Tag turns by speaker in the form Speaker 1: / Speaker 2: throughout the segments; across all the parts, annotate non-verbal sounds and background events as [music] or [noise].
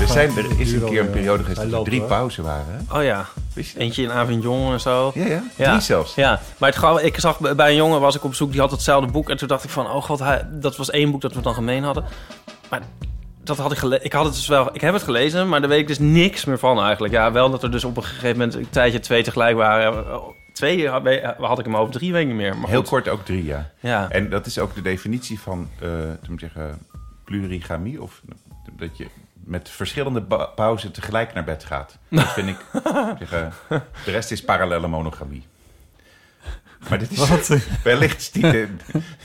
Speaker 1: Er, zijn, er is een
Speaker 2: duurde
Speaker 1: keer een
Speaker 2: al,
Speaker 1: periode
Speaker 2: eh,
Speaker 1: geweest
Speaker 2: hij
Speaker 1: dat er
Speaker 2: loopt,
Speaker 1: drie
Speaker 2: hoor.
Speaker 1: pauzen waren. hè?
Speaker 3: Oh ja.
Speaker 1: Wist je dat?
Speaker 3: Eentje in Avignon en zo.
Speaker 1: Ja, ja. Drie zelfs.
Speaker 3: Ja, maar het grap, ik zag bij een jongen was ik op zoek, die had hetzelfde boek. En toen dacht ik van, oh god, hij, dat was één boek dat we dan gemeen hadden. Maar dat had ik gele- ik had het dus wel, ik heb het gelezen, maar daar weet ik dus niks meer van eigenlijk. Ja, wel dat er dus op een gegeven moment een tijdje twee tegelijk waren. Oh, Twee had, had ik hem over, drie weet ik niet meer. Maar
Speaker 1: Heel Eh.
Speaker 3: goed.
Speaker 1: kort ook drie, ja.
Speaker 3: Ja.
Speaker 1: En dat is ook de definitie van, eh moet ik zeggen, plurigamie. Of dat je met verschillende ba- pauzen tegelijk naar bed gaat. Dat vind
Speaker 3: [laughs]
Speaker 1: ik, moet ik zeggen, de rest is parallele monogamie. Maar dit is [laughs] wellicht stiekem,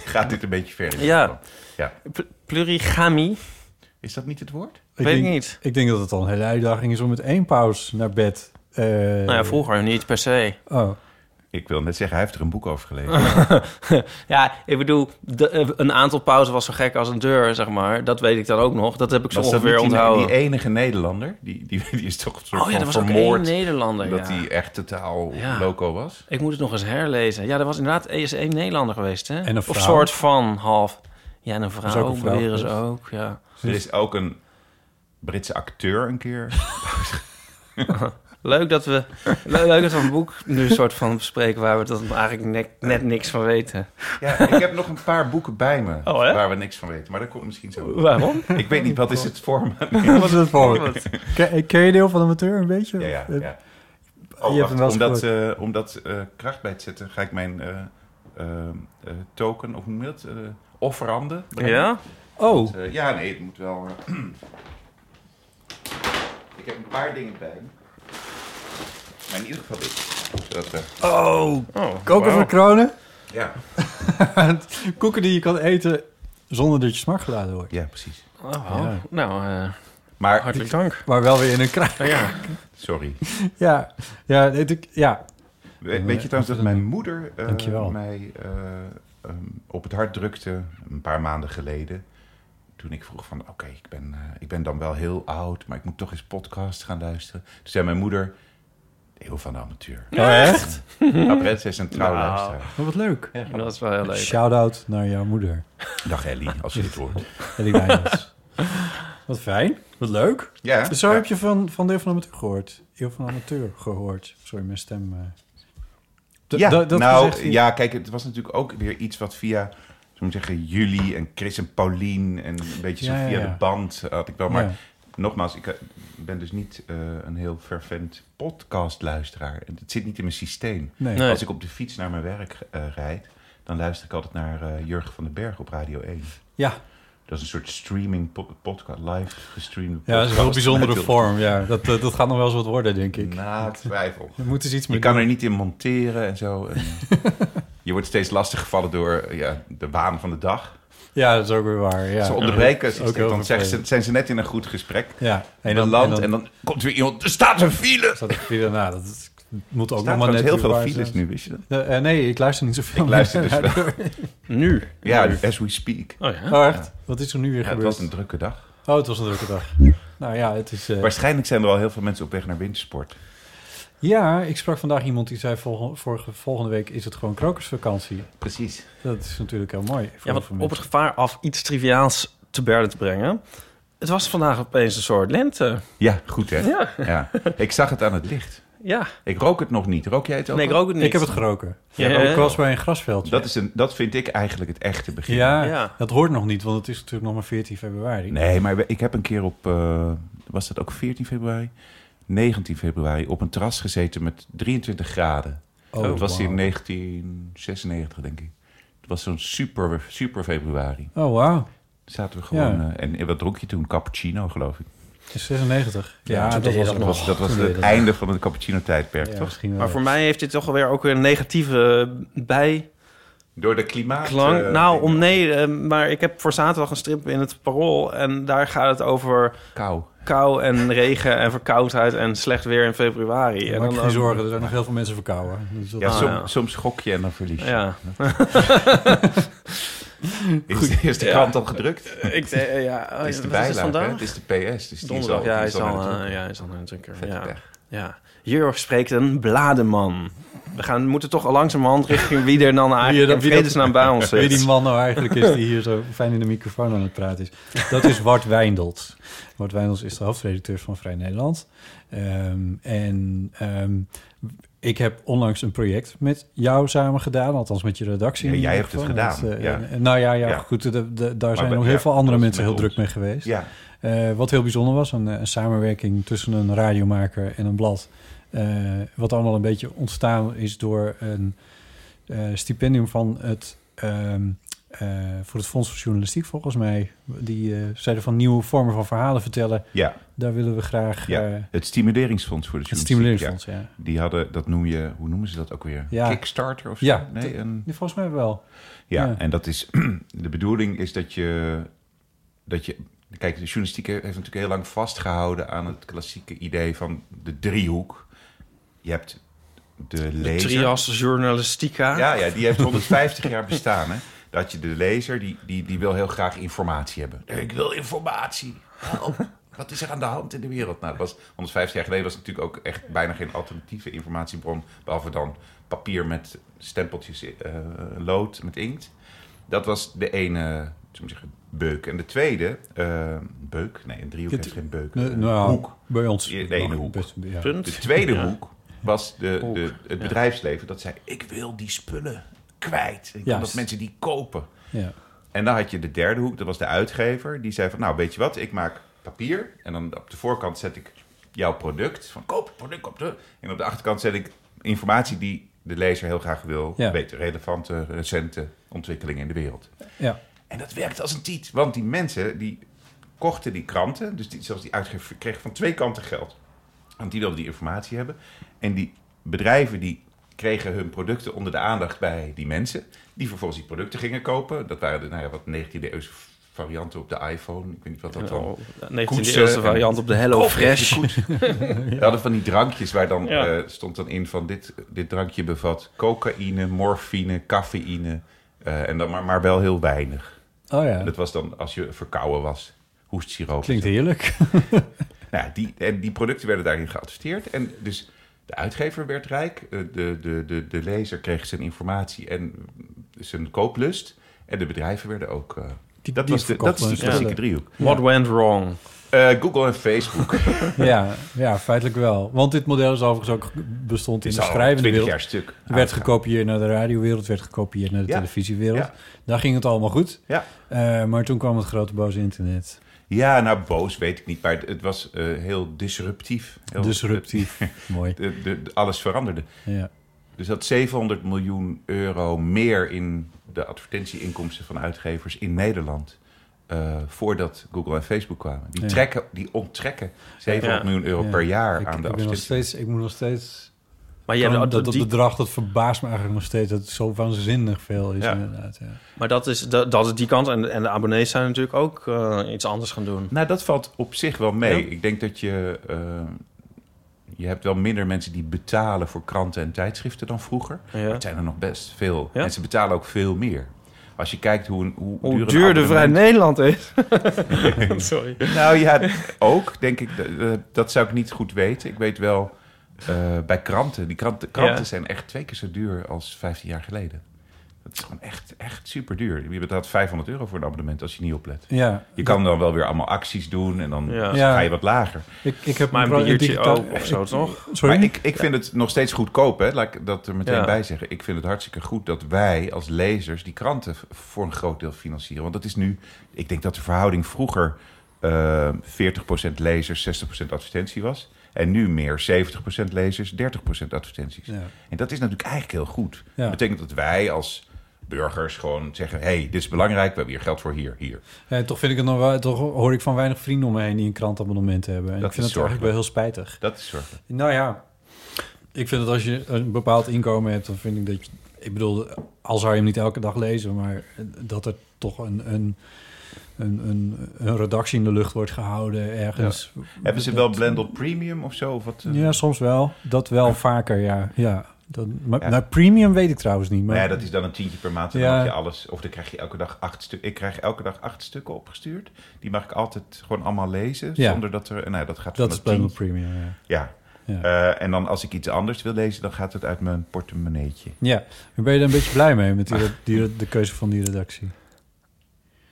Speaker 1: gaat dit een beetje ver. in dit
Speaker 3: Ja.
Speaker 1: geval. ja.
Speaker 3: Pl- plurigamie,
Speaker 1: Is dat niet het woord?
Speaker 3: weet
Speaker 2: denk,
Speaker 3: ik niet.
Speaker 2: Ik denk dat het al een hele uitdaging is om met één pauze naar bed. eh,
Speaker 3: Nou
Speaker 2: [laughs]
Speaker 3: ja, vroeger niet per se.
Speaker 2: Oh,
Speaker 1: Ik wil net zeggen, hij heeft er een boek over gelezen.
Speaker 3: [laughs] Ja, ik bedoel, de- eh, een aantal pauzen was zo gek als een deur, zeg maar. Dat weet ik dan ook nog. Dat heb ik zo
Speaker 1: Was dat
Speaker 3: ongeveer
Speaker 1: niet die,
Speaker 2: E
Speaker 3: onthouden.
Speaker 1: die enige Nederlander? Die, die, die is toch een soort
Speaker 3: oh ja,
Speaker 1: van
Speaker 3: er was ook
Speaker 1: vermoord.
Speaker 3: één Nederlander.
Speaker 1: Dat
Speaker 3: ja.
Speaker 1: hij echt totaal
Speaker 3: Ja.
Speaker 1: loco was.
Speaker 3: Ik moet het nog eens herlezen. Ja, er was inderdaad eens één Nederlander geweest, hè?
Speaker 2: En een
Speaker 3: Of
Speaker 2: vrouw.
Speaker 3: soort van, half. Ja, en een
Speaker 2: is
Speaker 3: vrouw,
Speaker 2: ook een vrouw
Speaker 3: beweren ze
Speaker 2: geweest.
Speaker 3: ook, ja.
Speaker 1: Er is ook een Britse acteur een keer.
Speaker 3: Leuk dat we, le- leuk dat we een boek nu een soort van bespreken... waar we dat eigenlijk net, net niks van weten.
Speaker 1: [laughs] Ja, ik heb nog een paar boeken bij me
Speaker 3: Oh, hè?
Speaker 1: waar we niks van weten. Maar dat komt misschien [laughs] zo.
Speaker 3: Waarom?
Speaker 1: Ik weet niet, wat is het format?
Speaker 2: wat is het voor? Ken, eh, ken je deel van amateur een
Speaker 1: [laughs]
Speaker 2: beetje?
Speaker 1: Ja, ja, ja.
Speaker 2: hem
Speaker 1: Oh,
Speaker 2: wel
Speaker 1: wacht,
Speaker 2: eens
Speaker 1: om dat, eh, om dat eh, kracht bij te zetten, ga ik mijn eh, eh, eh, token, of hoe noem je dat? eh offeranden. brengen.
Speaker 3: Ja?
Speaker 2: Oh,
Speaker 1: Eh, ja, nee, het moet wel... eh, [clears throat] ik heb een paar dingen bij me. Maar in ieder geval dit. Zodat, eh,
Speaker 2: oh.
Speaker 3: Oh,
Speaker 2: koken
Speaker 3: wauw.
Speaker 2: van kronen. [laughs]
Speaker 1: ja.
Speaker 2: Koeken die je kan eten zonder dat je smakgeladen wordt.
Speaker 1: ja, precies.
Speaker 3: Oh, wow.
Speaker 2: Ja.
Speaker 3: Nou, eh,
Speaker 1: Maar,
Speaker 3: hartelijk dank.
Speaker 2: Maar wel weer in een kraag.
Speaker 3: Ja.
Speaker 1: sorry.
Speaker 2: Ja, ja, dit- ik- ja.
Speaker 1: We- Weet je trouwens dat mijn moeder eh,
Speaker 2: Dankjewel.
Speaker 1: mij eh, ehm, op het hart drukte een paar maanden geleden. Toen ik vroeg van, oké, ik, ben, eh, ik ben dan wel heel oud, maar ik moet toch eens podcast gaan luisteren. Toen zei mijn moeder, de eeuw van de [laughs] amateur.
Speaker 2: Oh, echt?
Speaker 1: Apret, zij is een trouw
Speaker 3: Nou.
Speaker 1: luisteraar.
Speaker 2: Oh, wat leuk.
Speaker 3: Dat is wel heel leuk.
Speaker 2: Shout-out naar jouw moeder.
Speaker 1: Dag Ellie, als je dit hoort.
Speaker 2: Ellie
Speaker 3: [laughs]
Speaker 2: Wijnands. wat fijn. Wat leuk.
Speaker 1: Ja,
Speaker 2: Dus zo
Speaker 1: ja.
Speaker 2: heb je van, van Deel van de Amateur gehoord. Deel van de Amateur gehoord. Sorry, mijn stem. eh. D-
Speaker 1: ja,
Speaker 2: dat- dat
Speaker 1: nou,
Speaker 2: gezegd-
Speaker 1: ja, kijk, het was natuurlijk ook weer iets wat via, zo moet ik zeggen, jullie en Chris en Paulien en een beetje
Speaker 2: Ja,
Speaker 1: zo
Speaker 2: ja,
Speaker 1: via
Speaker 2: ja.
Speaker 1: de band had ik wel. Maar
Speaker 2: Ja.
Speaker 1: nogmaals, ik eh, ben dus niet eh, een heel fervent podcastluisteraar. En Het zit niet in mijn systeem.
Speaker 2: Nee.
Speaker 3: Nee.
Speaker 1: Als ik op de fiets naar mijn werk eh, rijd, dan luister ik altijd naar eh, Jurgen van den Berg op Radio 1.
Speaker 2: Ja.
Speaker 1: Dat is een soort streaming po- podcast, live gestreamde podcast.
Speaker 2: ja, dat is wel een bijzondere
Speaker 1: Met-
Speaker 2: vorm. Ja. Dat, eh, dat, dat gaat nog wel eens wat worden, denk ik.
Speaker 1: Na twijfel.
Speaker 2: Er moet eens iets
Speaker 1: Je
Speaker 2: meer
Speaker 1: kan
Speaker 2: doen.
Speaker 1: er niet in monteren en zo.
Speaker 2: [laughs]
Speaker 1: En, eh, je wordt steeds lastiggevallen door eh, ja, de waan van de dag.
Speaker 2: Ja, dat is ook weer waar. Ja.
Speaker 1: ze onderbreken,
Speaker 2: Ook heel
Speaker 1: ze, dan zeggen ze,
Speaker 2: vervelend.
Speaker 1: zijn ze net in een goed gesprek.
Speaker 2: Ja.
Speaker 1: En dan, land, en dan komt weer iemand, er staat een file! Er
Speaker 2: staat er weer daarna. Dat is- moet ook nog
Speaker 1: staan
Speaker 2: maar net
Speaker 1: trouwens heel
Speaker 2: weer
Speaker 1: veel
Speaker 2: waar
Speaker 1: files
Speaker 2: zijn.
Speaker 1: nu, wist je dat?
Speaker 2: Eh, eh, nee, ik luister niet zoveel.
Speaker 1: Ik luister dus
Speaker 2: meer.
Speaker 1: wel.
Speaker 3: Nu?
Speaker 1: Ja, as we speak.
Speaker 3: Oh ja?
Speaker 2: [laughs] Oh, echt? Wat is er nu weer
Speaker 1: Ja, het
Speaker 2: gebeurd?
Speaker 1: was een drukke dag.
Speaker 2: Oh, het was een drukke
Speaker 1: [laughs]
Speaker 2: dag. Nou ja, het is... eh,
Speaker 1: Waarschijnlijk zijn er al heel veel mensen op weg naar wintersport.
Speaker 2: Ja, ik sprak vandaag iemand die zei... Volgende, vorige, volgende week is het gewoon krokusvakantie.
Speaker 1: Precies.
Speaker 2: Dat is natuurlijk heel mooi. voor
Speaker 3: Ja,
Speaker 2: heel
Speaker 3: want
Speaker 2: veel
Speaker 3: op het
Speaker 2: mensen.
Speaker 3: gevaar af iets triviaals te berden te brengen... Het was vandaag opeens een soort lente.
Speaker 1: Ja, goed hè? Ja.
Speaker 3: Ja,
Speaker 1: Ik zag het aan het licht.
Speaker 3: ja.
Speaker 1: Ik rook het nog niet. Rook jij het ook?
Speaker 3: Nee, ik
Speaker 1: al?
Speaker 3: rook het niet.
Speaker 2: Ik heb het geroken.
Speaker 3: Ja,
Speaker 2: Ja,
Speaker 3: ja.
Speaker 2: ik was bij een grasveldje.
Speaker 1: Dat, is een, dat vind ik eigenlijk het echte begin.
Speaker 2: ja,
Speaker 3: Ja.
Speaker 2: dat hoort nog niet, want het is natuurlijk nog maar 14 februari.
Speaker 1: Nee, maar we- ik heb een keer op, eh, was dat ook 14 februari? 19 februari op een terras gezeten met 23 graden.
Speaker 2: Oh,
Speaker 1: dat was in
Speaker 2: wauw.
Speaker 1: 1996, denk ik. Het was zo'n super, super februari.
Speaker 2: Oh, wauw.
Speaker 1: Zaten we gewoon...
Speaker 2: Ja.
Speaker 1: eh, en, en wat dronk je toen? Cappuccino, geloof ik.
Speaker 2: Het is 96. Ja,
Speaker 3: toen
Speaker 2: dat
Speaker 3: deed je
Speaker 2: was
Speaker 3: dat
Speaker 2: het.
Speaker 1: Dat was, dat was
Speaker 2: toen
Speaker 1: het
Speaker 2: deed
Speaker 1: einde van het cappuccino-tijdperk,
Speaker 2: Ja,
Speaker 1: toch?
Speaker 2: misschien wel.
Speaker 3: Maar voor mij heeft dit toch alweer ook weer een negatieve eh, bijklank.
Speaker 1: Door de klimaat... eh,
Speaker 3: nou,
Speaker 1: dingen.
Speaker 3: om nee, eh, maar ik heb voor zaterdag een strip in het Parool. En daar gaat het over
Speaker 1: Kou.
Speaker 3: kou en regen en verkoudheid en slecht weer in februari. en
Speaker 2: Maak
Speaker 3: dan
Speaker 2: je geen
Speaker 3: ook-
Speaker 2: zorgen, er zijn nog heel veel mensen verkouden. Dus dat-
Speaker 1: Ja,
Speaker 3: Ah,
Speaker 1: som-
Speaker 3: ja.
Speaker 1: soms gok je en dan verlies je.
Speaker 3: Ja.
Speaker 1: Is, is de
Speaker 3: Ja.
Speaker 1: krant al gedrukt?
Speaker 3: Ik, eh, ja, oh,
Speaker 1: Het is de
Speaker 3: wat is het
Speaker 1: bijlage, hè?
Speaker 3: vandaag?
Speaker 1: Het is de PS. Dus die is
Speaker 3: Donderdag,
Speaker 1: al,
Speaker 3: ja,
Speaker 1: die
Speaker 3: hij
Speaker 1: is al naar de
Speaker 3: eh,
Speaker 1: drukker.
Speaker 3: ja, hij is al naar de drukker.
Speaker 1: Vette
Speaker 3: Ja.
Speaker 1: pech.
Speaker 3: ja. Hier spreekt een blademan. We gaan, moeten toch al langzamerhand richting wie er dan eigenlijk
Speaker 2: dat-
Speaker 3: in
Speaker 2: wie dat-
Speaker 3: vredesnaam bij [laughs] ons
Speaker 2: Wie die
Speaker 3: zit.
Speaker 2: man nou eigenlijk is die hier zo fijn in de microfoon aan het praten is. Dat is Wart Wijndelt. Wart Wijndelt is de hoofdredacteur van Vrij Nederland. Ehm, en ehm, ik heb onlangs een project met jou samen gedaan. Althans met je redactie.
Speaker 1: Ja,
Speaker 2: in
Speaker 1: jij
Speaker 2: ieder
Speaker 1: hebt het
Speaker 2: geval.
Speaker 1: gedaan,
Speaker 2: eh,
Speaker 1: ja.
Speaker 2: en- nou ja, ja,
Speaker 1: Ja.
Speaker 2: goed. de- de- daar zijn
Speaker 1: bij-
Speaker 2: nog heel
Speaker 1: ja,
Speaker 2: veel
Speaker 1: dat
Speaker 2: andere
Speaker 1: is
Speaker 2: mensen
Speaker 1: met
Speaker 2: heel
Speaker 1: ons.
Speaker 2: druk mee geweest.
Speaker 1: Ja,
Speaker 2: Eh, wat heel bijzonder was, een, eh, een samenwerking tussen een radiomaker en een blad. Eh, wat allemaal een beetje ontstaan is door een eh, stipendium van het, ehm, eh, voor het Fonds voor Journalistiek, volgens mij. Die eh, zeiden van nieuwe vormen van verhalen vertellen.
Speaker 1: ja,
Speaker 2: Daar willen we graag
Speaker 1: ja.
Speaker 2: eh,
Speaker 1: het Stimuleringsfonds voor de
Speaker 2: het
Speaker 1: journalistiek,
Speaker 2: stimuleringsfonds. Ja.
Speaker 1: ja. Die hadden, dat noem je, hoe noemen ze dat ook weer?
Speaker 2: Ja.
Speaker 1: Kickstarter of zo?
Speaker 2: Ja,
Speaker 1: nee, een,
Speaker 2: Ja, Volgens mij wel.
Speaker 1: ja.
Speaker 2: ja.
Speaker 1: en dat is, [clears throat] de bedoeling is dat je, dat je, kijk, de journalistiek heeft natuurlijk heel lang vastgehouden aan het klassieke idee van de driehoek. Je hebt de
Speaker 3: De
Speaker 1: lezer.
Speaker 3: trias journalistica.
Speaker 1: Ja, ja, die heeft 150 jaar bestaan. Hè? Dat je de lezer, die, die, die wil heel graag informatie hebben. Ik wil informatie. Help. Wat is er aan de hand in de wereld? Nou, dat was 150 jaar geleden was het natuurlijk ook echt bijna geen alternatieve informatiebron. Behalve dan papier met stempeltjes, eh, lood met inkt. Dat was de ene, zullen we zeggen, beuk. En de tweede, eh, beuk? Nee, een driehoek
Speaker 2: Het-
Speaker 1: heeft geen beuk.
Speaker 2: Eh,
Speaker 1: Een
Speaker 2: nou,
Speaker 1: hoek.
Speaker 2: Bij ons. Nou,
Speaker 1: Ja, nee, de hoek.
Speaker 2: Best- ja.
Speaker 3: Punt.
Speaker 1: De tweede
Speaker 3: Ja.
Speaker 1: hoek was de,
Speaker 3: Hoek,
Speaker 1: de, het
Speaker 3: ja.
Speaker 1: bedrijfsleven dat zei: Ik wil die spullen kwijt. Ik wil
Speaker 2: Juist.
Speaker 1: dat mensen die kopen.
Speaker 2: Ja.
Speaker 1: En dan had je de derde hoek, dat was de uitgever. Die zei: van, Nou, weet je wat, ik maak papier. En dan op de voorkant zet ik jouw product. Van koop het product op de. En op de achterkant zet ik informatie die de lezer heel graag wil
Speaker 2: Ja.
Speaker 1: weten. Relevante, recente ontwikkelingen in de wereld.
Speaker 2: Ja.
Speaker 1: En dat werkte als een tiet. Want die mensen die kochten die kranten. Dus die, zelfs die uitgever kreeg van twee kanten geld. Want die wilden die informatie hebben. En die bedrijven die kregen hun producten onder de aandacht bij die mensen. Die vervolgens die producten gingen kopen. Dat waren de nou ja, wat 19e eeuwse varianten op de iPhone. Ik weet niet wat dat dan...
Speaker 3: Oh, 19e
Speaker 1: Koetsen
Speaker 3: eeuwse
Speaker 1: en-
Speaker 3: variant op de Hello
Speaker 1: Koffie,
Speaker 3: [laughs] Fresh.
Speaker 1: goed. We hadden van die drankjes waar dan
Speaker 3: Ja.
Speaker 1: eh, stond dan in van dit, dit drankje bevat cocaïne, morfine, cafeïne. eh, en dan maar, maar wel heel weinig.
Speaker 2: Oh ja.
Speaker 1: En dat was dan als je verkouden was, hoestsiroop.
Speaker 2: Klinkt heerlijk.
Speaker 1: Nou, ja, die, en die producten werden daarin geadverteerd. En dus de uitgever werd rijk, eh, de, de, de, de lezer kreeg zijn informatie en zijn kooplust. En de bedrijven werden ook... eh,
Speaker 2: Die-
Speaker 1: dat,
Speaker 2: die
Speaker 1: was de, dat
Speaker 2: verkochten
Speaker 1: is die
Speaker 2: hun
Speaker 1: klassieke
Speaker 2: spullen.
Speaker 1: driehoek.
Speaker 3: What went wrong?
Speaker 1: Eh, Google en Facebook. Het
Speaker 2: Ja, ja, feitelijk wel. Want dit model is overigens ook bestond in
Speaker 1: is
Speaker 2: de
Speaker 1: al
Speaker 2: schrijvende
Speaker 1: 20
Speaker 2: wereld.
Speaker 1: nou, jaar stuk.
Speaker 2: werd
Speaker 1: uitgegaan.
Speaker 2: gekopieerd naar de radiowereld, werd gekopieerd naar de
Speaker 1: Ja.
Speaker 2: televisiewereld.
Speaker 1: Ja.
Speaker 2: Daar ging het allemaal goed.
Speaker 1: Ja.
Speaker 2: Eh, maar toen kwam het grote boze internet.
Speaker 1: Ja, nou boos weet ik niet, maar het, het was eh, heel disruptief. Heel,
Speaker 2: Disruptief. Mooi.
Speaker 1: de- de- de- alles veranderde.
Speaker 2: Ja.
Speaker 1: Dus dat 700 miljoen euro meer in de advertentieinkomsten van uitgevers in Nederland. eh, voordat Google en Facebook kwamen. Die,
Speaker 2: Ja.
Speaker 1: trekken, die onttrekken 700
Speaker 3: Ja.
Speaker 1: miljoen euro
Speaker 2: Ja.
Speaker 1: per jaar
Speaker 2: Ik,
Speaker 1: aan de
Speaker 2: ik, ben nog
Speaker 1: advertentie.
Speaker 2: steeds, ik moet nog steeds...
Speaker 3: Maar, je hebt,
Speaker 2: dat,
Speaker 3: dat,
Speaker 2: dat
Speaker 3: die-
Speaker 2: bedrag, dat verbaast me eigenlijk nog steeds. Dat het zo waanzinnig veel is
Speaker 1: Ja.
Speaker 2: inderdaad. Ja.
Speaker 3: maar dat, is, dat, dat is die kant. En, en de abonnees zijn natuurlijk ook eh, iets anders gaan doen.
Speaker 1: Nou, dat valt op zich wel mee.
Speaker 3: Ja.
Speaker 1: Ik denk dat je. eh, je hebt wel minder mensen die betalen voor kranten en tijdschriften dan vroeger. Maar
Speaker 3: Ja.
Speaker 1: het zijn er nog best veel.
Speaker 3: Ja.
Speaker 1: En ze betalen ook veel meer. Als je kijkt hoe, een, hoe,
Speaker 3: Hoe
Speaker 1: een
Speaker 3: duur de Vrij
Speaker 1: abonnement-
Speaker 3: Nederland [laughs] is. Sorry.
Speaker 1: Nou ja, ook denk ik. dat- dat- Dat zou ik niet goed weten. Ik weet wel eh, bij kranten. Die kranten, kranten
Speaker 3: Ja.
Speaker 1: zijn echt twee keer zo duur als 15 jaar geleden. Dat is gewoon echt, echt super duur. Je betaalt 500 euro voor een abonnement als je niet oplet.
Speaker 2: Ja,
Speaker 1: Je kan dan wel weer allemaal acties doen en dan
Speaker 3: Ja.
Speaker 1: ga je wat lager.
Speaker 2: ik, ik heb
Speaker 3: Maar
Speaker 2: pro-
Speaker 3: een biertje
Speaker 2: digitaal-
Speaker 3: ook of zo, toch?
Speaker 2: [laughs] Sorry?
Speaker 1: Maar ik, ik vind het nog steeds goedkoop, hè? laat ik dat er meteen
Speaker 3: Ja.
Speaker 1: bij zeggen. Ik vind het hartstikke goed dat wij als lezers die kranten v- voor een groot deel financieren. Want dat is nu, ik denk dat de verhouding vroeger eh 40% lezers, 60% advertentie was. En nu meer 70% lezers, 30% advertenties.
Speaker 2: Ja.
Speaker 1: En dat is natuurlijk eigenlijk heel goed.
Speaker 2: Ja.
Speaker 1: Dat betekent dat wij als burgers gewoon zeggen... hé, hey, dit is belangrijk, we hebben hier geld voor, hier, hier.
Speaker 2: Ja, toch, vind ik het nog wel, toch hoor ik van weinig vrienden om me heen die een krantabonnement hebben. En
Speaker 1: Dat
Speaker 2: ik vind
Speaker 1: is
Speaker 2: het eigenlijk wel heel spijtig.
Speaker 1: Dat is zorgelijk.
Speaker 2: Nou ja, ik vind dat als je een bepaald inkomen hebt, dan vind ik dat je... Ik bedoel, al zou je hem niet elke dag lezen, maar dat er toch een, een, een, een, een redactie in de lucht wordt gehouden ergens.
Speaker 1: Hebben ze
Speaker 2: Dat-
Speaker 1: wel Blendel Premium of zo? Of wat, eh?
Speaker 2: Ja, soms wel. Dat wel vaker, ja. ja. Dat, maar,
Speaker 1: Ja.
Speaker 2: Nou, premium weet ik trouwens niet. Maar,
Speaker 1: Nou ja, dat is dan een tientje per maand. En
Speaker 2: Ja.
Speaker 1: dan heb je alles. Of dan krijg je elke dag acht stukken. Ik krijg elke dag acht stukken opgestuurd. Die mag ik altijd gewoon allemaal lezen.
Speaker 2: Ja.
Speaker 1: Zonder dat er. Nou, dat gaat
Speaker 2: dat
Speaker 1: van
Speaker 2: is
Speaker 1: het
Speaker 2: Blendel
Speaker 1: tientje-
Speaker 2: Premium, ja.
Speaker 1: Ja.
Speaker 2: Ja.
Speaker 1: Eh, en dan als ik iets anders wil lezen, dan gaat het uit mijn portemonneetje.
Speaker 2: Ja, maar ben je daar een beetje blij mee met die, die- de keuze van die redactie?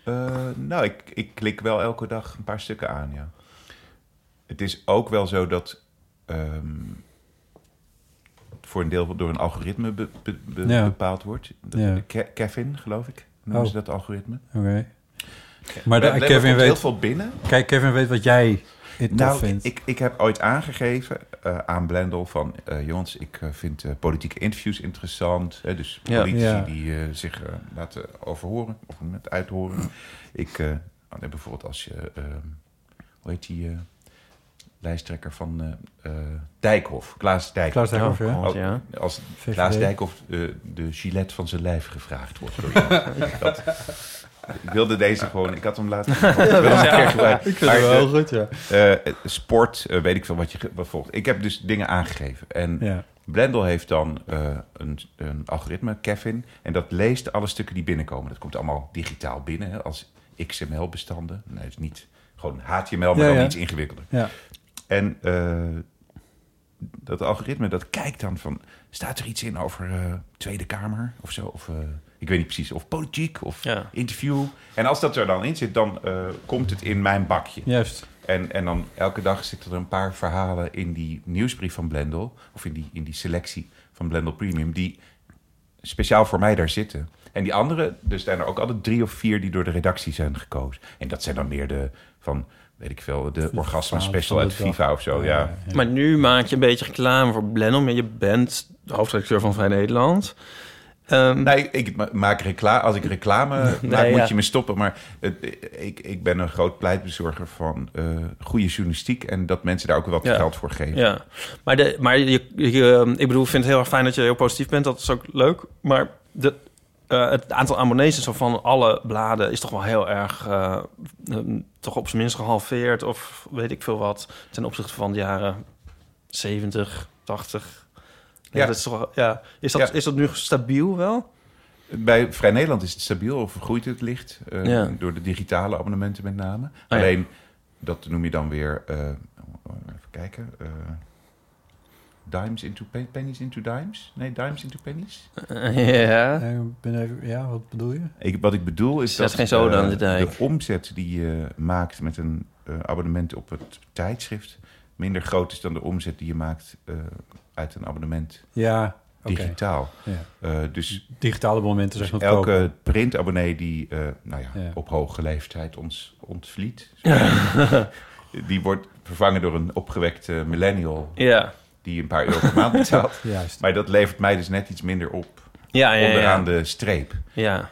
Speaker 1: Eh, nou, ik, ik klik wel elke dag een paar stukken aan, ja. Het is ook wel zo dat... ehm, voor een deel door een algoritme be- be- be-
Speaker 2: Ja.
Speaker 1: bepaald wordt. Dat-
Speaker 2: Ja.
Speaker 1: Ke- Kevin, geloof ik, noemen
Speaker 2: Oh.
Speaker 1: ze dat algoritme.
Speaker 2: Oké. Maar de-
Speaker 1: Er- er
Speaker 2: Kevin,
Speaker 1: komt heel
Speaker 2: weet,
Speaker 1: veel binnen.
Speaker 2: kijk, Kevin weet wat jij het tof
Speaker 1: Nou,
Speaker 2: vindt.
Speaker 1: ik, ik heb ooit aangegeven eh, aan Blendel van... eh, jongens, ik eh, vind eh, politieke interviews interessant. Hè, dus
Speaker 3: Ja.
Speaker 1: politici
Speaker 2: Ja.
Speaker 1: die eh, zich eh, laten overhoren of met uithoren. ik, eh, nou, nee, bijvoorbeeld als je... eh, hoe heet die eh, lijsttrekker van eh, eh, Dijkhof? Klaas Dijkhof.
Speaker 2: Klaas Dijkhoff, ja.
Speaker 1: Al-
Speaker 3: Oh, Ja.
Speaker 1: Als
Speaker 2: VVD.
Speaker 1: Klaas Dijkhoff eh, de gilet van zijn lijf gevraagd wordt.
Speaker 3: [laughs]
Speaker 1: door iemand. dat, ik wilde deze gewoon... Ik had hem
Speaker 2: [laughs]
Speaker 1: laten... Ik wilde hem een keer gebruiken. Maar de-
Speaker 2: goed, ja.
Speaker 1: eh, sport, eh, weet ik veel wat je ge- wat volgt. Ik heb dus dingen aangegeven. En
Speaker 2: Ja,
Speaker 1: Blendel heeft dan eh, een, een algoritme, Kevin. En dat leest alle stukken die binnenkomen. Dat komt allemaal digitaal binnen hè, als XML-bestanden. Nee, het is niet gewoon HTML, maar
Speaker 2: Ja,
Speaker 1: dan
Speaker 2: ja.
Speaker 1: iets ingewikkelder.
Speaker 2: ja.
Speaker 1: En eh, dat algoritme, dat kijkt dan van... staat er iets in over eh, Tweede Kamer of zo? Of, eh, ik weet niet precies, of politiek, of
Speaker 3: Ja.
Speaker 1: interview. En als dat er dan in zit, dan eh, komt het in mijn bakje.
Speaker 2: juist.
Speaker 1: En, en dan elke dag zitten er een paar verhalen in die nieuwsbrief van Blendel. Of in die, in die selectie van Blendel Premium. Die speciaal voor mij daar zitten. En die andere, er zijn er ook altijd drie of vier die door de redactie zijn gekozen. En dat zijn dan meer de van, weet ik veel, de orgasma special
Speaker 2: van
Speaker 1: uit
Speaker 2: de dag.
Speaker 1: FIFA of zo. Ja.
Speaker 3: Maar nu maak je een beetje reclame voor Blendel. Maar je bent de hoofdredacteur van Vrij Nederland. Ehm,
Speaker 1: Nee, ik ma- maak reclame. Als ik reclame maak,
Speaker 3: ja.
Speaker 1: moet je me stoppen. Maar het- ik, ik ben een groot pleitbezorger van eh, goede journalistiek. En dat mensen daar ook wat
Speaker 3: Ja.
Speaker 1: geld voor geven.
Speaker 3: Ja, maar, de, maar je, je- ehm, ik bedoel, ik vind het heel erg fijn dat je heel positief bent. Dat is ook leuk. Maar de, eh, het aantal abonnees zo van alle bladen is toch wel heel erg... eh, ehm, toch op zijn minst gehalveerd of weet ik veel wat... ten opzichte van de jaren 70, 80... Ja.
Speaker 1: Ja.
Speaker 3: Dat is, toch, wel- ja. Is, dat,
Speaker 1: Ja.
Speaker 3: is dat nu stabiel
Speaker 1: [laughs]
Speaker 3: wel?
Speaker 1: Bij Vrij Nederland is het stabiel of groeit het licht. eh,
Speaker 3: Ja. Oh,
Speaker 1: Door de digitale abonnementen met name.
Speaker 3: ja.
Speaker 1: Alleen, dat noem je dan weer... eh, even kijken. eh, dimes into pe- pennies into dimes? Nee, dimes into pennies?
Speaker 3: Ja.
Speaker 2: Eh, ik ben even, ja, wat bedoel je?
Speaker 1: Ik, wat ik bedoel is
Speaker 3: Zet
Speaker 1: dat
Speaker 3: geen zoden
Speaker 1: eh,
Speaker 3: aan de dijk.
Speaker 1: omzet die je maakt met een eh, abonnement op het tijdschrift... minder groot is dan de omzet die je maakt eh, uit een abonnement
Speaker 2: Ja, oké.
Speaker 1: digitaal.
Speaker 2: Ja. Hm.
Speaker 1: Eh, dus
Speaker 2: Digitale momenten zijn
Speaker 1: Dus
Speaker 2: goedkoop.
Speaker 1: elke printabonnee die eh, nou ja,
Speaker 2: Ja.
Speaker 1: op hoge leeftijd ons
Speaker 3: [laughs]
Speaker 1: ontvliet, die wordt vervangen door een opgewekte millennial
Speaker 3: Ja.
Speaker 1: die een paar euro per maand
Speaker 3: [laughs]
Speaker 1: betaalt.
Speaker 2: Juist.
Speaker 1: Maar dat levert mij dus net iets minder op
Speaker 3: Ja, ja, ja,
Speaker 1: onderaan
Speaker 3: ja.
Speaker 1: de streep.
Speaker 3: ja.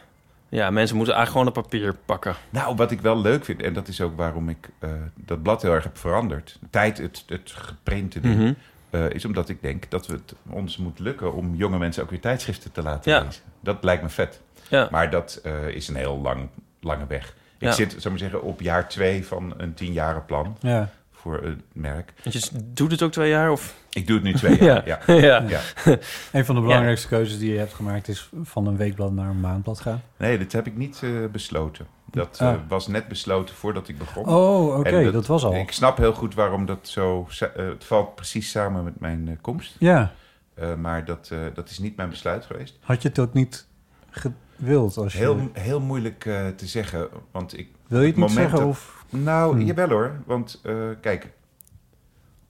Speaker 3: Ja, mensen moeten eigenlijk gewoon het papier pakken.
Speaker 1: Nou, wat ik wel leuk vind, en dat is ook waarom ik eh, dat blad heel erg heb veranderd. Tijd, het, het geprinte ding.
Speaker 3: Mhm.
Speaker 1: eh, is omdat ik denk dat we het ons moet lukken om jonge mensen ook weer tijdschriften te laten
Speaker 3: Ja.
Speaker 1: lezen. Dat lijkt me vet.
Speaker 3: Ja.
Speaker 1: Maar dat eh, is een heel lang, lange weg. Ik
Speaker 3: Ja.
Speaker 1: zit, zou maar zeggen, op jaar twee van een tienjaren plan
Speaker 2: Ja,
Speaker 1: voor het merk.
Speaker 3: Want Je doet het ook twee jaar of...
Speaker 1: Ik doe het nu
Speaker 3: [laughs]
Speaker 1: twee jaar. ja.
Speaker 3: ja. ja.
Speaker 1: Ja.
Speaker 2: een van de belangrijkste keuzes die je hebt gemaakt is van een weekblad naar een maandblad gaan.
Speaker 1: Nee, dat heb ik niet eh, besloten. Dat eh,
Speaker 2: Ah.
Speaker 1: was net besloten voordat ik begon.
Speaker 2: Oh, oké,
Speaker 1: En
Speaker 2: dat, was al.
Speaker 1: Ik snap heel goed waarom dat zo... sa- eh, het valt precies samen met mijn eh, komst.
Speaker 2: Ja,
Speaker 1: Eh, maar dat, eh, dat is niet mijn besluit geweest.
Speaker 2: had je het ook niet gewild? Als Dus je,
Speaker 1: Heel, heel moeilijk eh, te zeggen, want ik...
Speaker 2: wil je het niet
Speaker 1: moment
Speaker 2: zeggen?
Speaker 1: dat-
Speaker 2: Of,
Speaker 1: Nou,
Speaker 2: Hmm.
Speaker 1: jawel hoor. Want eh, kijk,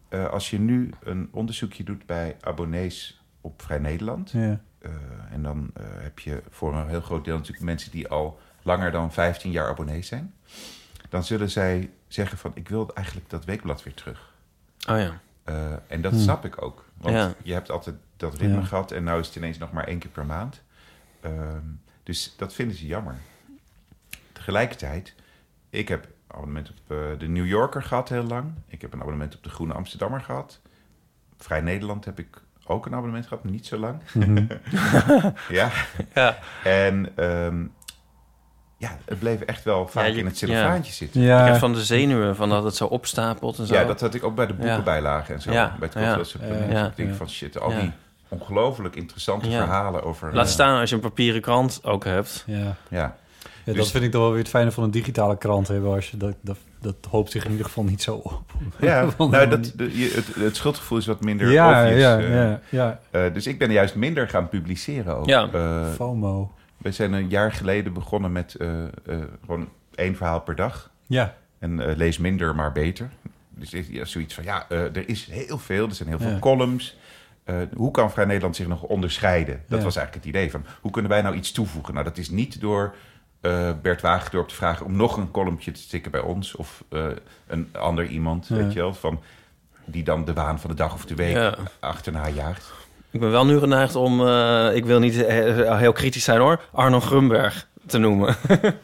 Speaker 1: eh, als je nu een onderzoekje doet bij abonnees op Vrij Nederland...
Speaker 2: ja,
Speaker 1: eh, en dan eh, heb je voor een heel groot deel natuurlijk mensen die al langer dan 15 jaar abonnees zijn... dan zullen zij zeggen van, ik wil eigenlijk dat weekblad weer terug.
Speaker 3: Oh ja.
Speaker 1: Eh, Eh, en dat snap ik ook. Want
Speaker 3: Ja.
Speaker 1: je hebt altijd dat ritme
Speaker 2: Ja.
Speaker 1: gehad en nou is het ineens nog maar één keer per maand. Ehm, dus dat vinden ze jammer. Tegelijkertijd, ik heb een abonnement op eh, de New Yorker gehad heel lang. Ik heb een abonnement op de Groene Amsterdammer gehad. Vrij Nederland heb ik ook een abonnement gehad, maar niet zo lang. [laughs] ja.
Speaker 3: Ja.
Speaker 1: En ehm, ja, het bleef echt wel vaak
Speaker 3: je-
Speaker 1: in het cellofaantje zitten.
Speaker 3: Ik
Speaker 2: Ja,
Speaker 3: heb van de zenuwen, van dat het zo opstapelt en zo.
Speaker 1: Ja, dat had ik ook bij de boekenbijlagen en zo.
Speaker 3: Ja.
Speaker 1: Bij het
Speaker 3: Ja.
Speaker 1: Cultureel Supplement.
Speaker 3: Ja.
Speaker 1: Ik denk van shit, al
Speaker 3: Ja.
Speaker 1: die ongelooflijk interessante
Speaker 3: Ja.
Speaker 1: verhalen over...
Speaker 3: Laat
Speaker 1: eh,
Speaker 3: staan als je een papieren krant ook hebt. [laughs]
Speaker 2: ja.
Speaker 1: Ja,
Speaker 2: Ja,
Speaker 1: Dus-
Speaker 2: dat vind ik dan wel weer het fijne van een digitale krant hebben. Als je dat, dat, dat hoopt zich in ieder geval niet zo op.
Speaker 1: ja.
Speaker 2: Van-
Speaker 1: nou, dat, de- je- het, het schuldgevoel is wat minder
Speaker 2: ja,
Speaker 1: obvious.
Speaker 2: ja,
Speaker 1: eh.
Speaker 2: ja, ja.
Speaker 1: Eh, dus ik ben juist minder gaan publiceren ook.
Speaker 3: Ja.
Speaker 1: Eh,
Speaker 2: FOMO.
Speaker 1: we zijn een jaar geleden begonnen met eh, eh, gewoon één verhaal per dag.
Speaker 2: Ja,
Speaker 1: En eh, lees minder, maar beter. Dus ik- ja, zoiets van, ja, eh, er is heel veel. Er zijn heel veel
Speaker 2: Ja.
Speaker 1: columns. Eh, hoe kan Vrij Nederland zich nog onderscheiden? Dat
Speaker 2: Ja.
Speaker 1: was eigenlijk het idee van, hoe kunnen wij nou iets toevoegen? Nou, dat is niet door eh, Bert Wagendorp te vragen... om nog een columnje te stikken bij ons of eh, een ander iemand,
Speaker 2: Ja.
Speaker 1: weet je wel... Van, die dan de waan van de dag of de week
Speaker 3: Ja.
Speaker 1: achterna jaagt.
Speaker 3: Ik ben wel nu geneigd om, eh, ik wil niet eh, heel kritisch zijn hoor, Arno Grunberg te noemen. [laughs]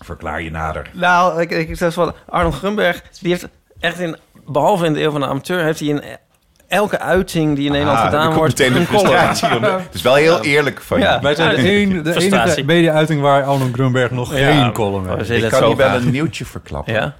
Speaker 1: Verklaar je nader.
Speaker 3: Nou, ik, ik zeg wel, Arno Grunberg, die heeft echt in, behalve in de eeuw van de amateur, heeft hij in elke uiting die in Nederland
Speaker 1: Ah, er
Speaker 3: gedaan
Speaker 1: komt
Speaker 3: wordt
Speaker 1: meteen de frustratie. om- Het is wel heel eerlijk van
Speaker 3: Ja.
Speaker 1: je.
Speaker 2: wij zijn de, een, de enige
Speaker 3: Frustratie.
Speaker 2: media-uiting waar Arno Grunberg nog geen column
Speaker 3: Oh,
Speaker 2: heeft.
Speaker 3: zit
Speaker 1: Ik
Speaker 3: het
Speaker 1: kan
Speaker 3: zo
Speaker 1: je wel
Speaker 3: graag.
Speaker 1: een nieuwtje verklappen.
Speaker 3: Ja,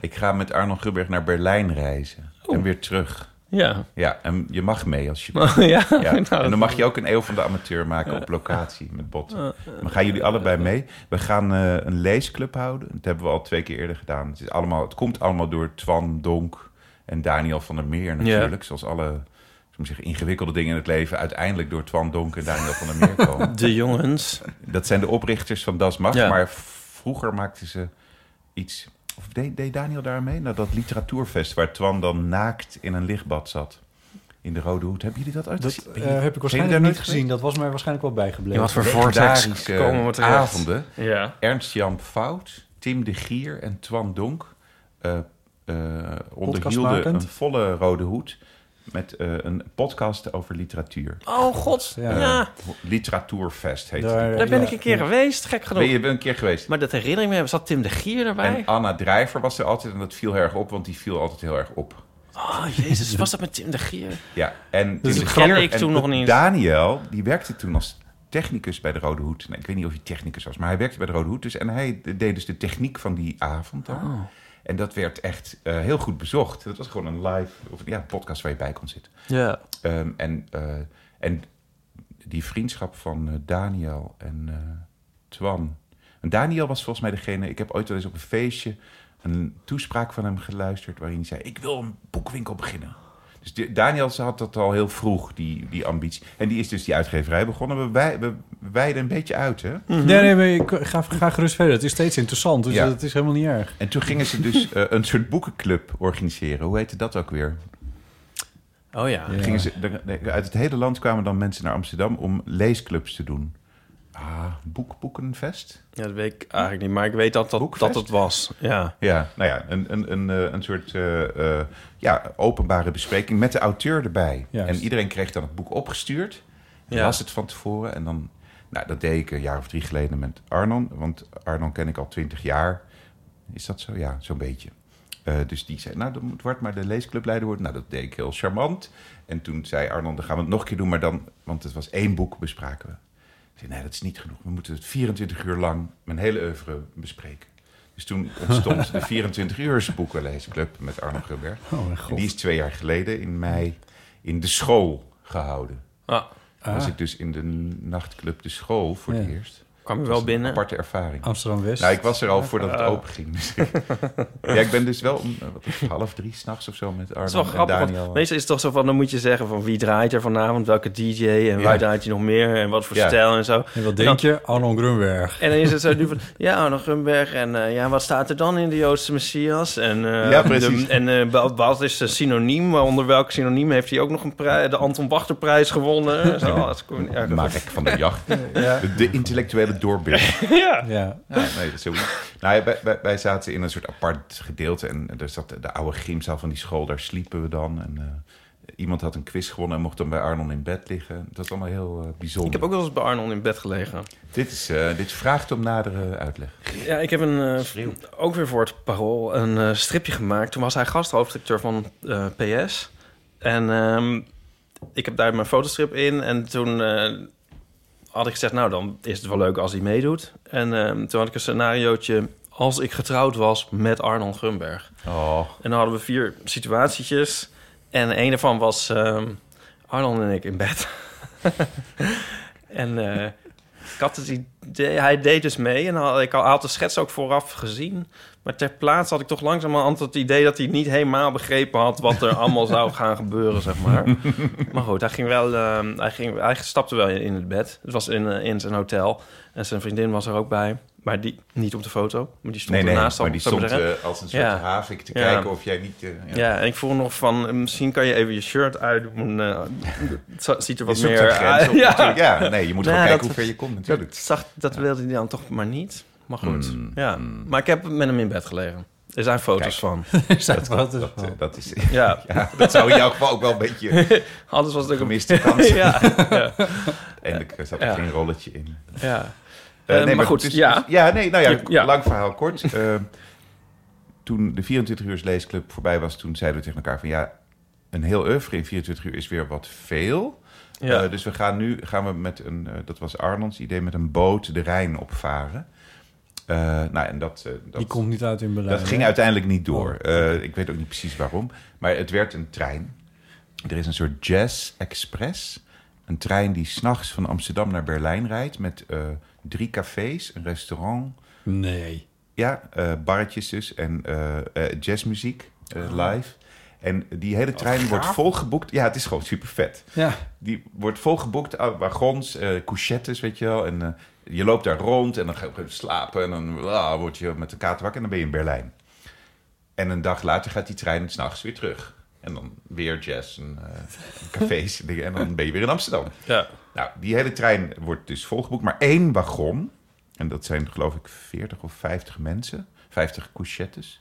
Speaker 1: Ik ga met Arnold Grunberg naar Berlijn reizen. En weer terug.
Speaker 3: ja. [laughs]
Speaker 1: Ja, en je mag mee als je...
Speaker 3: Oh, ja.
Speaker 1: Ja.
Speaker 3: [laughs] Nou,
Speaker 1: En dan
Speaker 3: dat-
Speaker 1: mag je ook een eeuw van de amateur maken op locatie met botten. Dan gaan jullie allebei mee. We gaan eh, een leesclub houden. Dat hebben we al twee keer eerder gedaan. Het, is allemaal, het komt allemaal door Twan Donk en Daniel van der Meer natuurlijk. Zoals alle ik moet zeggen, ingewikkelde dingen in het leven uiteindelijk door Twan Donk en Daniel van der
Speaker 3: [laughs]
Speaker 1: Meer komen.
Speaker 3: De jongens.
Speaker 1: Dat zijn de oprichters van Das Mag.
Speaker 3: Ja.
Speaker 1: Maar v- vroeger maakten ze iets... Of deed, deed Daniel daarmee? Nou, dat literatuurfest waar Twan dan naakt in een lichtbad zat. In de Rode Hoed. Hebben jullie dat uit?
Speaker 2: Dat
Speaker 1: Ben je-
Speaker 2: eh, heb ik
Speaker 1: ben je daar
Speaker 2: waarschijnlijk niet
Speaker 1: nooit
Speaker 2: gezien. Dat was mij waarschijnlijk wel bijgebleven.
Speaker 3: Ja, wat voor vortex
Speaker 1: legendarische
Speaker 3: komen we terecht.
Speaker 1: avonden.
Speaker 3: Ja.
Speaker 1: Ernst-Jan Fout, Tim de Gier en Twan Donk eh, eh, onderhielden
Speaker 2: Podcastmakend.
Speaker 1: een volle Rode Hoed... met eh, een podcast over literatuur. Eh,
Speaker 3: Oh god, ja.
Speaker 2: Ja.
Speaker 1: Literatuurfest heet
Speaker 2: Daar,
Speaker 1: het.
Speaker 3: Daar ben
Speaker 2: ja.
Speaker 3: ik een keer geweest, gek genoeg.
Speaker 1: Ben je ben je een keer geweest?
Speaker 3: Maar dat herinner ik me, zat Tim de Gier erbij?
Speaker 1: En Anna Drijver was er altijd en dat viel heel erg op, want die viel altijd heel erg op.
Speaker 3: Oh jezus, was dat met Tim de Gier?
Speaker 1: Ja, en
Speaker 3: Dus
Speaker 1: Tim
Speaker 3: ik
Speaker 1: de Gier-
Speaker 3: ken ik
Speaker 1: en
Speaker 3: toen nog niet.
Speaker 1: Daniel, die werkte toen als technicus bij de Rode Hoed. Nee, ik weet niet of hij technicus was, maar hij werkte bij de Rode Hoed. Dus, en hij deed dus de techniek van die avond dan.
Speaker 3: Oh.
Speaker 1: En dat werd echt eh, heel goed bezocht. Dat was gewoon een live, of ja, een podcast waar je bij kon zitten.
Speaker 3: Ja.
Speaker 1: Ehm, en, eh, en die vriendschap van eh, Daniel en eh, Twan. En Daniel was volgens mij degene. Ik heb ooit wel eens op een feestje een toespraak van hem geluisterd. waarin hij zei: Ik wil een boekwinkel beginnen. Dus die- Daniel ze had dat al heel vroeg, die, die ambitie. En die is dus die uitgeverij begonnen. We, wij, we wijden een beetje uit, hè?
Speaker 2: Nee, nee, maar ik ga, ga gerust verder. Het is steeds interessant, dus
Speaker 1: Ja.
Speaker 2: dat is helemaal niet erg.
Speaker 1: En toen gingen ze dus eh, een soort boekenclub organiseren. Hoe heette dat ook weer?
Speaker 3: Oh ja.
Speaker 2: Ja.
Speaker 1: Gingen ze, de- de- uit het hele land kwamen dan mensen naar Amsterdam om leesclubs te doen. Ah, boek, boekenfest?
Speaker 3: Ja, dat weet ik eigenlijk niet, maar ik weet dat dat,
Speaker 1: Boekfest?
Speaker 3: dat het was. Ja.
Speaker 1: Ja, nou ja, een, een, een, eh, een soort eh, eh, ja, openbare bespreking met de auteur erbij.
Speaker 2: Juist.
Speaker 1: En iedereen kreeg dan het boek opgestuurd. En
Speaker 3: Ja.
Speaker 1: las het van tevoren. En dan, nou, dat deed ik een jaar of drie geleden met Arnon. Want Arnon ken ik al twintig jaar. Is dat zo? Ja, zo'n beetje. Eh, dus die zei, nou, dan moet Wart maar de leesclubleider worden. Nou, dat deed ik heel charmant. En toen zei Arnon, dan gaan we het nog een keer doen. Maar dan, want het was één boek, bespraken we. Ik zei, nee, dat is niet genoeg. We moeten het 24 uur lang, mijn hele oeuvre, bespreken. Dus toen ontstond
Speaker 2: [laughs]
Speaker 1: de 24 uur boekenleesclub met Arno Gubber.
Speaker 2: Oh mijn
Speaker 1: En die is twee jaar geleden in mei in de school gehouden.
Speaker 3: Ah,
Speaker 1: Toen Was ik dus in de nachtclub de school voor het
Speaker 2: Ja. Oh,
Speaker 1: eerst.
Speaker 3: kwam je
Speaker 1: Dat was
Speaker 3: wel
Speaker 1: een
Speaker 3: binnen. oh.
Speaker 1: aparte ervaring.
Speaker 2: Amsterdam-West.
Speaker 1: Nou, ik was er al voordat het open ging. Dus ik- ja, ik ben dus wel om eh, wat is het, half drie s'nachts of zo met
Speaker 3: Dat is
Speaker 1: Arno
Speaker 3: wel
Speaker 1: en
Speaker 3: grappig,
Speaker 1: Daniel.
Speaker 3: want meestal is het toch zo van... dan moet je zeggen van wie draait er vanavond, welke DJ... en
Speaker 1: Ja.
Speaker 3: waar draait je nog meer en wat voor
Speaker 1: Ja.
Speaker 3: stijl en zo.
Speaker 2: En wat denk je? Arno Grunberg.
Speaker 3: En dan is het zo nu van... ja, Arno Grunberg en eh, ja, wat staat er dan in de Joodse Messias? En, eh
Speaker 1: Ja, precies.
Speaker 3: de- en eh, wa- wat is de synoniem? Maar Onder welk synoniem heeft hij ook nog een pri- de Anton Wachterprijs
Speaker 1: [laughs]
Speaker 3: gewonnen? Zo, dat is cool. Ja, [laughs]
Speaker 1: Mark van de Jacht. De intellectuele doorbeeld. [laughs]
Speaker 3: Ja.
Speaker 2: Ja.
Speaker 1: Ja, nee, dat is heel- Nou, ja, wij, wij, wij zaten in een soort apart gedeelte. En er zat de, de oude gymzaal van die school. Daar sliepen we dan. En eh, iemand had een quiz gewonnen en mocht dan bij Arnon in bed liggen. Dat is allemaal heel eh, bijzonder.
Speaker 3: Ik heb ook wel eens bij Arnon in bed gelegen.
Speaker 1: dit, is, eh, dit vraagt om nadere uitleg.
Speaker 3: Ja, ik heb een, eh, ook weer voor het parool een eh, stripje gemaakt. Toen was hij gasthoofdredacteur van eh, PS. En ehm, ik heb daar mijn fotostrip in. En toen eh, had ik gezegd, nou dan is het wel leuk als hij meedoet. En ehm, toen had ik een scenariootje als ik getrouwd was met Arnold Grunberg.
Speaker 1: Oh,
Speaker 3: En dan hadden we vier situatietjes. En een daarvan was ehm Arnold en ik in bed. [laughs] en eh, ik had het idee, hij deed dus mee. En had, ik had de schets ook vooraf gezien. Maar ter plaatse had ik toch langzamerhand het idee dat hij niet helemaal begrepen had wat er allemaal
Speaker 1: [laughs]
Speaker 3: zou gaan gebeuren, zeg maar. Maar goed, hij ging wel, ehm, hij, ging, hij stapte wel in, in het bed. Het was in, eh, in zijn hotel. En zijn vriendin was er ook bij. Maar die, niet op de foto, maar die stond
Speaker 1: nee, nee.
Speaker 3: ernaast. al,
Speaker 1: Maar die
Speaker 3: zou ik
Speaker 1: stond
Speaker 3: zeggen.
Speaker 1: eh, als een soort
Speaker 3: Ja.
Speaker 1: havik te
Speaker 3: Ja.
Speaker 1: kijken of jij niet... eh, ja.
Speaker 3: Ja, en ik voel nog van, eh, misschien kan je even je shirt uitdoen. eh, het zo- ziet
Speaker 1: Je
Speaker 3: er wat
Speaker 1: zoekt
Speaker 3: meer
Speaker 1: een grens op
Speaker 3: uit. [laughs] Ja.
Speaker 1: natuurlijk. Ja, nee, je moet
Speaker 3: [laughs] Ja,
Speaker 1: gewoon kijken
Speaker 3: dat-
Speaker 1: hoe ver je komt natuurlijk. Dus
Speaker 3: Dat, zag, dat wilde hij dan toch maar niet. Maar goed,
Speaker 1: Mm,
Speaker 3: ja.
Speaker 1: mm.
Speaker 3: Maar ik heb met hem in bed gelegen. Er zijn foto's van. [laughs]
Speaker 2: dat,
Speaker 1: Dat, eh, dat is,
Speaker 3: Ja,
Speaker 1: [laughs] ja, dat zou in jouw geval ook wel een
Speaker 3: [laughs]
Speaker 1: beetje
Speaker 3: anders was het ook een...
Speaker 1: gemiste kans.
Speaker 3: [laughs] Ja, ja,
Speaker 1: Eindelijk eh, zat er
Speaker 3: Ja.
Speaker 1: geen rolletje in.
Speaker 3: ja.
Speaker 1: Eh,
Speaker 3: Eh, maar goed,
Speaker 1: dus-
Speaker 3: ja.
Speaker 1: ja, nee, nou ja,
Speaker 3: Ja.
Speaker 1: lang verhaal kort. [laughs] Eh, toen de 24 uur leesclub voorbij was, toen zeiden we tegen elkaar van ja, een heel oeuvre in 24 uur is weer wat veel.
Speaker 3: Ja.
Speaker 1: Eh, dus we gaan nu gaan we met een, eh, dat was Arnolds idee, met een boot de Rijn opvaren. Eh, nou, en dat, eh, dat,
Speaker 2: Die komt niet uit in Berlijn.
Speaker 1: dat ging uiteindelijk niet door. Eh, ik weet ook niet precies waarom, maar het werd een trein. Er is een soort Jazz Express. Een trein die s'nachts van Amsterdam naar Berlijn rijdt met eh, drie cafés, een restaurant,
Speaker 2: Nee.
Speaker 1: ja, eh, barretjes dus en eh, eh, jazzmuziek eh, live. En die hele trein wordt volgeboekt. Ja, het is gewoon super vet.
Speaker 2: Ja.
Speaker 1: Die wordt volgeboekt, aan wagons, eh couchettes, weet je wel. En eh, je loopt daar rond en dan ga je op een gegeven moment slapen. En dan ah, word je met de kater wakker en dan ben je in Berlijn. En een dag later gaat die trein s'nachts weer terug. En dan weer jazz en eh, cafés en dingen. En dan ben je weer in Amsterdam.
Speaker 3: ja.
Speaker 1: Nou, die hele trein wordt dus volgeboekt, maar één wagon. En dat zijn geloof ik 40 of 50 mensen, 50 couchettes.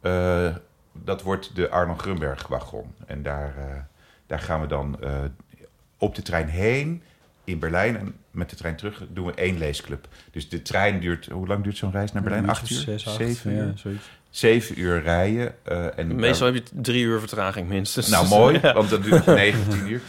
Speaker 1: Eh, dat wordt de Arno Grunberg wagon. En daar, eh, daar gaan we dan eh, op de trein heen in Berlijn. En met de trein terug doen we één leesclub. Dus de trein duurt, hoe lang duurt zo'n reis naar Berlijn?
Speaker 2: Een
Speaker 1: Acht uur?
Speaker 2: minuut of zes, acht,
Speaker 1: zeven
Speaker 2: ja,
Speaker 1: uur?
Speaker 2: zoiets.
Speaker 1: Zeven uur rijden. eh, en
Speaker 3: Meestal heb je drie uur vertraging minstens.
Speaker 1: nou,
Speaker 3: [laughs]
Speaker 1: mooi,
Speaker 3: Ja.
Speaker 1: want dat duurt 19 uur.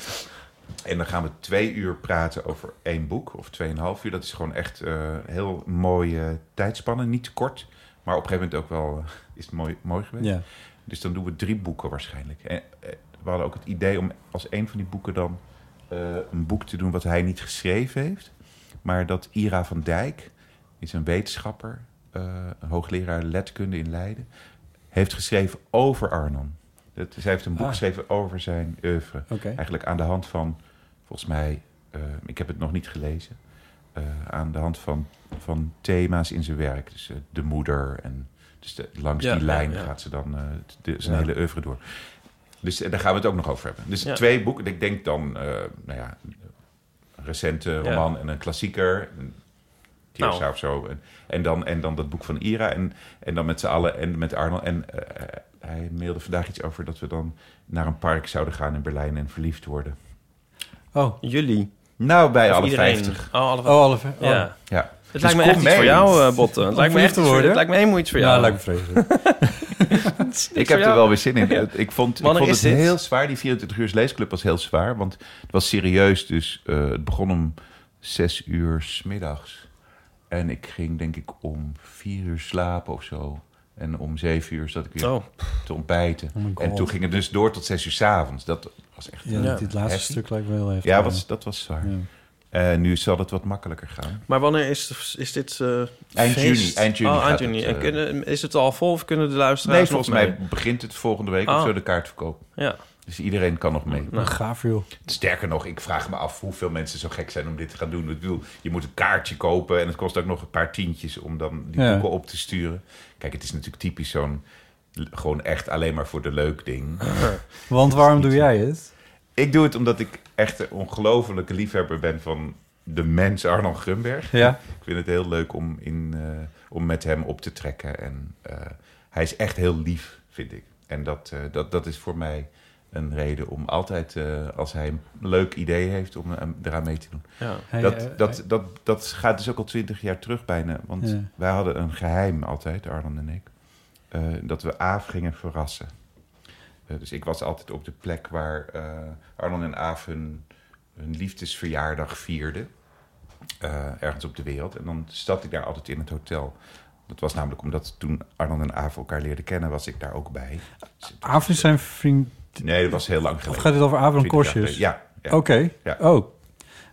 Speaker 1: En dan gaan we twee uur praten over één boek, of tweeënhalf uur. Dat is gewoon echt eh, heel mooie tijdspannen. Niet te kort, maar op een gegeven moment ook wel eh, is het mooi, mooi geweest.
Speaker 2: Ja.
Speaker 1: Dus dan doen we drie boeken waarschijnlijk. En, eh, we hadden ook het idee om als een van die boeken dan eh, een boek te doen wat hij niet geschreven heeft. Maar dat Ira van Dijk is een wetenschapper, eh, een hoogleraar letkunde in Leiden, heeft geschreven over Arnon. Dat, zij heeft een boek
Speaker 2: Ah.
Speaker 1: geschreven over zijn oeuvre.
Speaker 2: Oké.
Speaker 1: Eigenlijk aan de hand van, volgens mij, eh, ik heb het nog niet gelezen, eh, aan de hand van, van thema's in zijn werk. Dus eh, de moeder en dus de- langs
Speaker 3: Ja,
Speaker 1: die
Speaker 3: ja,
Speaker 1: lijn
Speaker 3: ja.
Speaker 1: gaat ze dan eh, de- zijn
Speaker 2: Ja.
Speaker 1: hele oeuvre door. Dus eh, daar gaan we het ook nog over hebben. Dus
Speaker 3: Ja.
Speaker 1: twee boeken. Ik denk dan, eh, nou ja, een recente roman en een klassieker. Een Tirsa
Speaker 3: Nou.
Speaker 1: of zo. En, en, dan, en dan dat boek van Ira. En, en dan met z'n allen en met Arnold. En eh, eh, hij mailde vandaag iets over dat we dan naar een park zouden gaan in Berlijn en verliefd worden.
Speaker 2: Oh.
Speaker 3: Jullie.
Speaker 1: Nou, bij
Speaker 3: Of
Speaker 1: alle
Speaker 3: iedereen.
Speaker 1: 50.
Speaker 3: Oh, alle
Speaker 2: Oh, alle ver- oh.
Speaker 3: Ja.
Speaker 1: Ja. Dus
Speaker 3: Het lijkt me echt iets voor jou, eh, Botte. Het lijkt me
Speaker 2: verliefd
Speaker 3: echt
Speaker 2: te
Speaker 3: iets voor-
Speaker 2: worden.
Speaker 3: Het lijkt me helemaal iets voor
Speaker 1: Nou,
Speaker 2: Ja,
Speaker 3: jou.
Speaker 2: lijkt me vreselijk.
Speaker 1: Ik heb
Speaker 3: voor
Speaker 1: er
Speaker 3: jou?
Speaker 1: wel weer zin in. Ik vond, ik
Speaker 3: Wanneer
Speaker 1: vond het
Speaker 3: is dit?
Speaker 1: heel zwaar. Die 24 uur leesclub was heel zwaar. Want het was serieus. Dus eh, het begon om 6 uur 's middags. En ik ging denk ik om 4 uur slapen of zo. En om 7 uur zat ik weer
Speaker 3: Oh.
Speaker 1: te ontbijten.
Speaker 2: Oh my God.
Speaker 1: en toen ging het dus door tot 6 uur 's avonds. Dat was echt...
Speaker 2: Ja,
Speaker 3: [laughs] Ja.
Speaker 2: dit laatste
Speaker 1: Heftig.
Speaker 2: stuk lijkt me heel heftig.
Speaker 1: Ja, was, dat was zwaar.
Speaker 2: Ja.
Speaker 1: Eh, nu zal het wat makkelijker gaan.
Speaker 3: Maar wanneer is, is dit eh,
Speaker 1: Eind
Speaker 3: feest?
Speaker 1: juni, eind juni
Speaker 3: Oh,
Speaker 1: gaat
Speaker 3: eind juni.
Speaker 1: het,
Speaker 3: en
Speaker 1: eh,
Speaker 3: kunnen, is het al vol of kunnen de luisteraars
Speaker 1: Nee,
Speaker 3: nog
Speaker 1: volgens
Speaker 3: mee?
Speaker 1: mij begint het volgende week of
Speaker 3: Ah.
Speaker 1: zo de kaartverkoop.
Speaker 3: Ja.
Speaker 1: Dus iedereen kan nog mee.
Speaker 2: Nou, gaaf joh.
Speaker 1: Sterker nog, ik vraag me af hoeveel mensen zo gek zijn om dit te gaan doen. Ik bedoel, je moet een kaartje kopen en het kost ook nog een paar tientjes om dan die
Speaker 2: Ja.
Speaker 1: boeken op te sturen. Kijk, het is natuurlijk typisch zo'n l- gewoon echt alleen maar voor de leuk ding.
Speaker 2: Want waarom doe jij het?
Speaker 1: ik doe het omdat ik echt een ongelofelijke liefhebber ben van de mens Arnold Grunberg.
Speaker 2: Ja.
Speaker 1: Ik vind het heel leuk om in, eh, om met hem op te trekken. En eh, hij is echt heel lief, vind ik. En dat, eh, dat, dat is voor mij een reden om altijd, eh, als hij een leuk idee heeft, om eh, eraan mee te doen.
Speaker 3: Ja.
Speaker 2: Hij,
Speaker 1: Dat,
Speaker 2: eh,
Speaker 1: dat, dat, dat gaat dus ook al twintig jaar terug bijna. Want
Speaker 2: Ja.
Speaker 1: wij hadden een geheim altijd, Arlan en ik. eh, dat we Aaf gingen verrassen. Eh, dus ik was altijd op de plek waar eh Arlan en Aaf hun, hun liefdesverjaardag vierden. eh, ergens op de wereld. En dan zat ik daar altijd in het hotel. Dat was namelijk omdat toen Arlan en Aaf elkaar leerden kennen, was ik daar ook bij. Dus-
Speaker 2: Aaf is zijn vriend...
Speaker 1: Nee, dat was heel lang
Speaker 2: Of
Speaker 1: geleden.
Speaker 2: gaat het over Aaf en
Speaker 1: 20 jaar
Speaker 2: Korsjes?
Speaker 1: geleden. Ja, ja,
Speaker 2: Oké.
Speaker 1: Ja.
Speaker 2: Oh.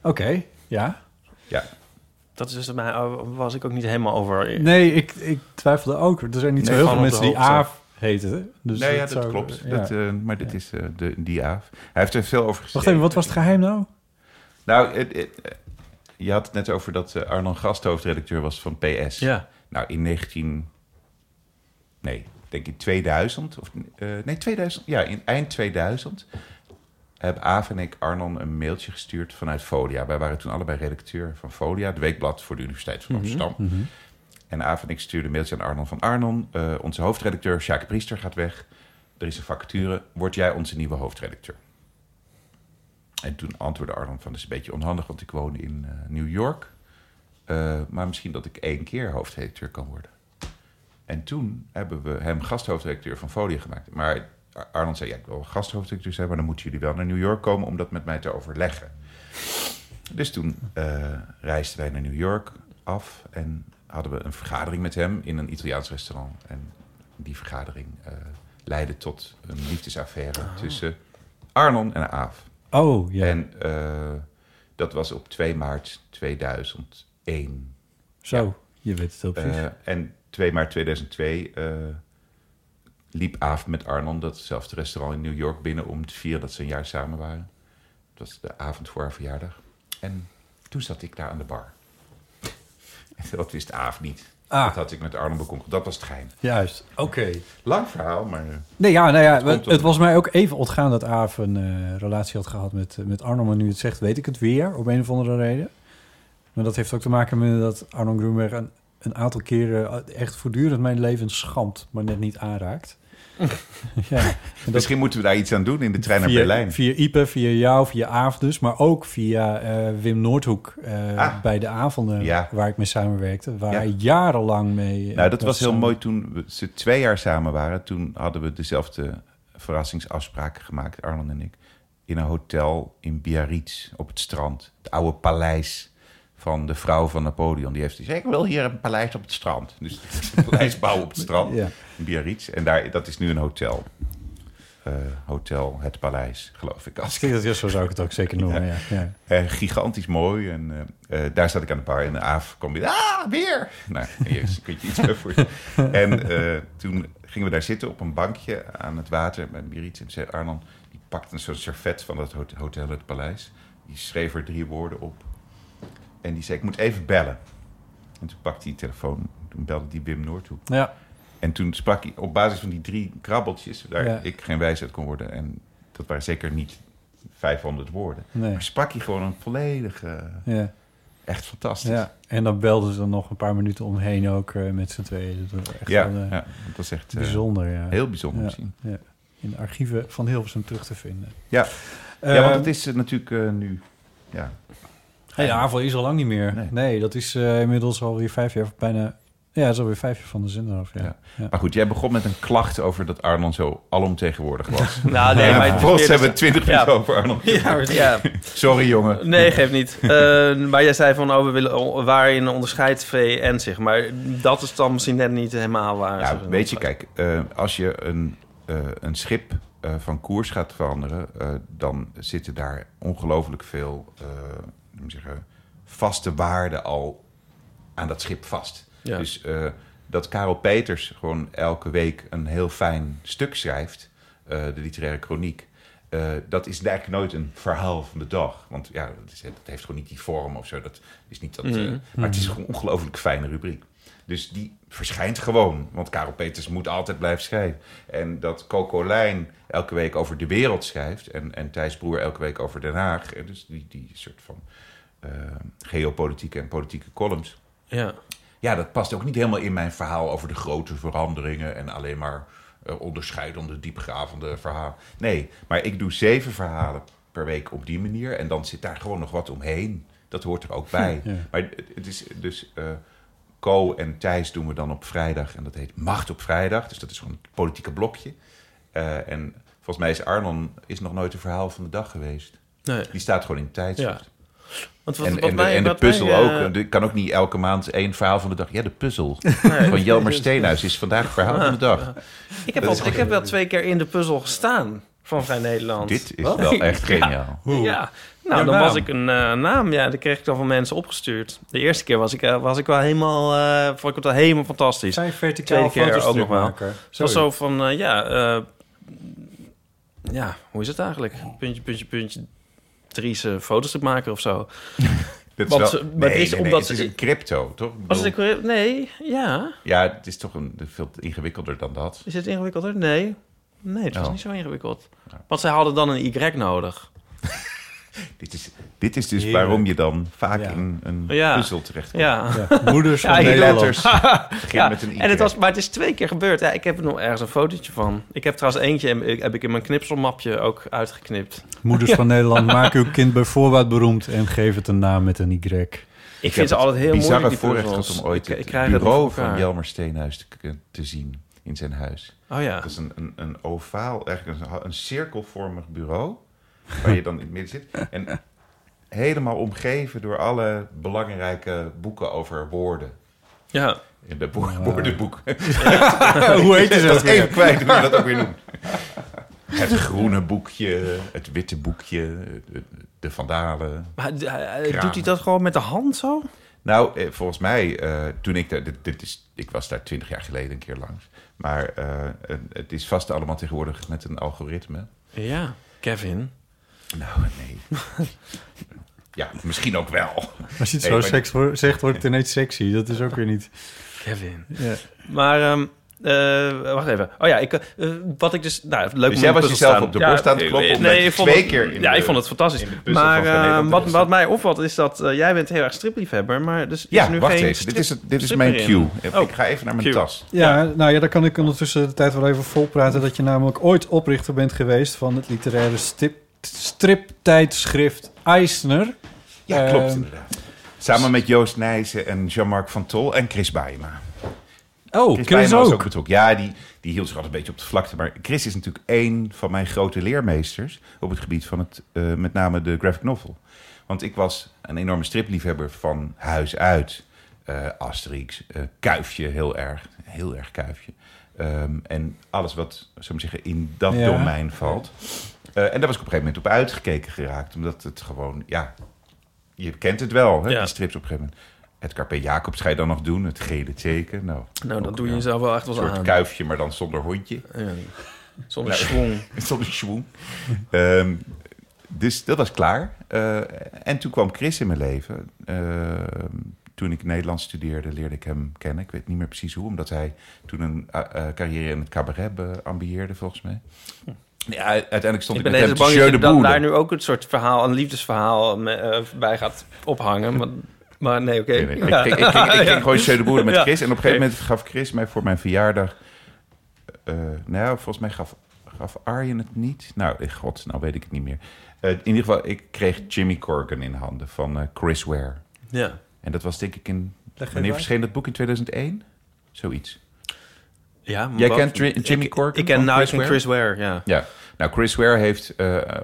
Speaker 2: Oké. Ja.
Speaker 1: ja.
Speaker 3: Dat is dus mij, was ik ook niet helemaal over.
Speaker 2: Nee, ik, ik twijfelde ook. Er zijn niet zo
Speaker 3: Nee,
Speaker 2: heel
Speaker 3: gewoon
Speaker 2: veel
Speaker 3: op
Speaker 2: mensen
Speaker 3: de
Speaker 2: die
Speaker 3: hoogte.
Speaker 2: Aaf heten. Dus
Speaker 1: nee, ja,
Speaker 2: het
Speaker 1: dat
Speaker 2: zou-
Speaker 1: klopt.
Speaker 2: ja.
Speaker 1: Dat, eh, maar dit is eh, de, die Aaf. Hij heeft er veel over geschreven.
Speaker 2: Wacht even, wat was het geheim nou?
Speaker 1: Nou, het- het- eh, je had het net over dat eh, Arnon Gast hoofdredacteur was van PS.
Speaker 3: Ja.
Speaker 1: Nou, in 19... Nee, denk in 2000. Of, eh, nee, 2000. Ja, in eind 2000 hebben Aaf en ik Arnon een mailtje gestuurd vanuit Folia. Wij waren toen allebei redacteur van Folia, het weekblad voor de Universiteit van Amsterdam. En Aaf en ik stuurden een mailtje aan Arnon van Arnon. eh, onze hoofdredacteur, Sjaak Priester, gaat weg. Er is een vacature. Word jij onze nieuwe hoofdredacteur? En toen antwoordde Arnon van, dat is een beetje onhandig, want ik woon in eh, New York. Eh, maar misschien dat ik één keer hoofdredacteur kan worden. En toen hebben we hem gasthoofdredacteur van Folie gemaakt. Maar Ar- Arnon zei, ja, ik wil gasthoofdredacteur zijn, maar dan moeten jullie wel naar New York komen om dat met mij te overleggen. Dus toen eh, reisden wij naar New York af en hadden we een vergadering met hem in een Italiaans restaurant. En die vergadering eh, leidde tot een liefdesaffaire tussen Arnon en Aaf.
Speaker 2: Oh, ja.
Speaker 1: En eh, dat was op 2 maart 2001.
Speaker 2: zo. Je weet het heel precies.
Speaker 1: Eh, en 2 maart 2002 eh, liep Aaf met Arnon datzelfde restaurant in New York binnen om te vieren dat ze een jaar samen waren. Het was de avond voor haar verjaardag. En toen zat ik daar aan de bar. En dat wist Aaf niet.
Speaker 2: Ah.
Speaker 1: Dat had ik met Arnon bekonkeld. Dat was het geheim.
Speaker 2: Juist. Oké.
Speaker 1: Lang verhaal, maar... eh,
Speaker 2: Nee, ja, nou ja,
Speaker 1: komt
Speaker 2: het,
Speaker 1: door de-
Speaker 2: was mij ook even ontgaan dat Aaf een eh, relatie had gehad met, eh, met Arno. Maar nu je het zegt, weet ik het weer, op een of andere reden. Maar dat heeft ook te maken met dat Arno Groenberg een, een aantal keren eh, echt voortdurend mijn leven schampt, maar net niet
Speaker 1: [laughs]
Speaker 2: aanraakt. ja, en dat
Speaker 1: Misschien moeten we daar iets aan doen in de trein naar
Speaker 2: via,
Speaker 1: Berlijn.
Speaker 2: Via Ipe, via jou, via Aaf dus, maar ook via eh, Wim Noordhoek eh,
Speaker 1: Ah.
Speaker 2: bij de avonden
Speaker 1: Ja.
Speaker 2: waar ik mee samenwerkte. Waar
Speaker 1: Ja.
Speaker 2: hij jarenlang mee... eh,
Speaker 1: Nou, dat
Speaker 2: was
Speaker 1: was heel
Speaker 2: samen-
Speaker 1: mooi toen we, ze twee jaar samen waren. Toen hadden we dezelfde verrassingsafspraak gemaakt, Arnold en ik. In een hotel in Biarritz op het strand. Het oude paleis van de vrouw van Napoleon. Die heeft gezegd, ik wil hier een paleis op het strand. Dus een
Speaker 2: [laughs]
Speaker 1: paleis bouwen op het strand
Speaker 2: Ja.
Speaker 1: in Biarritz. En daar, dat is nu een hotel. Eh, hotel Het Paleis, geloof ik. Als
Speaker 2: Als ik dat wist, zo zou ik het ook zeker noemen, ja. ja.
Speaker 1: eh, gigantisch mooi. En eh, eh, daar zat ik aan de bar. En Aaf kwam weer. Ah, weer! Nou, jezus, kun je iets meer voorstellen. En eh, toen gingen we daar zitten op een bankje aan het water. Met Biarritz en zei Arnon. Die pakte een soort servet van dat hot- hotel, het paleis. Die schreef er drie woorden op. En die zei, ik moet even bellen. En toen pakte hij de telefoon. Toen belde die Wim Noordhoek.
Speaker 2: Ja,
Speaker 1: En toen sprak hij op basis van die drie krabbeltjes, waar
Speaker 2: Ja.
Speaker 1: ik geen wijs uit kon worden. En dat waren zeker niet 500 woorden.
Speaker 2: Nee.
Speaker 1: Maar sprak hij gewoon een volledige.
Speaker 2: ja.
Speaker 1: Echt fantastisch. Ja,
Speaker 2: Ja, en dan belden ze er nog een paar minuten omheen ook eh, met z'n tweeën. Dat was echt
Speaker 1: ja,
Speaker 2: wel, eh,
Speaker 1: dat is echt eh,
Speaker 2: bijzonder, ja.
Speaker 1: heel bijzonder
Speaker 2: Ja,
Speaker 1: om te zien.
Speaker 2: ja. In de archieven van Hilversum terug te vinden.
Speaker 1: Ja, ja
Speaker 2: Eh,
Speaker 1: want het is eh, natuurlijk eh, nu. Ja.
Speaker 2: hey, de AVO is al lang niet meer. Nee,
Speaker 1: Nee.
Speaker 2: dat is eh, inmiddels alweer vijf jaar, of bijna... Ja, dat is alweer vijf jaar van de zender af, ja.
Speaker 1: Ja.
Speaker 2: Ja.
Speaker 1: Maar goed, jij begon met een klacht over dat Arnon zo alomtegenwoordig was.
Speaker 3: Nou, nee, maar
Speaker 1: maar [laughs] Volgens hebben we
Speaker 3: het
Speaker 1: twintig minuten
Speaker 3: Ja.
Speaker 1: over Arnon.
Speaker 3: ja, maar- ja.
Speaker 1: Sorry jongen.
Speaker 3: Nee, geeft niet.
Speaker 1: [laughs]
Speaker 3: Eh, maar jij zei van, oh, we willen o- waarin onderscheidt VN zich. Maar dat is dan misschien net niet helemaal waar.
Speaker 1: Ja, weet je, kijk, eh, als je een, eh, een schip eh, van koers gaat veranderen, eh, dan zitten daar ongelooflijk veel eh, hoe moet ik zeggen, vaste waarden al aan dat schip vast.
Speaker 3: Ja.
Speaker 1: Dus eh, dat Karel Peters gewoon elke week een heel fijn stuk schrijft, eh, de literaire kroniek. eh, dat is eigenlijk nooit een verhaal van de dag. Want ja, dat, is, dat heeft gewoon niet die vorm of zo. Dat is niet dat, eh, maar het is gewoon een ongelooflijk fijne rubriek. Dus die verschijnt gewoon. Want Karel Peters moet altijd blijven schrijven. En dat Coco Lijn elke week over de wereld schrijft. En, en Thijs Broer elke week over Den Haag. eh, Dus die, die soort van eh, geopolitieke en politieke columns.
Speaker 3: Ja.
Speaker 1: ja, dat past ook niet helemaal in mijn verhaal over de grote veranderingen en alleen maar eh, onderscheidende, diepgravende verhalen. Nee, maar ik doe zeven verhalen per week op die manier en dan zit daar gewoon nog wat omheen. Dat hoort er ook bij.
Speaker 2: Ja.
Speaker 1: Maar het- het is dus. eh, Co en Thijs doen we dan op vrijdag. En dat heet Macht op Vrijdag. Dus dat is gewoon het politieke blokje. Eh, en volgens mij is Arnon is nog nooit een verhaal van de dag geweest.
Speaker 3: Nee.
Speaker 1: Die staat gewoon in het tijdschrift.
Speaker 3: Want wat,
Speaker 1: En,
Speaker 3: wat
Speaker 1: en, de,
Speaker 3: mij-
Speaker 1: en de
Speaker 3: wat mij,
Speaker 1: puzzel
Speaker 3: eh,
Speaker 1: ook. Ik kan ook niet elke maand één verhaal van de dag. Ja, de
Speaker 3: [laughs]
Speaker 1: puzzel van Jelmer Steenhuis is vandaag het verhaal van de dag.
Speaker 3: ik, heb
Speaker 1: dat
Speaker 3: al,
Speaker 1: is
Speaker 3: ik heb wel twee keer in de puzzel gestaan van Vrij Nederland.
Speaker 1: Dit is
Speaker 3: Wat?
Speaker 1: wel echt geniaal.
Speaker 3: Ja, nou,
Speaker 2: Jouw
Speaker 3: dan
Speaker 2: naam.
Speaker 3: was ik een eh, naam. Ja, die kreeg ik dan van mensen opgestuurd. De eerste keer was ik, eh, was ik wel helemaal... eh, vond ik het wel helemaal fantastisch.
Speaker 2: Zij
Speaker 3: Tweede
Speaker 2: verticaal
Speaker 3: keer
Speaker 2: foto's
Speaker 3: ook nog wel.
Speaker 2: maken.
Speaker 3: Het was zo van, eh, ja... eh, ja, hoe is het eigenlijk? Puntje, puntje, puntje. Driese foto's te maken of zo.
Speaker 1: Dit is
Speaker 3: Want,
Speaker 1: wel-
Speaker 3: eh,
Speaker 1: nee,
Speaker 3: maar het is
Speaker 1: nee, nee,
Speaker 3: omdat
Speaker 1: het is
Speaker 3: ze-
Speaker 1: een crypto, toch? Ik
Speaker 3: Als
Speaker 1: bedoel,
Speaker 3: het een- nee, ja.
Speaker 1: Ja, het is toch een, veel ingewikkelder dan dat.
Speaker 3: Is het ingewikkelder? Nee. Nee, het was
Speaker 1: Oh.
Speaker 3: niet zo ingewikkeld. Want zij hadden dan een Y nodig.
Speaker 1: Dit is, dit is dus
Speaker 2: Heerlijk.
Speaker 1: waarom je dan vaak
Speaker 2: Ja.
Speaker 1: in een
Speaker 3: Ja.
Speaker 1: puzzel terechtkomt.
Speaker 3: Ja.
Speaker 2: Ja, [laughs] moeders van
Speaker 3: Ja,
Speaker 1: Twee
Speaker 3: ik-
Speaker 2: Nederland.
Speaker 1: letters. Begin
Speaker 3: [laughs] Ja,
Speaker 1: met een Y.
Speaker 3: en het was, maar het is twee keer gebeurd. Ja, ik heb er nog ergens een fotootje van. Ik heb trouwens eentje in- heb ik in mijn knipselmapje ook uitgeknipt.
Speaker 2: Moeders van Nederland, maak uw kind bij voorbaat beroemd en geef het een naam met een Y.
Speaker 3: Ik, vind ze altijd heel moeilijk,
Speaker 1: bizarre
Speaker 3: die
Speaker 1: voorrecht
Speaker 3: puzzels.
Speaker 1: gehad om ooit
Speaker 3: ik, ik
Speaker 1: het
Speaker 3: krijg het
Speaker 1: bureau
Speaker 3: niet voor
Speaker 1: van
Speaker 3: elkaar.
Speaker 1: Jelmer Steenhuis te, k- te zien in zijn huis.
Speaker 3: Oh ja.
Speaker 1: Dat is een, een, een ovaal, eigenlijk een, een cirkelvormig bureau, waar je dan in het midden zit. En helemaal omgeven door alle belangrijke boeken over woorden.
Speaker 3: ja.
Speaker 1: In de wo- woordenboek.
Speaker 2: Ah.
Speaker 1: [laughs]
Speaker 2: [laughs] Hoe heet
Speaker 1: Dat is even kwijt, hoe je dat ook weer
Speaker 2: [laughs]
Speaker 1: noemt. Het groene boekje, het witte boekje, de- de vandalen.
Speaker 3: Maar d- hij- hij-
Speaker 1: Kramer.
Speaker 3: doet hij dat gewoon met de hand zo?
Speaker 1: Nou, eh, volgens mij, eh, toen ik daar, dit, dit is, ik was daar twintig jaar geleden een keer langs. Maar eh, eh, het is vast allemaal tegenwoordig met een algoritme.
Speaker 3: Ja. Kevin.
Speaker 1: Nou, nee. [laughs] ja, misschien ook wel.
Speaker 2: Als je het
Speaker 1: Nee,
Speaker 2: zo
Speaker 1: maar-
Speaker 2: seks wo- zegt, wordt het ineens sexy. Dat is ook weer niet.
Speaker 3: Kevin.
Speaker 2: Ja.
Speaker 3: Maar... ehm, eh, wacht even. Oh ja, ik, eh, wat ik dus... Nou, leuk om in de
Speaker 1: jij was
Speaker 3: puzzel
Speaker 1: jezelf
Speaker 3: staan.
Speaker 1: op de borst aan het kloppen, omdat je
Speaker 3: ik vond
Speaker 1: twee
Speaker 3: het-
Speaker 1: keer in
Speaker 3: Ja,
Speaker 1: de-
Speaker 3: ik vond het fantastisch.
Speaker 1: in de puzzel
Speaker 3: Maar
Speaker 1: van Van Nederland
Speaker 3: eh,
Speaker 1: te
Speaker 3: wat,
Speaker 1: staan.
Speaker 3: wat mij opvalt is dat... eh, jij bent heel erg stripliefhebber, maar dus is
Speaker 1: Ja,
Speaker 3: er nu
Speaker 1: wacht
Speaker 3: geen
Speaker 1: even. Dit
Speaker 3: strip-
Speaker 1: is, het- dit is
Speaker 3: stripper
Speaker 1: mijn
Speaker 3: in.
Speaker 1: cue.
Speaker 3: Oh.
Speaker 1: Ik ga even naar mijn
Speaker 3: cue.
Speaker 1: tas.
Speaker 2: Ja, nou ja, dan kan ik ondertussen de tijd wel even volpraten dat je namelijk ooit oprichter bent geweest van het literaire stip, striptijdschrift Eisner.
Speaker 1: Ja, klopt
Speaker 2: Ehm,
Speaker 1: inderdaad. Samen met Joost Nijssen en Jean-Marc van Tol en Chris Baaema.
Speaker 2: Oh,
Speaker 1: Chris,
Speaker 2: Chris
Speaker 1: Baaema was ook
Speaker 2: ook.
Speaker 1: betrokken. Ja, die, die hield zich altijd een beetje op de vlakte. Maar Chris is natuurlijk één van mijn grote leermeesters... op het gebied van het, eh, met name de graphic novel. Want ik was een enorme stripliefhebber van huis uit. Eh, Asterix, eh, Kuifje heel erg. Heel erg Kuifje. Ehm, en alles wat, zo maar zeggen, in dat
Speaker 2: Ja.
Speaker 1: domein valt. Eh, en daar was ik op een gegeven moment op uitgekeken geraakt. Omdat het gewoon, ja... Je kent het wel, hè,
Speaker 3: Ja.
Speaker 1: die strips op een gegeven moment. Edgar P. Jacobs ga je dan nog doen. Het gele teken. Nou,
Speaker 3: Nou, dat
Speaker 1: ook,
Speaker 3: doe je
Speaker 1: ja.
Speaker 3: jezelf wel echt
Speaker 1: Een
Speaker 3: wel
Speaker 1: soort
Speaker 3: aan.
Speaker 1: kuifje, maar dan zonder hondje.
Speaker 3: Ja. Zonder
Speaker 1: Nou.
Speaker 3: schwung.
Speaker 1: [laughs] Zonder schwoen. Ehm, dus dat was klaar. Eh, en toen kwam Chris in mijn leven. Ehm, toen ik Nederlands studeerde, leerde ik hem kennen. Ik weet niet meer precies hoe, omdat hij toen een eh, eh, carrière in het cabaret be- ambieerde, volgens mij. Ja, uiteindelijk stond
Speaker 3: Hm.
Speaker 1: ik,
Speaker 3: Ik ben
Speaker 1: met
Speaker 3: even
Speaker 1: hem te
Speaker 3: bang dat
Speaker 1: jeu
Speaker 3: je
Speaker 1: de
Speaker 3: dat
Speaker 1: boule.
Speaker 3: daar nu ook een soort verhaal, een liefdesverhaal me- eh, bij gaat ophangen. Maar, maar nee, oké.
Speaker 1: Nee, nee,
Speaker 3: Ja.
Speaker 1: Ik, ging, ik, ging, ik ging gewoon jeu de boule met
Speaker 3: Ja.
Speaker 1: Chris. En op een gegeven moment gaf Chris mij voor mijn verjaardag... eh, nou, ja, volgens mij gaf, gaf Arjen het niet. Nou, eh, god, nou weet ik het niet meer. Eh, in ieder geval, ik kreeg Jimmy Corgan in handen van eh, Chris Ware.
Speaker 3: Ja.
Speaker 1: En dat was denk ik in...
Speaker 2: even
Speaker 1: Wanneer
Speaker 2: uit.
Speaker 1: verscheen dat boek? In 2001? Zoiets.
Speaker 3: Ja, maar
Speaker 1: Jij
Speaker 3: wat-
Speaker 1: kent Tri-
Speaker 3: ik-
Speaker 1: Jimmy
Speaker 3: ik-
Speaker 1: Corgan
Speaker 3: Ik ken
Speaker 1: van
Speaker 3: Nike
Speaker 1: Chris
Speaker 3: en
Speaker 1: Ware?
Speaker 3: Chris Ware, ja.
Speaker 1: Ja. Nou, Chris Ware heeft eh, eh,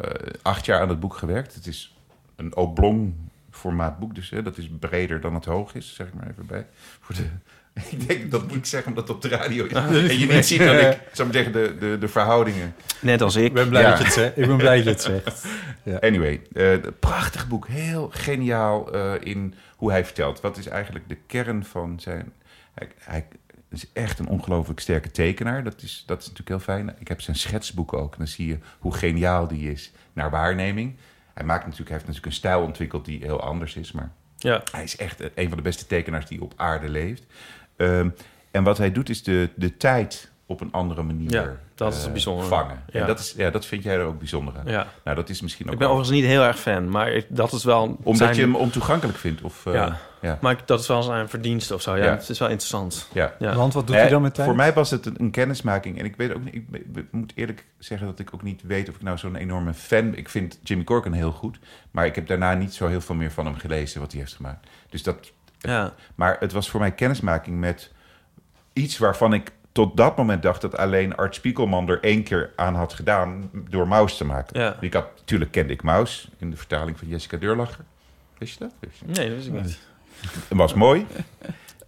Speaker 1: acht jaar aan het boek gewerkt. Het is een oblong formaat boek, dus hè, dat is breder dan het hoog is, zeg ik maar even bij. Voor de, [laughs] ik denk dat moet ik zeggen omdat het op de radio is. en je niet ziet dat ik, zou maar zeggen, de, de, de verhoudingen.
Speaker 3: Net als ik.
Speaker 2: Ik ben blij
Speaker 1: Ja.
Speaker 2: dat je het zegt. Ik ben blij dat je het zegt.
Speaker 1: Anyway, eh, prachtig boek. Heel geniaal eh, in hoe hij vertelt. Wat is eigenlijk de kern van zijn... Hij, hij is echt een ongelooflijk sterke tekenaar. Dat is, dat is natuurlijk heel fijn. Ik heb zijn schetsboeken ook. En dan zie je hoe geniaal die is naar waarneming. Hij, maakt natuurlijk, hij heeft natuurlijk een stijl ontwikkeld die heel anders is. Maar
Speaker 3: Ja.
Speaker 1: hij is echt een van de beste tekenaars die op aarde leeft. Ehm, en wat hij doet is de, de tijd op een andere manier
Speaker 3: Ja, dat is het
Speaker 1: eh,
Speaker 3: bijzondere.
Speaker 1: vangen.
Speaker 3: Ja.
Speaker 1: En dat, is, ja, dat vind jij er ook bijzonder aan.
Speaker 3: Ja.
Speaker 1: Nou, dat is misschien ook...
Speaker 3: Ik ben
Speaker 1: wel-
Speaker 3: overigens niet heel erg fan, maar ik- dat is wel... een-
Speaker 1: Omdat
Speaker 3: zijn-
Speaker 1: je hem ontoegankelijk vindt? Of, eh,
Speaker 3: Ja.
Speaker 1: ja.
Speaker 3: Maar ik- dat is wel zijn verdienste of zo. Ja,
Speaker 1: Ja.
Speaker 3: het is wel interessant.
Speaker 1: ja.
Speaker 3: Ja.
Speaker 2: Want wat doet
Speaker 1: Eh,
Speaker 2: hij dan met tijd?
Speaker 1: Voor mij was het een, een kennismaking. En ik weet ook niet, ik, be- be- moet eerlijk zeggen dat ik ook niet weet of ik nou zo'n enorme fan Ik vind Jimmy Corgan heel goed. Maar ik heb daarna niet zo heel veel meer van hem gelezen wat hij heeft gemaakt. Dus dat,
Speaker 3: Ja.
Speaker 1: maar het was voor mij kennismaking met iets waarvan ik tot dat moment dacht dat alleen Art Spiegelman er één keer aan had gedaan door Maus te maken.
Speaker 3: Ja.
Speaker 1: Ik had, natuurlijk kende ik Maus in de vertaling van Jessica Deurlacher. Wist je dat? Wist je dat?
Speaker 3: Nee, dat is ik niet.
Speaker 1: Het was mooi.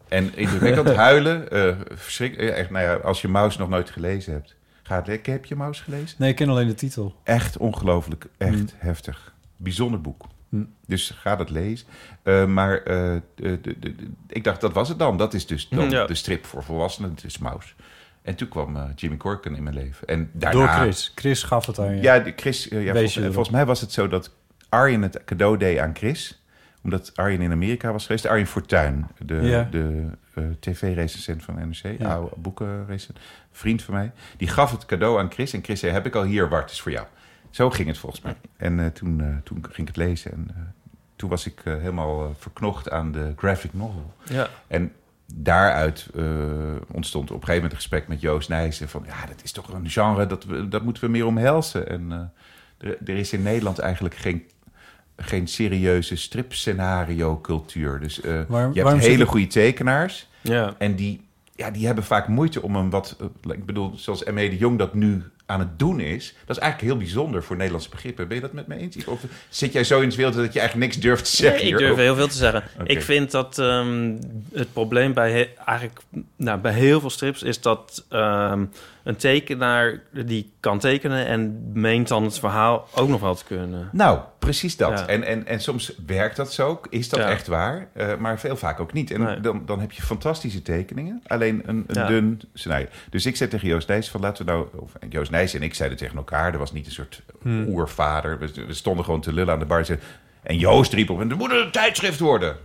Speaker 1: En
Speaker 2: [laughs]
Speaker 1: indrukwekkend huilen. eh verschrik- eh, echt, nou ja, als je Maus nog nooit gelezen hebt. Ga het lekker. Heb je Maus gelezen?
Speaker 2: Nee, ik ken alleen de titel.
Speaker 1: Echt ongelooflijk. Echt heftig. Bijzonder boek.
Speaker 2: Mm.
Speaker 1: Dus ga dat lezen. Eh, maar eh, de- de- de- de- ik dacht, dat was het dan. Dat is
Speaker 2: Mm,
Speaker 1: dus dan
Speaker 3: Ja.
Speaker 1: de strip voor volwassenen. Het is Maus. En toen kwam eh, Jimmy Corken in mijn leven. En daarna...
Speaker 2: Door Chris. Chris gaf het aan je.
Speaker 1: Ja, de Chris, eh, ja,
Speaker 2: Wees
Speaker 1: volgens,
Speaker 2: je erop.
Speaker 1: volgens mij was het zo dat Arjen het cadeau deed aan Chris. Omdat Arjen in Amerika was geweest. Arjen Fortuyn, de,
Speaker 2: Ja.
Speaker 1: de eh, tv-recensent van NRC.
Speaker 2: Ja.
Speaker 1: Oude boekenrecensent. Vriend van mij. Die gaf het cadeau aan Chris. En Chris zei, heb ik al hier, Bart, het is voor jou. Zo ging het volgens mij. En eh, toen, eh, toen ging ik het lezen. En eh, toen was ik eh, helemaal eh, verknocht aan de graphic novel.
Speaker 3: Ja.
Speaker 1: En daaruit eh, ontstond op een gegeven moment een gesprek met Joost Nijssen. Van ja, dat is toch een genre, dat, we, dat moeten we meer omhelzen. En eh, er, er is in Nederland eigenlijk geen, geen serieuze stripscenario-cultuur. Dus eh,
Speaker 2: waarom
Speaker 1: je hebt
Speaker 2: zit
Speaker 1: hele
Speaker 2: het-
Speaker 1: goede tekenaars.
Speaker 3: Ja.
Speaker 1: En die, ja, die hebben vaak moeite om een wat... eh, ik bedoel, zoals M.E. de Jong dat nu aan het doen is. Dat is eigenlijk heel bijzonder voor Nederlandse begrippen. Ben je dat met me eens? Ivo? Of zit jij zo in het wereld dat je eigenlijk niks durft te zeggen
Speaker 3: Nee, ik durf
Speaker 1: hierover?
Speaker 3: heel veel te zeggen.
Speaker 1: Oké.
Speaker 3: Ik vind dat ehm, het probleem bij he- eigenlijk nou, bij heel veel strips is dat ehm, een tekenaar die kan tekenen en meent dan het verhaal ook nog wel te kunnen.
Speaker 1: Nou, precies dat.
Speaker 3: Ja.
Speaker 1: En, en, en soms werkt dat zo, is dat
Speaker 3: Ja.
Speaker 1: echt waar, eh, maar veel vaak ook niet. En
Speaker 3: Nee.
Speaker 1: dan, dan heb je fantastische tekeningen, alleen een, een
Speaker 3: Ja.
Speaker 1: dun scenario. Dus ik zei tegen Joost Nijs van laten we nou... Of, en Joost Nijs en ik zeiden tegen elkaar, er was niet een soort
Speaker 3: Hmm.
Speaker 1: oervader. We, we stonden gewoon te lullen aan de bar. en zeiden- En Joost riep op, en er moet een tijdschrift worden.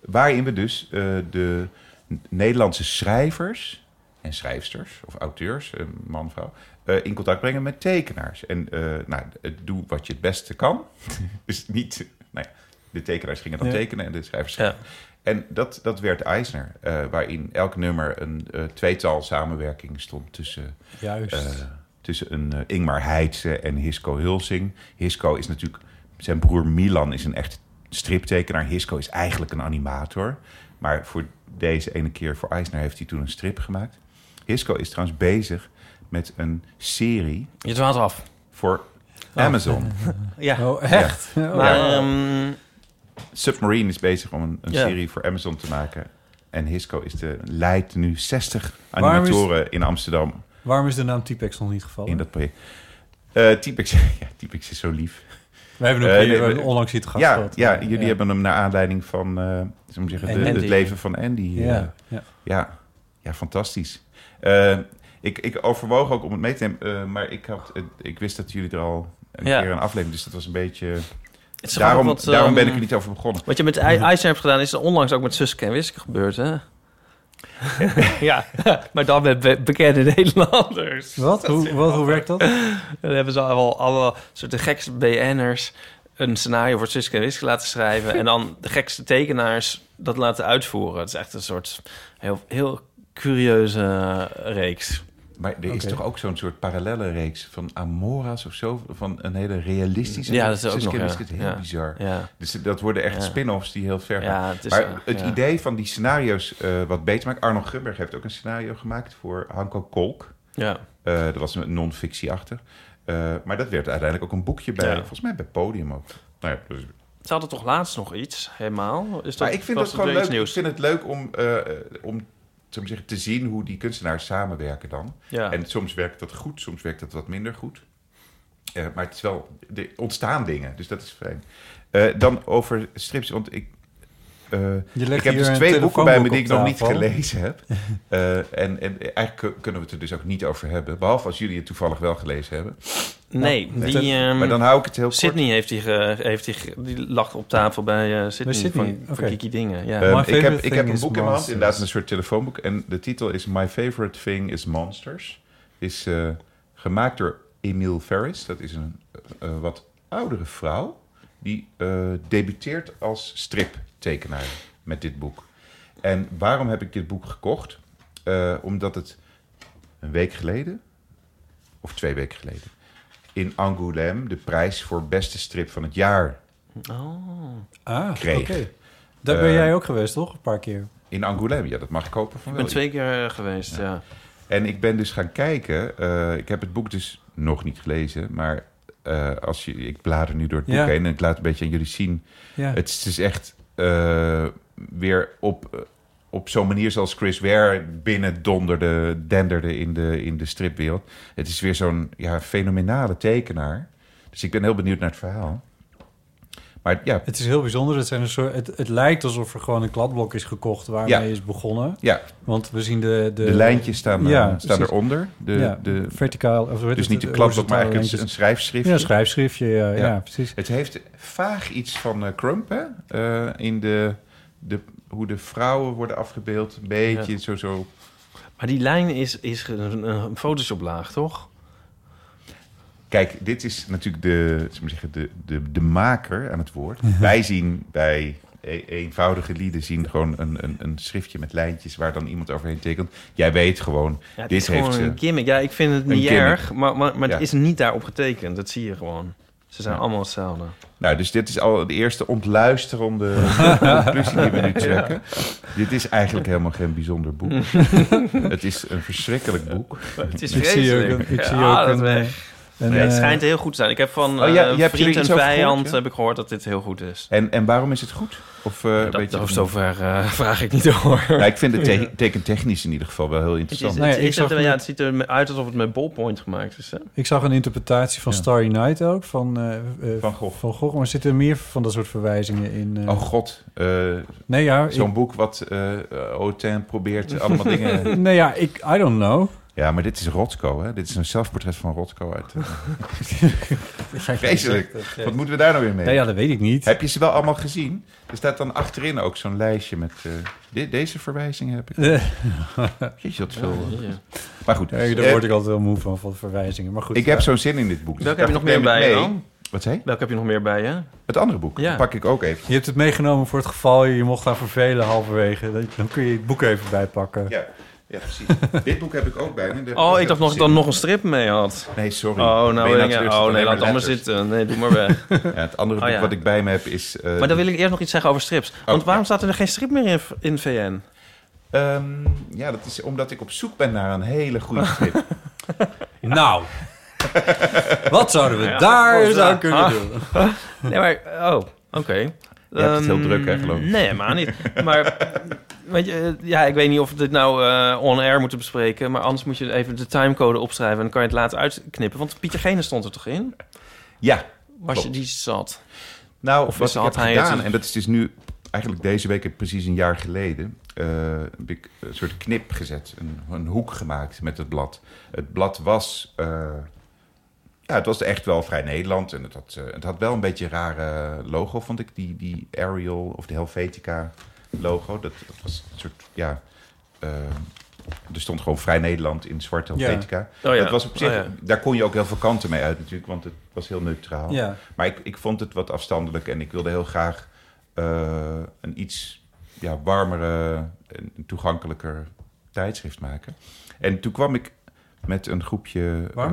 Speaker 1: Waarin we dus eh, de Nederlandse schrijvers en schrijfsters of auteurs, eh, man, vrouw, eh, in contact brengen met tekenaars. En eh, nou, eh, doe wat je het beste kan. [laughs] dus niet, nou ja, de tekenaars gingen dan
Speaker 2: Ja.
Speaker 1: tekenen en de schrijvers
Speaker 3: Ja.
Speaker 1: En dat, dat werd Eisner, eh, waarin elk nummer een eh, tweetal samenwerking stond tussen
Speaker 2: Juist.
Speaker 1: eh, tussen een eh, Ingmar Heitse en Hisco Hulsing. Hisco is natuurlijk... Zijn broer Milan is een echt striptekenaar. Hisco is eigenlijk een animator. Maar voor deze ene keer, voor Eisner, heeft hij toen een strip gemaakt. Hisco is trouwens bezig met een serie
Speaker 3: Je dwaalt af.
Speaker 1: voor Amazon.
Speaker 3: Ja.
Speaker 2: oh, echt? [laughs] Oh,
Speaker 3: Maar
Speaker 2: ja.
Speaker 3: ehm,
Speaker 1: Submarine is bezig om een, een
Speaker 3: Ja.
Speaker 1: serie voor Amazon te maken. En Hisco is de, leidt nu 60
Speaker 2: Waarom is-
Speaker 1: animatoren in Amsterdam
Speaker 2: Waarom is de naam T-Pex nog niet gevallen?
Speaker 1: in dat project. Eh Typex, [laughs] ja, Typex is zo lief.
Speaker 2: We hebben hem
Speaker 1: Eh,
Speaker 2: hier-
Speaker 1: nee,
Speaker 2: we hebben
Speaker 1: we-
Speaker 2: onlangs hier te gast
Speaker 1: Ja,
Speaker 2: gehad.
Speaker 1: ja, jullie hebben hem naar aanleiding van eh, zullen we zeggen,
Speaker 2: En
Speaker 1: de-
Speaker 3: Andy.
Speaker 1: het leven van Andy. eh,
Speaker 2: Ja, ja.
Speaker 1: ja. ja fantastisch. Eh, ik, ik overwoog ook om het mee te nemen, eh, maar ik, had, het- ik wist dat jullie er al een
Speaker 3: Ja.
Speaker 1: keer een aflevering, dus dat was een beetje...
Speaker 3: het is
Speaker 1: Daarom,
Speaker 3: grappig wat,
Speaker 1: daarom
Speaker 3: ehm,
Speaker 1: ben ik er niet over begonnen.
Speaker 3: Wat je met Ei- Eisner hebt gedaan is onlangs ook met Suske en Wiske gebeurd,
Speaker 1: [laughs]
Speaker 3: hè? ja, [laughs] maar dan met be- bekende Nederlanders.
Speaker 2: Wat? Hoe, wat? Hoe werkt dat?
Speaker 3: Dan hebben ze al alle soorten gekste BN'ers een scenario voor Suske en Wiske laten schrijven... en dan de gekste tekenaars dat laten uitvoeren. Het is echt een soort heel, heel curieuze eh, reeks.
Speaker 1: Maar er is
Speaker 2: Oké.
Speaker 1: toch ook zo'n soort parallelle reeks van Amora's of zo, van een hele realistische...
Speaker 3: Ja, dat is ook
Speaker 1: Suske en
Speaker 3: nog, ja.
Speaker 1: Wiske, het heel
Speaker 3: Ja.
Speaker 1: bizar.
Speaker 3: Ja,
Speaker 1: Dus dat worden echt
Speaker 3: Ja.
Speaker 1: spin-offs die heel ver gaan.
Speaker 3: ja het is...
Speaker 1: maar
Speaker 3: eh,
Speaker 1: het
Speaker 3: ja.
Speaker 1: idee van die scenario's eh, wat beter maken... Arno Grunberg heeft ook een scenario gemaakt voor Hanko Kolk.
Speaker 3: Ja,
Speaker 1: Eh, dat was een non-fictieachtig. Eh, maar dat werd uiteindelijk ook een boekje bij,
Speaker 3: Ja.
Speaker 1: volgens mij bij Podium ook. Nou ja, dus-
Speaker 3: ze hadden toch laatst nog iets, helemaal? Is dat,
Speaker 1: maar ik vind
Speaker 3: was
Speaker 1: dat gewoon
Speaker 3: weer
Speaker 1: leuk.
Speaker 3: iets
Speaker 1: Ik
Speaker 3: Nieuws?
Speaker 1: vind het leuk om, eh, eh, om zullen we zeggen, te zien hoe die kunstenaars samenwerken dan.
Speaker 3: Ja.
Speaker 1: En soms werkt dat goed, soms werkt dat wat minder goed. Eh, maar het is wel, er ontstaan dingen, dus dat is fijn. Eh, dan over strips, want ik, eh,
Speaker 2: Je legt
Speaker 1: ik heb
Speaker 2: hier
Speaker 1: dus
Speaker 2: een
Speaker 1: twee boeken bij me die ik nog
Speaker 2: telefoonboek
Speaker 1: niet
Speaker 2: op
Speaker 1: gelezen
Speaker 2: tafel. [laughs]
Speaker 1: heb. Eh, en, en eigenlijk kunnen we het er dus ook niet over hebben, behalve als jullie het toevallig wel gelezen hebben.
Speaker 3: Nee, die... ehm,
Speaker 1: Maar dan hou ik het heel kort.
Speaker 3: Sydney heeft die, ge- heeft die, ge- die lag op tafel bij eh Sydney,
Speaker 2: Sydney,
Speaker 3: van, van
Speaker 2: oké.
Speaker 3: Kiki Dingen. Ja.
Speaker 1: Ehm,
Speaker 2: My
Speaker 1: ik heb,
Speaker 2: favorite
Speaker 1: ik heb
Speaker 2: thing
Speaker 1: een
Speaker 2: is
Speaker 1: boek in mijn hand,
Speaker 2: monsters.
Speaker 1: inderdaad een soort telefoonboek. En de titel is My Favorite Thing is Monsters. Is eh, gemaakt door Emile Ferris. Dat is een eh, eh, wat oudere vrouw. Die eh, debuteert als striptekenaar met dit boek. En waarom heb ik dit boek gekocht? Eh, omdat het een week geleden, of twee weken geleden... in Angoulême de prijs voor beste strip van het jaar
Speaker 2: Ah, oké.
Speaker 1: kreeg.
Speaker 2: Daar ben
Speaker 1: Eh,
Speaker 2: jij ook geweest, toch? Een paar keer.
Speaker 1: In Angoulême, ja, dat mag ik hopen van
Speaker 3: ik
Speaker 1: wel.
Speaker 3: ben twee keer eh, geweest, ja.
Speaker 1: En ik ben dus gaan kijken. eh, ik heb het boek dus nog niet gelezen, maar eh, als je, ik blader nu door het boek
Speaker 2: Ja.
Speaker 1: heen en ik laat een beetje aan jullie zien.
Speaker 2: Ja.
Speaker 1: Het is dus echt eh, weer op, eh, op zo'n manier zoals Chris Ware binnen donderde, denderde in de, in de stripwereld. Het is weer zo'n ja, fenomenale tekenaar. Dus ik ben heel benieuwd naar het verhaal. Maar ja,
Speaker 2: Het is heel bijzonder. Het, zijn een soort, het, het lijkt alsof er gewoon een kladblok is gekocht waarmee
Speaker 1: Ja.
Speaker 2: is begonnen.
Speaker 1: ja
Speaker 2: Want we zien de...
Speaker 1: de, lijntjes staan, eh,
Speaker 2: ja,
Speaker 1: staan
Speaker 2: precies.
Speaker 1: eronder. De,
Speaker 2: ja,
Speaker 1: de,
Speaker 2: verticaal... Of,
Speaker 1: dus niet de klapblok, maar eigenlijk een, een schrijfschriftje.
Speaker 2: Ja, een schrijfschriftje. Ja, ja.
Speaker 1: Ja.
Speaker 2: precies.
Speaker 1: Het heeft vaag iets van eh, Crump, hè? Eh, in de, de, hoe de vrouwen worden afgebeeld. Een beetje zo, zo.
Speaker 3: Maar die lijn is, is een, een photoshoplaag, toch?
Speaker 1: Kijk, dit is natuurlijk de, zullen we maar zeggen, de, de, de maker aan het woord. Wij zien bij e- eenvoudige lieden zien gewoon een, een, een schriftje met lijntjes... waar dan iemand overheen tekent. Jij weet gewoon,
Speaker 3: Ja, het
Speaker 1: dit
Speaker 3: is gewoon
Speaker 1: heeft ze...
Speaker 3: een gimmick. Ja, ik vind het niet
Speaker 1: gimmick.
Speaker 3: erg, maar, maar, maar het
Speaker 1: Ja.
Speaker 3: is niet daarop getekend. Dat zie je gewoon. Ze zijn
Speaker 1: Ja.
Speaker 3: allemaal hetzelfde.
Speaker 1: Nou, dus dit is al de eerste
Speaker 3: [laughs]
Speaker 1: ontluisterende conclusie die we nu trekken. Dit is eigenlijk helemaal geen bijzonder
Speaker 3: [laughs]
Speaker 1: boek. het is een verschrikkelijk boek.
Speaker 3: Het is
Speaker 2: Ik zie ook
Speaker 3: vreselijk.
Speaker 2: een... Ik zie
Speaker 3: Ja,
Speaker 2: ook
Speaker 3: dat
Speaker 2: een,
Speaker 3: weet
Speaker 2: eh, een,
Speaker 3: Nee, het
Speaker 2: eh,
Speaker 3: schijnt heel goed te zijn. Ik heb van
Speaker 1: Oh,
Speaker 3: eh
Speaker 1: ja, je hebt hier
Speaker 3: vriend en
Speaker 1: iets over
Speaker 3: vijand
Speaker 1: gehoord, ja?
Speaker 3: heb ik gehoord dat dit heel goed is.
Speaker 1: En, en waarom is het goed? Of, eh,
Speaker 3: Dat,
Speaker 1: weet je
Speaker 3: dat,
Speaker 1: dat niet?
Speaker 3: zover eh, [laughs] vraag ik niet hoor.
Speaker 1: Nou, ik
Speaker 2: [laughs]
Speaker 1: vind het te- tekentechnisch in ieder geval wel heel
Speaker 3: Het, is,
Speaker 1: interessant.
Speaker 3: het,
Speaker 2: Nee,
Speaker 3: is-
Speaker 2: ik
Speaker 3: het-
Speaker 2: zag
Speaker 3: ja,
Speaker 2: net-
Speaker 3: het ziet eruit alsof het met ballpoint gemaakt is. Hè?
Speaker 2: Ik zag een interpretatie van
Speaker 1: Ja.
Speaker 2: Starry Night ook, van, eh, eh,
Speaker 1: Van Gogh.
Speaker 2: van Gogh. Maar zitten er meer van dat soort verwijzingen in? eh?
Speaker 1: Oh god, eh,
Speaker 2: nee, ja, ik-
Speaker 1: zo'n boek wat eh Oten probeert
Speaker 2: [laughs]
Speaker 1: allemaal dingen...
Speaker 2: nee, ja, ik, I don't know.
Speaker 1: Ja, maar dit is Rotko, hè? Dit is een zelfportret van Rotko
Speaker 2: [laughs]
Speaker 1: uit... eh, Vreselijk. Wat moeten we daar nou weer mee?
Speaker 2: eh, Ja, ja, dat weet ik niet.
Speaker 1: Heb je ze wel allemaal gezien? Er staat dan achterin ook zo'n lijstje met... eh, de- deze verwijzingen
Speaker 2: [laughs]
Speaker 1: heb ik.
Speaker 2: Eh,
Speaker 1: Jeetje, wat veel. eh. Maar goed.
Speaker 2: ja,
Speaker 1: eh,
Speaker 2: daar word ik altijd wel moe van, van verwijzingen. Maar goed,
Speaker 1: ik heb zo'n zin in dit boek. dus
Speaker 3: Welke
Speaker 1: ik
Speaker 3: heb je nog
Speaker 1: dacht,
Speaker 3: meer
Speaker 1: ik neem
Speaker 3: bij
Speaker 1: het
Speaker 3: je
Speaker 1: mee.
Speaker 3: dan?
Speaker 1: Wat zei je?
Speaker 3: Welke heb je nog meer bij je?
Speaker 1: Het andere boek.
Speaker 3: Ja.
Speaker 1: Dat pak ik ook even.
Speaker 2: je hebt het meegenomen voor het geval je je mocht gaan vervelen halverwege. Dan- Dan kun je het boek even bijpakken.
Speaker 1: Ja, ja [laughs] precies. Dit boek heb ik ook bij me.
Speaker 3: Oh, ik dacht nog dat ik dan nog een strip mee had.
Speaker 1: Nee, sorry.
Speaker 3: Oh,
Speaker 1: Ben je
Speaker 3: nou, ik-
Speaker 1: teleurgesteld?
Speaker 3: oh nee,
Speaker 1: Alleen
Speaker 3: laat het
Speaker 1: maar
Speaker 3: allemaal
Speaker 1: letters.
Speaker 3: zitten. Nee, doe maar weg.
Speaker 1: Ja, het andere
Speaker 3: Oh,
Speaker 1: boek
Speaker 3: ja.
Speaker 1: wat ik bij me heb is... eh,
Speaker 3: maar dan wil ik eerst nog iets zeggen over strips. Want
Speaker 1: Oh,
Speaker 3: waarom
Speaker 1: ja.
Speaker 3: staat er geen strip meer in, in VN?
Speaker 1: ehm, ja, dat is omdat ik op zoek ben naar een hele goede
Speaker 3: [laughs]
Speaker 1: strip.
Speaker 2: Nou, wat zouden we
Speaker 3: Ja,
Speaker 2: daar
Speaker 3: wat
Speaker 2: eens aan
Speaker 3: daar?
Speaker 2: kunnen
Speaker 3: Ah.
Speaker 2: doen?
Speaker 3: Nee, maar... Oh, oké. Je
Speaker 1: hebt het heel druk, hè, geloof ik.
Speaker 3: Nee, maar niet. Maar... Weet je, eh, ja, ik weet niet of we dit nou eh, on-air moeten bespreken... maar anders moet je even de timecode opschrijven... en dan kan je het later uitknippen. Want Pieter Gene stond er toch in?
Speaker 1: ja,
Speaker 3: Was je
Speaker 1: Klopt.
Speaker 3: die zat?
Speaker 1: nou,
Speaker 3: Of
Speaker 1: wat
Speaker 3: is-
Speaker 1: ik
Speaker 3: had
Speaker 1: heb
Speaker 3: hij het-
Speaker 1: gedaan... En dat is dus nu eigenlijk deze week precies een jaar geleden... eh, heb ik een soort knip gezet, een, een hoek gemaakt met het blad. Het blad was... eh, ja, het was echt wel vrij Nederland. En het had, eh, het had wel een beetje een rare logo, vond ik. Die, die Arial of de Helvetica logo. Dat, dat was een soort, ja... eh, er stond gewoon Vrij Nederland in zwart Helvetica.
Speaker 3: Oh ja.
Speaker 1: Dat was op zich,
Speaker 3: Oh ja.
Speaker 1: daar kon je ook heel veel kanten mee uit natuurlijk, want het was heel neutraal.
Speaker 2: Ja.
Speaker 1: Maar ik, ik vond het wat afstandelijk en ik wilde heel graag eh, een iets ja, warmere en toegankelijker tijdschrift maken. En toen kwam ik met een groepje
Speaker 2: Waarom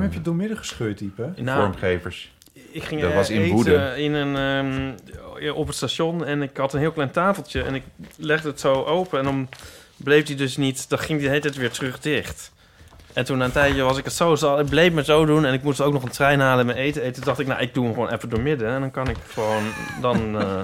Speaker 1: eh,
Speaker 2: heb je het doormidden gescheurd, type?
Speaker 3: Nou,
Speaker 1: vormgevers.
Speaker 3: ik ging
Speaker 1: Dat
Speaker 3: eh,
Speaker 1: was in
Speaker 3: eten
Speaker 1: woede.
Speaker 3: in een, ehm, op het station en ik had een heel klein tafeltje... en ik legde het zo open en dan bleef die dus niet... dan ging die de hele tijd weer terug dicht. En toen na een tijdje was ik het zo... zal- Het bleef me zo doen en ik moest ook nog een trein halen en mijn eten eten. Toen dacht ik, nou, ik doe hem gewoon even doormidden... en dan kan ik gewoon... dan [laughs] eh,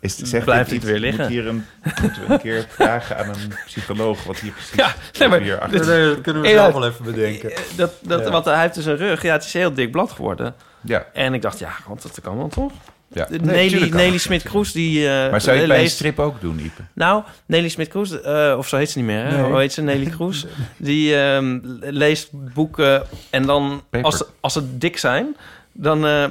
Speaker 1: Is,
Speaker 3: Mm, Blijft
Speaker 1: dit
Speaker 3: het weer liggen?
Speaker 1: Moet hier een, moeten we een
Speaker 3: [laughs]
Speaker 1: keer vragen aan een psycholoog wat hier precies
Speaker 3: Ja, nee, maar
Speaker 1: hier achter
Speaker 3: dit-
Speaker 2: Dat kunnen we
Speaker 3: Ja. Eh,
Speaker 2: zelf wel even bedenken.
Speaker 3: dat, dat,
Speaker 2: Ja.
Speaker 3: Want hij heeft dus een rug. Ja, het is een heel dik blad geworden.
Speaker 1: Ja,
Speaker 3: En ik dacht, ja, want dat kan wel, toch?
Speaker 1: Ja. Nee,
Speaker 3: Nelly,
Speaker 1: tuurlijk kan
Speaker 3: Nelly
Speaker 1: dat.
Speaker 3: Smit-Kroes, die eh,
Speaker 1: Maar zou je het bij een
Speaker 3: leest-
Speaker 1: strip ook doen, Ipe?
Speaker 3: Nou, Nelly Smit-Kroes, eh, of zo heet ze niet meer, hè?
Speaker 2: Nee.
Speaker 3: Hoe heet ze? Nelly Kroes. Die ehm, leest boeken en dan,
Speaker 1: Paper.
Speaker 3: als, ze- als ze dik zijn, dan eh,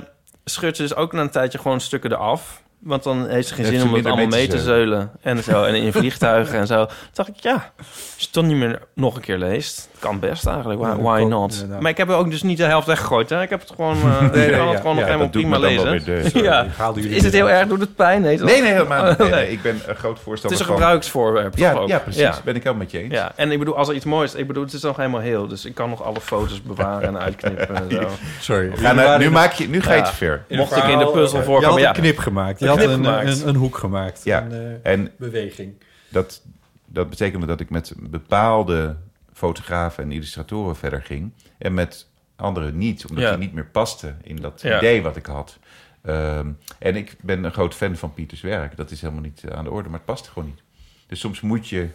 Speaker 3: scheurt ze dus ook na een tijdje gewoon stukken eraf. Want dan heeft ze geen
Speaker 1: Heeft
Speaker 3: zin
Speaker 1: ze
Speaker 3: om het
Speaker 1: minder
Speaker 3: allemaal
Speaker 1: mee
Speaker 3: mee te
Speaker 1: te
Speaker 3: zeulen. En zo, en in vliegtuigen en zo. Toen dacht ik, ja, als je het toch niet meer nog een keer leest, kan best eigenlijk, why,
Speaker 2: Ja, dat
Speaker 3: why
Speaker 2: kan,
Speaker 3: not?
Speaker 2: inderdaad.
Speaker 3: Maar ik heb er ook dus niet de helft weggegooid, hè? Ik heb het gewoon, eh ik
Speaker 2: nee,
Speaker 3: kan het
Speaker 2: ja,
Speaker 3: gewoon
Speaker 2: ja,
Speaker 3: nog helemaal
Speaker 1: dat doet me
Speaker 3: prima
Speaker 1: dan wel
Speaker 3: lezen.
Speaker 1: weer
Speaker 3: [laughs]
Speaker 1: deugd. Sorry,
Speaker 3: ja.
Speaker 2: ik haalde jullie
Speaker 3: Is het heel
Speaker 2: eruit.
Speaker 3: erg? Doet het pijn? Nee, toch?
Speaker 1: Nee, nee, helemaal niet. Nee,
Speaker 3: Nee.
Speaker 1: nee, ik ben een groot
Speaker 3: Het is
Speaker 1: voorstander
Speaker 3: een
Speaker 1: van...
Speaker 3: gebruiksvoorwerp. toch
Speaker 1: Ja,
Speaker 3: ook?
Speaker 1: ja, precies. Ben ik helemaal met je eens.
Speaker 3: Ja, en ik bedoel, als er iets moois... Ik bedoel, het is nog helemaal heel. Dus ik kan nog alle foto's bewaren en uitknippen
Speaker 1: [laughs]
Speaker 3: en zo.
Speaker 2: Sorry.
Speaker 1: Ga
Speaker 2: Jullie
Speaker 1: nou,
Speaker 2: waren
Speaker 1: nu,
Speaker 2: in-
Speaker 1: maak je, nu ga je
Speaker 3: Ja.
Speaker 1: het ver.
Speaker 3: Mocht ik in de puzzel
Speaker 2: Je had
Speaker 3: voorkomen, ja.
Speaker 2: een knip gemaakt. Je
Speaker 3: Een
Speaker 2: had
Speaker 3: knip
Speaker 2: een,
Speaker 3: gemaakt.
Speaker 2: Een, een hoek gemaakt.
Speaker 1: Ja.
Speaker 2: Een eh,
Speaker 1: En
Speaker 2: beweging.
Speaker 1: dat, dat betekende dat ik met bepaalde fotografen en illustratoren verder ging. En met anderen niet, omdat
Speaker 3: Ja.
Speaker 1: die niet meer pasten in dat
Speaker 3: Ja.
Speaker 1: idee wat ik had. Ehm, en ik ben een groot fan van Pieters werk. Dat is helemaal niet eh, aan de orde, maar het past gewoon niet. Dus soms moet je...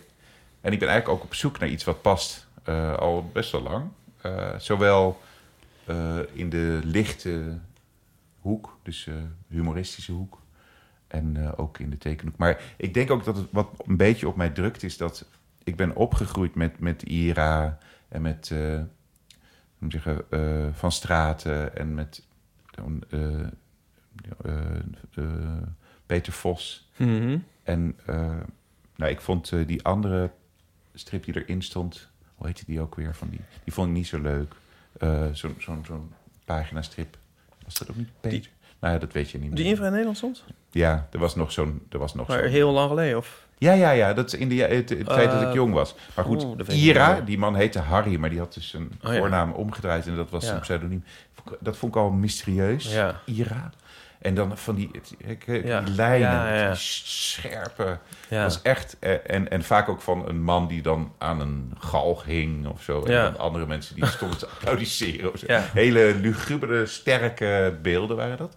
Speaker 1: En ik ben eigenlijk ook op zoek naar iets wat past eh, al best wel lang. Eh, zowel eh, in de lichte hoek, dus eh, humoristische hoek. En eh, ook in de tekenhoek. Maar ik denk ook dat het wat een beetje op mij drukt is dat ik ben opgegroeid met, met Ira en met eh, hoe moet ik zeggen, eh, Van Straten en met eh, eh, eh, Peter Vos.
Speaker 3: Mhm.
Speaker 1: En eh, nou, ik vond eh, die andere strip die erin stond, hoe heette die ook weer van die? Die vond ik niet zo leuk. Eh, Zo'n zo'n zo'n pagina strip. Was dat ook niet Peter? nou ja, dat weet je niet meer.
Speaker 3: Die infra in Nederland soms?
Speaker 1: Ja, er was nog zo'n... er was nog
Speaker 3: Maar
Speaker 1: zo'n-
Speaker 3: heel lang geleden, of?
Speaker 1: Ja, ja, ja. Dat is in de, ja- het- het tijd dat ik
Speaker 3: Eh,
Speaker 1: jong was. Maar goed,
Speaker 3: oeh, dat weet ik niet
Speaker 1: Ira,
Speaker 3: meer.
Speaker 1: die man heette Harry, maar die had dus zijn
Speaker 3: Oh, ja.
Speaker 1: voornaam omgedraaid. En dat was
Speaker 3: Ja.
Speaker 1: zijn pseudoniem. Vond ik- Dat vond ik al mysterieus.
Speaker 3: Ja.
Speaker 1: Ira. En dan van die, het- ik- eh, die
Speaker 3: Ja.
Speaker 1: lijnen,
Speaker 3: Ja, ja.
Speaker 1: die scherpe...
Speaker 3: Ja.
Speaker 1: Dat is echt, eh, en, en vaak ook van een man die dan aan een galg hing of zo. En
Speaker 3: Ja.
Speaker 1: dan andere mensen die stonden te [laughs] applaudisseren. Of zo.
Speaker 3: Ja.
Speaker 1: Hele lugubere, sterke beelden waren dat.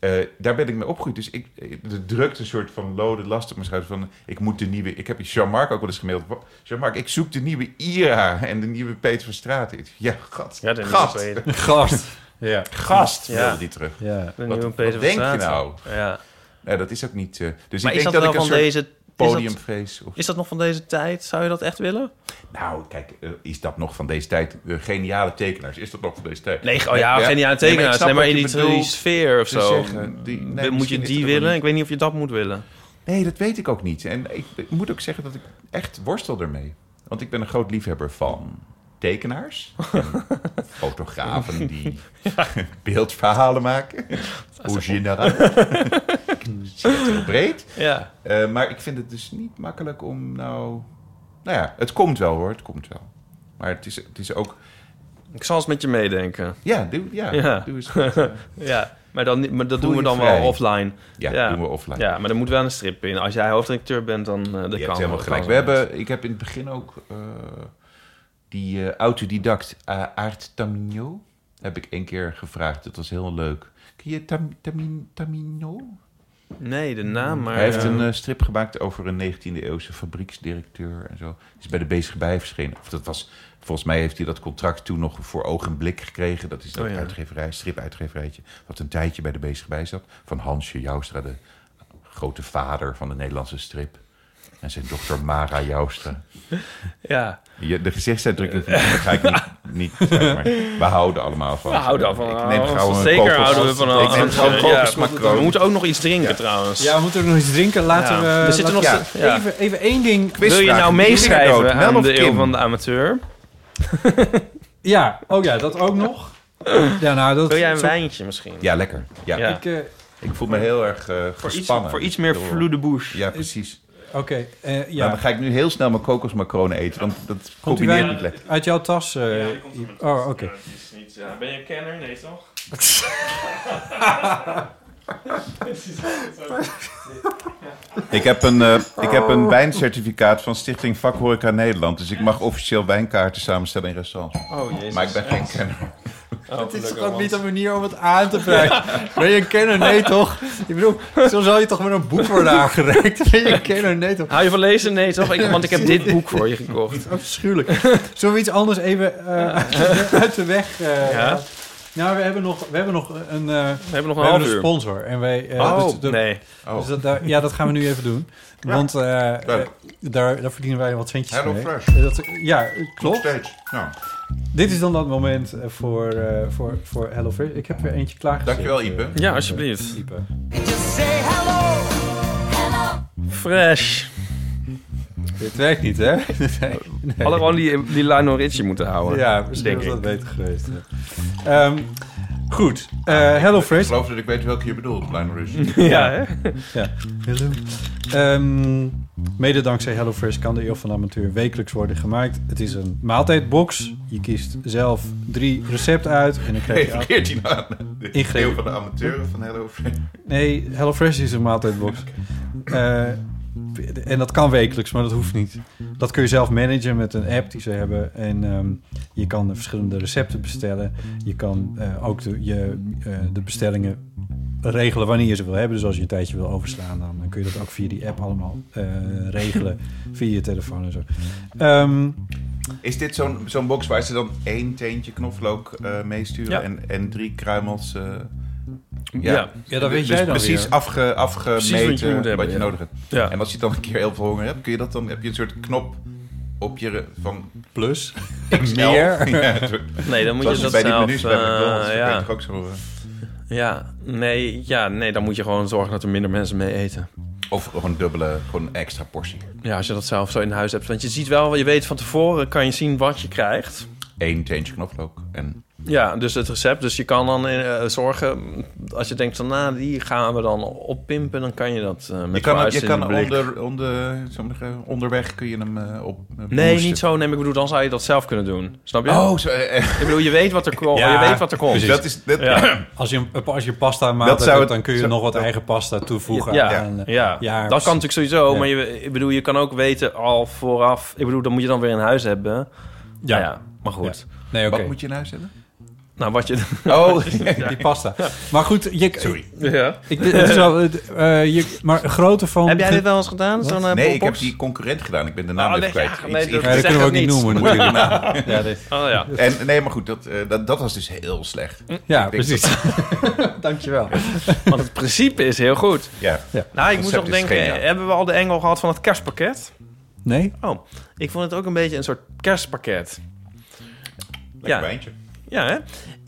Speaker 1: Eh, daar ben ik mee opgegroeid. Dus ik, de drukte een soort van lode last op mijn schouder. Van, ik moet de nieuwe... Ik heb Jean-Marc ook wel eens gemaild. Jean-Marc, ik zoek de nieuwe Ira en de nieuwe Peter van Straat. Ja, gast.
Speaker 3: Ja, de nieuwe
Speaker 1: gast.
Speaker 3: Peter.
Speaker 2: Gast. ja.
Speaker 1: Gast
Speaker 3: Ja.
Speaker 1: wilde die terug.
Speaker 2: Ja.
Speaker 3: De
Speaker 1: Wat-
Speaker 3: nieuwe
Speaker 1: wat
Speaker 3: Peter van
Speaker 1: denk je
Speaker 3: Straten.
Speaker 1: nou?
Speaker 3: Ja.
Speaker 1: Nou, dat is ook niet... eh, dus
Speaker 3: Maar
Speaker 1: ik
Speaker 3: is
Speaker 1: denk
Speaker 3: dat wel
Speaker 1: ik een
Speaker 3: van
Speaker 1: soort
Speaker 3: deze... Podium. Is dat,
Speaker 1: podiumvrees... of
Speaker 3: is dat nog van deze tijd? Zou je dat echt willen?
Speaker 1: Nou, kijk, eh, is dat nog van deze tijd? Eh, geniale tekenaars, is dat nog van deze tijd?
Speaker 3: Nee, oh ja,
Speaker 1: Ja.
Speaker 3: geniale
Speaker 1: Nee, maar ik
Speaker 3: tekenaars.
Speaker 1: snap
Speaker 3: Nee, maar
Speaker 1: wat
Speaker 3: in
Speaker 1: je
Speaker 3: die, die
Speaker 1: bedoelt
Speaker 3: sfeer of
Speaker 1: te
Speaker 3: zo. mm,
Speaker 1: zeggen. Die- nee,
Speaker 3: Moet je
Speaker 1: misschien is
Speaker 3: die
Speaker 1: dat wel
Speaker 3: willen?
Speaker 1: niet.
Speaker 3: Ik weet niet of je dat moet willen.
Speaker 1: Nee, dat weet ik ook niet. En ik, ik moet ook zeggen dat ik echt worstel ermee. Want ik ben een groot liefhebber van tekenaars.
Speaker 3: [laughs]
Speaker 1: en fotografen die [laughs] beeldverhalen
Speaker 3: [laughs]
Speaker 1: maken. Originaal. breed.
Speaker 3: Ja.
Speaker 1: Eh, maar ik vind het dus niet makkelijk om nou... Nou ja, het komt wel hoor, het komt wel. Maar het is, het is ook...
Speaker 3: Ik zal eens met je meedenken.
Speaker 1: Ja, doe, ja,
Speaker 3: Ja.
Speaker 1: doe eens
Speaker 3: [laughs]
Speaker 1: goed. Eh,
Speaker 3: Ja, maar, dan, niet- maar dat
Speaker 1: Voel
Speaker 3: doen we
Speaker 1: je
Speaker 3: dan
Speaker 1: vrij.
Speaker 3: wel offline.
Speaker 1: Ja, doen we offline.
Speaker 3: Ja, maar er moet wel een strip in. Als jij hoofdredacteur bent, dan eh dat
Speaker 1: Je
Speaker 3: kan.
Speaker 1: hebt helemaal
Speaker 3: dat
Speaker 1: gelijk.
Speaker 3: kan.
Speaker 1: We hebben, ik heb in het begin ook eh, die eh, autodidact eh, Aart Tamino. Heb ik één keer gevraagd. Dat was heel leuk. Ken je Tam, Tamin, Tamino?
Speaker 3: Nee, de naam, maar...
Speaker 1: Hij heeft
Speaker 3: eh,
Speaker 1: een eh, strip gemaakt over een 19e-eeuwse fabrieksdirecteur en zo. Die is bij de Bezige Bij verschenen. Of dat was, volgens mij heeft hij dat contract toen nog voor oog en blik gekregen. Dat is dat
Speaker 3: Oh ja.
Speaker 1: uitgeverij, stripuitgeverijtje. Wat een tijdje bij de Bezige Bij zat. Van Hansje Joustra, de grote vader van de Nederlandse strip. En zijn dochter Mara Joustra.
Speaker 3: Ja,
Speaker 1: Je, de gezichtsuitdrukking van die ga ik niet,
Speaker 3: [laughs]
Speaker 1: niet zeg maar. We houden allemaal van.
Speaker 3: we houden al van...
Speaker 1: Ik neem gauw een
Speaker 3: Zeker
Speaker 1: kokos-
Speaker 3: houden we van...
Speaker 1: Ik neem gauw een
Speaker 3: Ja,
Speaker 1: kokos
Speaker 3: we
Speaker 1: macroon.
Speaker 3: moeten ook nog iets drinken, trouwens.
Speaker 2: Ja, we moeten er nog iets drinken. Laten
Speaker 3: Ja.
Speaker 2: we...
Speaker 3: Er zitten
Speaker 2: laten-
Speaker 3: nog- ja.
Speaker 2: Even, even één ding.
Speaker 3: Wil je nou meeschrijven
Speaker 1: Mel
Speaker 3: aan
Speaker 1: of
Speaker 3: de eeuw
Speaker 1: Kim?
Speaker 3: van de amateur?
Speaker 2: Ja, oh ja, dat ook nog. Ja, nou, dat...
Speaker 3: Wil jij een
Speaker 2: zo-
Speaker 3: wijntje misschien?
Speaker 1: Ja, lekker. Ja,
Speaker 3: Ja.
Speaker 2: Ik, eh,
Speaker 1: Ik voel me heel erg eh,
Speaker 3: Voor iets,
Speaker 1: gespannen.
Speaker 3: voor iets meer
Speaker 1: Door-
Speaker 3: vloede bouche.
Speaker 1: Ja, precies.
Speaker 2: Oké, eh, ja.
Speaker 1: Ja. dan ga ik nu heel snel mijn kokosmacronen eten, want dat
Speaker 2: Komt u
Speaker 1: combineert
Speaker 2: bij-
Speaker 1: niet lekker.
Speaker 2: Uit jouw tas? eh, oh, oké.
Speaker 3: Ben je kenner? Nee, toch?
Speaker 1: Ik heb een, eh, ik heb een wijncertificaat van Stichting Vakhoreca Nederland, dus ik mag officieel wijnkaarten samenstellen in restaurants.
Speaker 3: Oh, jezus.
Speaker 1: Maar ik ben geen kenner. Oh,
Speaker 3: Het
Speaker 2: Het is toch ook niet een manier om het aan te prijzen. Ben je een kenner? Nee, toch? Ik bedoel, zo zal je toch met een boek worden aangereikt. Ben je een kenner? Nee, toch?
Speaker 3: Hou je van lezen? Nee, toch? Ik, want ik heb dit boek voor je
Speaker 1: [laughs]
Speaker 3: gekocht.
Speaker 2: Afschuwelijk. Zullen we iets anders even eh, uit de weg? eh,
Speaker 3: Ja.
Speaker 2: gaan? Nou, we hebben nog, we hebben nog een, eh,
Speaker 3: We hebben nog een
Speaker 2: we hebben
Speaker 3: half
Speaker 2: een
Speaker 3: uur.
Speaker 2: sponsor. En wij, eh,
Speaker 3: Oh,
Speaker 2: dus de-
Speaker 3: nee.
Speaker 1: Oh,
Speaker 2: dus dat, daar- ja, dat gaan we nu even doen. Want eh, eh,
Speaker 1: Leuk.
Speaker 2: daar, daar verdienen wij wat centjes
Speaker 1: Hello
Speaker 2: mee.
Speaker 1: Fresh.
Speaker 2: Eh, Dat, ja,
Speaker 1: nog
Speaker 2: klopt.
Speaker 1: steeds. Nou,
Speaker 2: Dit is dan dat moment eh, voor, eh voor, voor HelloFresh. Ik heb weer eentje klaargezet.
Speaker 1: dankjewel Ipe.
Speaker 3: Ja, alsjeblieft.
Speaker 2: Ipe.
Speaker 3: Fresh.
Speaker 2: Dit werkt niet, hè? Nee.
Speaker 3: We Hadden gewoon die, die Lionel Richie moeten houden.
Speaker 2: Ja, misschien
Speaker 3: denk
Speaker 2: was
Speaker 3: ik.
Speaker 2: dat beter geweest. hè. Ehm, goed, Eh Hello
Speaker 1: Ik
Speaker 2: Fresh.
Speaker 1: geloof dat ik weet welke je bedoelt, Lionel Richie.
Speaker 3: [laughs]
Speaker 1: [laughs]
Speaker 3: Ja, hè?
Speaker 2: Ehm, mede dankzij HelloFresh kan de Eeuw van de Amateur wekelijks worden gemaakt. Het is een maaltijdbox. Je kiest zelf drie recepten uit en dan krijg je...
Speaker 1: Even 14 aan. De
Speaker 2: Ingrid.
Speaker 1: eeuw van de amateuren van Hello Fresh.
Speaker 2: Nee, HelloFresh is een maaltijdbox. Eh, en dat kan wekelijks, maar dat hoeft niet. Dat kun je zelf managen met een app die ze hebben. En ehm, je kan de verschillende recepten bestellen. Je kan eh, ook de, je, eh, de bestellingen regelen wanneer je ze wil hebben. Dus als je een tijdje wil overslaan, dan eh, kun je dat ook via die app allemaal eh, regelen.
Speaker 1: [laughs]
Speaker 2: via je telefoon en zo. Ehm,
Speaker 1: Is dit zo'n zo'n box waar ze dan één teentje knoflook eh, meesturen
Speaker 3: Ja.
Speaker 1: en, en drie kruimels? eh,
Speaker 3: Ja.
Speaker 2: ja, dat weet
Speaker 1: dus
Speaker 2: jij dan
Speaker 1: precies
Speaker 2: weer.
Speaker 1: afge, afgemeten
Speaker 3: Precies wat je moet
Speaker 1: wat je,
Speaker 3: hebben, ja.
Speaker 1: nodig hebt.
Speaker 3: Ja.
Speaker 1: En als je dan een keer heel veel honger hebt, kun je dat dan, heb je een soort knop op je re- van [laughs] plus
Speaker 2: Meer.
Speaker 1: Ja, het wordt-
Speaker 3: Nee, dan moet
Speaker 1: zoals
Speaker 3: je dat
Speaker 1: bij die
Speaker 3: zelf...
Speaker 1: menus bij
Speaker 3: eh,
Speaker 1: McDonald's, dat kan je
Speaker 3: ja.
Speaker 1: toch ook zo. eh,
Speaker 3: Ja. Nee, ja, nee, dan moet je gewoon zorgen dat er minder mensen mee eten.
Speaker 1: of gewoon dubbele, gewoon extra portie.
Speaker 3: Ja, als je dat zelf zo in huis hebt. Want je ziet wel, je weet van tevoren, kan je zien wat je krijgt.
Speaker 1: Eén teentje knoflook en
Speaker 3: Ja, dus het recept. Dus je kan dan eh, zorgen, als je denkt van, nou, die gaan we dan oppimpen, dan kan je dat eh, met
Speaker 1: je kan,
Speaker 3: vuist
Speaker 1: je
Speaker 3: in
Speaker 1: kan
Speaker 3: de blik.
Speaker 1: onder, onder, eh, sommige- onderweg kun je hem eh, op. eh,
Speaker 3: Nee,
Speaker 1: boosten.
Speaker 3: niet zo. Nee, maar ik bedoel, dan zou je dat zelf kunnen doen. Snap je?
Speaker 1: Oh, zo, eh, eh,
Speaker 3: Ik bedoel, je weet wat er, komt.
Speaker 2: Ja,
Speaker 3: je weet wat er komt.
Speaker 1: dat is dat,
Speaker 3: Ja.
Speaker 2: Als je, als je pasta maakt,
Speaker 1: Dat zou
Speaker 2: hebt,
Speaker 1: het-
Speaker 2: dan kun je
Speaker 1: zou-
Speaker 2: nog wat eigen pasta toevoegen
Speaker 3: Ja,
Speaker 2: aan...
Speaker 1: eh,
Speaker 2: eh,
Speaker 3: ja, ja.
Speaker 2: ja,
Speaker 3: dat kan natuurlijk sowieso.
Speaker 2: Ja.
Speaker 3: Maar je, ik bedoel, je kan ook weten al vooraf. Ik bedoel, dat moet je dan weer in huis hebben. Nou Ja, maar goed.
Speaker 2: Nee, oké.
Speaker 1: Wat moet je in huis hebben?
Speaker 3: Nou, wat je.
Speaker 1: [laughs] Oh,
Speaker 3: [laughs]
Speaker 2: Die pasta. Maar goed, je,
Speaker 1: sorry.
Speaker 3: Ja.
Speaker 2: Ik, het is wel, het, eh, je, maar grootte van...
Speaker 3: Heb jij dit wel eens gedaan? Zo'n, eh,
Speaker 1: Nee, ik heb
Speaker 3: popbox?
Speaker 1: die concurrent gedaan. Ik ben de naam
Speaker 3: Oh,
Speaker 1: even
Speaker 3: nee,
Speaker 1: kwijt.
Speaker 3: ja, nee,
Speaker 1: Iets-
Speaker 3: dat-
Speaker 1: iets-
Speaker 2: Ja, dat
Speaker 3: Zeg
Speaker 2: kunnen we ook
Speaker 3: het
Speaker 2: niet
Speaker 3: niet. [laughs]
Speaker 2: noemen natuurlijk. ja, dit-
Speaker 3: Oh ja.
Speaker 1: En, nee, maar goed, dat, eh, dat, dat was dus heel slecht.
Speaker 2: ja
Speaker 1: Ik denk
Speaker 3: [laughs]
Speaker 2: precies. Dankjewel.
Speaker 3: Want het principe is heel goed.
Speaker 1: Ja.
Speaker 3: Nou, ik
Speaker 1: Concept
Speaker 3: moest nog
Speaker 1: is
Speaker 3: denken,
Speaker 1: geniaal.
Speaker 3: hebben we al de engel gehad van het kerstpakket?
Speaker 2: Nee?
Speaker 3: Oh, ik vond het ook een beetje een soort kerstpakket.
Speaker 1: Lekker
Speaker 3: Ja.
Speaker 1: wijntje.
Speaker 3: Ja, hè?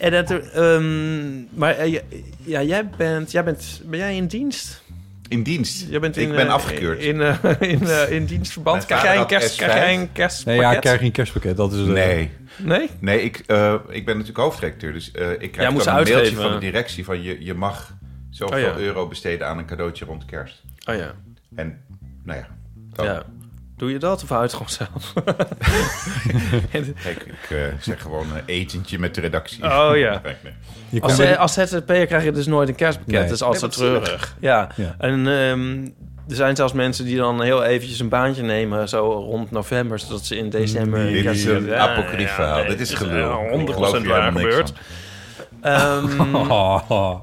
Speaker 3: En dat er, ehm, maar eh, ja, ja, jij bent, jij bent, ben jij in dienst?
Speaker 1: In dienst.
Speaker 3: Jij bent in,
Speaker 1: ik ben
Speaker 3: eh,
Speaker 1: afgekeurd.
Speaker 3: In, eh, [laughs] in, eh, in dienstverband.
Speaker 1: Mijn
Speaker 3: Krijg jij, een
Speaker 1: vader had
Speaker 3: kerst,
Speaker 1: S5.
Speaker 3: krijg jij een kerstpakket?
Speaker 2: Nee, ja, ik krijg geen kerstpakket. Dat is eh, het.
Speaker 1: nee,
Speaker 3: Nee?
Speaker 1: nee ik, eh, ik ben natuurlijk hoofdredacteur. Dus eh, ik krijg
Speaker 3: moet
Speaker 1: dan
Speaker 3: ze
Speaker 1: een mailtje
Speaker 3: uitgeven.
Speaker 1: van de directie van je, je mag zoveel
Speaker 3: Oh, ja.
Speaker 1: euro besteden aan een cadeautje rond kerst.
Speaker 3: Oh ja.
Speaker 1: En nou ja, zo.
Speaker 3: ja. Doe je dat of hou je het gewoon zelf?
Speaker 1: Kijk, ik eh, zeg gewoon een etentje met de redactie.
Speaker 3: [laughs]
Speaker 1: [laughs]
Speaker 3: Oh ja.
Speaker 1: Nee, nee.
Speaker 2: Je kan
Speaker 3: Als,
Speaker 2: met-
Speaker 3: eh, als ZZP'er krijg je dus nooit een kerstpakket.
Speaker 2: Nee.
Speaker 3: Dat is altijd treurig. Ja.
Speaker 2: Ja.
Speaker 3: En ehm, er zijn zelfs mensen die dan heel eventjes een baantje nemen... zo rond november, zodat ze in december... een
Speaker 1: Dit is
Speaker 3: kerstpakket-
Speaker 1: een
Speaker 3: Ja,
Speaker 1: apocrief
Speaker 3: ja,
Speaker 1: verhaal.
Speaker 3: nee,
Speaker 1: Dit is
Speaker 3: het
Speaker 1: gelul.
Speaker 3: eh,
Speaker 1: Ik
Speaker 3: 100%
Speaker 1: geloof hier
Speaker 3: waar
Speaker 1: helemaal niks
Speaker 3: gebeurd.
Speaker 1: van.
Speaker 3: [laughs] Ehm,
Speaker 2: Oh, oh.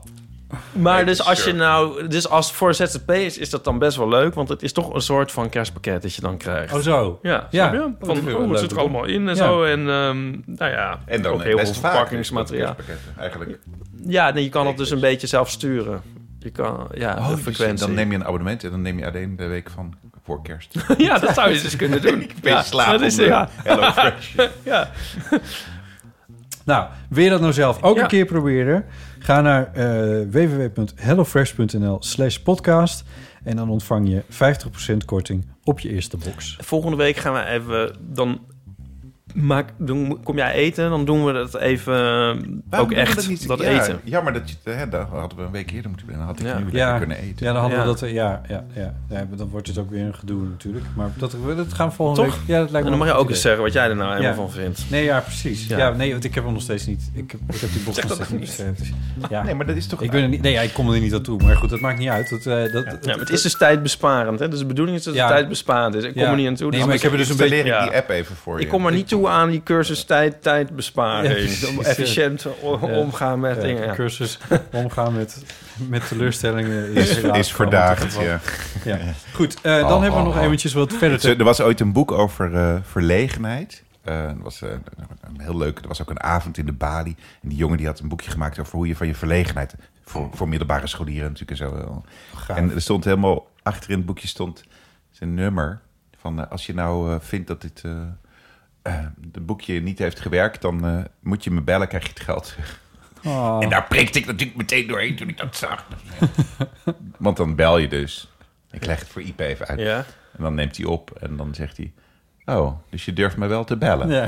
Speaker 3: maar
Speaker 1: Nee,
Speaker 3: dus
Speaker 1: sure.
Speaker 3: als je nou... Dus als voor ZZP'ers is dat dan best wel leuk... want het is toch een soort van kerstpakket dat je dan krijgt.
Speaker 2: Oh, zo.
Speaker 3: Ja,
Speaker 2: Ja.
Speaker 3: snap je?
Speaker 2: dat is
Speaker 3: Van,
Speaker 2: weer
Speaker 3: oh,
Speaker 2: wel
Speaker 3: het
Speaker 2: leuk,
Speaker 3: zit er allemaal in en
Speaker 2: Ja.
Speaker 3: zo. En ehm, nou ja,
Speaker 1: En dan
Speaker 3: ook
Speaker 1: eh,
Speaker 3: heel veel
Speaker 1: best vaak
Speaker 3: verpakkingsmateriaal. Oh,
Speaker 1: kerstpakketten, Eigenlijk.
Speaker 3: Ja, nee, je kan dat dus een beetje zelf sturen. Je kan, ja, de
Speaker 1: dus
Speaker 3: frequentie.
Speaker 1: dan neem je een abonnement en dan neem je alleen de week van voor kerst.
Speaker 3: [laughs] Ja, dat zou je dus kunnen doen.
Speaker 1: Ik ben
Speaker 3: ja,
Speaker 1: slaap
Speaker 3: dat is,
Speaker 1: onder
Speaker 3: ja.
Speaker 1: Hello [laughs] Fresh.
Speaker 3: Ja.
Speaker 2: Nou, wil je dat nou zelf ook
Speaker 3: Ja.
Speaker 2: een keer proberen? Ga naar eh, www.hellofresh.nl slash podcast... en dan ontvang je 50% korting op je eerste box.
Speaker 3: Volgende week gaan we even... Dan maak, doen, kom jij eten, dan doen we dat even eh,
Speaker 1: Waarom
Speaker 3: ook
Speaker 1: doen we
Speaker 3: echt, dat,
Speaker 1: niet? ja,
Speaker 3: eten.
Speaker 1: Jammer, dat, je, hè, daar hadden we een week eerder moeten zijn. Dan had ik
Speaker 3: Ja.
Speaker 1: nu lekker
Speaker 2: Ja.
Speaker 1: kunnen eten.
Speaker 2: Ja, dan hadden
Speaker 3: Ja.
Speaker 2: we dat... eh, Ja, ja, ja, ja, dan wordt het ook weer een gedoe natuurlijk. Maar dat, dat gaan we volgende
Speaker 3: Toch?
Speaker 2: week... Ja, dat lijkt me
Speaker 3: En dan mag je
Speaker 2: een
Speaker 3: ook
Speaker 2: goed
Speaker 3: eens
Speaker 2: idee.
Speaker 3: zeggen wat jij er nou helemaal van
Speaker 2: Ja.
Speaker 3: vindt.
Speaker 2: Nee, ja, precies. Ja.
Speaker 3: Ja.
Speaker 2: nee, want ik heb hem nog steeds niet. Ik heb, ik heb
Speaker 3: [laughs]
Speaker 2: die box nog steeds niet. besteld. Ja.
Speaker 1: Nee, maar dat is toch...
Speaker 2: ik ben er niet, nee, ja, ik kom er niet aan toe. Maar goed, dat maakt niet uit. Dat, eh, dat,
Speaker 3: Ja, maar het is dus tijdbesparend. Hè? Dus de bedoeling is dat het
Speaker 2: Ja.
Speaker 3: tijdbesparend is. Ik kom
Speaker 2: Ja.
Speaker 3: er niet aan toe.
Speaker 2: Nee,
Speaker 3: dus
Speaker 2: maar ik heb er dus een beetje...
Speaker 1: Installeer ik
Speaker 3: Ja.
Speaker 1: die app even voor je.
Speaker 3: Ik kom er niet toe aan die cursus tijd,
Speaker 2: Ja,
Speaker 3: tijdbesparing.
Speaker 2: precies,
Speaker 3: Om
Speaker 2: ja.
Speaker 3: efficiënt o-
Speaker 2: Ja.
Speaker 3: omgaan met
Speaker 2: eh,
Speaker 3: dingen. ja.
Speaker 2: cursus
Speaker 3: [laughs]
Speaker 2: omgaan met,
Speaker 1: [laughs]
Speaker 2: met teleurstellingen
Speaker 1: Is,
Speaker 2: raak-
Speaker 1: is verdaagd, ja.
Speaker 2: Ja. Goed, eh, dan
Speaker 1: Oh,
Speaker 2: hebben we
Speaker 1: oh,
Speaker 2: nog
Speaker 1: oh.
Speaker 2: eventjes wat verder
Speaker 1: Er was ooit een boek over eh, verlegenheid. Eh, Eh, dat was eh, een heel leuk. Er was ook een avond in de Bali. En die jongen die had een boekje gemaakt over hoe je van je verlegenheid. voor, voor middelbare scholieren natuurlijk en zo. eh, En er stond helemaal achter in het boekje stond zijn nummer. Van eh, als je nou eh, vindt dat dit. eh eh, het boekje niet heeft gewerkt, dan eh, moet je me bellen, krijg je het geld.
Speaker 2: Oh.
Speaker 1: En daar prikte ik natuurlijk meteen doorheen toen ik dat zag. Want dan bel je dus. Ik leg het voor IP even uit.
Speaker 3: Ja.
Speaker 1: En dan neemt hij op en dan zegt hij... Oh, dus je durft me wel te bellen.
Speaker 2: Ja.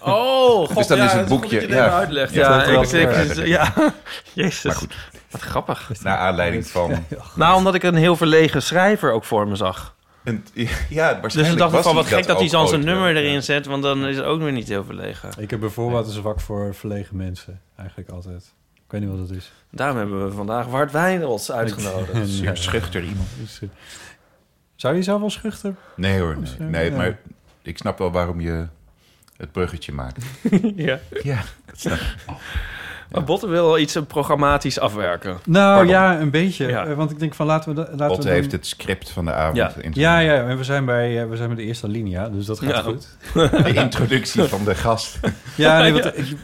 Speaker 3: Oh, god,
Speaker 1: Dus dan
Speaker 3: ja,
Speaker 1: is het
Speaker 3: dat goed
Speaker 1: boekje-
Speaker 3: dat je het even
Speaker 1: ja.
Speaker 3: uitlegt.
Speaker 1: Ja,
Speaker 3: Ja,
Speaker 1: dat klopt.
Speaker 3: ik-
Speaker 1: Ja.
Speaker 3: ik- [laughs] ja. Jezus.
Speaker 1: Maar goed,
Speaker 3: Wat grappig.
Speaker 1: naar aanleiding van... [laughs]
Speaker 3: Nou, omdat ik een heel verlegen schrijver ook voor me zag.
Speaker 1: Een, ja, waarschijnlijk
Speaker 3: Dus ik Dus dacht
Speaker 1: was
Speaker 3: van, wat gek dat hij
Speaker 1: ook
Speaker 3: dan zijn
Speaker 1: ooit eh,
Speaker 3: nummer
Speaker 1: wel.
Speaker 3: erin zet, want dan is het ook weer niet heel verlegen.
Speaker 2: Ik heb bijvoorbeeld een zwak voor verlegen mensen. Eigenlijk altijd. Ik weet niet wat dat is.
Speaker 3: Daarom hebben we vandaag Wart Wijnrots uitgenodigd.
Speaker 1: Een zeer schuchter iemand.
Speaker 2: Dus, eh, Zou je zelf wel schuchter?
Speaker 1: Nee hoor, nee.
Speaker 2: Misschien,
Speaker 1: nee
Speaker 2: ja.
Speaker 1: maar ik snap wel waarom je het bruggetje maakt.
Speaker 3: [laughs] ja.
Speaker 1: Ja,
Speaker 3: Maar Botten wil wel iets eh, programmatisch afwerken.
Speaker 2: Nou
Speaker 1: Pardon.
Speaker 2: ja, een beetje.
Speaker 3: Ja.
Speaker 2: Eh, Want ik denk van laten we... da- Laten we
Speaker 1: Botte
Speaker 2: dan-
Speaker 1: heeft het script van de avond.
Speaker 3: Ja.
Speaker 1: in zijn-
Speaker 2: Ja, ja. En we zijn bij, eh, we zijn bij de eerste linia, dus dat gaat
Speaker 3: Ja.
Speaker 2: goed.
Speaker 1: De introductie van de
Speaker 3: [laughs]
Speaker 1: gast.
Speaker 2: Ja, nee, want, ik-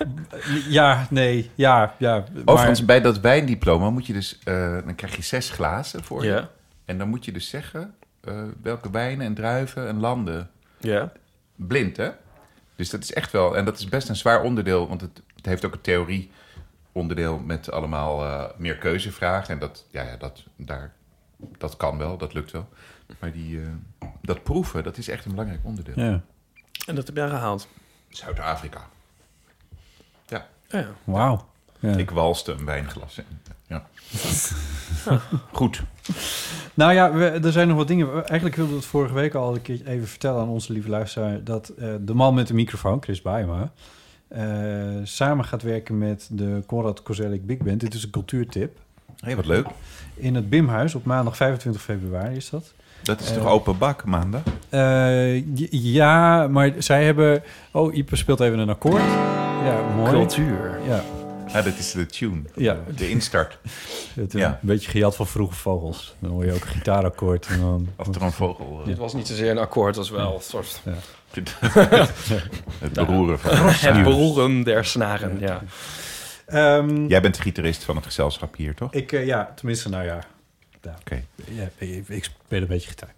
Speaker 2: ja, nee, ja, ja.
Speaker 1: Overigens, bij dat wijndiploma moet je dus... eh, dan krijg je zes glazen voor je.
Speaker 3: Ja.
Speaker 1: En dan moet je dus zeggen eh, welke wijnen en druiven en landen.
Speaker 3: Ja.
Speaker 1: Blind, hè? Dus dat is echt wel... En dat is best een zwaar onderdeel, want het, het heeft ook een theorie onderdeel met allemaal eh, meer keuzevragen. En dat, ja, ja, dat, daar, dat kan wel, dat lukt wel. Maar die, eh, dat proeven, dat is echt een belangrijk onderdeel.
Speaker 2: maar- Ja,
Speaker 3: En dat heb jij gehaald.
Speaker 1: Zuid-Afrika. Ja,
Speaker 3: Ja.
Speaker 2: wauw. Ja.
Speaker 1: ik walste een wijnglas in. Ja. Goed.
Speaker 2: Nou ja, we- er zijn nog wat dingen. Eigenlijk wilde we het vorige week al een keertje even vertellen aan onze lieve luisteraar... dat eh, de man met de microfoon, Chris Baima... eh, samen gaat werken met de Conrad Kozelik Big Band. Dit is een cultuurtip.
Speaker 1: Hé, wat leuk.
Speaker 2: In het Bimhuis op maandag 25 februari is dat.
Speaker 1: Dat is
Speaker 2: Eh,
Speaker 1: toch open bak maandag?
Speaker 2: Eh, j- ja, maar zij hebben... Oh, Ipe speelt even een akkoord. Ja, mooi.
Speaker 3: Cultuur.
Speaker 2: Ja,
Speaker 1: Ja, dat Ah, is de tune.
Speaker 2: Ja.
Speaker 1: De instart.
Speaker 2: het, eh,
Speaker 1: Ja.
Speaker 2: een beetje gejat van vroege vogels. Dan hoor je ook een gitaarakkoord.
Speaker 1: [laughs]
Speaker 2: En dan,
Speaker 1: Als er een vogel... eh,
Speaker 3: Het was niet zozeer een akkoord, als wel een soort...
Speaker 1: Het beroeren van.
Speaker 3: Het beroeren der snaren, ja.
Speaker 2: Ehm,
Speaker 1: Jij bent de gitarist van het gezelschap hier, toch? Oké.
Speaker 2: Ik, eh, ja, tenminste, nou ja. ja. Ja, ik, ik speel een beetje gitaar.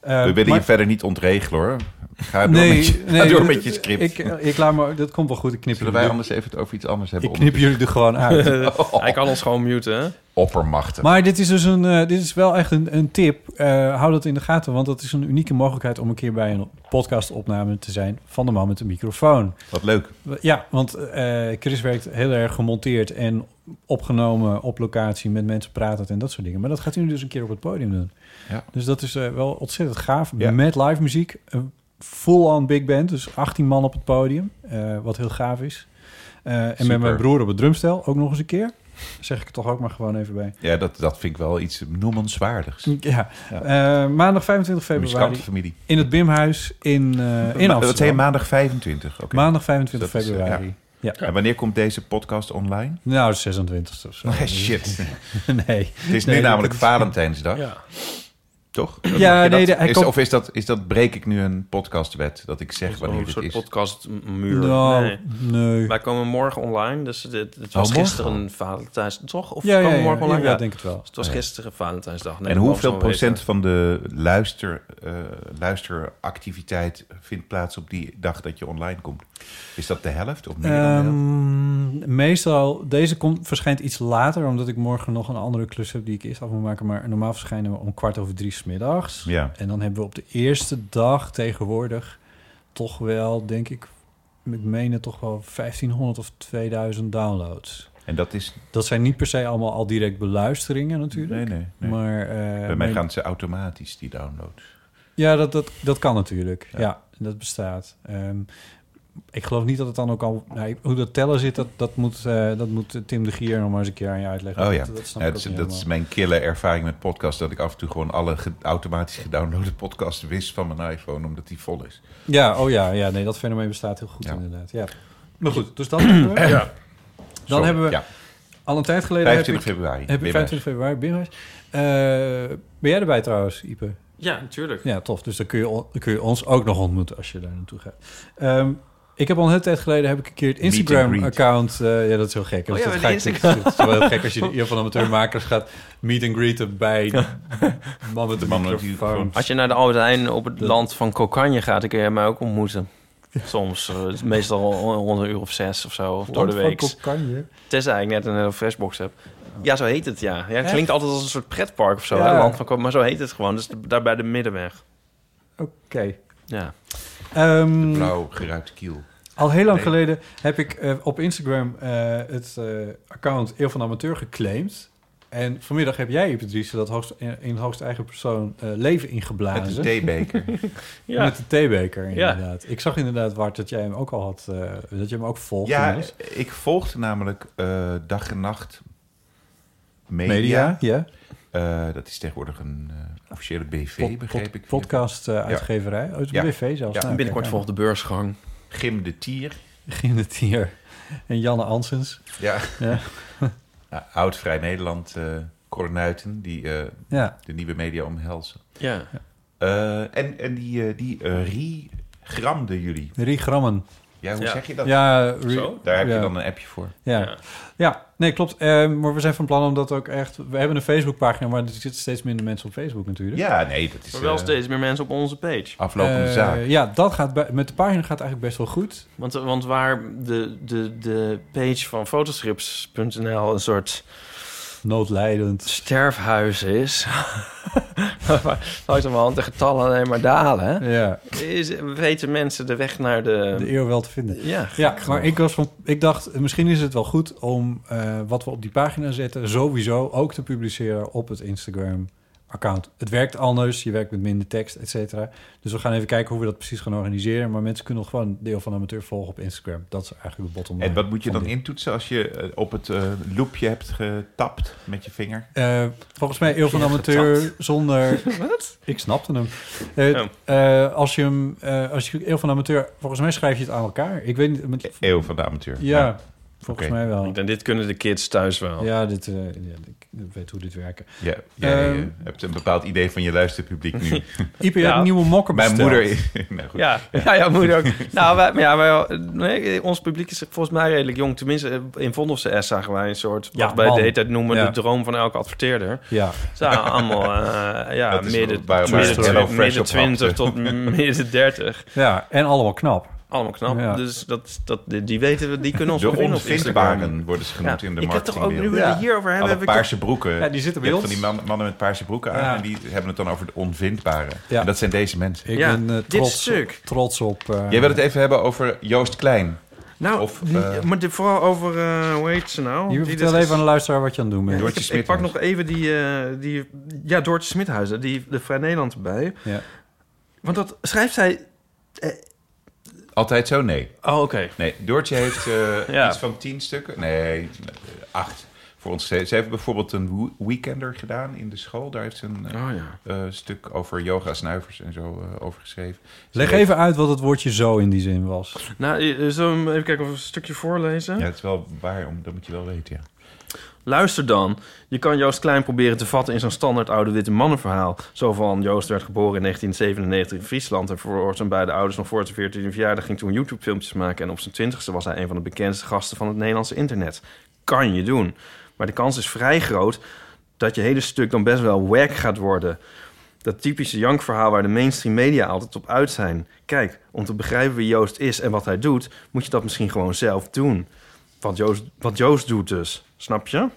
Speaker 2: Eh,
Speaker 1: We willen
Speaker 2: maar-
Speaker 1: je verder niet ontregelen, hoor. Ga door,
Speaker 2: nee,
Speaker 1: met, je, ga
Speaker 2: nee,
Speaker 1: door
Speaker 2: dat-
Speaker 1: met je script.
Speaker 2: Ik, eh, ik laat maar, dat komt wel goed. Ik knip,
Speaker 1: Zullen
Speaker 2: jullie,
Speaker 1: wij
Speaker 2: er-
Speaker 1: anders even het over iets anders hebben?
Speaker 2: ik knip jullie er gewoon
Speaker 1: [laughs]
Speaker 2: uit. [laughs]
Speaker 3: Hij kan ons gewoon muten, hè?
Speaker 1: Oppermachten.
Speaker 2: maar dit is dus een, eh, dit is wel echt een, een tip. Eh, hou dat in de gaten, want dat is een unieke mogelijkheid om een keer bij een podcastopname te zijn van de man met de microfoon.
Speaker 1: Wat leuk.
Speaker 2: Ja, want eh, Chris werkt heel erg gemonteerd en opgenomen op locatie met mensen pratend en dat soort dingen. Maar dat gaat hij nu dus een keer op het podium doen.
Speaker 1: Ja.
Speaker 2: Dus dat is eh, wel ontzettend gaaf.
Speaker 1: Ja.
Speaker 2: Met live muziek, een full-on big band, dus 18 man op het podium, eh, wat heel gaaf is. Eh, en
Speaker 1: Super.
Speaker 2: met mijn broer op het drumstel ook nog eens een keer. Zeg ik er toch ook maar gewoon even bij.
Speaker 1: Ja, dat, dat vind ik wel iets noemenswaardigs.
Speaker 2: Ja, Eh, maandag 25 Mm, februari
Speaker 1: Muzikantenfamilie.
Speaker 2: in het Bimhuis in, eh, in
Speaker 1: Dat zei je
Speaker 2: Amsterdam.
Speaker 1: maandag 25. Oké.
Speaker 2: Maandag 25
Speaker 1: Dat is, eh,
Speaker 2: februari.
Speaker 1: En wanneer komt deze podcast online?
Speaker 2: Nou, 26 of zo.
Speaker 1: Oh, shit.
Speaker 2: Nee.
Speaker 1: Het is nu
Speaker 2: Nee, dat
Speaker 1: namelijk
Speaker 2: is-
Speaker 1: Valentijnsdag,
Speaker 3: Ja.
Speaker 1: toch?
Speaker 2: Ja,
Speaker 1: Mag je
Speaker 2: nee,
Speaker 1: dat-
Speaker 2: de- hij
Speaker 1: is,
Speaker 2: komt-
Speaker 1: Of is dat, is dat breek ik nu een podcastwet? Dat ik zeg wanneer
Speaker 3: Een
Speaker 1: dit
Speaker 3: soort
Speaker 1: is?
Speaker 3: podcastmuur.
Speaker 2: Nou,
Speaker 3: Nee.
Speaker 2: nee.
Speaker 3: Wij komen morgen online, dus dit, het was
Speaker 1: Oh, morgen
Speaker 3: gisteren Valentijns... Toch? Of
Speaker 2: Ja, ja,
Speaker 3: komen we
Speaker 2: ja,
Speaker 3: morgen
Speaker 2: ja,
Speaker 3: online?
Speaker 2: ja,
Speaker 3: Ja.
Speaker 2: denk het wel.
Speaker 3: Het was gisteren Valentijnsdag. Nee,
Speaker 1: en
Speaker 3: dat
Speaker 1: hoeveel
Speaker 3: mogen we
Speaker 1: procent
Speaker 3: weten.
Speaker 1: van de luister, eh, luisteractiviteit vindt plaats op die dag dat je online komt? Is dat de helft of meer dan de helft?
Speaker 2: Ehm, meestal, deze komt, verschijnt iets later, omdat ik morgen nog een andere klus heb die ik eerst af moet maken. Maar normaal verschijnen we om kwart over drie 's middags.
Speaker 1: Ja.
Speaker 2: En dan hebben we op de eerste dag tegenwoordig toch wel, denk ik, ik meen het toch wel 1500 of 2000 downloads.
Speaker 1: En dat is...
Speaker 2: Dat zijn niet per se allemaal al direct beluisteringen natuurlijk.
Speaker 1: Nee, nee, nee.
Speaker 2: Maar, eh,
Speaker 1: Bij mij
Speaker 2: maar-
Speaker 1: gaan ze automatisch, die downloads.
Speaker 2: Ja, dat, dat, dat kan natuurlijk. Ja, dat bestaat. Ehm, ik geloof niet dat het dan ook al... nou, hoe dat tellen zit, dat, dat, moet, eh, dat moet Tim de Gier nog maar eens een keer aan je uitleggen.
Speaker 1: Oh ja,
Speaker 2: dat, dat snap
Speaker 1: Ja,
Speaker 2: ik
Speaker 1: dat,
Speaker 2: ook
Speaker 1: is,
Speaker 2: niet
Speaker 1: dat is
Speaker 2: helemaal.
Speaker 1: mijn killer ervaring met podcasts. Dat ik af en toe gewoon alle ge- automatisch gedownloade podcasts wist van mijn iPhone, omdat die vol is.
Speaker 2: Ja, oh ja, ja, nee, dat fenomeen bestaat heel goed
Speaker 1: Ja.
Speaker 2: inderdaad. Ja. Maar goed,
Speaker 1: [coughs]
Speaker 2: dus dat hebben we. Dan
Speaker 1: Sorry.
Speaker 2: hebben we
Speaker 1: Ja,
Speaker 2: al een tijd geleden...
Speaker 1: 25
Speaker 2: heb ik,
Speaker 1: februari.
Speaker 2: heb ik
Speaker 1: Weer
Speaker 2: 25 februari, Bimhuis. Eh, ben jij erbij trouwens, Ipe?
Speaker 3: Ja, natuurlijk.
Speaker 2: Ja, tof. Dus dan kun je, on- dan kun je ons ook nog ontmoeten als je daar naartoe gaat. Ehm, ik heb al een hele tijd geleden heb ik een keer het
Speaker 1: Meet and
Speaker 2: Instagram-account. eh, ja, dat is heel gek.
Speaker 3: Oh ja, bij
Speaker 2: dat ga
Speaker 3: de
Speaker 2: ik-
Speaker 3: Instagram.
Speaker 2: Het is wel heel gek als je in
Speaker 3: [laughs]
Speaker 2: ieder van amateurmakers gaat meet and greeten bij de man met de
Speaker 1: man met die
Speaker 2: microfoon.
Speaker 3: Als je naar de Albert Heijn op het land van Kokanje gaat, dan kun je mij ook ontmoeten. Soms, eh, meestal on- rond een uur of zes of zo, of door de week.
Speaker 2: kan je?
Speaker 3: Tenzij ik net een eh, freshbox heb. Ja, zo heet het, ja. ja het
Speaker 2: Echt?
Speaker 3: klinkt altijd als een soort pretpark of zo,
Speaker 2: Ja.
Speaker 3: hè, land van Kok- maar zo heet het gewoon. Dus daar bij de middenweg.
Speaker 2: Oké.
Speaker 3: Ja.
Speaker 2: Ehm,
Speaker 1: Blauw eh, geruite kiel.
Speaker 2: Al heel lang
Speaker 1: Nee.
Speaker 2: geleden heb ik eh, op Instagram eh, het eh, account Eeuw van de Amateur geclaimd. En vanmiddag heb jij, Patrice, dat hoogst, in, in hoogst eigen persoon eh, leven
Speaker 1: Met
Speaker 2: ingeblazen.
Speaker 1: een theebeker.
Speaker 2: Met de theebeker, inderdaad. Ik zag inderdaad, Wart, dat jij hem ook al had... eh, dat je hem ook volgde.
Speaker 1: ja,
Speaker 2: inmiddels.
Speaker 1: ik volgde namelijk eh, dag en nacht media.
Speaker 2: Media, ja.
Speaker 1: Eh, dat is tegenwoordig een eh, officiële BV,
Speaker 2: Pod-
Speaker 1: begreep
Speaker 2: pod-
Speaker 1: ik.
Speaker 2: Podcast eh, uitgeverij. Oh, het is een
Speaker 1: Ja.
Speaker 2: BV zelfs.
Speaker 1: Ja.
Speaker 2: Nou,
Speaker 3: Binnenkort
Speaker 2: kijk aan.
Speaker 3: volgt de beursgang.
Speaker 1: Gim de Tier.
Speaker 2: Begin het hier. En Janne Ansens.
Speaker 1: Ja.
Speaker 2: Ja.
Speaker 1: [laughs]
Speaker 2: [laughs]
Speaker 1: Nou, oud Vrij Nederland, eh Cornuiten, die eh,
Speaker 2: Ja,
Speaker 1: de nieuwe media omhelzen.
Speaker 3: Ja.
Speaker 1: Eh, en, en die, eh, die eh, re-gramden jullie.
Speaker 2: Rie Grammen.
Speaker 1: Ja, hoe
Speaker 3: Ja.
Speaker 1: zeg je dat?
Speaker 2: Ja, Rie-
Speaker 3: Zo?
Speaker 1: Daar heb
Speaker 2: ja.
Speaker 1: je dan een appje voor.
Speaker 2: Ja.
Speaker 3: Ja.
Speaker 2: Ja. nee, klopt. Eh, maar we zijn van plan om dat ook echt... We hebben een Facebookpagina, maar er zitten steeds minder mensen op Facebook natuurlijk.
Speaker 1: Ja, nee, dat is
Speaker 3: Maar wel
Speaker 1: eh,
Speaker 3: steeds meer mensen op onze page.
Speaker 1: aflopende
Speaker 2: Eh,
Speaker 1: zaak.
Speaker 2: Ja, dat gaat bij- met de pagina gaat eigenlijk best wel goed.
Speaker 3: Want, want waar de, de, de page van fotostrips.nl een soort
Speaker 2: Noodlijdend.
Speaker 3: sterfhuis is, [laughs] waar langzamerhand de getallen alleen maar dalen, hè,
Speaker 2: Ja,
Speaker 3: is, weten mensen de weg naar de...
Speaker 2: de eer wel te vinden.
Speaker 3: ja,
Speaker 2: Ja, maar ik, was van, ik dacht, eh, misschien is het wel goed om eh, wat we op die pagina zetten... sowieso ook te publiceren op het Instagram-account. Het werkt anders, je werkt met minder tekst, et cetera. Dus we gaan even kijken hoe we dat precies gaan organiseren. Maar mensen kunnen gewoon deel van amateur volgen op Instagram. Dat is eigenlijk de bottom line.
Speaker 1: En wat moet je
Speaker 2: van
Speaker 1: dan
Speaker 2: dit.
Speaker 1: intoetsen als je eh, op het eh, loopje hebt getapt met je vinger?
Speaker 2: Eh, volgens mij Eeuw van de Amateur zonder...
Speaker 3: [laughs]
Speaker 2: Wat? Ik snapte hem. Eh, eh, als je hem... eh, als je Eeuw van de Amateur... Volgens mij schrijf je het aan elkaar. Ik weet niet... met-
Speaker 1: E-, Eeuw van de amateur.
Speaker 2: ja, volgens
Speaker 1: Oké.
Speaker 2: mij wel.
Speaker 3: En dit kunnen de kids thuis wel.
Speaker 2: Ja, dit, eh, ja, ik weet hoe dit werkt.
Speaker 1: Ja, jij
Speaker 2: Ehm.
Speaker 1: eh, hebt een bepaald idee van je luisterpubliek
Speaker 2: [laughs]
Speaker 1: nu.
Speaker 2: Iep, je
Speaker 3: Ja.
Speaker 2: hebt nieuwe mokken
Speaker 1: Mijn
Speaker 2: besteld.
Speaker 1: moeder... [laughs] nou goed.
Speaker 3: Ja, ja, ja moeder [laughs] ook. nou, wij, maar ja, wij, nee, ons publiek is volgens mij redelijk jong. Tenminste, eh, in Vondelfse S zagen wij een soort,
Speaker 2: Ja,
Speaker 3: wat wij
Speaker 2: man.
Speaker 3: de hele tijd noemen,
Speaker 2: Ja.
Speaker 3: de droom van elke adverteerder.
Speaker 2: Ja,
Speaker 3: Ze waren allemaal, eh, ja,
Speaker 1: Dat is
Speaker 3: midden,
Speaker 1: waar- waar
Speaker 3: midden,
Speaker 1: Hello Fresh
Speaker 3: midden
Speaker 1: op
Speaker 3: 20
Speaker 1: hapte. [laughs]
Speaker 3: tot midden 30.
Speaker 2: ja, en allemaal knap.
Speaker 3: Allemaal knap.
Speaker 2: Ja.
Speaker 3: Dus dat, dat, die, die weten we, die kunnen ons
Speaker 1: De
Speaker 3: wel vinden op Instagram.
Speaker 1: onvindbaren worden ze genoemd in de
Speaker 3: ik heb toch ook, nu
Speaker 1: marketingwereld.
Speaker 3: we
Speaker 2: Ja.
Speaker 3: het hierover hebben,
Speaker 1: Alle
Speaker 3: heb ik toch-
Speaker 1: paarse broeken.
Speaker 2: Ja, die zitten
Speaker 1: Je
Speaker 2: bij
Speaker 1: hebt
Speaker 2: ons.
Speaker 1: van die man- mannen met paarse broeken aan
Speaker 2: Ja.
Speaker 1: en die hebben het dan over de onvindbare.
Speaker 2: Ja.
Speaker 1: En dat zijn deze mensen.
Speaker 2: Ik
Speaker 3: Ja,
Speaker 2: ben eh,
Speaker 3: dit
Speaker 2: trots,
Speaker 3: stuk.
Speaker 2: trots op... eh,
Speaker 1: Jij wil het even hebben over Joost Klein.
Speaker 3: Nou,
Speaker 1: Of,
Speaker 3: n-
Speaker 1: eh,
Speaker 3: maar de, vooral over, eh, hoe heet ze nou?
Speaker 2: Je
Speaker 3: Die
Speaker 2: vertel
Speaker 3: dit-
Speaker 2: even aan de luisteraar wat je aan het doen bent.
Speaker 1: Doortje
Speaker 3: Ik, ik pak
Speaker 1: Smithuis.
Speaker 3: nog even die, eh, die ja, Doortje Smithuizen, die, de Vrij Nederland erbij.
Speaker 2: Ja.
Speaker 3: Want dat schrijft zij...
Speaker 1: Altijd zo? Nee.
Speaker 3: Oh, oké.
Speaker 1: Nee, Doortje heeft eh,
Speaker 3: [laughs] Ja.
Speaker 1: iets van tien stukken. Nee, eh, acht. Voor ons. Ze ze heeft bijvoorbeeld een wo- weekender gedaan in de school. Daar heeft ze een eh,
Speaker 3: Oh ja.
Speaker 1: eh, stuk over yoga snuivers en zo eh, over geschreven. Ze
Speaker 2: Leg
Speaker 1: heeft-
Speaker 2: even uit wat het woordje zo in die zin was.
Speaker 3: Nou, eh, zullen we hem even kijken of we een stukje voorlezen?
Speaker 1: Ja, het is wel waar, om, dat moet je wel weten, ja.
Speaker 3: Luister dan. Je kan Joost Klein proberen te vatten in zo'n standaard oude witte mannenverhaal. Zo van Joost werd geboren in 1997 in Friesland... en voor zijn beide ouders nog voor zijn 14e verjaardag ging toen YouTube-filmpjes maken... en op zijn 20e was hij een van de bekendste gasten van het Nederlandse internet. Kan je doen. Maar de kans is vrij groot dat je hele stuk dan best wel wack gaat worden... Dat typische jankverhaal waar de mainstream media altijd op uit zijn. Kijk, om te begrijpen wie Joost is en wat hij doet, moet je dat misschien gewoon zelf doen. Wat Joost, wat Joost doet dus, snap je?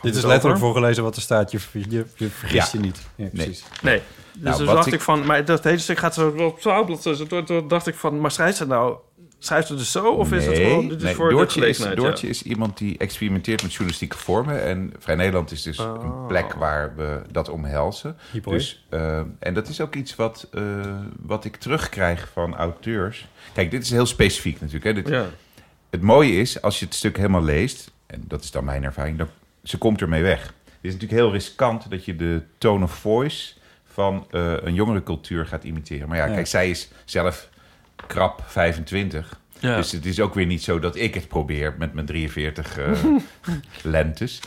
Speaker 2: Dit is
Speaker 3: het
Speaker 2: letterlijk
Speaker 3: over?
Speaker 2: voorgelezen wat er staat. Je, je, je vergist
Speaker 1: Ja.
Speaker 2: je niet. Ja, precies.
Speaker 3: Nee. Dus
Speaker 1: Nou,
Speaker 3: toen
Speaker 1: wat
Speaker 3: dacht ik...
Speaker 1: ik-
Speaker 3: van, maar dat hele stuk gaat zo op twaalf bladzijden. Toen- Toen dacht ik van, maar schrijft ze nou, schrijft ze dus zo? Of is het gewoon, dit is
Speaker 1: nee,
Speaker 3: voor de
Speaker 1: Doortje, is,
Speaker 3: gelegenheid?
Speaker 1: Doortje
Speaker 3: ja.
Speaker 1: is iemand die experimenteert met journalistieke vormen. En Vrij Nederland is dus
Speaker 3: Oh.
Speaker 1: een plek waar we dat omhelzen.
Speaker 2: Hypo.
Speaker 1: Dus, eh, en dat is ook iets wat, eh, wat ik terugkrijg van auteurs. Kijk, dit is heel specifiek natuurlijk. Hè? Dit,
Speaker 3: Ja.
Speaker 1: Het mooie is, als je het stuk helemaal leest... en dat is dan mijn ervaring, dan, ze komt ermee weg. Het is natuurlijk heel riskant dat je de tone of voice... van eh, een jongere cultuur gaat imiteren. Maar ja,
Speaker 2: Ja.
Speaker 1: kijk, zij is zelf krap 25...
Speaker 3: Ja.
Speaker 1: Dus het is ook weer niet zo dat ik het probeer met mijn 43 eh, lentes.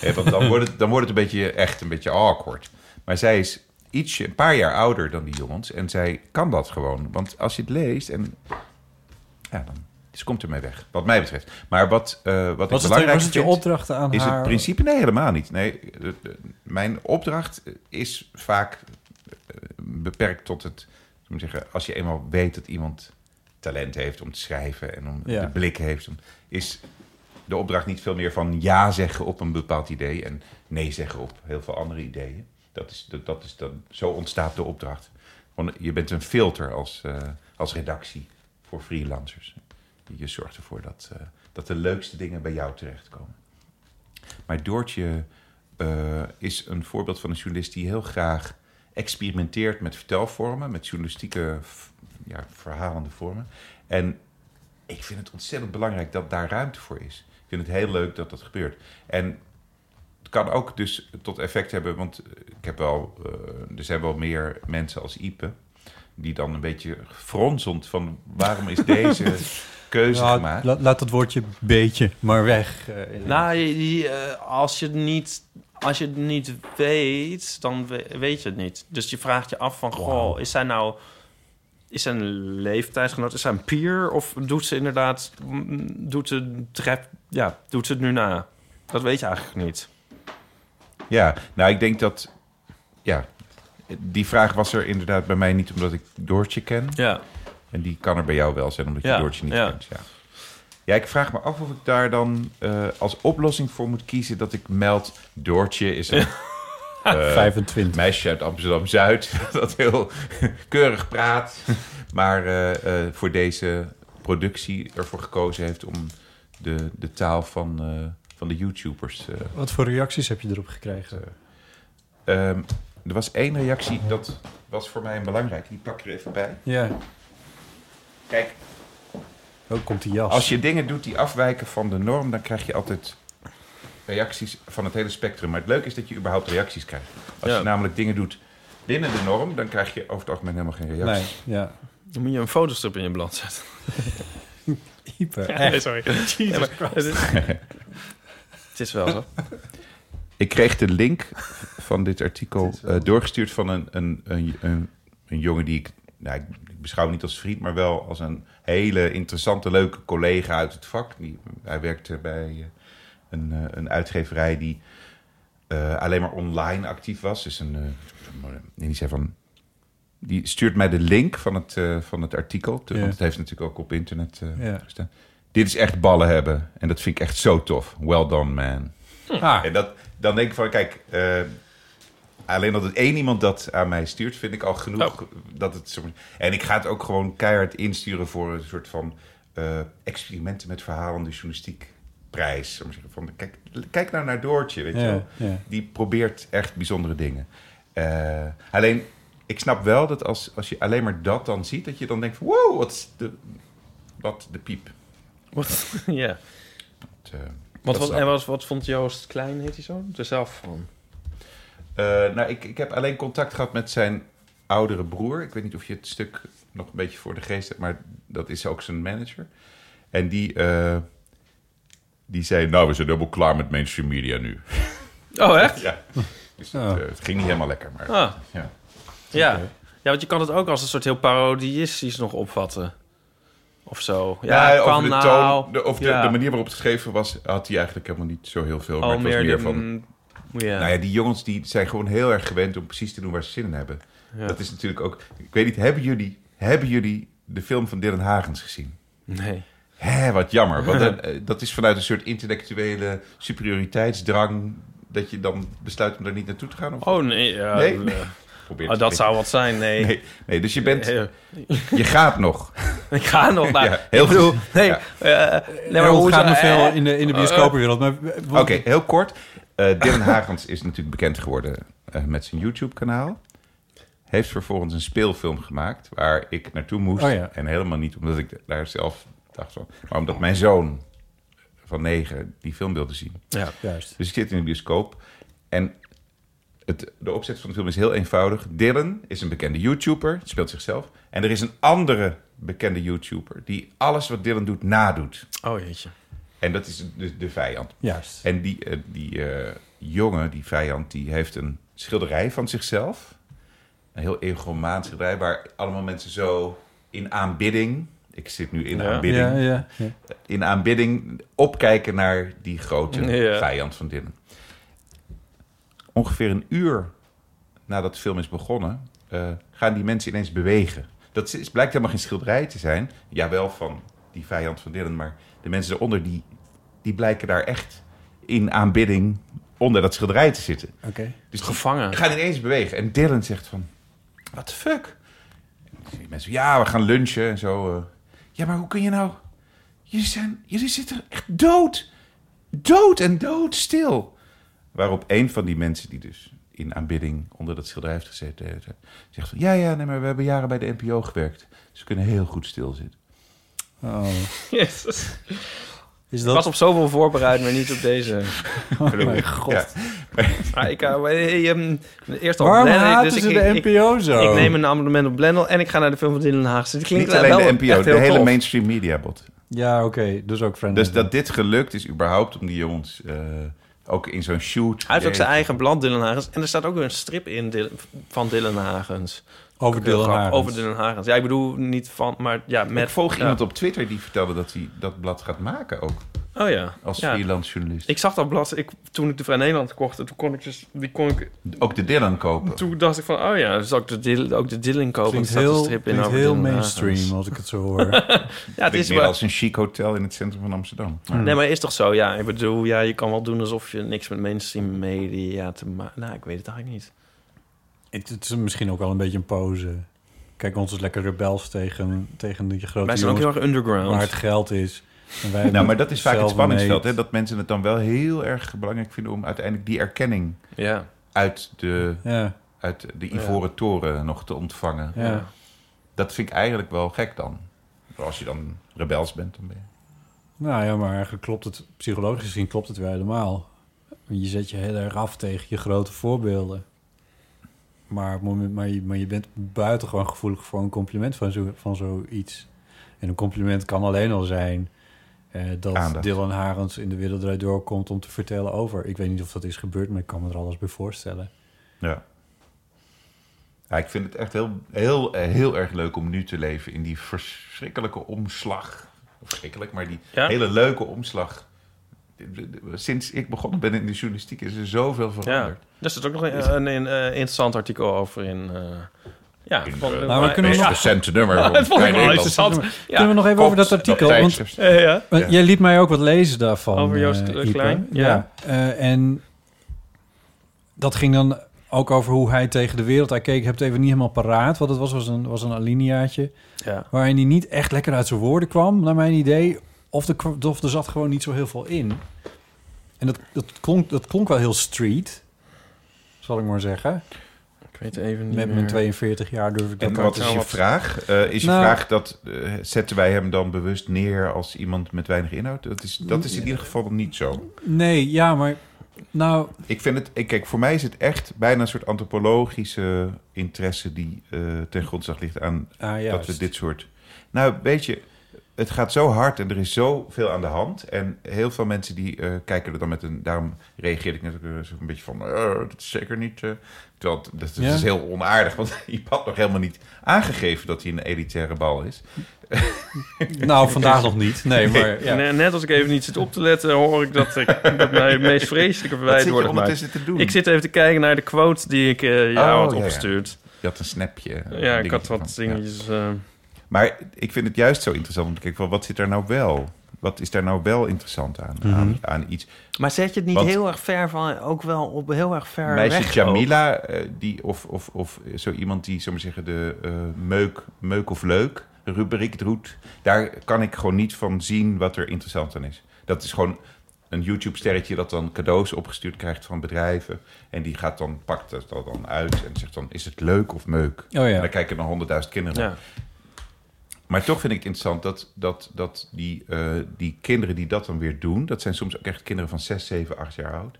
Speaker 1: Hè, want dan wordt, het, dan wordt het een beetje echt een beetje awkward. Maar zij is ietsje, een paar jaar ouder dan die jongens. En zij kan dat gewoon. Want als je het leest en... Ja, dan ze komt ermee weg. Wat mij betreft. Maar wat, eh wat ik
Speaker 2: Was het,
Speaker 1: belangrijk
Speaker 2: was het je
Speaker 1: vind-
Speaker 2: opdrachten aan
Speaker 1: is
Speaker 2: haar?
Speaker 1: het principe? Nee, helemaal niet. Nee, de- de- mijn opdracht is vaak eh, beperkt tot het... Moet ik zeggen, als je eenmaal weet dat iemand talent heeft om te schrijven... en om
Speaker 2: Ja.
Speaker 1: de blik heeft, om- is de opdracht niet veel meer van ja zeggen op een bepaald idee... en nee zeggen op heel veel andere ideeën. Dat is, dat, dat is, dat, zo ontstaat de opdracht. Gewoon, je bent een filter als, eh, als redactie voor freelancers. Je zorgt ervoor dat, eh, dat de leukste dingen bij jou terechtkomen. Maar Doortje eh, is een voorbeeld van een journalist die heel graag experimenteert met vertelvormen, met journalistieke v- ja, verhalende vormen. En ik vind het ontzettend belangrijk dat daar ruimte voor is. Ik vind het heel leuk dat dat gebeurt. En het kan ook dus tot effect hebben, want ik heb wel, eh, er zijn wel meer mensen als Ipe die dan een beetje fronsend van waarom is deze keuze
Speaker 2: Nou,
Speaker 1: gemaakt.
Speaker 2: la- laat dat woordje beetje maar weg. eh, in-
Speaker 3: Nou, je- je, eh, als, je het niet, als je het niet weet, dan we- weet je het niet. Dus je vraagt je af van, goh, is zij nou... Is zij een leeftijdsgenoot? Is zij een peer? Of doet ze inderdaad... mm, Doet ze, trap, ja, doet ze het nu na? Dat weet je eigenlijk niet.
Speaker 1: Ja, nou, ik denk dat. Ja, die vraag was er inderdaad bij mij niet omdat ik Doortje ken.
Speaker 3: Ja.
Speaker 1: En die kan er bij jou wel zijn omdat je
Speaker 3: Ja,
Speaker 1: Doortje niet
Speaker 3: ja.
Speaker 1: kent. Ja. ja, ik vraag me af of ik daar dan eh, als oplossing voor moet kiezen dat ik meld. Doortje is
Speaker 3: [laughs]
Speaker 1: een eh,
Speaker 3: eh,
Speaker 2: 25.
Speaker 1: meisje uit Amsterdam Zuid [laughs] dat heel keurig praat. Maar eh, eh, voor deze productie ervoor gekozen heeft om de, de taal van, eh, van de YouTubers eh,
Speaker 2: Wat voor reacties heb je erop gekregen?
Speaker 1: Ehm, er was één reactie, dat was voor mij een belangrijke. Die pak ik er even bij.
Speaker 2: Ja,
Speaker 1: Kijk,
Speaker 2: ook komt die jas.
Speaker 1: als je dingen doet die afwijken van de norm, dan krijg je altijd reacties van het hele spectrum. Maar het leuke is dat je überhaupt reacties krijgt. Als
Speaker 3: Ja.
Speaker 1: je namelijk dingen doet binnen de norm, dan krijg je over het algemeen helemaal geen reacties.
Speaker 2: Nee, ja.
Speaker 3: Dan moet je een fotostrip in je blad zetten. [laughs]
Speaker 2: Hyper.
Speaker 3: nee, sorry. Ja, maar het, is, [laughs] het is wel zo.
Speaker 1: Ik kreeg de link van dit artikel eh, doorgestuurd van een, een, een, een, een jongen die ik, nou, ik, ik beschouw niet als vriend, maar wel als een hele interessante, leuke collega uit het vak. Die, hij werkte bij eh, een, eh, een uitgeverij die eh, alleen maar online actief was. Dus een, eh, en die zei van. Die stuurt mij de link van het, eh, van het artikel. te-
Speaker 2: Ja.
Speaker 1: Want het heeft natuurlijk ook op internet eh,
Speaker 2: Ja.
Speaker 1: gestaan. Dit is echt ballen hebben. En dat vind ik echt zo tof. Well done, man.
Speaker 2: Ah,
Speaker 1: En dat, dan denk ik van, kijk, eh, alleen dat het één iemand dat aan mij stuurt, vind ik al genoeg. Dat het, zo- en ik ga het ook gewoon keihard insturen voor een soort van eh, experimenten met verhalende journalistiek prijs. Om te zeggen Van, kijk, kijk nou naar Doortje, weet je
Speaker 2: ja,
Speaker 1: wel.
Speaker 2: ja.
Speaker 1: Die probeert echt bijzondere dingen. Eh, alleen, ik snap wel dat als, als je alleen maar dat dan ziet, dat je dan denkt van, wow, wat is de, wat de piep.
Speaker 3: Wat, [laughs] ja.
Speaker 1: Het, eh,
Speaker 3: Wat,
Speaker 1: dat
Speaker 3: wat,
Speaker 1: snap
Speaker 3: en
Speaker 1: ik.
Speaker 3: wat, wat vond Joost Klein, heet hij zo? Er zelf van.
Speaker 1: Eh, nou, ik, ik heb alleen contact gehad met zijn oudere broer. Ik weet niet of je het stuk nog een beetje voor de geest hebt, maar dat is ook zijn manager. En die, eh, die zei: Nou, we zijn helemaal klaar met mainstream media nu. [laughs]
Speaker 3: Oh, echt?
Speaker 1: Ja. Dus
Speaker 2: Oh.
Speaker 1: het, eh, het ging niet helemaal lekker, maar.
Speaker 3: Ah.
Speaker 1: Ja.
Speaker 3: Ja. ja, want je kan het ook als een soort heel parodistisch nog opvatten. Of zo. Ja,
Speaker 1: Ja,
Speaker 3: kan
Speaker 1: over de
Speaker 3: nou,
Speaker 1: toon, de, of de,
Speaker 3: ja.
Speaker 1: de manier waarop het geschreven was, had hij eigenlijk helemaal niet zo heel veel.
Speaker 3: Al
Speaker 1: Maar het was meer,
Speaker 3: de-
Speaker 1: van.
Speaker 3: mm, Ja.
Speaker 1: Nou ja, die jongens die zijn gewoon heel erg gewend om precies te doen waar ze zin in hebben.
Speaker 3: Ja.
Speaker 1: Dat is natuurlijk ook. Ik weet niet, hebben jullie, hebben jullie de film van Dylan Hagens gezien?
Speaker 3: Nee.
Speaker 1: Hé, wat jammer.
Speaker 3: [laughs]
Speaker 1: Want dat, eh, dat is vanuit een soort intellectuele superioriteitsdrang... dat je dan besluit om daar niet naartoe te gaan? Of
Speaker 3: Oh, nee. Ja,
Speaker 1: Nee?
Speaker 3: eh,
Speaker 1: probeer
Speaker 3: oh,
Speaker 1: het
Speaker 3: dat
Speaker 1: te-
Speaker 3: zou wat zijn, nee.
Speaker 1: Nee, nee, dus je,
Speaker 3: [laughs]
Speaker 1: bent,
Speaker 3: Eh,
Speaker 1: je gaat
Speaker 3: [laughs]
Speaker 1: nog.
Speaker 3: Ik ga nog naar...
Speaker 1: Ja, heel goed.
Speaker 3: Nee,
Speaker 1: Ja.
Speaker 3: eh, nee, maar
Speaker 2: Harold
Speaker 3: hoe
Speaker 2: gaat
Speaker 3: zou-
Speaker 2: nog veel
Speaker 3: eh,
Speaker 2: in de, in de bioscopenwereld. Maar, eh,
Speaker 1: Oké, heel kort. Eh Dylan Hagens is natuurlijk bekend geworden eh, met zijn YouTube-kanaal. Heeft vervolgens een speelfilm gemaakt waar ik naartoe moest.
Speaker 2: Oh ja.
Speaker 1: En helemaal niet omdat ik daar zelf dacht van... maar omdat mijn zoon van negen die film wilde zien.
Speaker 3: Ja.
Speaker 2: Juist.
Speaker 1: Dus ik zit in de bioscoop. En het, de opzet van de film is heel eenvoudig. Dylan is een bekende YouTuber, speelt zichzelf. En er is een andere bekende YouTuber die alles wat Dylan doet nadoet.
Speaker 3: Oh, jeetje.
Speaker 1: En dat is de, de vijand.
Speaker 2: Juist.
Speaker 1: En die, eh, die eh, jongen, die vijand, die heeft een schilderij van zichzelf. een heel egomaans bedrijf waar allemaal mensen zo in aanbidding, ik zit nu in
Speaker 3: Ja.
Speaker 1: aanbidding,
Speaker 2: Ja, ja, ja.
Speaker 1: in aanbidding opkijken naar die grote
Speaker 3: Ja.
Speaker 1: vijand van Dylan. Ongeveer een uur nadat de film is begonnen, eh, gaan die mensen ineens bewegen. Dat is, blijkt helemaal geen schilderij te zijn. Jawel, van die vijand van Dylan, maar de mensen eronder, die, die blijken daar echt in aanbidding onder dat schilderij te zitten.
Speaker 2: Oké.
Speaker 1: Dus die
Speaker 3: Gevangen.
Speaker 1: gaan ineens bewegen. En Dylan zegt van, what the fuck? En dan zeggen mensen, ja, we gaan lunchen en zo. eh. Ja, maar hoe kun je nou... Jullie, zijn, jullie zitten echt dood. Dood en doodstil. Waarop een van die mensen die dus in aanbidding onder dat schilderij heeft gezeten... eh, zegt van, ja, ja, nee, maar we hebben jaren bij de NPO gewerkt. Dus we kunnen heel goed stilzitten.
Speaker 2: Oh.
Speaker 3: Jezus.
Speaker 2: Is
Speaker 3: Ik
Speaker 2: dat...
Speaker 3: was op zoveel voorbereid, maar niet op deze.
Speaker 2: Oh mijn god.
Speaker 1: Ja.
Speaker 3: Maar ik, eh, hey, ehm, eerst al
Speaker 2: Waarom
Speaker 3: Blendel,
Speaker 2: haten
Speaker 3: dus
Speaker 2: ze
Speaker 3: ik-
Speaker 2: de
Speaker 3: ik-
Speaker 2: NPO zo?
Speaker 3: Ik neem een abonnement op Blendel en ik ga naar de film van Dylan Haag. Dus het klinkt
Speaker 1: Niet alleen
Speaker 3: wel
Speaker 1: de NPO,
Speaker 3: echt heel
Speaker 1: de hele
Speaker 3: tof.
Speaker 1: mainstream media bot.
Speaker 2: Ja, oké. Dus ook Friends.
Speaker 1: Dus dat dit gelukt is überhaupt om die jongens... eh, ook in zo'n shoot... eh,
Speaker 3: Hij heeft ook zijn
Speaker 1: Jeetje.
Speaker 3: eigen blad, Dylan Hagens. En er staat ook weer een strip in Dylan- van Dylan Hagens.
Speaker 2: Over
Speaker 3: Heel
Speaker 2: Dylan
Speaker 3: grappig.
Speaker 2: Hagens.
Speaker 3: Over Dylan Hagens. Ja, ik bedoel niet van, maar ja,
Speaker 1: Met
Speaker 3: met...
Speaker 1: volg
Speaker 3: ja.
Speaker 1: iemand op Twitter die vertelde dat hij dat blad gaat maken ook.
Speaker 3: Oh ja.
Speaker 1: Als
Speaker 3: ja.
Speaker 1: freelance journalist.
Speaker 3: Ik zag dat blad ik, toen ik de Vrij Nederland kocht. en Toen kon ik dus... Die kon ik,
Speaker 1: Ook de Dylan kopen.
Speaker 3: toen dacht ik van, oh ja, dus zal ik de Dylan, ook de Dylan kopen.
Speaker 2: Klinkt
Speaker 3: want er staat
Speaker 2: heel,
Speaker 3: een strip in
Speaker 2: klinkt
Speaker 3: over
Speaker 2: heel
Speaker 3: Dylan
Speaker 2: mainstream
Speaker 3: Hagens.
Speaker 2: als ik het zo
Speaker 3: [laughs]
Speaker 2: hoor. [laughs]
Speaker 3: Ja, het is
Speaker 1: meer
Speaker 3: wel...
Speaker 1: als een chic hotel in het centrum van Amsterdam. Maar
Speaker 3: Nee, maar is toch zo? Ja, ik bedoel, ja, je kan wel doen alsof je niks met mainstream media te maken... Nou, ik weet het eigenlijk niet.
Speaker 2: het, het is misschien ook wel een beetje een pose. Kijk, ons is lekker rebels tegen, tegen die grote
Speaker 3: Wij zijn ook heel
Speaker 2: jongens
Speaker 3: erg underground.
Speaker 2: waar het geld is. En wij
Speaker 1: Nou, maar dat is vaak het
Speaker 2: hetzelfde
Speaker 1: spanningsveld. Hè?
Speaker 2: meet.
Speaker 1: Dat mensen het dan wel heel erg belangrijk vinden om uiteindelijk die erkenning
Speaker 3: Ja.
Speaker 1: uit de,
Speaker 2: Ja,
Speaker 1: uit de Ivoren Toren nog te ontvangen.
Speaker 2: ja.
Speaker 3: Ja.
Speaker 1: Dat vind ik eigenlijk wel gek dan. Als je dan rebels bent, dan ben je.
Speaker 2: Nou ja, maar eigenlijk klopt het, psychologisch gezien klopt het weer helemaal. Je zet je heel erg af tegen je grote voorbeelden. Maar, op het moment, maar, je, maar je bent buitengewoon gevoelig voor een compliment van, zo, van zoiets. En een compliment kan alleen al zijn eh, dat
Speaker 1: Aandacht.
Speaker 2: Dylan Harens in de wereld Draait door komt om te vertellen over. Ik weet niet of dat is gebeurd, maar ik kan me er alles bij voorstellen.
Speaker 1: Ja. ja ik vind het echt heel, heel, eh, heel erg leuk om nu te leven in die verschrikkelijke omslag. Verschrikkelijk, maar die
Speaker 3: Ja?
Speaker 1: hele leuke omslag. De- de- de- Sinds ik begonnen ben in de journalistiek is er zoveel veranderd.
Speaker 3: Daar staat Dus ook nog een, een, een, eh, interessant artikel over in. eh, ja,
Speaker 1: In,
Speaker 3: van,
Speaker 1: eh,
Speaker 3: maar-
Speaker 2: Nou, we kunnen
Speaker 1: Meest
Speaker 2: nog-
Speaker 1: recente
Speaker 2: [laughs]
Speaker 1: nummer.
Speaker 3: Ja, dat vond ik wel
Speaker 1: Vrij Nederland.
Speaker 3: interessant.
Speaker 2: Kunnen we nog even over dat
Speaker 1: Kops,
Speaker 2: artikel?
Speaker 1: dat
Speaker 2: Want
Speaker 1: tijdschrift.
Speaker 3: Eh, ja.
Speaker 2: Want Jij liet mij ook wat lezen daarvan.
Speaker 3: Over Joost,
Speaker 2: eh,
Speaker 3: eh,
Speaker 2: Ipe.
Speaker 3: Klein?
Speaker 2: Ja.
Speaker 3: Ja.
Speaker 2: Eh, en dat ging dan ook over hoe hij tegen de wereld aan keek. Ik heb het even niet helemaal paraat. Wat het was, was een, was een alineaatje.
Speaker 3: ja.
Speaker 2: Waarin hij niet echt lekker uit zijn woorden kwam, naar mijn idee. Of er, kwa- of er zat gewoon niet zo heel veel in. En dat, dat, klonk, dat klonk wel heel street. Zal ik maar zeggen.
Speaker 3: Ik weet even niet.
Speaker 2: Met mijn 42 jaar durf ik dat
Speaker 1: En
Speaker 2: ook
Speaker 1: wat
Speaker 2: te
Speaker 1: is
Speaker 2: zeggen.
Speaker 1: je vraag? Eh, is je
Speaker 2: Nou-
Speaker 1: vraag dat eh, zetten wij hem dan bewust neer als iemand met weinig inhoud? Dat is, dat is in ieder geval niet zo.
Speaker 2: Nee, ja, maar... Nou,
Speaker 1: Ik vind het, ik- kijk, voor mij is het echt bijna een soort antropologische interesse die eh, ten grondslag ligt aan
Speaker 2: ah, ja,
Speaker 1: dat we dit soort. Nou, weet je, het gaat zo hard en er is zoveel aan de hand. En heel veel mensen die eh, kijken er dan met een. Daarom reageer ik net ook eh, zo een beetje van. eh, dat is zeker niet. eh, terwijl het- dat, dat
Speaker 2: Ja.
Speaker 1: is dus heel onaardig, want [laughs] je had nog helemaal niet aangegeven dat hij een elitaire bal is.
Speaker 2: Nou, vandaag nog
Speaker 1: [laughs]
Speaker 2: niet. Nee, maar... Ja.
Speaker 3: Net, net als ik even niet zit op te letten, hoor ik dat, ik, dat mij het meest vreselijke
Speaker 1: Wat
Speaker 3: verwijt
Speaker 1: zit
Speaker 3: wordt
Speaker 1: je
Speaker 3: gemaakt.
Speaker 1: ondertussen te doen?
Speaker 3: Ik zit even te kijken naar de quote die ik eh jou
Speaker 1: Oh,
Speaker 3: had
Speaker 1: ja, ja.
Speaker 3: opgestuurd. Ja,
Speaker 1: Je had een snapje. eh, een
Speaker 3: ik had
Speaker 1: dingetje
Speaker 3: wat
Speaker 1: van, ja.
Speaker 3: dingetjes. eh,
Speaker 1: Maar ik vind het juist zo interessant om te kijken van wat zit daar nou wel? Wat is daar nou wel interessant aan?
Speaker 2: Mhm.
Speaker 1: aan, aan iets.
Speaker 3: Maar zet je het niet
Speaker 1: Want-
Speaker 3: heel erg ver van, ook wel op heel erg ver
Speaker 1: meisje
Speaker 3: weg ook?
Speaker 1: Jamila, eh, die, of, of, of zo iemand die, zullen we zeggen, de eh, meuk, meuk of leuk rubriek doet. Daar kan ik gewoon niet van zien wat er interessant aan is. Dat is gewoon een YouTube-sterretje dat dan cadeaus opgestuurd krijgt van bedrijven. En die gaat dan, pakt dat dan uit en zegt dan, is het leuk of meuk?
Speaker 2: Oh
Speaker 1: En
Speaker 2: ja.
Speaker 1: daar kijken dan honderdduizend kinderen naar.
Speaker 3: Ja.
Speaker 1: Maar toch vind ik het interessant dat, dat, dat die, eh, die kinderen die dat dan weer doen... dat zijn soms ook echt kinderen van 6, 7, 8 jaar oud.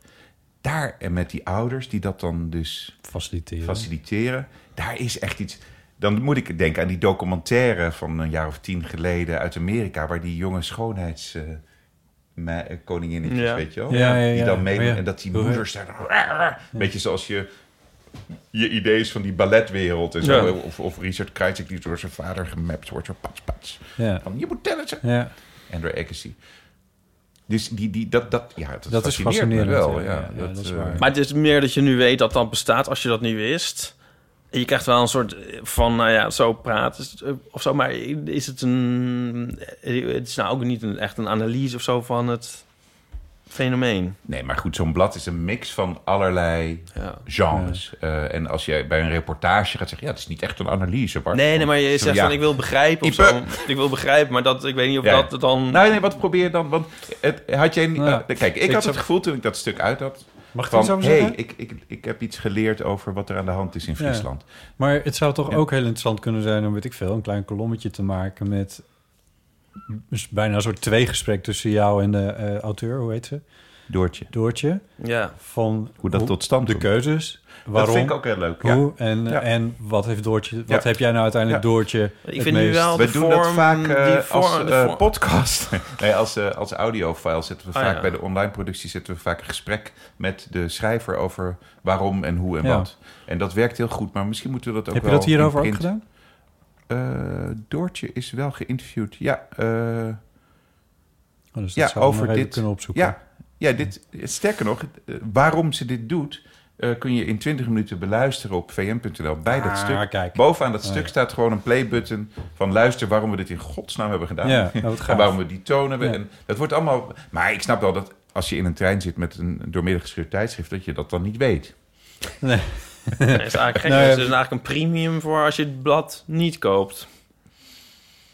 Speaker 1: Daar en met die ouders die dat dan dus
Speaker 2: Faciliteren.
Speaker 1: faciliteren... daar is echt iets... Dan moet ik denken aan die documentaire van een jaar of tien geleden uit Amerika... waar die jonge schoonheids... eh, me- eh, koninginnetjes,
Speaker 3: Ja.
Speaker 1: weet je wel?
Speaker 2: Ja, ja, ja.
Speaker 1: Die dan meedoen
Speaker 2: Oh, ja.
Speaker 1: en dat die
Speaker 2: Hoe heet-
Speaker 1: moeders daar... dan- Beetje zoals je je idee is van die balletwereld en zo. eh,
Speaker 3: Ja.
Speaker 1: Of, of Richard Krajcik die door zijn vader gemapt wordt. Zo pats, pats.
Speaker 2: Ja.
Speaker 1: Van, je moet tennissen.
Speaker 2: ja.
Speaker 1: En door Agassi. Dus die, die, dat, dat, ja, dat,
Speaker 2: Dat is
Speaker 1: fascineert me
Speaker 2: fascinerend,
Speaker 1: wel.
Speaker 2: ja,
Speaker 1: Ja,
Speaker 2: ja, ja, dat is
Speaker 1: eh,
Speaker 2: waar.
Speaker 3: Maar het is meer dat je nu weet dat dat bestaat als je dat niet wist. En je krijgt wel een soort eh, van, nou ja, zo praat is het, eh, of zo. Maar is het een... eh, Het is nou ook niet een, echt een analyse of zo van het fenomeen.
Speaker 1: Nee, maar goed, zo'n blad is een mix van allerlei
Speaker 3: Ja.
Speaker 1: genres. Eh, en als je bij een reportage gaat zeggen... ja, het is niet echt een analyse. Maar
Speaker 3: Nee, nee, maar je
Speaker 1: Zo,
Speaker 3: zegt
Speaker 1: ja.
Speaker 3: van, ik wil begrijpen of
Speaker 1: Ipe.
Speaker 3: zo. Ik wil begrijpen, maar dat, ik weet niet of
Speaker 1: Ja.
Speaker 3: dat dan...
Speaker 1: Nou, nee, wat probeer je dan? Want het, had jij... niet-
Speaker 2: Ja.
Speaker 1: eh, kijk, ik
Speaker 2: Ik
Speaker 1: had
Speaker 2: zou-
Speaker 1: het gevoel toen ik dat stuk uit had...
Speaker 2: Mag ik er
Speaker 1: van,
Speaker 2: iets over
Speaker 1: hey,
Speaker 2: zeggen?
Speaker 1: ik, ik, ik heb iets geleerd over wat er aan de hand is in
Speaker 2: Ja.
Speaker 1: Friesland.
Speaker 2: Maar het zou toch
Speaker 1: Ja.
Speaker 2: ook heel interessant kunnen zijn om, weet ik veel, een klein kolommetje te maken met dus bijna een soort tweegesprek tussen jou en de eh, auteur, hoe heet ze?
Speaker 1: Doortje.
Speaker 2: Doortje.
Speaker 3: Ja.
Speaker 2: Van
Speaker 1: Hoe dat tot stand
Speaker 2: de
Speaker 1: komt.
Speaker 2: keuzes.
Speaker 1: Dat
Speaker 2: Waarom?
Speaker 1: vind ik ook heel leuk. Ja.
Speaker 2: Hoe en,
Speaker 1: Ja.
Speaker 2: en wat heeft Doortje? Wat
Speaker 1: Ja.
Speaker 2: heb jij nou uiteindelijk
Speaker 1: Ja.
Speaker 2: Doortje?
Speaker 3: Ik
Speaker 2: het
Speaker 3: vind nu
Speaker 2: meest-
Speaker 3: wel
Speaker 1: We
Speaker 3: de
Speaker 1: doen
Speaker 3: vorm...
Speaker 1: dat vaak eh,
Speaker 3: die vorm-
Speaker 1: als
Speaker 3: de
Speaker 1: eh,
Speaker 3: vorm-
Speaker 1: podcast. [laughs] nee, als, eh, als audiofile zitten we
Speaker 3: Ah,
Speaker 1: vaak
Speaker 3: ja.
Speaker 1: bij de online productie zitten we vaak een gesprek met de schrijver over waarom en hoe en
Speaker 2: Ja.
Speaker 1: wat. En dat werkt heel goed, maar misschien moeten we dat ook
Speaker 2: Heb je
Speaker 1: wel
Speaker 2: dat hierover
Speaker 1: in
Speaker 2: ook
Speaker 1: print-
Speaker 2: gedaan?
Speaker 1: Eh, Doortje is wel geïnterviewd. Ja, eh,
Speaker 2: Oh, dus dat
Speaker 1: ja
Speaker 2: zouden we nog
Speaker 1: over
Speaker 2: even
Speaker 1: dit.
Speaker 2: kunnen opzoeken.
Speaker 1: Ja, ja, dit. Sterker nog, eh, waarom ze dit doet, eh, kun je in 20 minuten beluisteren op vm.nl bij dat
Speaker 2: Ah,
Speaker 1: stuk.
Speaker 2: kijk.
Speaker 1: Bovenaan dat
Speaker 2: Ah,
Speaker 1: stuk
Speaker 2: ja.
Speaker 1: staat gewoon een playbutton van luister waarom we dit in godsnaam hebben gedaan.
Speaker 2: Ja, nou, wat
Speaker 1: en
Speaker 2: gaaf.
Speaker 1: waarom we die toon hebben.
Speaker 2: Ja.
Speaker 1: En dat wordt allemaal. Maar ik snap wel dat als je in een trein zit met een doormidden geschreven tijdschrift, dat je dat dan niet weet.
Speaker 3: Nee, is eigenlijk gek.
Speaker 2: Nee.
Speaker 3: Dus er is eigenlijk een premium voor als je het blad niet koopt.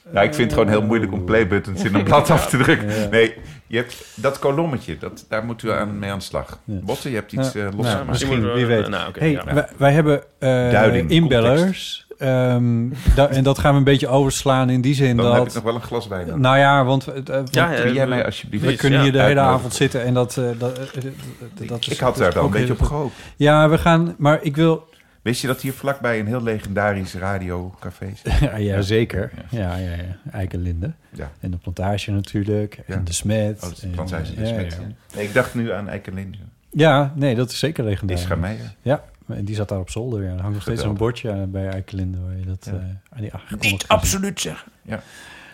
Speaker 3: Dus
Speaker 1: Nou, ik vind het gewoon heel moeilijk om playbuttons in een blad af te drukken.
Speaker 2: Ja.
Speaker 1: Nee, je hebt dat kolommetje, dat, daar moeten we aan, mee aan de slag.
Speaker 2: Ja.
Speaker 1: Botten, je hebt iets
Speaker 2: Ja.
Speaker 1: eh los
Speaker 2: Nou,
Speaker 1: te maken.
Speaker 2: misschien,
Speaker 3: moeten we-
Speaker 2: wie weet.
Speaker 3: Nou, oké,
Speaker 2: hey,
Speaker 3: ja.
Speaker 2: wij, wij hebben eh
Speaker 1: Duiding,
Speaker 2: inbellers. Ehm, da- en dat gaan we een beetje overslaan in die zin
Speaker 1: Dan
Speaker 2: dat...
Speaker 1: heb ik nog wel een glas wijn. Dan.
Speaker 2: Nou ja, want, eh, want
Speaker 3: Ja, ja.
Speaker 1: Kun jij
Speaker 3: eh,
Speaker 1: mij alsjeblieft...
Speaker 2: we
Speaker 3: precies,
Speaker 2: kunnen
Speaker 3: ja.
Speaker 2: hier de hele
Speaker 1: uitnodigen?
Speaker 2: avond zitten en dat... eh, dat, eh, eh, dat- dat is-
Speaker 1: ik had daar wel
Speaker 2: ook
Speaker 1: een beetje
Speaker 2: heel
Speaker 1: op
Speaker 2: goed.
Speaker 1: gehoopt.
Speaker 2: Ja, we gaan... Maar ik wil... [laughs]
Speaker 1: Wist je dat hier vlakbij een heel legendarisch radiocafé
Speaker 2: [laughs]
Speaker 1: Oh, zit?
Speaker 2: Ja, ja zeker. Ja, ja, ja. Eikenlinde.
Speaker 1: Ja.
Speaker 2: En de plantage natuurlijk. En
Speaker 1: Ja.
Speaker 2: de smet.
Speaker 1: Oh, dat is
Speaker 2: en,
Speaker 1: het Franshuis in de
Speaker 2: ja,
Speaker 1: Smet.
Speaker 2: ja.
Speaker 1: Nee, ik dacht nu aan Eikenlinde.
Speaker 2: Ja, nee, dat is zeker legendarisch.
Speaker 1: Isra Meijer.
Speaker 2: Ja, en die zat daar op zolder. Ja. Er hangt nog steeds een
Speaker 1: Geweldig.
Speaker 2: bordje aan- bij Eikelinde waar je dat
Speaker 1: Ja.
Speaker 2: eh, aan die aangekondigd
Speaker 1: Niet
Speaker 2: kan zien.
Speaker 1: absoluut zeggen. Ja.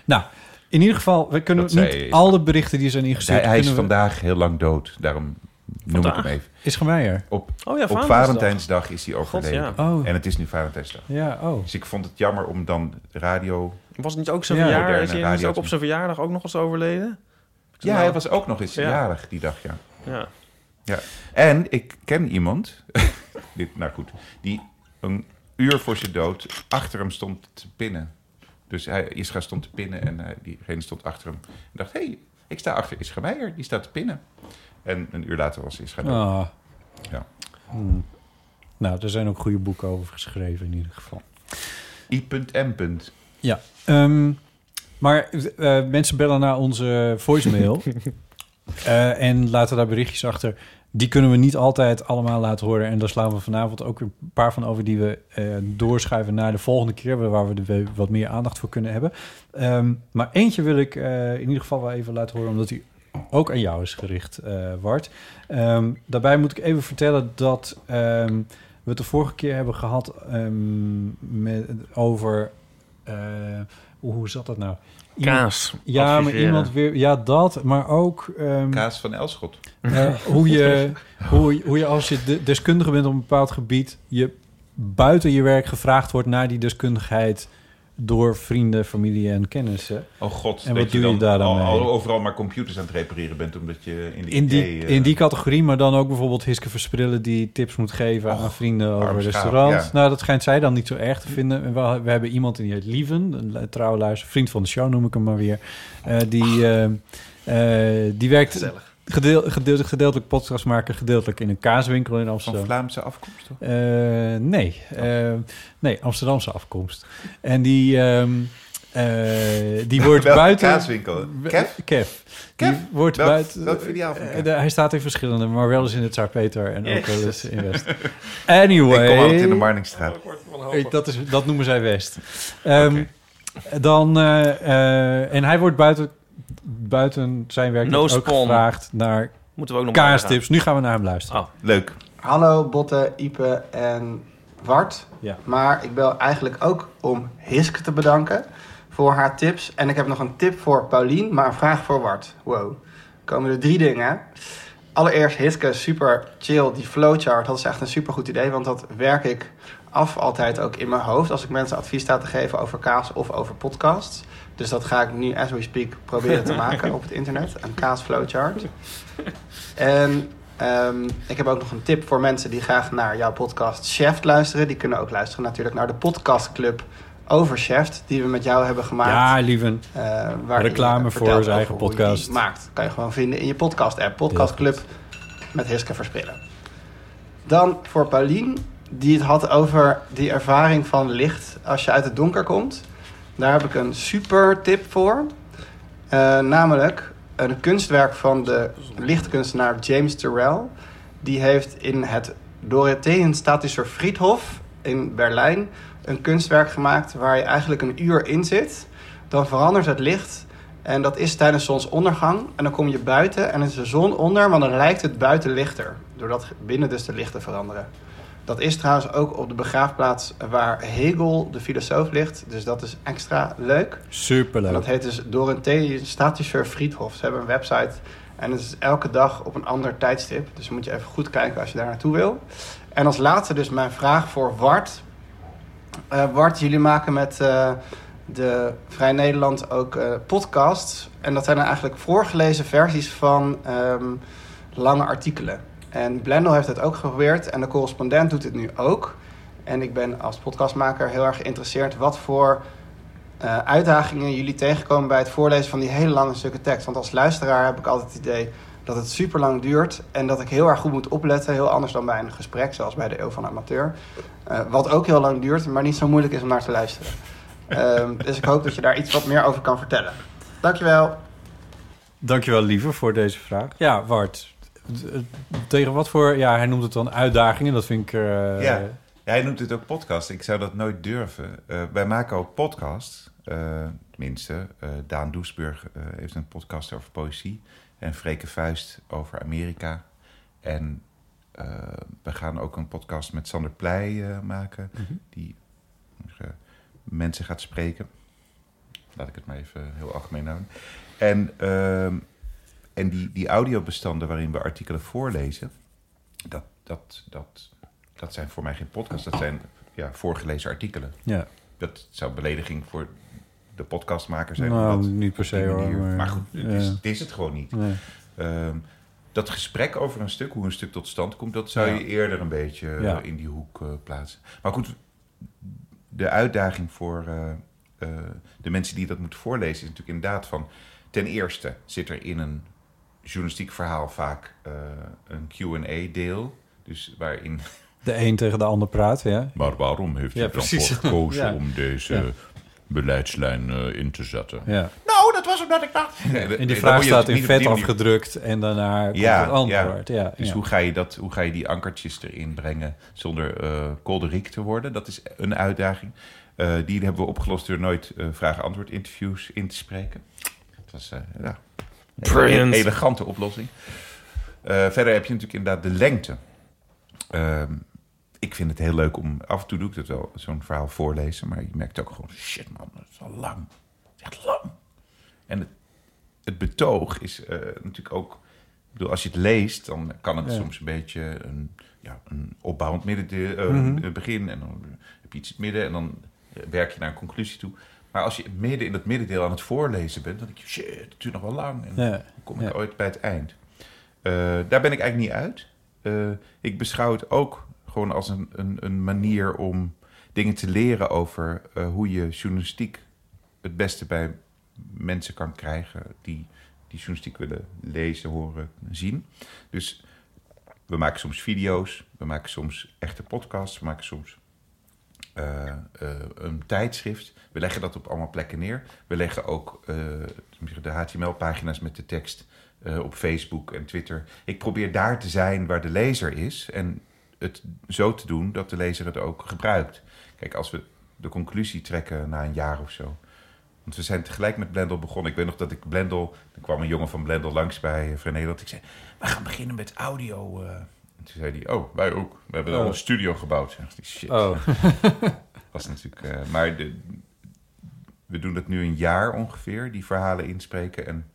Speaker 2: Nou, in ieder geval, we kunnen
Speaker 1: Dat
Speaker 2: niet
Speaker 1: zei-
Speaker 2: alle berichten die zijn
Speaker 1: Hij,
Speaker 2: ingestuurd...
Speaker 1: hij is
Speaker 2: kunnen we-
Speaker 1: vandaag heel lang dood. Daarom noem ik
Speaker 3: Vandaag?
Speaker 1: hem even.
Speaker 2: Is gemeijer.
Speaker 1: Op,
Speaker 3: Oh ja,
Speaker 1: op Valentijnsdag is hij overleden.
Speaker 3: ja.
Speaker 2: Oh,
Speaker 1: En het is nu Valentijnsdag.
Speaker 2: ja, oh.
Speaker 1: Dus ik vond het jammer om dan radio...
Speaker 3: Was het niet ook zijn
Speaker 2: Ja,
Speaker 3: verjaardag? Is
Speaker 1: moderne
Speaker 3: hij niet
Speaker 1: radio-
Speaker 3: ook op zijn verjaardag ook nog eens overleden?
Speaker 1: Ja, hij was ook nog eens
Speaker 3: Ja.
Speaker 1: jarig die dag, ja.
Speaker 3: Ja.
Speaker 1: ja. En ik ken iemand, [laughs] dit, nou goed, die een uur voor zijn dood achter hem stond te pinnen. Dus hij, Isra stond te pinnen en hij- diegene stond achter hem. En dacht, hé, hey, ik sta achter Isra Meijer, die staat te pinnen. En een uur later was Isra dood.
Speaker 2: Ah.
Speaker 1: Ja.
Speaker 2: Hmm. Nou, er zijn ook goede boeken over geschreven in ieder geval.
Speaker 1: I.M.
Speaker 2: Ja. Ehm, maar eh, mensen bellen naar onze voicemail. Eh, en laten daar berichtjes achter. Die kunnen we niet altijd allemaal laten horen. En daar slaan we vanavond ook weer een paar van over die we eh, doorschuiven naar de volgende keer. Waar we er weer wat meer aandacht voor kunnen hebben. Ehm, maar eentje wil ik eh, in ieder geval wel even laten horen. Omdat die ook aan jou is gericht, eh Wart. Ehm, daarbij moet ik even vertellen dat ehm, we het de vorige keer hebben gehad ehm, met, over eh, hoe hoe zat dat nou? Iemand-
Speaker 3: Kaas.
Speaker 2: ja, maar
Speaker 3: adviseren.
Speaker 2: iemand weer. Ja, dat, maar ook ehm,
Speaker 1: Kaas van Elschot.
Speaker 2: eh, hoe, je, hoe, je- hoe je als je de- deskundige bent op een bepaald gebied, je buiten je werk gevraagd wordt naar die deskundigheid door vrienden, familie en kennissen.
Speaker 1: Oh god,
Speaker 2: En
Speaker 1: dat
Speaker 2: wat doe je daar dan
Speaker 1: al-
Speaker 2: mee?
Speaker 1: al overal maar computers aan het repareren bent, omdat je in die...
Speaker 2: In die,
Speaker 1: idee, eh,
Speaker 2: in die categorie, maar dan ook bijvoorbeeld Hiske Versprillen... die tips moet geven aan vrienden over
Speaker 1: arm schaap,
Speaker 2: restaurants.
Speaker 1: ja.
Speaker 2: Nou, dat schijnt zij dan niet zo erg te vinden. En We, we hebben iemand die heet Lieven, een le- trouwe luister, vriend van de show noem ik hem maar weer. Eh, die, eh, eh, die werkt gedeel, gedeel- gedeeltelijk podcast maken, gedeeltelijk in een kaaswinkel in
Speaker 1: Van
Speaker 2: Amsterdam.
Speaker 1: Vlaamse afkomst, toch?
Speaker 2: Eh, nee,
Speaker 1: Oh.
Speaker 2: Eh, nee, Amsterdamse afkomst. En die, ehm, eh, die
Speaker 1: [laughs]
Speaker 2: wordt
Speaker 1: Welke
Speaker 2: buiten...
Speaker 1: kaaswinkel? Kev?
Speaker 2: Kev.
Speaker 1: Kev?
Speaker 2: Die wordt
Speaker 1: Welk-
Speaker 2: buiten...
Speaker 1: welk filiaal van Kev?
Speaker 2: Eh, de- hij staat in verschillende, maar wel eens in het Zarpeter en ook wel eens in West.
Speaker 1: Ik
Speaker 2: Anyway.
Speaker 1: kom altijd in de Marningstraat.
Speaker 2: Ik- dat, is, dat noemen zij West. Ehm, Dan, eh, eh, en hij wordt buiten, buiten zijn werk
Speaker 3: No
Speaker 2: ook
Speaker 3: spawn.
Speaker 2: gevraagd naar
Speaker 3: Moeten we ook nog maar
Speaker 2: kaastips. Nu gaan we naar hem luisteren.
Speaker 3: Ah.
Speaker 1: Leuk.
Speaker 4: Hanno, Botte, Ipe en Wart.
Speaker 2: Ja.
Speaker 4: Maar ik bel eigenlijk ook om Hiske te bedanken voor haar tips. En ik heb nog een tip voor Paulien, maar een vraag voor Wart. Wow. Komen er drie dingen. Allereerst Hiske, super chill. Die flowchart, dat is echt een super goed idee. Want dat werk ik af altijd ook in mijn hoofd. Als ik mensen advies sta te geven over kaas of over podcasts. Dus dat ga ik nu, as we speak, proberen te maken op het internet. Een kaas flowchart. En ehm, ik heb ook nog een tip voor mensen die graag naar jouw podcast Chef luisteren. Die kunnen ook luisteren natuurlijk naar de podcastclub over Chef. Die we met jou hebben
Speaker 3: Ah,
Speaker 4: gemaakt.
Speaker 2: Ja, lieven.
Speaker 4: Eh, waarin
Speaker 2: Reclame voor
Speaker 4: je vertelt
Speaker 2: zijn eigen
Speaker 4: over hoe je die
Speaker 2: podcast.
Speaker 4: Maakt. Kan je gewoon vinden in je podcast-app. Podcastclub met Hiske Verspillen. Dan voor Paulien, die het had over die ervaring van licht als je uit het donker komt. Daar heb ik een super tip voor. Eh, namelijk een kunstwerk van de lichtkunstenaar James Turrell. Die heeft in het Dorotheenstatischer Friedhof in Berlijn een kunstwerk gemaakt waar je eigenlijk een uur in zit. Dan verandert het licht en dat is tijdens zonsondergang. En dan kom je buiten en is de zon onder, maar dan lijkt het buiten lichter. Doordat binnen dus de lichten veranderen. Dat is trouwens ook op de begraafplaats waar Hegel, de filosoof, ligt. Dus dat is extra leuk. En dat
Speaker 2: Superleuk.
Speaker 4: heet dus Dorothee Statischer Friedhof. Ze hebben een website en het is elke dag op een ander tijdstip. Dus moet je even goed kijken als je daar naartoe wil. En als laatste dus mijn vraag voor Wart. Eh, Wart, jullie maken met eh, de Vrij Nederland ook eh, podcasts. En dat zijn dan eigenlijk voorgelezen versies van ehm, lange artikelen. En Blendel heeft het ook geprobeerd en de correspondent doet het nu ook. En ik ben als podcastmaker heel erg geïnteresseerd wat voor eh, uitdagingen jullie tegenkomen bij het voorlezen van die hele lange stukken tekst. Want als luisteraar heb ik altijd het idee dat het super lang duurt en dat ik heel erg goed moet opletten. Heel anders dan bij een gesprek, zoals bij de Eeuw van Amateur. Eh, wat ook heel lang duurt, maar niet zo moeilijk is om naar te luisteren. Ehm, dus ik hoop dat je daar iets wat meer over kan vertellen. Dankjewel.
Speaker 2: Dankjewel, lieve, voor deze vraag. Ja, Wart. d- Tegen wat voor... Ja, hij noemt het dan uitdagingen. Dat vind ik... eh,
Speaker 1: Ja. Ja, hij noemt dit ook podcast. Ik zou dat nooit durven. Eh, wij maken ook podcasts. Eh, tenminste, eh, Daan Doesburg eh, heeft een podcast over poëzie. En Freke Vuist over Amerika. En eh, we gaan ook een podcast met Sander Pleij eh, maken. Die eh, mensen gaat spreken. Laat ik het maar even heel algemeen houden. En, ehm, en die, die audiobestanden waarin we artikelen voorlezen... Dat, dat, dat dat zijn voor mij geen podcasts, dat zijn ja, voorgelezen artikelen.
Speaker 2: ja.
Speaker 1: Dat zou belediging voor de podcastmaker zijn.
Speaker 2: Nou,
Speaker 1: om dat
Speaker 2: niet per
Speaker 1: op die
Speaker 2: se, hoor,
Speaker 1: manier-
Speaker 2: maar- eh,
Speaker 1: Maar goed, het is,
Speaker 2: ja.
Speaker 1: het is het gewoon niet.
Speaker 2: Nee.
Speaker 1: Ehm, dat gesprek over een stuk, hoe een stuk tot stand komt, dat zou
Speaker 2: Ja.
Speaker 1: je eerder een beetje eh,
Speaker 2: Ja.
Speaker 1: in die hoek eh, plaatsen. Maar goed, de uitdaging voor eh, eh, de mensen die dat moeten voorlezen is natuurlijk inderdaad van. Ten eerste zit er in een journalistiek verhaal vaak eh, een QA-deel. Dus waarin
Speaker 2: De een tegen de ander praat, ja.
Speaker 1: maar waarom heeft
Speaker 2: Ja,
Speaker 1: u dan
Speaker 2: precies. [laughs]
Speaker 1: voor gekozen
Speaker 2: Ja.
Speaker 1: om deze
Speaker 2: Ja.
Speaker 1: beleidslijn eh, in te zetten?
Speaker 2: ja.
Speaker 1: Nou, dat was omdat ik dacht.
Speaker 2: En die vraag staat in vet afgedrukt en daarna komt
Speaker 1: Ja,
Speaker 2: het antwoord. Ja, ja,
Speaker 1: Dus Hoe, ga je dat, hoe ga je die ankertjes erin brengen zonder eh kolderiek te worden? Dat is een uitdaging. Eh, die hebben we opgelost door nooit eh, vraag-antwoord interviews in te spreken. Dat was eh, ja, een
Speaker 3: Brilliant.
Speaker 1: elegante oplossing. Eh, verder heb je natuurlijk inderdaad de lengte. Ehm, ik vind het heel leuk om... Af en toe doe ik dat wel, zo'n verhaal voorlezen. Maar je merkt ook gewoon... Shit man, dat is al lang. Dat is echt lang. En het, het betoog is eh, natuurlijk ook... Ik bedoel, als je het leest, dan kan het
Speaker 2: Ja.
Speaker 1: soms een beetje... Een, ja, een opbouwend middendeel, eh,
Speaker 2: Mhm.
Speaker 1: een begin. En dan heb je iets in het midden. En dan eh, werk je naar een conclusie toe. Maar als je midden in dat middendeel aan het voorlezen bent... dan denk je, shit, het duurt nog wel lang. En
Speaker 2: Ja.
Speaker 1: dan kom ik
Speaker 2: Ja.
Speaker 1: ooit bij het eind. Eh, daar ben ik eigenlijk niet uit. Eh, ik beschouw het ook gewoon als een, een, een manier om dingen te leren over eh, hoe je journalistiek het beste bij mensen kan krijgen die, die journalistiek willen lezen, horen, zien. Dus we maken soms video's, we maken soms echte podcasts, we maken soms eh, eh, een tijdschrift. We leggen dat op allemaal plekken neer. We leggen ook eh, de HTML-pagina's met de tekst eh, op Facebook en Twitter. Ik probeer daar te zijn waar de lezer is en het zo te doen dat de lezer het ook gebruikt. Kijk, als we de conclusie trekken na een jaar of zo. Want we zijn tegelijk met Blendel begonnen. Ik weet nog dat ik Blendel... Er kwam een jongen van Blendel langs bij eh, Vrij Nederland. Ik zei, we gaan beginnen met audio eh, En toen zei hij, oh, wij ook. We hebben
Speaker 5: Oh.
Speaker 1: al een studio gebouwd. Ik dacht, die shit.
Speaker 5: Oh,
Speaker 1: was natuurlijk. eh, maar de- we doen dat nu een jaar ongeveer, die verhalen inspreken. En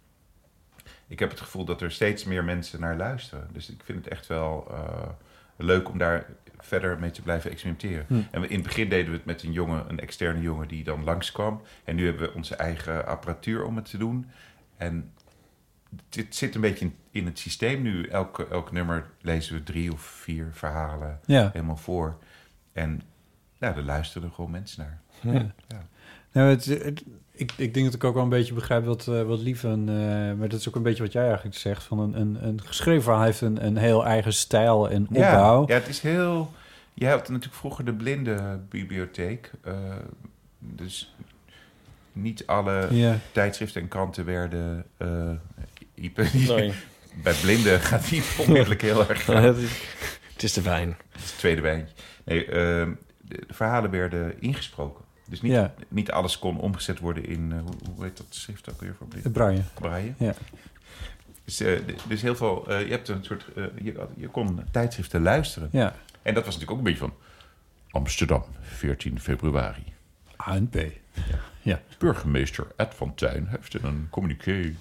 Speaker 1: ik heb het gevoel dat er steeds meer mensen naar luisteren. Dus ik vind het echt wel eh, leuk om daar verder mee te blijven experimenteren.
Speaker 2: Hm.
Speaker 1: En we, in het begin deden we het met een jongen, een externe jongen die dan langskwam. En nu hebben we onze eigen apparatuur om het te doen. En dit zit een beetje in, in het systeem nu. Elk, elk nummer lezen we drie of vier verhalen
Speaker 2: Ja.
Speaker 1: helemaal voor. En nou, daar luisteren gewoon mensen naar.
Speaker 2: Nou, het, het- ik, ik denk dat ik ook wel een beetje begrijp wat, eh, wat Lief een... eh, maar dat is ook een beetje wat jij eigenlijk zegt. Van een, een, een geschreven verhaal heeft een, een heel eigen stijl en opbouw.
Speaker 1: Ja, ja, het is heel... Je had natuurlijk vroeger de blinde bibliotheek. eh, dus niet alle
Speaker 2: Ja.
Speaker 1: tijdschriften en kranten werden... eh, [laughs] Ipe, die-
Speaker 3: Sorry. [laughs]
Speaker 1: bij blinden gaat
Speaker 2: [laughs]
Speaker 1: die onmiddellijk heel erg...
Speaker 5: het is te fijn.
Speaker 1: Het is het tweede wijntje. Nee, eh, de de verhalen werden ingesproken. Dus niet,
Speaker 2: Ja.
Speaker 1: niet alles kon omgezet worden in... eh, hoe, hoe heet dat schrift ook weer voor blinden?
Speaker 2: Brian.
Speaker 1: Braille.
Speaker 2: Ja.
Speaker 1: Dus, eh, d- dus heel veel... eh, je, hebt een soort, eh, je, had- je kon tijdschriften luisteren.
Speaker 2: Ja.
Speaker 1: En dat was natuurlijk ook een beetje van... Amsterdam, 14 februari.
Speaker 2: ANP.
Speaker 1: Burgemeester Ed van Tuin heeft in een communiqué...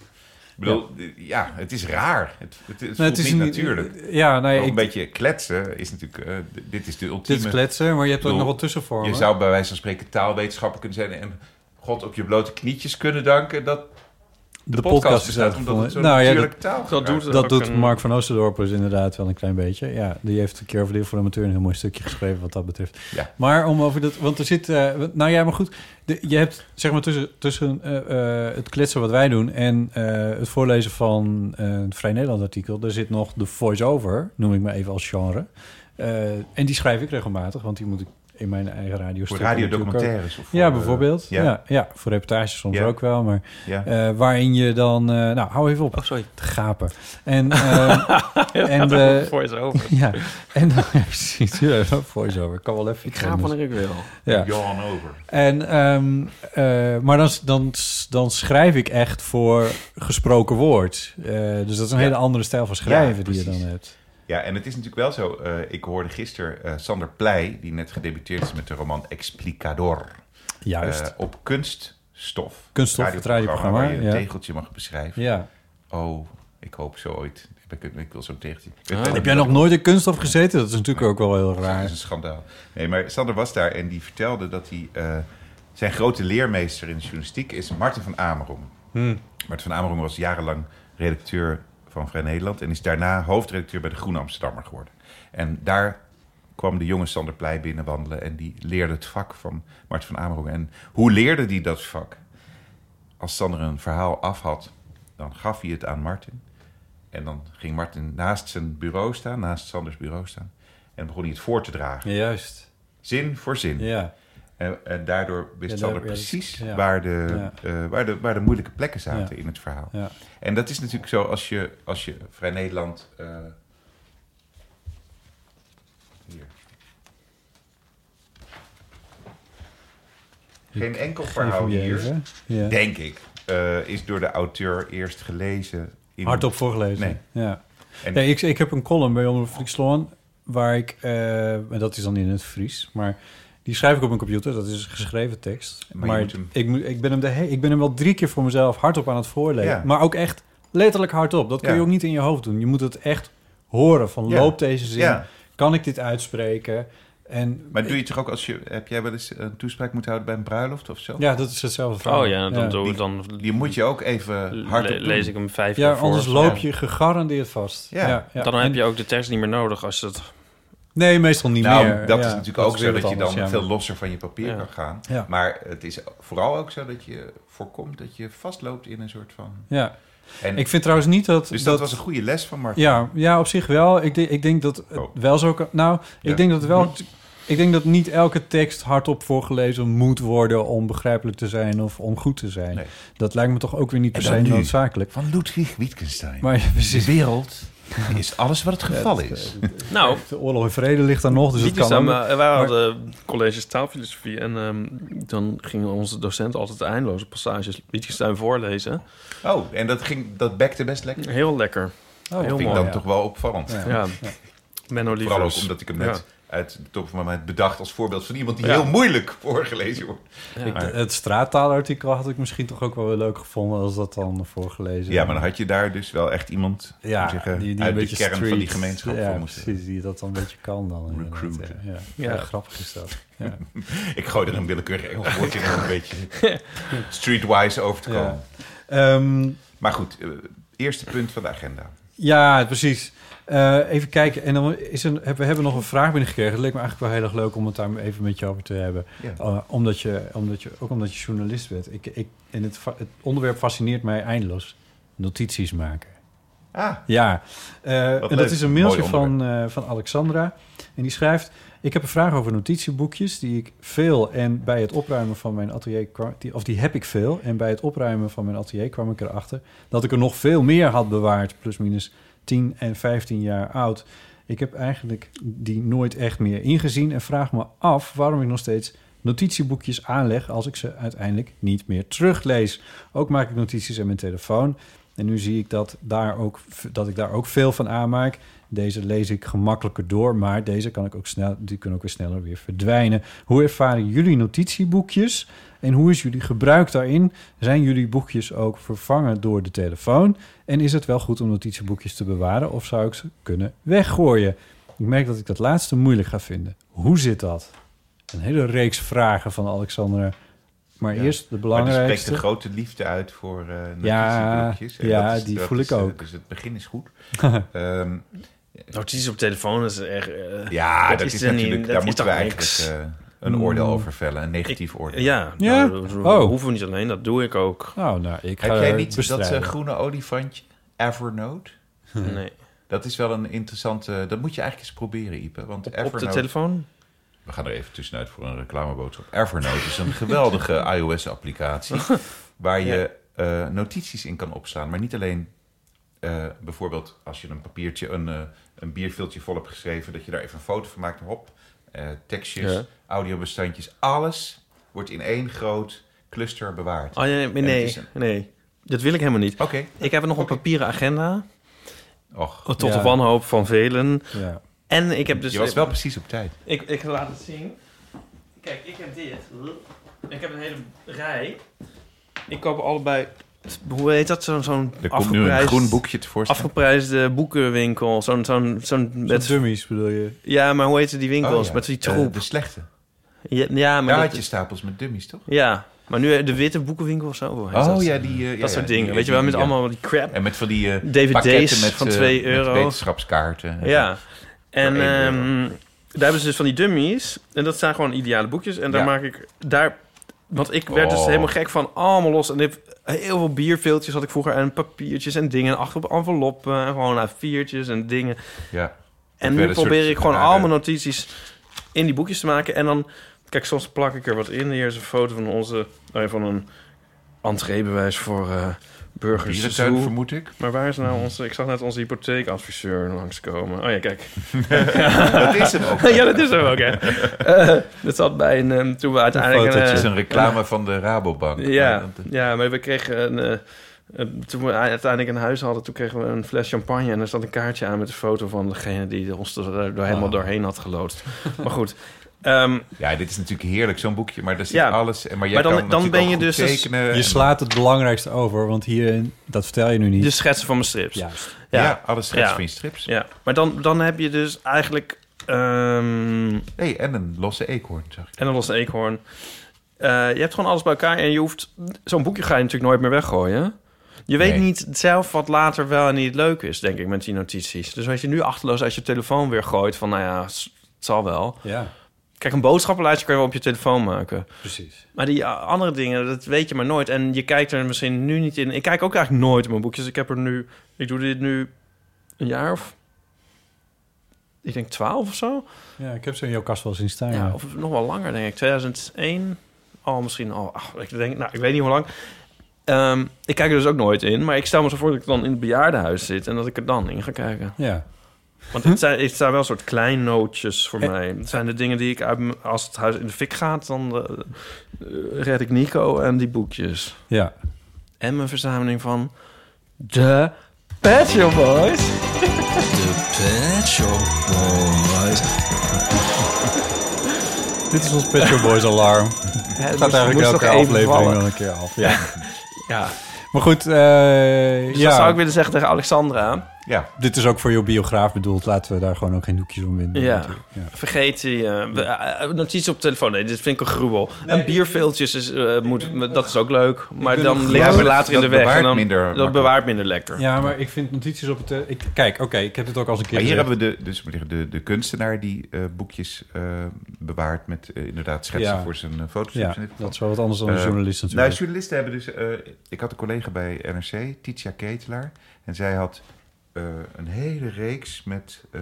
Speaker 1: Ik bedoel, eh, ja, het is raar. Het, het, het voelt niet natuurlijk.
Speaker 2: Ja, nou ja,
Speaker 1: Ook
Speaker 2: ik,
Speaker 1: een beetje kletsen is natuurlijk... eh, d- dit is de ultieme...
Speaker 2: dit is kletsen, maar je hebt er ook
Speaker 1: bedoel,
Speaker 2: nog wat tussenvormen.
Speaker 1: Je zou bij wijze van spreken taalwetenschapper kunnen zijn... en God op je blote knietjes kunnen danken... dat de, podcast, bestaat omdat het zo'n
Speaker 2: nou, ja, dat,
Speaker 1: natuurlijke taal
Speaker 3: dat doet
Speaker 1: gebruikt.
Speaker 3: het.
Speaker 2: dat
Speaker 3: ook
Speaker 2: doet
Speaker 3: een-
Speaker 2: Mark van Oosterdorp dus inderdaad wel een klein beetje. Ja, die heeft een keer over de Eeuw voor de amateur een heel mooi stukje geschreven wat dat betreft.
Speaker 1: Ja.
Speaker 2: Maar om over dat, want er zit, eh, wat- nou ja, maar goed, de- je hebt zeg maar tussen, tussen eh, eh, het kletsen wat wij doen en eh, het voorlezen van eh het Vrij Nederland artikel, daar zit nog de voice-over, noem ik maar even als genre. Eh, en die schrijf ik regelmatig, want die moet ik in mijn eigen radio
Speaker 1: Voor radiodocumentaires. of voor,
Speaker 2: Ja,
Speaker 1: eh,
Speaker 2: bijvoorbeeld.
Speaker 1: ja.
Speaker 2: Ja, ja, voor reportages soms
Speaker 1: Ja.
Speaker 2: ook wel, maar
Speaker 1: ja.
Speaker 2: eh, waarin je dan, eh, nou, hou even op
Speaker 3: Oh, sorry.
Speaker 2: te gapen.
Speaker 1: [laughs]
Speaker 2: En, ehm, en, eh,
Speaker 3: [laughs] Voor is over.
Speaker 2: ja, en dan, [laughs] ja, precies, ja, voice-over. Ik kan wel even.
Speaker 3: Ik ga wanneer ik wil.
Speaker 2: Ja.
Speaker 1: Johan over.
Speaker 2: En, ehm, eh, maar dan, dan, dan schrijf ik echt voor gesproken woord. Eh, dus dat is een
Speaker 1: Ja.
Speaker 2: hele andere stijl van schrijven
Speaker 1: Ja,
Speaker 2: die je dan
Speaker 1: precies.
Speaker 2: hebt.
Speaker 1: Ja, en het is natuurlijk wel zo. eh, ik hoorde gisteren eh, Sander Pleij, die net gedebuteerd is met de roman Explicador.
Speaker 2: Juist.
Speaker 1: eh, op kunststof.
Speaker 2: Kunststof, het radioprogramma,
Speaker 1: Waar je een
Speaker 2: ja.
Speaker 1: tegeltje mag beschrijven.
Speaker 2: ja.
Speaker 1: Oh, ik hoop zo ooit. Ik, ik wil zo'n tegeltje. Ik weet
Speaker 3: Ah.
Speaker 1: wel dat
Speaker 2: Heb jij nog nooit in kunststof gezeten? Dat is natuurlijk ook wel heel
Speaker 1: Dat
Speaker 2: raar.
Speaker 1: is een schandaal. Nee, maar Sander was daar en die vertelde dat hij... eh, zijn grote leermeester in de journalistiek is Martin van Amerom. Martin van Amerom was jarenlang redacteur van Vrij Nederland... en is daarna hoofdredacteur bij de Groene Amsterdammer geworden. En daar kwam de jonge Sander Pleij binnenwandelen... en die leerde het vak van Martin van Amerom. En hoe leerde die dat vak? Als Sander een verhaal af had, dan gaf hij het aan Martin... En dan ging Martin naast zijn bureau staan, naast Sanders bureau staan. En begon hij het voor te dragen.
Speaker 2: Ja, juist.
Speaker 1: Zin voor zin.
Speaker 2: Ja.
Speaker 1: En, en daardoor wist
Speaker 2: Ja,
Speaker 1: Sander
Speaker 2: daar- ja, dat-
Speaker 1: precies
Speaker 2: ja.
Speaker 1: waar, de, eh, waar, de, waar de moeilijke plekken zaten
Speaker 2: Ja.
Speaker 1: in het verhaal.
Speaker 2: Ja.
Speaker 1: En dat is natuurlijk zo als je, als je Vrij Nederland... eh, hier. Geen enkel verhaal
Speaker 2: Even
Speaker 1: hier,
Speaker 2: even. Ja.
Speaker 1: denk ik, eh, is door de auteur eerst gelezen. In,
Speaker 2: Hardop voorgelezen.
Speaker 1: Nee.
Speaker 2: Ja.
Speaker 1: En-
Speaker 2: Nee, ik, ik heb een column bij Omroep Friesland... waar ik... eh, en dat is dan in het Fries, maar... Die schrijf ik op mijn computer, dat is geschreven tekst.
Speaker 1: Maar je
Speaker 2: Maar,
Speaker 1: moet hem-
Speaker 2: ik, moet- ik, ben hem de he- ik ben hem wel drie keer voor mezelf hardop aan het voorlezen.
Speaker 1: Ja.
Speaker 2: Maar ook echt letterlijk hardop. Dat kun
Speaker 1: Ja.
Speaker 2: je ook niet in je hoofd doen. Je moet het echt horen van
Speaker 1: Ja.
Speaker 2: loopt deze zin?
Speaker 1: Ja.
Speaker 2: Kan ik dit uitspreken? En
Speaker 1: Maar doe je toch ook als je... Heb jij wel eens een toespraak moeten houden bij een bruiloft of zo?
Speaker 2: ja, dat is hetzelfde. verhaal.
Speaker 3: Oh ja, dan, doe
Speaker 1: Die-
Speaker 3: dan
Speaker 1: Die moet je ook even hard
Speaker 3: le-
Speaker 1: op doen.
Speaker 3: lees ik hem vijf
Speaker 2: Ja,
Speaker 3: jaar voor.
Speaker 2: anders loop je gegarandeerd vast.
Speaker 1: Ja.
Speaker 3: Dan
Speaker 2: En-
Speaker 3: heb je ook de tekst niet meer nodig als het...
Speaker 2: Nee, meestal niet
Speaker 1: nou,
Speaker 2: meer.
Speaker 1: dat
Speaker 2: Ja,
Speaker 1: is natuurlijk ook
Speaker 2: weer
Speaker 1: zo dat
Speaker 2: wat
Speaker 1: je dan
Speaker 2: anders, ja.
Speaker 1: veel losser van je papier
Speaker 3: Ja.
Speaker 1: kan gaan.
Speaker 2: Ja.
Speaker 1: Maar het is vooral ook zo dat je voorkomt dat je vastloopt in een soort van...
Speaker 2: Ja,
Speaker 1: En
Speaker 2: ik vind trouwens niet dat...
Speaker 1: dus dat, was een goede les van Martin.
Speaker 2: Ja, ja, op zich wel. Ik, denk- ik denk dat het
Speaker 1: Oh.
Speaker 2: wel zo kan... Nou,
Speaker 1: Ja.
Speaker 2: ik denk dat het wel... Ik denk dat niet elke tekst hardop voorgelezen moet worden... om begrijpelijk te zijn of om goed te zijn.
Speaker 1: Nee.
Speaker 2: Dat lijkt me toch ook weer niet per
Speaker 1: En dan
Speaker 2: se
Speaker 1: nu.
Speaker 2: noodzakelijk.
Speaker 1: Van Ludwig Wittgenstein.
Speaker 2: Maar ja, precies.
Speaker 1: de
Speaker 2: [laughs]
Speaker 1: wereld is alles wat het geval is.
Speaker 3: Nou,
Speaker 2: De oorlog en vrede ligt daar nog, dus dat
Speaker 3: Liedjes
Speaker 2: dus kan
Speaker 3: dan,
Speaker 2: ook.
Speaker 3: eh, wij hadden colleges taalfilosofie en ehm, dan gingen onze docenten altijd eindeloze passages Wittgenstein voorlezen.
Speaker 1: Oh, en dat, ging, dat bekte best lekker.
Speaker 3: Heel lekker.
Speaker 2: Oh,
Speaker 1: dat
Speaker 3: heel
Speaker 1: vind ik
Speaker 3: mooi,
Speaker 1: dan
Speaker 2: ja.
Speaker 1: toch wel opvallend.
Speaker 2: Ja.
Speaker 3: Ja.
Speaker 6: Menno Lievers.
Speaker 1: Vooral ook omdat ik hem net uit de top van mijn mind bedacht als voorbeeld van iemand die heel moeilijk voorgelezen wordt.
Speaker 2: Ik- het straattaalartikel had ik misschien toch ook wel weer leuk gevonden als dat dan voorgelezen.
Speaker 1: Ja, maar dan had je daar dus wel echt iemand
Speaker 2: Ja,
Speaker 1: moet zeggen,
Speaker 2: die, die
Speaker 1: uit
Speaker 2: een
Speaker 1: de
Speaker 2: beetje
Speaker 1: kern van die
Speaker 2: street-
Speaker 1: gemeenschap
Speaker 2: ja,
Speaker 1: voor moest.
Speaker 2: precies, die dat dan een beetje kan dan. inderdaad,
Speaker 1: Recruiten.
Speaker 2: Ja, ja.
Speaker 6: Ja.
Speaker 2: Ja, grappig is dat. Ja.
Speaker 1: Ik gooi er een willekeurig
Speaker 2: [laughs]
Speaker 1: Engels woordje in om een beetje streetwise over te komen.
Speaker 2: Ja. Ehm,
Speaker 1: Maar goed, eh, eerste punt van de agenda.
Speaker 2: Ja, precies. Eh, even kijken. En dan is een, heb- we hebben nog een vraag binnengekregen. Het leek me eigenlijk wel heel erg leuk om het daar even met je over te hebben.
Speaker 1: Ja.
Speaker 2: Eh, omdat je, omdat je, ook omdat je journalist bent. Ik, ik, en het, fa- het onderwerp fascineert mij eindeloos. Notities maken.
Speaker 1: Ah,
Speaker 2: Ja, Eh, en
Speaker 1: leuk.
Speaker 2: dat is een mailtje
Speaker 1: Mooi
Speaker 2: van, eh, van Alexandra. En die schrijft... Ik heb een vraag over notitieboekjes die ik veel... en bij het opruimen van mijn atelier... kwam- die, of die heb ik veel. En bij het opruimen van mijn atelier kwam ik erachter... dat ik er nog veel meer had bewaard. Plus minus 10 en 15 jaar oud. Ik heb eigenlijk die nooit echt meer ingezien... en vraag me af waarom ik nog steeds notitieboekjes aanleg... als ik ze uiteindelijk niet meer teruglees. Ook maak ik notities aan mijn telefoon... En nu zie ik dat, daar ook, dat ik daar ook veel van aanmaak. Deze lees ik gemakkelijker door, maar deze kan ik ook snel, die kunnen ook weer sneller weer verdwijnen. Hoe ervaren jullie notitieboekjes en hoe is jullie gebruik daarin? Zijn jullie boekjes ook vervangen door de telefoon? En is het wel goed om notitieboekjes te bewaren of zou ik ze kunnen weggooien? Ik merk dat ik dat laatste moeilijk ga vinden. Hoe zit dat? Een hele reeks vragen van Alexandra. Maar
Speaker 1: Ja.
Speaker 2: eerst de
Speaker 1: Maar die
Speaker 2: belangrijkste.
Speaker 1: spreekt een grote liefde uit voor eh
Speaker 2: Ja,
Speaker 1: notitieboekjes. En
Speaker 2: ja,
Speaker 1: dat is-
Speaker 2: die
Speaker 1: dat
Speaker 2: voel
Speaker 1: is,
Speaker 2: ik
Speaker 1: eh,
Speaker 2: ook.
Speaker 1: Dus het begin is
Speaker 2: [laughs]
Speaker 1: goed. Ehm,
Speaker 3: Notities op telefoon is echt... eh,
Speaker 1: ja, dat,
Speaker 3: Dat
Speaker 1: is,
Speaker 3: is er niet-
Speaker 1: natuurlijk,
Speaker 3: dat
Speaker 1: daar
Speaker 3: is
Speaker 1: moeten we
Speaker 3: toch
Speaker 1: eigenlijk
Speaker 3: niks? Mm.
Speaker 1: eh, een oordeel over vellen. Een negatief oordeel.
Speaker 3: ja,
Speaker 2: Ja?
Speaker 3: Nou, dat
Speaker 2: Oh.
Speaker 3: hoeven we niet alleen. Dat doe ik
Speaker 1: [laughs]
Speaker 3: ook.
Speaker 2: Nou, nou, ik ga
Speaker 1: Heb jij
Speaker 2: er
Speaker 1: niet dat eh,
Speaker 2: bestrijden.
Speaker 1: groene olifantje Evernote?
Speaker 3: Nee.
Speaker 1: Dat is wel een interessante... Dat moet je eigenlijk eens proberen, Ipe. Want
Speaker 3: Op de
Speaker 1: Evernote...
Speaker 3: telefoon?
Speaker 1: We gaan er even tussenuit voor een reclameboodschap. Evernote is een
Speaker 3: [laughs]
Speaker 1: geweldige iOS-applicatie waar je eh, notities in kan opslaan. Maar niet alleen eh, bijvoorbeeld als je een papiertje, een, eh, een bierviltje vol hebt geschreven, dat je daar even een foto van maakt. Hop, eh, tekstjes,
Speaker 3: Ja.
Speaker 1: audiobestandjes, alles wordt in één groot cluster bewaard.
Speaker 3: Oh, nee, nee,
Speaker 1: En het
Speaker 3: nee,
Speaker 1: is een-
Speaker 3: nee. Dat wil ik helemaal niet.
Speaker 1: Oké,
Speaker 3: Ik heb nog een papieren agenda.
Speaker 1: och.
Speaker 3: Tot
Speaker 2: Ja.
Speaker 3: de wanhoop van velen.
Speaker 2: Ja.
Speaker 3: En ik heb dus...
Speaker 1: je was wel precies op tijd.
Speaker 3: Ik, ik laat het zien. Kijk, ik heb dit. Ik heb een hele rij. Ik koop allebei... Hoe heet dat? Zo'n zo'n
Speaker 1: Er komt nu een
Speaker 3: afgeprijsd,
Speaker 1: groen boekje tevoorschijn.
Speaker 3: afgeprijsde boekenwinkel. Zo'n... zo'n zo'n
Speaker 2: Met
Speaker 3: met,
Speaker 2: dummies bedoel je?
Speaker 3: ja, maar hoe heet die winkels?
Speaker 1: Oh, ja.
Speaker 3: Met die
Speaker 1: Eh,
Speaker 3: troep.
Speaker 1: de slechte.
Speaker 3: ja, ja, maar
Speaker 1: Daar
Speaker 3: dat-
Speaker 1: had je stapels met dummies, toch?
Speaker 3: ja, maar nu eh, de witte boekenwinkel of zo. hoe heet
Speaker 1: Oh
Speaker 3: dat?
Speaker 1: ja, die... eh, ja,
Speaker 3: Dat
Speaker 1: ja,
Speaker 3: soort
Speaker 1: die-
Speaker 3: dingen. Weet je wel,
Speaker 1: die-
Speaker 3: met
Speaker 1: ja.
Speaker 3: allemaal die crap.
Speaker 1: En met van die eh,
Speaker 3: DVD's
Speaker 1: pakketten met,
Speaker 3: van
Speaker 1: eh,
Speaker 3: 2
Speaker 1: met
Speaker 3: euro.
Speaker 1: wetenschapskaarten.
Speaker 3: Ja. En
Speaker 1: Voor één
Speaker 3: ehm, daar hebben ze dus van die dummies. En dat zijn gewoon ideale boekjes. En daar
Speaker 1: Ja.
Speaker 3: maak ik daar. Want ik werd dus
Speaker 1: Oh.
Speaker 3: helemaal gek van allemaal los. En ik heb heel veel bierveeltjes had ik vroeger. En papiertjes en dingen. Achter op enveloppen. En gewoon A4'tjes en dingen.
Speaker 1: ja.
Speaker 3: En
Speaker 1: werd
Speaker 3: nu
Speaker 1: een
Speaker 3: probeer
Speaker 1: soort
Speaker 3: ik gewoon
Speaker 1: rare-
Speaker 3: allemaal notities in die boekjes te maken. En dan, kijk, soms plak ik er wat in. Hier is een foto van onze. nou ja, van een entreebewijs voor eh burgers.
Speaker 1: Dierentuin,
Speaker 3: Zoo.
Speaker 1: vermoed ik.
Speaker 3: Maar waar is nou onze... Ik zag net onze hypotheekadviseur langskomen. Oh ja,
Speaker 1: [laughs]
Speaker 3: kijk.
Speaker 1: Dat is het ook.
Speaker 3: ja, dat is hem ook, hè. Eh, dat zat bij een... ehm, toen we uiteindelijk...
Speaker 1: Dat is
Speaker 3: eh,
Speaker 1: een reclame van de Rabobank. eh,
Speaker 3: ja,
Speaker 1: Maar dat-
Speaker 3: ja, maar we kregen een... eh, eh, toen we uiteindelijk een huis hadden, toen kregen we een fles champagne... en er zat een kaartje aan met een foto van degene die ons er er helemaal
Speaker 1: Ah.
Speaker 3: doorheen had geloodst. Maar goed, ehm,
Speaker 1: Ja, dit is natuurlijk heerlijk, zo'n boekje. Maar daar zit
Speaker 3: Ja.
Speaker 1: alles... en- Maar, jij
Speaker 3: Maar dan-
Speaker 1: kan
Speaker 3: dan
Speaker 1: natuurlijk
Speaker 3: ben
Speaker 1: ook
Speaker 3: je
Speaker 1: goed
Speaker 3: dus-
Speaker 1: tekenen.
Speaker 2: Je
Speaker 1: en-
Speaker 2: slaat het belangrijkste over, want hier, dat vertel je nu niet.
Speaker 3: de schetsen van mijn strips.
Speaker 2: Juist.
Speaker 1: Ja,
Speaker 3: Ja.
Speaker 1: alles strips
Speaker 3: Ja.
Speaker 1: van je strips.
Speaker 3: Ja. Maar dan, dan heb je dus eigenlijk... ehm,
Speaker 1: hey, en een losse eekhoorn, zag ik.
Speaker 3: En dan was een eekhoorn. Eh, je hebt gewoon alles bij elkaar en je hoeft... Zo'n boekje ga je natuurlijk nooit meer weggooien. Je weet
Speaker 1: Nee.
Speaker 3: niet zelf wat later wel en niet leuk is, denk ik, met die notities. Dus als je nu achterloos uit je telefoon weer gooit van, nou ja, s- het zal wel.
Speaker 2: Ja,
Speaker 3: Kijk, een boodschappenlijstje kan je wel op je telefoon maken.
Speaker 2: precies.
Speaker 3: Maar die eh, andere dingen, dat weet je maar nooit. En je kijkt er misschien nu niet in. Ik kijk ook eigenlijk nooit in mijn boekjes. Ik heb er nu... Ik doe dit nu een jaar of... Ik denk twaalf of zo.
Speaker 2: Ja, ik heb ze in jouw kast wel zien staan.
Speaker 3: Ja,
Speaker 2: Ja,
Speaker 3: Nou, of nog wel langer, denk ik. 2001, al misschien al. Ach, ik denk, nou, ik weet niet hoe lang. Ehm, ik kijk er dus ook nooit in, maar ik stel me zo voor dat ik dan in het bejaardenhuis zit en dat ik er dan in ga kijken.
Speaker 2: ja.
Speaker 3: Want het zijn, het zijn wel een soort kleinootjes voor mij. Het zijn de dingen die ik uit, m- als het huis in de fik gaat, dan eh, eh, red ik Nico en die boekjes.
Speaker 2: ja.
Speaker 3: En mijn verzameling van de Pet Shop Boys.
Speaker 5: De Pet Shop Boys.
Speaker 2: Dit is ons Pet Shop Boys
Speaker 1: [laughs]
Speaker 2: alarm. Het
Speaker 1: Dus
Speaker 2: gaat eigenlijk elke aflevering wel een keer af. Ja.
Speaker 3: Ja.
Speaker 2: Maar goed, eh,
Speaker 3: Dus dat
Speaker 2: ja,
Speaker 3: zou ik willen zeggen tegen Alexandra.
Speaker 1: Ja,
Speaker 2: dit is ook voor jouw biograaf bedoeld. Laten we daar gewoon ook geen doekjes om winden.
Speaker 3: Ja.
Speaker 2: natuurlijk. ja.
Speaker 3: Vergeet die eh, we- eh, notities op telefoon. Nee, dit vind ik een gruwel. en bierveeltjes, is, eh, moet, dat is ook leuk. Maar dan liggen we
Speaker 1: dat-
Speaker 3: later in
Speaker 1: dat
Speaker 3: de weg. En
Speaker 1: bewaart
Speaker 3: dan,
Speaker 1: minder
Speaker 3: dat
Speaker 1: makkelijk.
Speaker 3: bewaart minder lekker.
Speaker 2: Ja, maar ik vind notities op het... eh, Ik, kijk, oké, ik heb het ook als een keer
Speaker 1: Maar hier
Speaker 2: gezegd.
Speaker 1: hebben we de, dus moet ik zeggen, de, de kunstenaar die eh, boekjes eh, bewaart met eh, inderdaad schetsen
Speaker 2: Ja.
Speaker 1: voor zijn eh, foto's. in dit
Speaker 2: Ja,
Speaker 1: geval.
Speaker 2: dat is wel wat anders dan
Speaker 1: Eh,
Speaker 2: een journalist natuurlijk.
Speaker 1: Nou, journalisten hebben dus... eh, ik had een collega bij NRC, Titia Ketelaar. En zij had eh, een hele reeks met eh,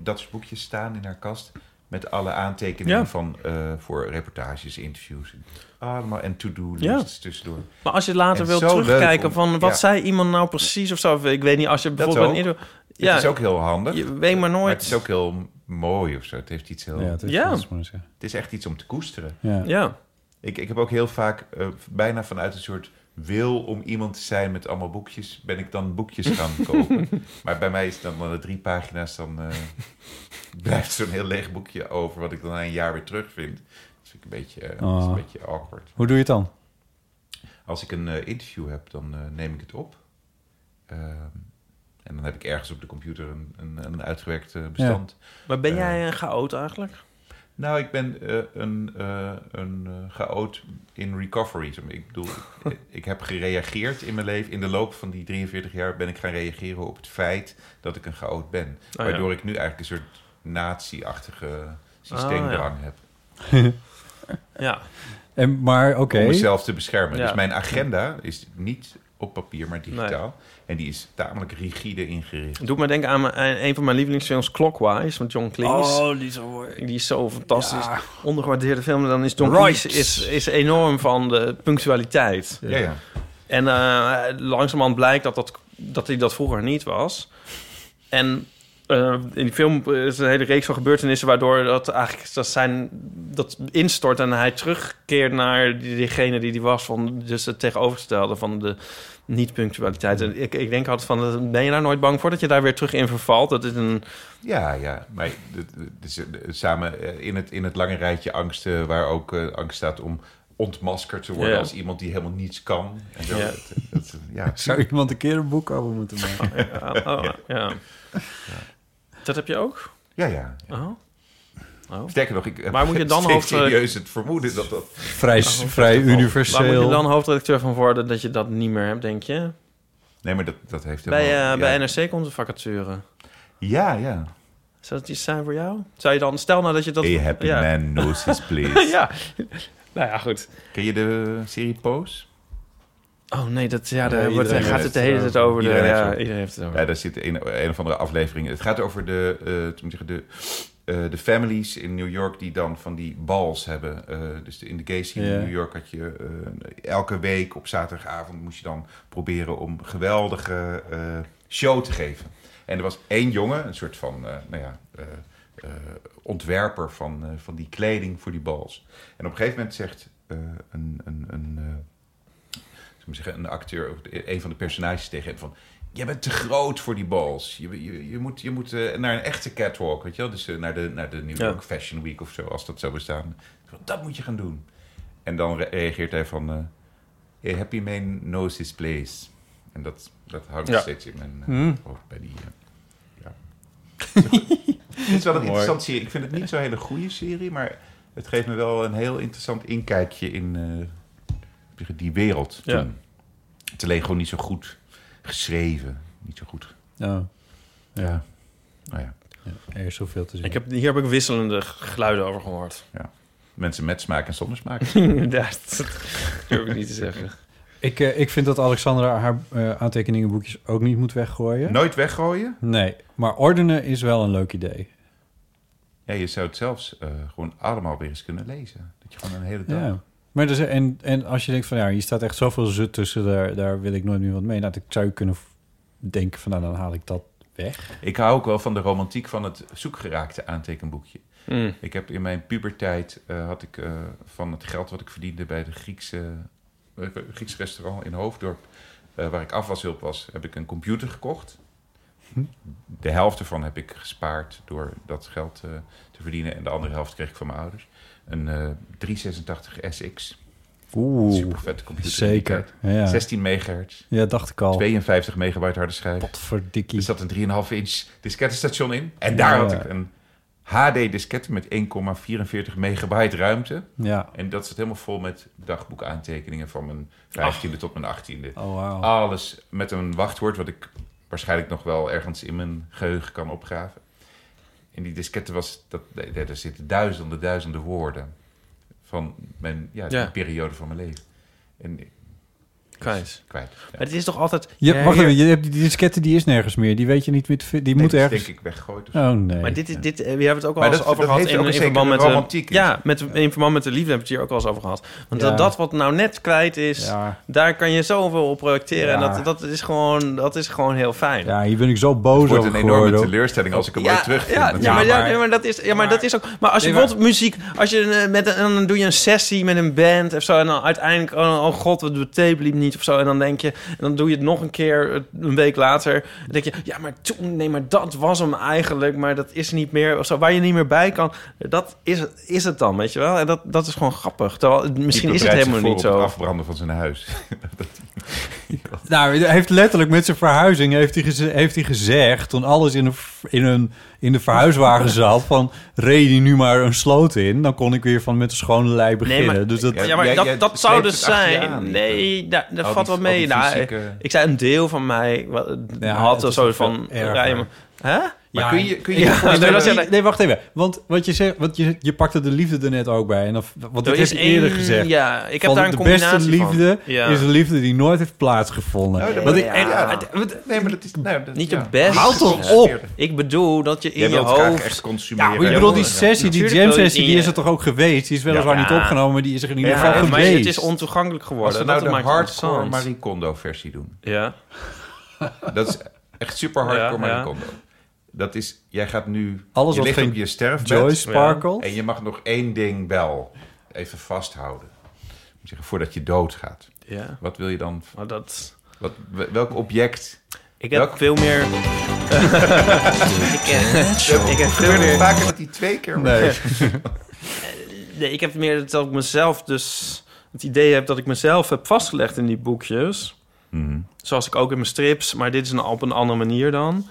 Speaker 1: dat soort boekjes staan in haar kast. Met alle aantekeningen
Speaker 3: Ja.
Speaker 1: van, eh, voor reportages, interviews. Allemaal en to-do-lists tussendoor.
Speaker 3: Maar als je later
Speaker 1: En
Speaker 3: wil
Speaker 1: zo leuk
Speaker 3: terugkijken
Speaker 1: om-
Speaker 3: van wat
Speaker 1: ja.
Speaker 3: zei iemand nou precies of zo. of Ik weet niet, als je bijvoorbeeld...
Speaker 1: ook.
Speaker 3: een intro-
Speaker 1: Ja.
Speaker 3: ja,
Speaker 1: Het is ook heel handig.
Speaker 3: je weet maar
Speaker 1: Maar
Speaker 3: nooit.
Speaker 1: het is ook heel mooi of zo. Het, heeft iets heel,
Speaker 2: ja, het is,
Speaker 3: Ja.
Speaker 2: dat is maar zeggen.
Speaker 1: het is echt iets om te koesteren.
Speaker 2: Ja.
Speaker 3: Ja,
Speaker 1: Ik, ik heb ook heel vaak, eh, bijna vanuit een soort wil om iemand te zijn met allemaal boekjes, ben ik dan boekjes gaan kopen. maar bij mij is het dan na de drie pagina's, dan eh, [laughs] blijft zo'n heel leeg boekje over, wat ik dan na een jaar weer terugvind. Dat vind ik een beetje, eh, dat is
Speaker 2: Oh.
Speaker 1: een beetje awkward.
Speaker 2: Hoe doe je het dan?
Speaker 1: Als ik een eh, interview heb, dan eh, neem ik het op. Ehm, en dan heb ik ergens op de computer een, een, een uitgewerkt eh, bestand.
Speaker 3: maar ben
Speaker 1: Eh.
Speaker 3: jij een chaot eigenlijk?
Speaker 1: Nou, ik ben eh, een, eh een eh, chaot in recovery. Ik bedoel,
Speaker 3: [laughs]
Speaker 1: ik, ik heb gereageerd in mijn leven. In de loop van die 43 jaar ben ik gaan reageren op het feit dat ik een chaot ben.
Speaker 3: Oh, ja.
Speaker 1: waardoor ik nu eigenlijk een soort nazi-achtige systeemdrang
Speaker 3: Oh,
Speaker 1: heb.
Speaker 3: Ja,
Speaker 2: En, maar oké,
Speaker 1: Om mezelf te beschermen.
Speaker 3: Ja.
Speaker 1: Dus mijn agenda is niet op papier, maar digitaal. En die is tamelijk rigide ingericht.
Speaker 3: doet me denken aan mijn- aan een van mijn lievelingsfilms Clockwise van John Cleese. Oh, die is zo Die is zo fantastisch. Ondergewaardeerde film. En Dan is John
Speaker 2: Right.
Speaker 3: Cleese is, is enorm van de punctualiteit.
Speaker 1: Ja, ja.
Speaker 3: En eh, langzamerhand blijkt dat, dat, dat hij dat vroeger niet was. En eh, in die film is een hele reeks van gebeurtenissen... waardoor dat eigenlijk dat zijn, dat instort en hij terugkeert naar die- diegene die die was. Van, dus het tegenovergestelde van de niet-punctualiteit. En ik, ik denk altijd van, ben je daar nooit bang voor dat je daar weer terug in vervalt? Dat is een...
Speaker 1: Ja, ja. Maar het- het is, eh, samen eh, in het, in het lange rijtje angsten, waar ook eh, angst staat om ontmaskerd te worden
Speaker 3: Ja.
Speaker 1: als iemand die helemaal niets kan. En zo.
Speaker 3: Ja.
Speaker 1: Dat, dat- eh, ja.
Speaker 2: zou iemand een keer een boek over moeten maken?
Speaker 3: ja, oh, ja. Dat heb je ook?
Speaker 1: ja, ja.
Speaker 3: Oh.
Speaker 1: Sterker nog, ik heb
Speaker 3: Maar moet
Speaker 1: [laughs]
Speaker 3: je dan
Speaker 1: steeds
Speaker 3: hoofd, eh,
Speaker 1: serieus het vermoeden dat dat...
Speaker 3: Oh,
Speaker 2: vrij vrij
Speaker 3: Waar moet je
Speaker 2: universeel.
Speaker 3: dan hoofdredacteur van worden dat je dat niet meer hebt, denk je?
Speaker 1: Nee, maar dat, dat heeft
Speaker 3: Bij, eh,
Speaker 1: helemaal...
Speaker 3: bij
Speaker 1: ja.
Speaker 3: NRC komt een vacature.
Speaker 1: Ja, ja.
Speaker 3: Zou dat iets zijn voor jou? Zou je dan, stel nou dat je dat...
Speaker 1: Hey, happy
Speaker 3: ja.
Speaker 1: man, knows his place.
Speaker 3: [laughs] ja. Nou ja, goed.
Speaker 1: Ken je de serie Pose?
Speaker 3: Oh nee, dat, ja, daar
Speaker 2: Ja,
Speaker 3: wordt,
Speaker 2: iedereen
Speaker 3: gaat
Speaker 1: heeft
Speaker 3: het de hele
Speaker 2: het
Speaker 3: tijd over. De,
Speaker 1: Iedereen heeft
Speaker 3: ja,
Speaker 1: het.
Speaker 3: iedereen heeft het over.
Speaker 1: Ja, daar zit een, een of andere aflevering. Het gaat over de, eh, hoe moet ik zeggen, de, eh, de families in New York die dan van die balls hebben. Eh, dus de- in de gay scene
Speaker 2: Ja.
Speaker 1: in New York had je eh, elke week op zaterdagavond moest je dan proberen om geweldige eh, show te geven. En er was één jongen, een soort van, eh, nou ja, eh, eh, ontwerper van, eh, van die kleding voor die balls. En op een gegeven moment zegt eh, een, een, een, eh, zal ik maar zeggen, een acteur, of een van de personages tegen hem van... Jij bent te groot voor die balls. Je, je, je moet, je moet eh, naar een echte catwalk, weet je wel? Dus eh, naar, de, naar de New
Speaker 3: Ja.
Speaker 1: York Fashion Week of zo, als dat zou bestaan. Dat moet je gaan doen. En dan re- reageert hij van... eh, hey, happy man knows his place. En dat, dat houdt nog
Speaker 3: Ja.
Speaker 1: steeds in mijn eh,
Speaker 2: Hmm.
Speaker 1: hoofd bij die... eh, ja. [laughs] het is wel een interessante serie. Ik vind het niet zo'n hele goede serie, maar het geeft me wel een heel interessant inkijkje in eh, die wereld.
Speaker 3: Ja.
Speaker 1: Toen. Het is alleen gewoon niet zo goed geschreven. Niet zo goed.
Speaker 2: Ja. Ja.
Speaker 1: Nou ja,
Speaker 2: Er is zoveel te zien.
Speaker 3: Ik heb, hier heb ik wisselende geluiden over gehoord.
Speaker 1: mensen met smaak en zonder
Speaker 2: [laughs]
Speaker 1: smaak.
Speaker 3: [laughs] Ja, dat durf ik niet te zeggen.
Speaker 2: Ik, eh, ik vind dat Alexandra haar eh, aantekeningenboekjes ook niet moet weggooien.
Speaker 1: Nooit weggooien.
Speaker 2: Nee, maar ordenen is wel een leuk idee.
Speaker 1: Ja, je zou het zelfs eh, gewoon allemaal weer eens kunnen lezen. Dat je gewoon een hele dag...
Speaker 2: Ja. Maar dus, en, en als je denkt van ja, hier staat echt zoveel zut tussen, daar, daar wil ik nooit meer wat mee. Nou, ik zou kunnen v- denken van nou, dan haal ik dat weg.
Speaker 1: Ik hou ook wel van de romantiek van het zoekgeraakte aantekenboekje.
Speaker 2: Hmm.
Speaker 3: Mm.
Speaker 1: Ik heb in mijn pubertijd eh, had ik eh, van het geld wat ik verdiende bij de Griekse eh, Grieks restaurant in Hoofddorp, eh, waar ik afwashulp was, heb ik een computer gekocht.
Speaker 2: Hm.
Speaker 1: De helft ervan heb ik gespaard door dat geld eh, te verdienen. En de andere helft kreeg ik van mijn ouders. Een eh 386 SX.
Speaker 2: Oeh,
Speaker 1: Super vette computer.
Speaker 2: zeker. Ja.
Speaker 1: 16 megahertz.
Speaker 2: ja, dacht ik al.
Speaker 1: 52 megabyte harde schijf.
Speaker 2: Wat voor
Speaker 1: Er
Speaker 2: dikkie.
Speaker 1: zat een 3,5 inch diskettenstation in. En daar
Speaker 2: Ja.
Speaker 1: had ik een HD-diskette met 1,44 megabyte ruimte.
Speaker 2: Ja.
Speaker 1: En dat zit helemaal vol met dagboekaantekeningen van mijn 15e tot mijn 18e.
Speaker 2: Oh, wauw.
Speaker 1: Alles met een wachtwoord, wat ik waarschijnlijk nog wel ergens in mijn geheugen kan opgraven. En die diskette was, dat, nee, daar zitten duizenden, duizenden woorden van mijn, ja, die
Speaker 3: Ja.
Speaker 1: periode van mijn leven. En ik-
Speaker 3: Kwijt.
Speaker 1: kwijt. Ja.
Speaker 3: Maar het is toch altijd...
Speaker 2: Je,
Speaker 3: Ja,
Speaker 2: wacht
Speaker 3: hier-
Speaker 2: even, je hebt die disketten die is nergens meer. Die weet je niet meer te vinden. Die
Speaker 1: Nee,
Speaker 2: moet
Speaker 1: dat is
Speaker 2: ergens.
Speaker 1: denk ik weggegooid. of zo.
Speaker 2: Oh nee.
Speaker 3: Maar dit is, dit, eh, we hebben het ook al
Speaker 1: Maar
Speaker 3: eens
Speaker 1: dat-
Speaker 3: over
Speaker 1: dat
Speaker 3: gehad.
Speaker 1: heeft ook een zekere
Speaker 3: verband met
Speaker 1: romantiek in.
Speaker 3: De, ja, met, in verband met de liefde hebben we het hier ook al eens over gehad. Want
Speaker 2: Ja.
Speaker 3: dat, dat wat nou net kwijt is,
Speaker 2: ja.
Speaker 3: daar kan je zoveel op projecteren. En
Speaker 2: Ja.
Speaker 3: dat, dat, is gewoon, dat is gewoon heel fijn.
Speaker 2: ja, hier ben ik zo
Speaker 1: Het
Speaker 2: boos
Speaker 1: wordt
Speaker 2: over
Speaker 1: een enorme
Speaker 2: geworden.
Speaker 1: teleurstelling als ik hem ooit terug
Speaker 3: ja, ja, maar, ja, nee, maar dat is, ja, maar, dat is ook. Maar als je
Speaker 2: Nee, maar-
Speaker 3: bijvoorbeeld muziek, als je eh, met een, dan doe je een sessie met een band of zo, en dan uiteindelijk, oh, oh god, wat de tape liep niet of zo, en dan denk je, en dan doe je het nog een keer eh, een week later, dan denk je, ja, maar toen, nee, maar dat was hem eigenlijk, maar dat is niet meer, of zo, waar je niet meer bij kan, dat is, is het dan, weet je wel? En dat, dat is gewoon grappig. Terwijl, het- misschien is het helemaal niet
Speaker 1: Het
Speaker 3: zo.
Speaker 1: afbranden van zijn huis.
Speaker 2: Nou, hij heeft letterlijk met zijn verhuizing heeft hij, geze- heeft hij gezegd... toen alles in, een, v- in, een, in de
Speaker 3: [laughs]
Speaker 2: verhuiswagen zat... van reed die nu maar een sloot in... dan kon ik weer van met een schone lei beginnen.
Speaker 3: maar-
Speaker 2: dus dat,
Speaker 3: Ja, maar
Speaker 1: Jij-
Speaker 3: dat,
Speaker 1: jij
Speaker 3: dat zou
Speaker 1: sleept
Speaker 3: dus
Speaker 1: het achter je
Speaker 3: zijn.
Speaker 1: aan.
Speaker 3: nee, daar, dat
Speaker 1: Al
Speaker 3: valt
Speaker 1: die-
Speaker 3: wel
Speaker 1: al die
Speaker 3: mee. Nou,
Speaker 1: fysieke-
Speaker 3: Ik zei een deel van mij wat-
Speaker 2: Ja,
Speaker 3: had
Speaker 2: het
Speaker 3: of
Speaker 2: is
Speaker 3: zo
Speaker 2: nog
Speaker 3: van
Speaker 2: veel erger.
Speaker 3: rijmen. Hè?
Speaker 1: Maar
Speaker 2: Ja,
Speaker 1: kun je, kun je
Speaker 3: ja,
Speaker 1: je voorstellen-
Speaker 3: nee,
Speaker 2: Nee,
Speaker 3: dat is-
Speaker 2: nee, nee, wacht even. Want wat je zegt, want je, je pakte de liefde er net ook bij. En of, want dat
Speaker 3: Er
Speaker 2: heb je eerder
Speaker 3: één-
Speaker 2: gezegd.
Speaker 3: Ja, ik heb
Speaker 2: Van
Speaker 3: daar een
Speaker 2: de beste
Speaker 3: combinatie van.
Speaker 2: liefde
Speaker 3: Ja.
Speaker 2: is een liefde die nooit heeft plaatsgevonden.
Speaker 1: Oh, dat-
Speaker 2: Wat ik
Speaker 1: ja.
Speaker 2: echt-
Speaker 1: Ja.
Speaker 2: het- het-
Speaker 1: Nee, maar dat is... nou, dat-
Speaker 3: Niet
Speaker 1: ja.
Speaker 3: je best.
Speaker 2: Houd toch op!
Speaker 3: Ik bedoel dat je in
Speaker 1: Jij
Speaker 3: je
Speaker 1: wilt graag
Speaker 3: hoofd...
Speaker 1: echt consumeren.
Speaker 2: Ik bedoel, die sessie, die
Speaker 3: Natuurlijk wil je
Speaker 2: jam-sessie,
Speaker 3: in
Speaker 2: die
Speaker 3: je-
Speaker 2: is er toch ook geweest? Die is weliswaar
Speaker 3: Ja.
Speaker 2: niet opgenomen, maar die is er in ieder
Speaker 3: Ja,
Speaker 2: geval
Speaker 3: maar
Speaker 2: geweest.
Speaker 3: het is ontoegankelijk
Speaker 1: Als
Speaker 3: geworden.
Speaker 1: we nou
Speaker 3: dat
Speaker 1: de
Speaker 3: maakt
Speaker 1: hardcore
Speaker 3: hardcore
Speaker 1: Marie Kondo versie doen.
Speaker 3: Ja.
Speaker 1: Dat is echt super hardcore
Speaker 3: Ja,
Speaker 1: Marie
Speaker 3: ja.
Speaker 1: Kondo. Dat is... Jij gaat nu...
Speaker 2: Alles
Speaker 1: je
Speaker 2: wat
Speaker 1: ligt
Speaker 2: geen
Speaker 1: op je sterfbed.
Speaker 2: Joy Sparkle.
Speaker 1: En je mag nog één ding wel even vasthouden. Om te zeggen, Voordat je doodgaat.
Speaker 3: ja.
Speaker 1: Wat wil je dan...
Speaker 3: Maar dat...
Speaker 1: Wat, welk object...
Speaker 3: Ik heb
Speaker 1: Welk-
Speaker 3: veel
Speaker 1: [laughs]
Speaker 3: meer... [laughs] ik heb veel
Speaker 1: Gebeurt het
Speaker 3: meer...
Speaker 1: vaker dat die twee keer...
Speaker 2: Nee.
Speaker 3: Nee, ik heb meer dat ik mezelf dus... Het idee heb dat ik mezelf heb vastgelegd in die boekjes.
Speaker 1: Mhm.
Speaker 3: Zoals ik ook in mijn strips, maar dit is een, op een andere manier dan.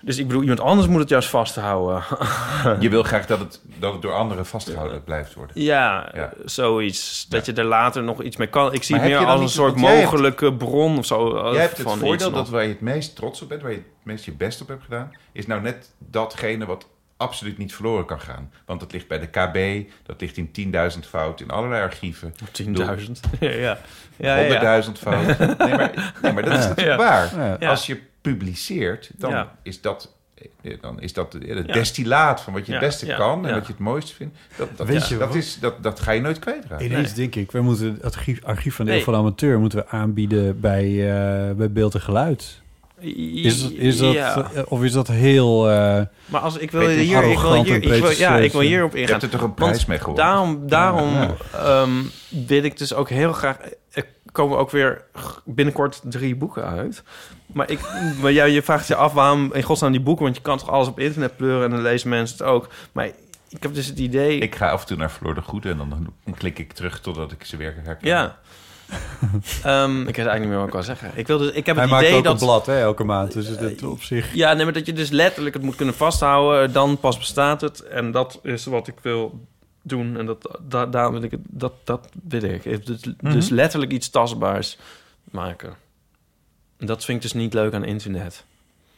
Speaker 3: Dus ik bedoel, iemand anders moet het juist vasthouden.
Speaker 1: [laughs]
Speaker 3: [laughs]
Speaker 1: Je wil graag dat het, dat het door anderen vastgehouden blijft worden.
Speaker 3: ja,
Speaker 1: Ja.
Speaker 3: zoiets. Dat je er later nog iets mee kan. Ik zie
Speaker 1: Maar
Speaker 3: het
Speaker 1: heb
Speaker 3: meer
Speaker 1: je dan
Speaker 3: als een
Speaker 1: niet-
Speaker 3: soort
Speaker 1: want jij hebt-
Speaker 3: mogelijke bron of zo. eh,
Speaker 1: Jij hebt het
Speaker 3: van iets
Speaker 1: voordeel
Speaker 3: nog.
Speaker 1: dat waar je het meest trots op bent, waar je het meest je best op hebt gedaan, is nou net datgene wat absoluut niet verloren kan gaan. Want dat ligt bij de KB, dat ligt in 10.000 fout, in allerlei archieven,
Speaker 3: 10.000. [laughs] ja, ja. ja, ja,
Speaker 1: 100.000
Speaker 3: [laughs]
Speaker 1: fout. Nee maar, nee, maar dat is natuurlijk
Speaker 3: Ja.
Speaker 1: waar.
Speaker 2: Ja.
Speaker 1: Als je publiceert, dan
Speaker 3: Ja.
Speaker 1: is dat, eh, dan is dat eh, het destilaat van wat je het
Speaker 3: Ja,
Speaker 1: beste
Speaker 3: ja,
Speaker 1: kan en
Speaker 3: ja.
Speaker 1: wat je het mooiste vindt. Dat, dat,
Speaker 2: Weet
Speaker 1: ja,
Speaker 2: je
Speaker 1: dat,
Speaker 2: wat?
Speaker 1: is, dat, dat ga je nooit kwijtraken.
Speaker 2: Ineens denk ik, we moeten het archief, archief van de
Speaker 3: Nee.
Speaker 2: Eeuw van de Amateur moeten we aanbieden bij, eh, bij Beeld en Geluid. Is, is dat,
Speaker 3: Ja.
Speaker 2: eh, Of is dat heel... eh,
Speaker 3: Maar als ik wil
Speaker 1: Peter
Speaker 3: hier, ik wil
Speaker 2: Arrogant en eh,
Speaker 3: hier, ik wil, ja, ik wil
Speaker 2: pretentieus.
Speaker 3: hierop
Speaker 1: Je
Speaker 3: ingaan.
Speaker 1: hebt er toch een
Speaker 3: Want
Speaker 1: prijs mee gewonnen?
Speaker 3: Daarom, daarom ehm, wil ik dus ook heel graag. Er komen ook weer g- binnenkort drie boeken uit. Maar, ik, maar jij, je vraagt je af waarom in godsnaam die boeken, want je kan toch alles op internet pleuren en dan lezen mensen het ook. Maar ik heb dus het idee.
Speaker 1: Ik ga af en toe naar Floor de Goede en dan klik ik terug totdat ik ze weer herken.
Speaker 3: ja. Ehm, ik weet eigenlijk niet meer wat ik wil zeggen. Ik, wil dus, ik heb
Speaker 2: hij
Speaker 3: het
Speaker 2: maakt
Speaker 3: idee
Speaker 2: ook
Speaker 3: dat. Eh,
Speaker 2: een blad hè, elke maand, dus het op zich...
Speaker 3: Ja, nee, maar dat je dus letterlijk het moet kunnen vasthouden. eh, Dan pas bestaat het. En dat is wat ik wil doen. En dat, da, daar wil ik het, dat, dat wil ik. Ik- Dus,
Speaker 1: Mhm.
Speaker 3: dus letterlijk iets tastbaars maken. En Dat vind ik dus niet leuk aan internet.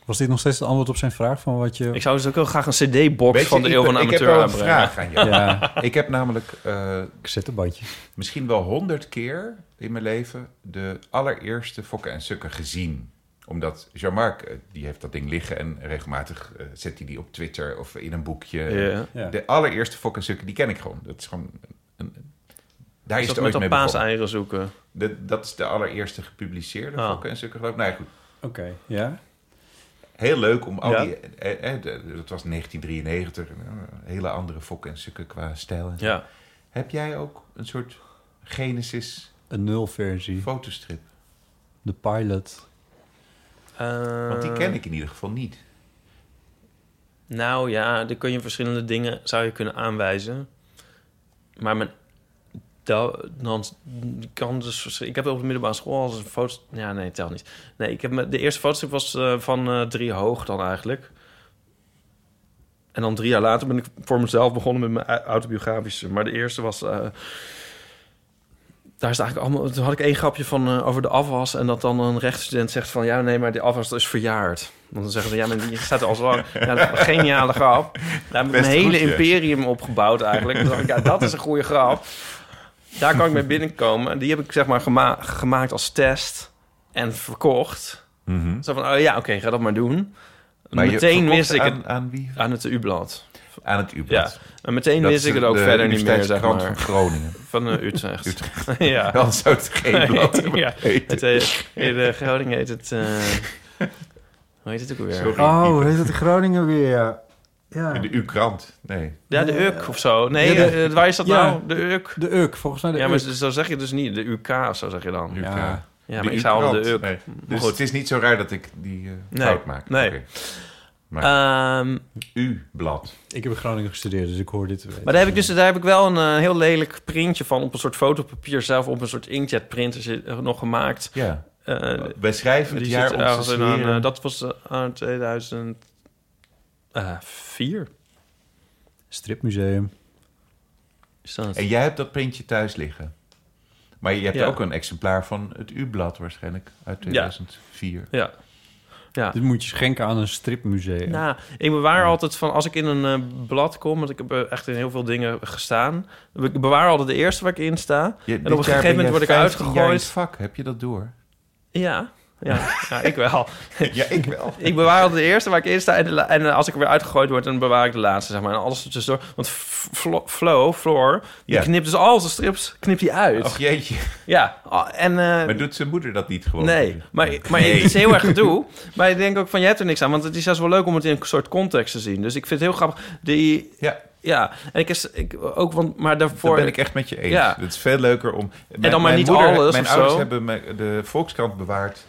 Speaker 2: Was dit nog steeds het antwoord op zijn vraag van wat je...
Speaker 3: Ik zou dus ook heel graag een cd-box
Speaker 1: Weet
Speaker 3: van
Speaker 1: je,
Speaker 3: de Eeuw
Speaker 1: ik-
Speaker 3: van de
Speaker 1: Ik heb
Speaker 3: Amateur
Speaker 1: wel een
Speaker 3: aanbrengen.
Speaker 1: vraag aan jou.
Speaker 2: Ja,
Speaker 1: [laughs] Ik heb namelijk eh,
Speaker 2: cassettebandjes.
Speaker 1: misschien wel honderd keer in mijn leven de allereerste Fokken en Sukken gezien. Omdat Jean-Marc, eh, die heeft dat ding liggen en regelmatig eh, zet hij die op Twitter of in een boekje.
Speaker 3: Ja.
Speaker 2: Ja.
Speaker 1: De allereerste Fokken en Sukken, die ken ik gewoon. Dat is gewoon... een- een- daar is
Speaker 3: Is dat
Speaker 1: het
Speaker 3: met
Speaker 1: ooit
Speaker 3: dat
Speaker 1: mee begonnen.
Speaker 3: paaseieren zoeken?
Speaker 1: Dat, dat is de allereerste gepubliceerde
Speaker 3: Ah.
Speaker 1: Fokken en Sukken, geloof ik. Nou ja, goed.
Speaker 2: Oké, ja.
Speaker 1: Heel leuk om al
Speaker 3: Ja.
Speaker 1: die... Eh, eh, de- dat was 1993. eh, Hele andere fokken en sukken qua stijl. en zo.
Speaker 3: Ja.
Speaker 1: Heb jij ook een soort Genesis
Speaker 2: Een nulversie.
Speaker 1: fotostrip?
Speaker 2: De pilot.
Speaker 3: Eh,
Speaker 1: Want die ken ik in ieder geval niet.
Speaker 3: Nou ja, dan kun je verschillende dingen zou je kunnen aanwijzen. Maar mijn, da- dan kan dus... vers- Ik heb op de middelbare school al eens een foto... Ja, nee, telt niet. Nee, ik heb me- de eerste fotostrip was eh, van eh, drie hoog dan eigenlijk. En dan drie jaar later ben ik voor mezelf begonnen met mijn au- autobiografische. Maar de eerste was... eh, daar is het eigenlijk allemaal... Toen had ik één grapje van eh, over de afwas... en dat dan een rechtsstudent zegt van... ja, nee, maar die afwas is verjaard. Want dan zeggen ze... ja, maar die staat er al zo lang. Ja, dat is een geniale grap. Daar heb ik
Speaker 1: Best
Speaker 3: een hele
Speaker 1: goedje.
Speaker 3: imperium opgebouwd eigenlijk. Toen dacht ik, ja, dat is een goede grap. Daar kan ik mee binnenkomen. Die heb ik zeg maar gema- gemaakt als test en verkocht. Zo van, oh ja, oké, ga dat maar doen.
Speaker 1: Mhm. Maar je
Speaker 3: meteen
Speaker 1: verkocht
Speaker 3: wist ik
Speaker 1: aan,
Speaker 3: het
Speaker 1: Aan wie?
Speaker 3: aan het U-blad.
Speaker 1: Aan het u
Speaker 3: Ja, en meteen wist ik het ook verder niet meer, zeg maar.
Speaker 1: van Groningen.
Speaker 3: Van eh, Utrecht. [laughs]
Speaker 1: [laughs]
Speaker 3: ja.
Speaker 1: Dan zou het geen blad
Speaker 3: [laughs] ja.
Speaker 1: heten.
Speaker 3: Het, eh, in eh, Groningen heet het... eh, hoe heet het ook weer?
Speaker 1: Sorry,
Speaker 2: Oh,
Speaker 1: Ipe.
Speaker 2: heet het Groningen weer? Ja.
Speaker 1: De U-krant. Nee.
Speaker 3: Ja, de Uk of zo. Nee,
Speaker 2: Ja, de-
Speaker 3: eh, waar is dat
Speaker 2: ja.
Speaker 3: nou? De Uk.
Speaker 2: De Uk, volgens mij de
Speaker 3: ja, maar
Speaker 2: Uk.
Speaker 3: zo zeg je dus niet. De UK, zo zeg je dan.
Speaker 1: UK.
Speaker 2: Ja.
Speaker 3: Ja,
Speaker 1: De
Speaker 3: maar ik zou al
Speaker 1: U-krant.
Speaker 3: de Uk.
Speaker 1: Nee. Dus
Speaker 3: goed.
Speaker 1: het is niet zo raar dat ik die eh,
Speaker 3: Nee.
Speaker 1: fout maak.
Speaker 3: Nee.
Speaker 1: Oké.
Speaker 3: Ehm,
Speaker 1: U-blad.
Speaker 2: Ik heb in Groningen gestudeerd, dus ik hoor dit te weten.
Speaker 3: Maar daar heb ik dus daar heb ik wel een eh, heel lelijk printje van op een soort fotopapier zelf op een soort inkjet printer zit- eh, nog gemaakt.
Speaker 1: Ja.
Speaker 3: Eh,
Speaker 1: Wij schrijven het
Speaker 3: die
Speaker 1: jaar
Speaker 3: zit
Speaker 1: onze
Speaker 3: ergens in een,
Speaker 1: smeren.
Speaker 3: eh, dat was eh, aan eh, 2004.
Speaker 2: Eh, Stripmuseum.
Speaker 3: Is dat?
Speaker 1: En jij hebt dat printje thuis liggen. Maar je hebt
Speaker 3: Ja.
Speaker 1: ook een exemplaar van het U-blad waarschijnlijk uit 2004.
Speaker 3: Ja.
Speaker 2: Dit moet je schenken aan een stripmuseum.
Speaker 3: Nou, ik bewaar altijd van als ik in een eh, blad kom, want ik heb eh, echt in heel veel dingen gestaan. Ik bewaar altijd de eerste waar ik in sta.
Speaker 1: Je-
Speaker 3: en
Speaker 1: dit
Speaker 3: op
Speaker 1: jaar
Speaker 3: een gegeven
Speaker 1: ben
Speaker 3: moment word ik
Speaker 1: jij 15 jaar in het
Speaker 3: uitgegooid.
Speaker 1: vak, heb je dat door?
Speaker 3: Ja, ja, ja, ik wel.
Speaker 1: [laughs] Ja, ik
Speaker 3: [laughs]
Speaker 1: wel.
Speaker 3: Ik bewaar altijd de eerste waar ik in sta. En, de la- en eh, als ik er weer uitgegooid word, dan bewaar ik de laatste, zeg maar. En alles tussendoor. Want F- Flo, Flo, Floor, die
Speaker 1: Ja.
Speaker 3: knipt dus al zijn strips knipt hij uit.
Speaker 1: Ach jeetje.
Speaker 3: Ja, Ah, en... eh,
Speaker 1: Maar doet zijn moeder dat niet gewoon?
Speaker 3: Nee, maar, maar het is heel erg gedoe. Maar ik denk ook van, je hebt er niks aan. Want het is juist wel leuk om het in een soort context te zien. Dus ik vind het heel grappig. Die,
Speaker 1: Ja,
Speaker 3: ja, en ik is ik, ook, want, maar daarvoor...
Speaker 1: dat ben ik echt met je eens.
Speaker 3: Ja.
Speaker 1: Het is veel leuker om... Mijn-
Speaker 3: dan maar
Speaker 1: mijn
Speaker 3: niet alles
Speaker 1: Mijn
Speaker 3: of
Speaker 1: ouders
Speaker 3: zo.
Speaker 1: hebben me- de Volkskrant bewaard...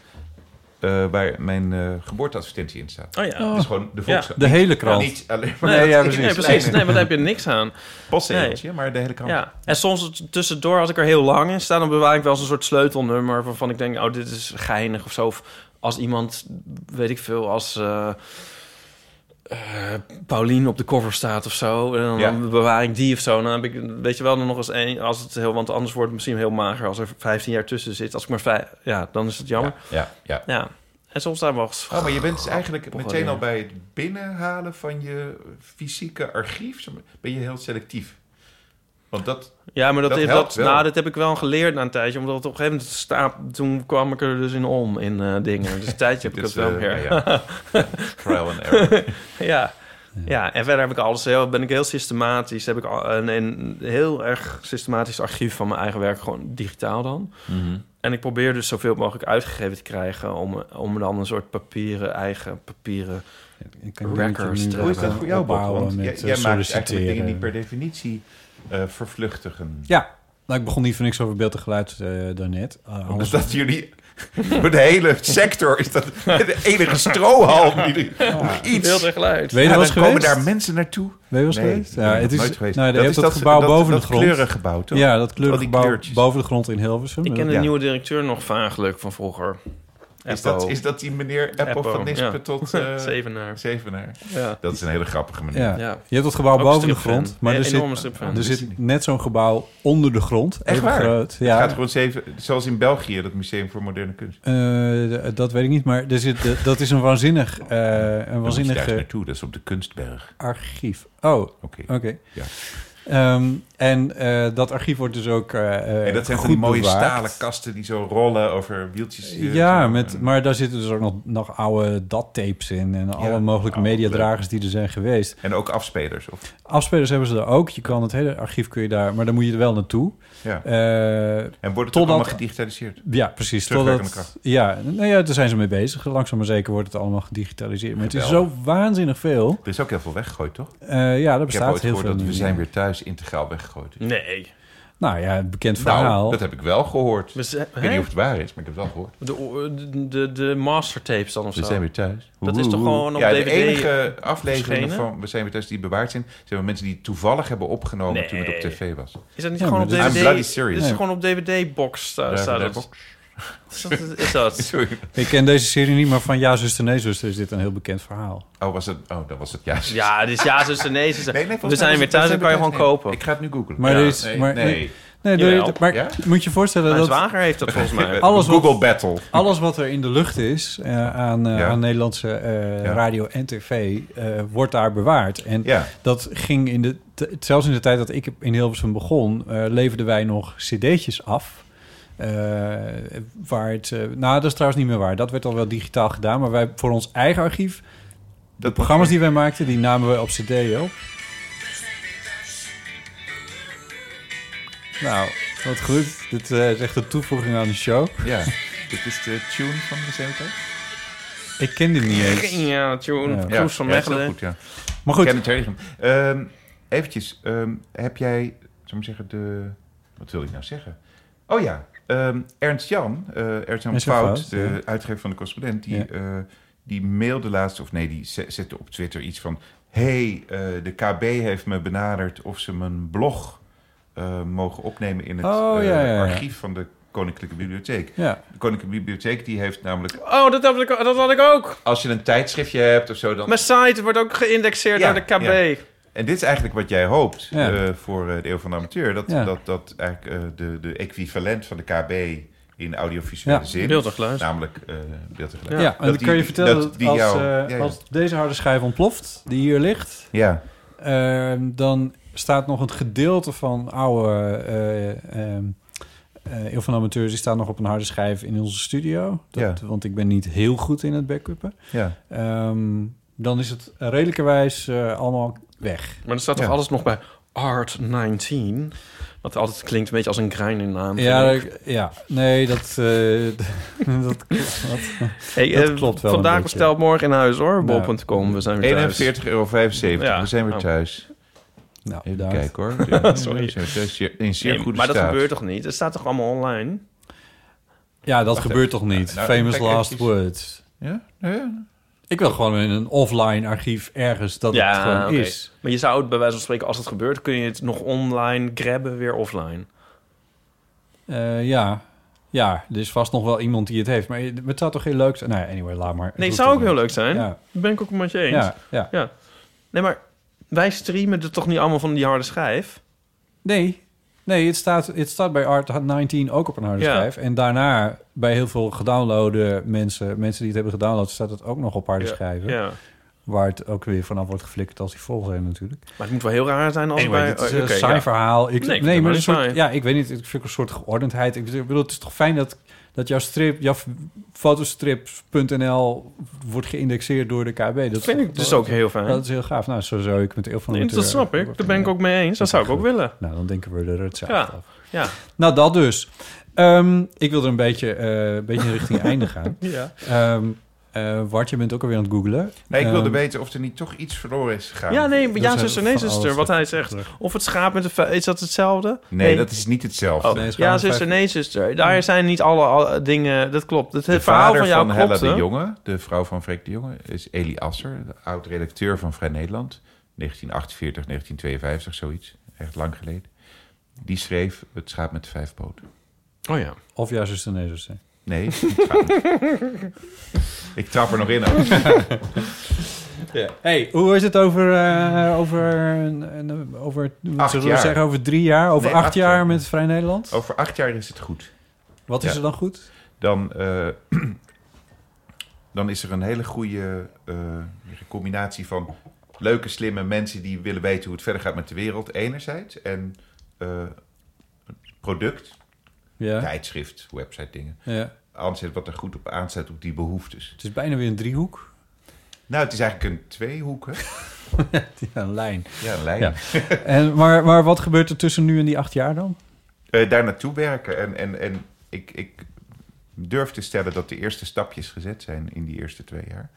Speaker 1: eh, waar mijn eh, geboorteadvertentie in staat.
Speaker 3: Oh ja.
Speaker 1: Dat is gewoon de Volkskrant.
Speaker 2: De hele
Speaker 1: Ja,
Speaker 2: krant.
Speaker 1: Niet alleen maar
Speaker 3: Nee,
Speaker 2: Nee, ja,
Speaker 3: dat-
Speaker 2: precies.
Speaker 3: nee, precies. Nee, maar daar heb je niks aan.
Speaker 1: het postzegeltje, maar de hele krant.
Speaker 3: Ja, en soms tussendoor, als ik er heel lang in sta, dan bewaar ik wel eens een soort sleutelnummer waarvan ik denk, oh, dit is geinig of zo. Of als iemand, weet ik veel, als eh eh, Paulien op de cover staat of zo, en dan,
Speaker 1: Ja.
Speaker 3: bewaar ik die of zo. Dan heb ik, weet je wel, dan nog eens één, als het heel, want anders wordt het misschien heel mager als er 15 jaar tussen zit. Als ik maar vijf, ja, dan is het jammer.
Speaker 1: Ja, ja, ja.
Speaker 3: Ja. En soms staan we wel eens-
Speaker 1: Oh, maar je bent dus eigenlijk meteen
Speaker 3: dingen.
Speaker 1: al bij het binnenhalen van je fysieke archief. zo- Ben je heel selectief. Want dat...
Speaker 3: Ja, maar dat,
Speaker 1: Dat
Speaker 3: is
Speaker 1: helpt
Speaker 3: dat,
Speaker 1: wel.
Speaker 3: nou, dat heb ik wel geleerd na een tijdje. Omdat het op een gegeven moment staat, toen kwam ik er dus in om in eh, dingen. Dus een tijdje heb
Speaker 1: [laughs]
Speaker 3: ik
Speaker 1: dit
Speaker 3: dat
Speaker 1: is, eh,
Speaker 3: wel meer. Ja.
Speaker 1: ja,
Speaker 3: [laughs]
Speaker 1: ja. Trial and error.
Speaker 3: ja. en verder heb ik alles heel, ben ik heel systematisch. Heb ik al- een, een heel erg systematisch archief van mijn eigen werk, gewoon digitaal dan.
Speaker 1: Mhm.
Speaker 3: En ik probeer dus zoveel mogelijk uitgegeven te krijgen om, om dan een soort papieren, eigen papieren.
Speaker 2: Ik kan niet met je
Speaker 3: Records eh,
Speaker 2: nu
Speaker 3: te
Speaker 1: Hoe is dat voor jou, Bob?
Speaker 2: opbouwen
Speaker 1: Want
Speaker 2: met,
Speaker 1: jij,
Speaker 2: eh,
Speaker 1: jij maakt eigenlijk
Speaker 2: solliciteren.
Speaker 1: dingen die per definitie eh, vervluchtigen.
Speaker 2: Ja, nou, ik begon niet voor niks over beeld en geluid eh, daarnet. Eh,
Speaker 1: Dus
Speaker 2: alles-
Speaker 1: [laughs] dat jullie... Voor de hele sector is dat de enige strohalm die nog iets...
Speaker 3: Heel tegelijk.
Speaker 2: Weet je
Speaker 1: Ja,
Speaker 2: wat
Speaker 1: dan
Speaker 2: is
Speaker 1: komen
Speaker 2: geweest?
Speaker 1: daar mensen naartoe.
Speaker 2: Weet je wat is
Speaker 1: Nee,
Speaker 2: geweest?
Speaker 1: ik ben
Speaker 2: Ja,
Speaker 1: er
Speaker 2: het
Speaker 1: nog
Speaker 2: is,
Speaker 1: nooit geweest.
Speaker 2: Nou, je
Speaker 1: Dat
Speaker 2: hebt
Speaker 1: is
Speaker 2: dat, gebouw
Speaker 1: dat-
Speaker 2: boven
Speaker 1: dat
Speaker 2: de grond.
Speaker 1: kleurengebouw, toch?
Speaker 2: Ja, dat
Speaker 1: die
Speaker 2: kleurengebouw
Speaker 1: kleurtjes.
Speaker 2: boven de grond in Hilversum.
Speaker 3: Ik ken de
Speaker 1: Ja.
Speaker 3: nieuwe directeur nog vaaglijk van vroeger.
Speaker 1: Is
Speaker 3: Eppo.
Speaker 1: dat, is dat die meneer Apple
Speaker 3: Eppo,
Speaker 1: van Nispen
Speaker 3: Oh. ja. [laughs]
Speaker 1: tot eh,
Speaker 3: Zevenaar.
Speaker 1: Zevenaar?
Speaker 3: Ja.
Speaker 1: Dat is een hele grappige meneer.
Speaker 2: Ja.
Speaker 3: Ja.
Speaker 2: Je hebt dat gebouw
Speaker 3: Ook
Speaker 2: boven de
Speaker 3: stripfan.
Speaker 2: grond, maar
Speaker 3: Ja,
Speaker 2: er,
Speaker 3: enorme
Speaker 2: zit,
Speaker 3: stripfan. Dus
Speaker 1: Dat
Speaker 2: er
Speaker 1: wist ik
Speaker 2: zit net zo'n gebouw onder de grond.
Speaker 1: Echt
Speaker 2: even
Speaker 1: waar?
Speaker 2: Groot.
Speaker 1: Het
Speaker 2: Ja,
Speaker 1: gaat gewoon zeven, dus- zoals in België, dat Museum voor Moderne Kunst.
Speaker 2: Eh, d- dat weet ik niet, maar er zit, d- dat is een waanzinnig, eh een
Speaker 1: Dan moet je daar eens
Speaker 2: waanzinnig
Speaker 1: naartoe, dat is op de Kunstberg.
Speaker 2: archief. Oh, oké.
Speaker 1: Oké.
Speaker 2: Ja.
Speaker 1: Ja.
Speaker 2: en eh, dat archief wordt dus ook eh
Speaker 1: en dat zijn
Speaker 2: goed
Speaker 1: van die mooie
Speaker 2: bewaard.
Speaker 1: stalen kasten die zo rollen over wieltjes. eh,
Speaker 2: Ja,
Speaker 1: zo.
Speaker 2: met, maar daar zitten dus ook nog, nog oude dattapes in en alle mogelijke
Speaker 1: oh,
Speaker 2: mediadragers die er zijn geweest.
Speaker 1: En ook afspelers. Of,
Speaker 2: Afspelers hebben ze er ook. Je kan het hele archief kun je daar, maar dan moet je er wel naartoe.
Speaker 1: ja.
Speaker 2: Eh,
Speaker 1: en wordt het
Speaker 2: totdat-
Speaker 1: ook allemaal gedigitaliseerd?
Speaker 2: ja, precies.
Speaker 1: Terugwerkende
Speaker 2: Totdat, ja, nou ja, daar zijn ze mee bezig. Langzaam maar zeker wordt het allemaal gedigitaliseerd. Maar het is zo waanzinnig veel.
Speaker 1: Er is ook heel veel weggegooid, toch?
Speaker 2: Eh, ja, er
Speaker 1: Ik heb
Speaker 2: bestaat
Speaker 1: ooit
Speaker 2: heel
Speaker 1: gehoord
Speaker 2: veel.
Speaker 1: dat we
Speaker 2: niet
Speaker 1: zijn
Speaker 2: meer.
Speaker 1: weer thuis integraal weggegooid. is.
Speaker 3: Nee.
Speaker 2: Nou ja, een bekend verhaal.
Speaker 1: Nou, dat heb ik wel gehoord.
Speaker 3: Dus, eh,
Speaker 1: ik weet
Speaker 3: hè?
Speaker 1: niet of het waar is, maar ik heb het wel gehoord.
Speaker 3: De, o- de, de, de mastertapes dan of
Speaker 1: We
Speaker 3: zo.
Speaker 1: zijn weer thuis.
Speaker 3: Dat is toch gewoon op
Speaker 1: ja,
Speaker 3: DVD
Speaker 1: de enige aflevering
Speaker 3: verschenen?
Speaker 1: van We zijn weer thuis die bewaard zijn, zijn wel mensen die toevallig hebben opgenomen toen het op tv was.
Speaker 3: Is dat niet
Speaker 2: Ja,
Speaker 3: gewoon op
Speaker 2: maar dit
Speaker 1: is-
Speaker 3: DVD?
Speaker 1: I'm bloody serious.
Speaker 3: Dit is
Speaker 2: Nee.
Speaker 3: gewoon op DVD-box eh, staat
Speaker 1: Daar- daar-
Speaker 3: dat. Is dat? Is dat?
Speaker 1: [laughs] Sorry.
Speaker 2: Ik ken deze serie niet, maar van Ja, zuster, nee, zuster is dit een heel bekend verhaal.
Speaker 1: Oh, was het? Oh, dan was het juist.
Speaker 3: Ja, dus ja, zuster, nee, zuster.
Speaker 1: Nee, nee, volgens
Speaker 3: we
Speaker 1: mij
Speaker 3: zijn
Speaker 1: was
Speaker 3: weer
Speaker 1: het-
Speaker 3: thuis,
Speaker 1: we zijn
Speaker 3: dan kan je
Speaker 1: weer
Speaker 3: gewoon
Speaker 1: thuis.
Speaker 3: kopen.
Speaker 1: Nee, Ik ga het nu googlen.
Speaker 2: Maar
Speaker 1: Ja,
Speaker 2: dit is-
Speaker 1: nee,
Speaker 2: maar-
Speaker 1: nee.
Speaker 2: Nee,
Speaker 3: Jawel.
Speaker 2: doe je- maar
Speaker 1: Ja?
Speaker 2: moet je voorstellen
Speaker 3: Mijn
Speaker 2: dat
Speaker 3: zwager heeft dat volgens
Speaker 1: [laughs]
Speaker 3: mij.
Speaker 2: alles wat-
Speaker 1: Google Battle.
Speaker 2: alles wat er in de lucht is eh, aan, eh,
Speaker 1: Ja.
Speaker 2: aan Nederlandse eh,
Speaker 1: Ja.
Speaker 2: radio en tv, eh, wordt daar bewaard. En
Speaker 1: Ja.
Speaker 2: dat ging in de, t- zelfs in de tijd dat ik in Hilversum begon, eh, leverden wij nog cd'tjes af. Eh, waar het, eh, nou, dat is trouwens niet meer waar. Dat werd al wel digitaal gedaan, maar wij voor ons eigen archief, de programma's die wij maakten, die namen we op cd op. Nou, wat goed. Dit eh, is echt een toevoeging aan de show.
Speaker 1: Ja.
Speaker 2: [laughs]
Speaker 1: Dit is de tune van de zijn weer thuis.
Speaker 2: Ik ken dit niet
Speaker 3: Oh,
Speaker 2: eens.
Speaker 3: Ja, tune.
Speaker 2: Ja.
Speaker 1: Ja,
Speaker 3: Koes van
Speaker 1: ja, is heel
Speaker 3: Mechelen.
Speaker 1: goed, ja.
Speaker 2: Maar goed,
Speaker 1: Kenneth Heugem. Ehm, eventjes, ehm, heb jij, zou ik zeggen, de... Wat wil ik nou zeggen? Oh ja, ehm, Ernst Jan, eh Ernst Jan
Speaker 2: Ernst Jan
Speaker 1: Fout,
Speaker 2: Fout,
Speaker 1: de uitgever van de correspondent, die,
Speaker 2: Ja.
Speaker 1: eh, die mailde laatst, of nee, die ze- zette op Twitter iets van... hey, eh, de KB heeft me benaderd of ze mijn blog eh, mogen opnemen in het
Speaker 2: Oh,
Speaker 1: eh,
Speaker 2: ja, ja, ja.
Speaker 1: archief van de Koninklijke Bibliotheek.
Speaker 2: ja.
Speaker 1: De Koninklijke Bibliotheek die heeft namelijk,
Speaker 3: Oh, dat had, ik, dat had ik ook.
Speaker 1: als je een tijdschriftje hebt of zo, dan
Speaker 3: Mijn site wordt ook geïndexeerd
Speaker 1: Ja,
Speaker 3: door de KB.
Speaker 1: En dit is eigenlijk wat jij hoopt
Speaker 2: Ja.
Speaker 1: eh, voor eh, de Eeuw van de Amateur. Dat,
Speaker 2: Ja.
Speaker 1: dat, dat eigenlijk eh, de, de equivalent van de KB in audiovisuele
Speaker 2: Ja.
Speaker 1: zin.
Speaker 3: Beeld en geluid.
Speaker 1: Namelijk eh beeld en
Speaker 2: Ja,
Speaker 1: geluid.
Speaker 2: en dan
Speaker 1: die-
Speaker 2: kan je vertellen dat,
Speaker 1: dat die
Speaker 2: als,
Speaker 1: jou-
Speaker 2: eh,
Speaker 1: ja, ja.
Speaker 2: als deze harde schijf ontploft, die hier ligt,
Speaker 1: Ja.
Speaker 2: ehm, dan staat nog een gedeelte van oude eh, ehm, eh, Eeuw van de Amateurs, die staat nog op een harde schijf in onze studio. Dat, Want ik ben niet heel goed in het backuppen.
Speaker 1: ja.
Speaker 2: Ehm, dan is het redelijkerwijs eh, allemaal weg.
Speaker 3: Maar er staat toch
Speaker 1: Ja.
Speaker 3: alles nog bij Art 19? Wat altijd klinkt een beetje als een grinding naam.
Speaker 2: Ja,
Speaker 3: vind ik.
Speaker 2: dat- ja, nee, dat, eh, [laughs] dat, dat
Speaker 3: Hey,
Speaker 2: dat
Speaker 3: eh,
Speaker 2: klopt wel een
Speaker 3: Vandaag
Speaker 2: beetje.
Speaker 3: besteld, morgen in huis hoor. Bol.com, we zijn weer thuis.
Speaker 1: 41,75 euro.
Speaker 3: Ja.
Speaker 1: We zijn weer
Speaker 3: Oh.
Speaker 1: thuis.
Speaker 2: nou,
Speaker 1: Even
Speaker 2: bedankt.
Speaker 1: kijken
Speaker 3: [laughs]
Speaker 1: hoor. Ja,
Speaker 3: Sorry.
Speaker 1: we zijn weer thuis. Zeer- In zeer
Speaker 3: Nee,
Speaker 1: goede
Speaker 3: maar
Speaker 1: staat.
Speaker 3: dat gebeurt toch niet? Het staat toch allemaal online?
Speaker 2: Ja, dat gebeurt toch niet?
Speaker 1: Nou,
Speaker 2: Famous
Speaker 1: kijk
Speaker 2: last
Speaker 1: eventjes.
Speaker 2: words.
Speaker 1: Ja? Ja.
Speaker 2: Ik wil gewoon in een offline archief ergens dat het gewoon
Speaker 3: oké.
Speaker 2: is.
Speaker 3: Maar je zou het bij wijze van spreken, als het gebeurt, kun je het nog online grabben, weer offline.
Speaker 2: Eh, ja. ja, er is vast nog wel iemand die het heeft. Maar het zou toch heel leuk zijn? Nou ja, anyway, laat maar.
Speaker 3: Nee,
Speaker 2: Het
Speaker 3: het zou ook
Speaker 2: hoeft
Speaker 3: heel
Speaker 2: toch
Speaker 3: leuk zijn.
Speaker 2: Ja.
Speaker 3: Dat ben ik ook met je
Speaker 2: niet.
Speaker 3: eens.
Speaker 2: Ja, ja.
Speaker 3: Ja. Nee, maar wij streamen het toch niet allemaal van die harde schijf?
Speaker 2: Nee, nee het, staat, het staat bij Art19 ook op een harde
Speaker 3: Ja.
Speaker 2: schijf. En daarna bij heel veel gedownloaden mensen, mensen die het hebben gedownload, staat het ook nog op harde
Speaker 3: Ja,
Speaker 2: schijven.
Speaker 3: Ja.
Speaker 2: Waar het ook weer vanaf wordt geflikkerd als die vol zijn natuurlijk.
Speaker 3: Maar het moet wel heel raar zijn als
Speaker 2: Anyway,
Speaker 3: wij...
Speaker 2: dit is
Speaker 3: oh,
Speaker 1: eh,
Speaker 2: een
Speaker 3: oké,
Speaker 2: saai
Speaker 3: ja.
Speaker 2: verhaal. Ik,
Speaker 3: Nee, ik vind
Speaker 2: nee,
Speaker 3: het
Speaker 2: maar
Speaker 3: wel
Speaker 2: een soort,
Speaker 3: saai.
Speaker 2: ja, ik weet niet. Ik vind een soort geordendheid. Ik bedoel, het is toch fijn dat, dat jouw strip, jouw fotostrip.nl wordt geïndexeerd door de KB. Dat
Speaker 3: Dat vind ik dus ook heel fijn.
Speaker 2: Dat is eh, heel gaaf. Nou, zo zou ik met heel veel
Speaker 3: Nee, dat snap ik. Daar ben ik ook mee eens. Dat zou ik ook willen.
Speaker 2: Nou, dan denken we er het
Speaker 3: Ja.
Speaker 2: zelf af.
Speaker 3: Ja.
Speaker 2: Nou, dat dus. Ehm, ik wil er een beetje, eh, een beetje
Speaker 1: [laughs]
Speaker 2: richting einde gaan.
Speaker 3: Ja.
Speaker 2: Ehm eh, Wart, je bent ook alweer aan het googlen.
Speaker 1: Nee, ik wilde
Speaker 2: Ehm,
Speaker 1: weten of er niet toch iets verloren is gegaan.
Speaker 3: Ja, nee, maar ja,
Speaker 2: zijn
Speaker 3: zuster, nee,
Speaker 2: van
Speaker 3: zuster,
Speaker 2: alles
Speaker 3: wat hij zegt. Of het schaap met de vuil, is dat hetzelfde?
Speaker 1: Nee, dat is niet hetzelfde.
Speaker 3: Oh,
Speaker 2: Nee, het
Speaker 3: ja,
Speaker 2: gaat
Speaker 3: zuster,
Speaker 2: vijf-
Speaker 3: nee, zuster. Daar zijn niet alle, alle dingen... Dat klopt. Het,
Speaker 1: De
Speaker 3: het verhaal
Speaker 1: vader
Speaker 3: van jou
Speaker 1: Hella
Speaker 3: klopt,
Speaker 1: de Jonge, de vrouw van Freek de Jonge, is Elie Asser, de oud-redacteur van Vrij Nederland. 1948, 1952, zoiets. Echt lang geleden. Die schreef Het schaap met de vijf poten.
Speaker 3: Oh ja.
Speaker 2: Of juist zuster, nee, zuster.
Speaker 3: [laughs]
Speaker 1: Nee, het schaap met- ik trap er nog in. ook. [laughs]
Speaker 2: Hey, hoe is het over, eh, over, een- een- over,
Speaker 1: Acht
Speaker 2: zullen we
Speaker 1: jaar.
Speaker 2: zeggen, over drie jaar, over
Speaker 1: Nee,
Speaker 2: acht,
Speaker 1: acht
Speaker 2: jaar,
Speaker 1: jaar.
Speaker 2: met Vrij Nederland?
Speaker 1: Over acht jaar is het goed.
Speaker 2: Wat
Speaker 1: ja.
Speaker 2: is er dan goed?
Speaker 1: Dan, eh, [clears throat] dan is er een hele goede eh, combinatie van leuke, slimme mensen die willen weten hoe het verder gaat met de wereld, enerzijds. En eh, product,
Speaker 2: Ja.
Speaker 1: tijdschrift, website dingen.
Speaker 2: ja.
Speaker 1: Aanzet wat er goed op aanzet op die behoeftes.
Speaker 2: Het is bijna weer een driehoek. [laughs]
Speaker 1: Nou, het is eigenlijk een tweehoek, hè?
Speaker 2: Ja, een lijn.
Speaker 1: Ja, een lijn.
Speaker 2: Ja. En, maar, maar wat gebeurt er tussen nu en die acht jaar dan?
Speaker 1: Eh, daar naartoe werken. En, en, en ik, ik durf te stellen dat de eerste stapjes gezet zijn in die eerste twee jaar.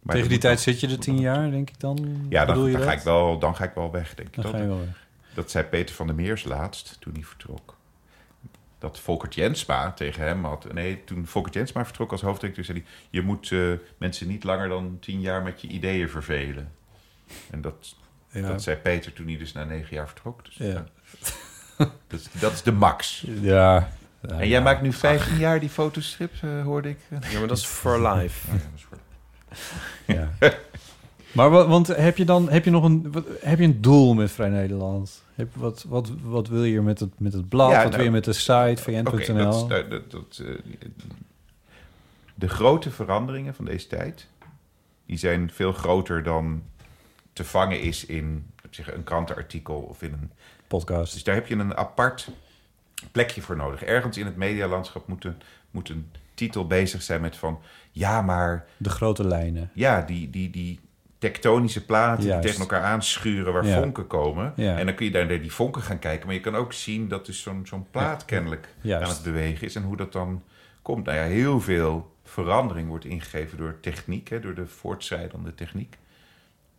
Speaker 1: Maar
Speaker 2: Tegen
Speaker 1: dat
Speaker 2: die
Speaker 1: moet
Speaker 2: tijd
Speaker 1: nog-
Speaker 2: zit je er tien jaar, denk ik dan?
Speaker 1: Ja,
Speaker 2: Bedoel
Speaker 1: dan,
Speaker 2: je
Speaker 1: dan, ga
Speaker 2: dat?
Speaker 1: ik wel, dan ga ik wel weg, denk ik.
Speaker 2: Dan
Speaker 1: Dat-
Speaker 2: ga je wel weg.
Speaker 1: Dat zei Peter van der Meers laatst, toen hij vertrok. Dat Volkert Jensma tegen hem had... Nee, toen Volkert Jensma vertrok als hoofddirecteur... zei hij, je moet eh, mensen niet langer dan tien jaar met je ideeën vervelen. En dat,
Speaker 2: Ja.
Speaker 1: dat zei Peter toen hij dus na negen jaar vertrok. Dus,
Speaker 2: Ja.
Speaker 1: ja. dat, is- dat is de max.
Speaker 2: Ja.
Speaker 1: en jij maakt nu 15 jaar die fotostrip, eh, hoorde ik. Oh
Speaker 6: Ja, maar dat is for life.
Speaker 1: [laughs] ja, dat is voor-
Speaker 2: Ja. maar wat, want heb je dan heb je nog een, wat- heb je een doel met Vrij Nederland? Heb, wat, wat, wat wil je met het, met het blad?
Speaker 1: Ja,
Speaker 2: wat
Speaker 1: nou,
Speaker 2: wil je met de site, vn.nl?
Speaker 1: Oké, dat is- dat, dat, dat, eh, de grote veranderingen van deze tijd, die zijn veel groter dan te vangen is in laat ik zeggen, een krantenartikel of in een...
Speaker 2: Podcast.
Speaker 1: Dus daar heb je een apart plekje voor nodig. Ergens in het medialandschap moet een, moet een titel bezig zijn met van... Ja, maar
Speaker 2: De grote lijnen.
Speaker 1: ja, die, die, die tektonische platen
Speaker 2: eh, Juist.
Speaker 1: die tegen elkaar aanschuren waar
Speaker 2: Ja.
Speaker 1: vonken komen.
Speaker 2: Ja.
Speaker 1: En dan kun je daar naar die vonken gaan kijken. Maar je kan ook zien dat dus zo'n zo'n plaat kennelijk
Speaker 2: Juist.
Speaker 1: aan het bewegen is. En hoe dat dan komt. Nou ja, heel veel verandering wordt ingegeven door techniek, hè, door de voortschrijdende techniek.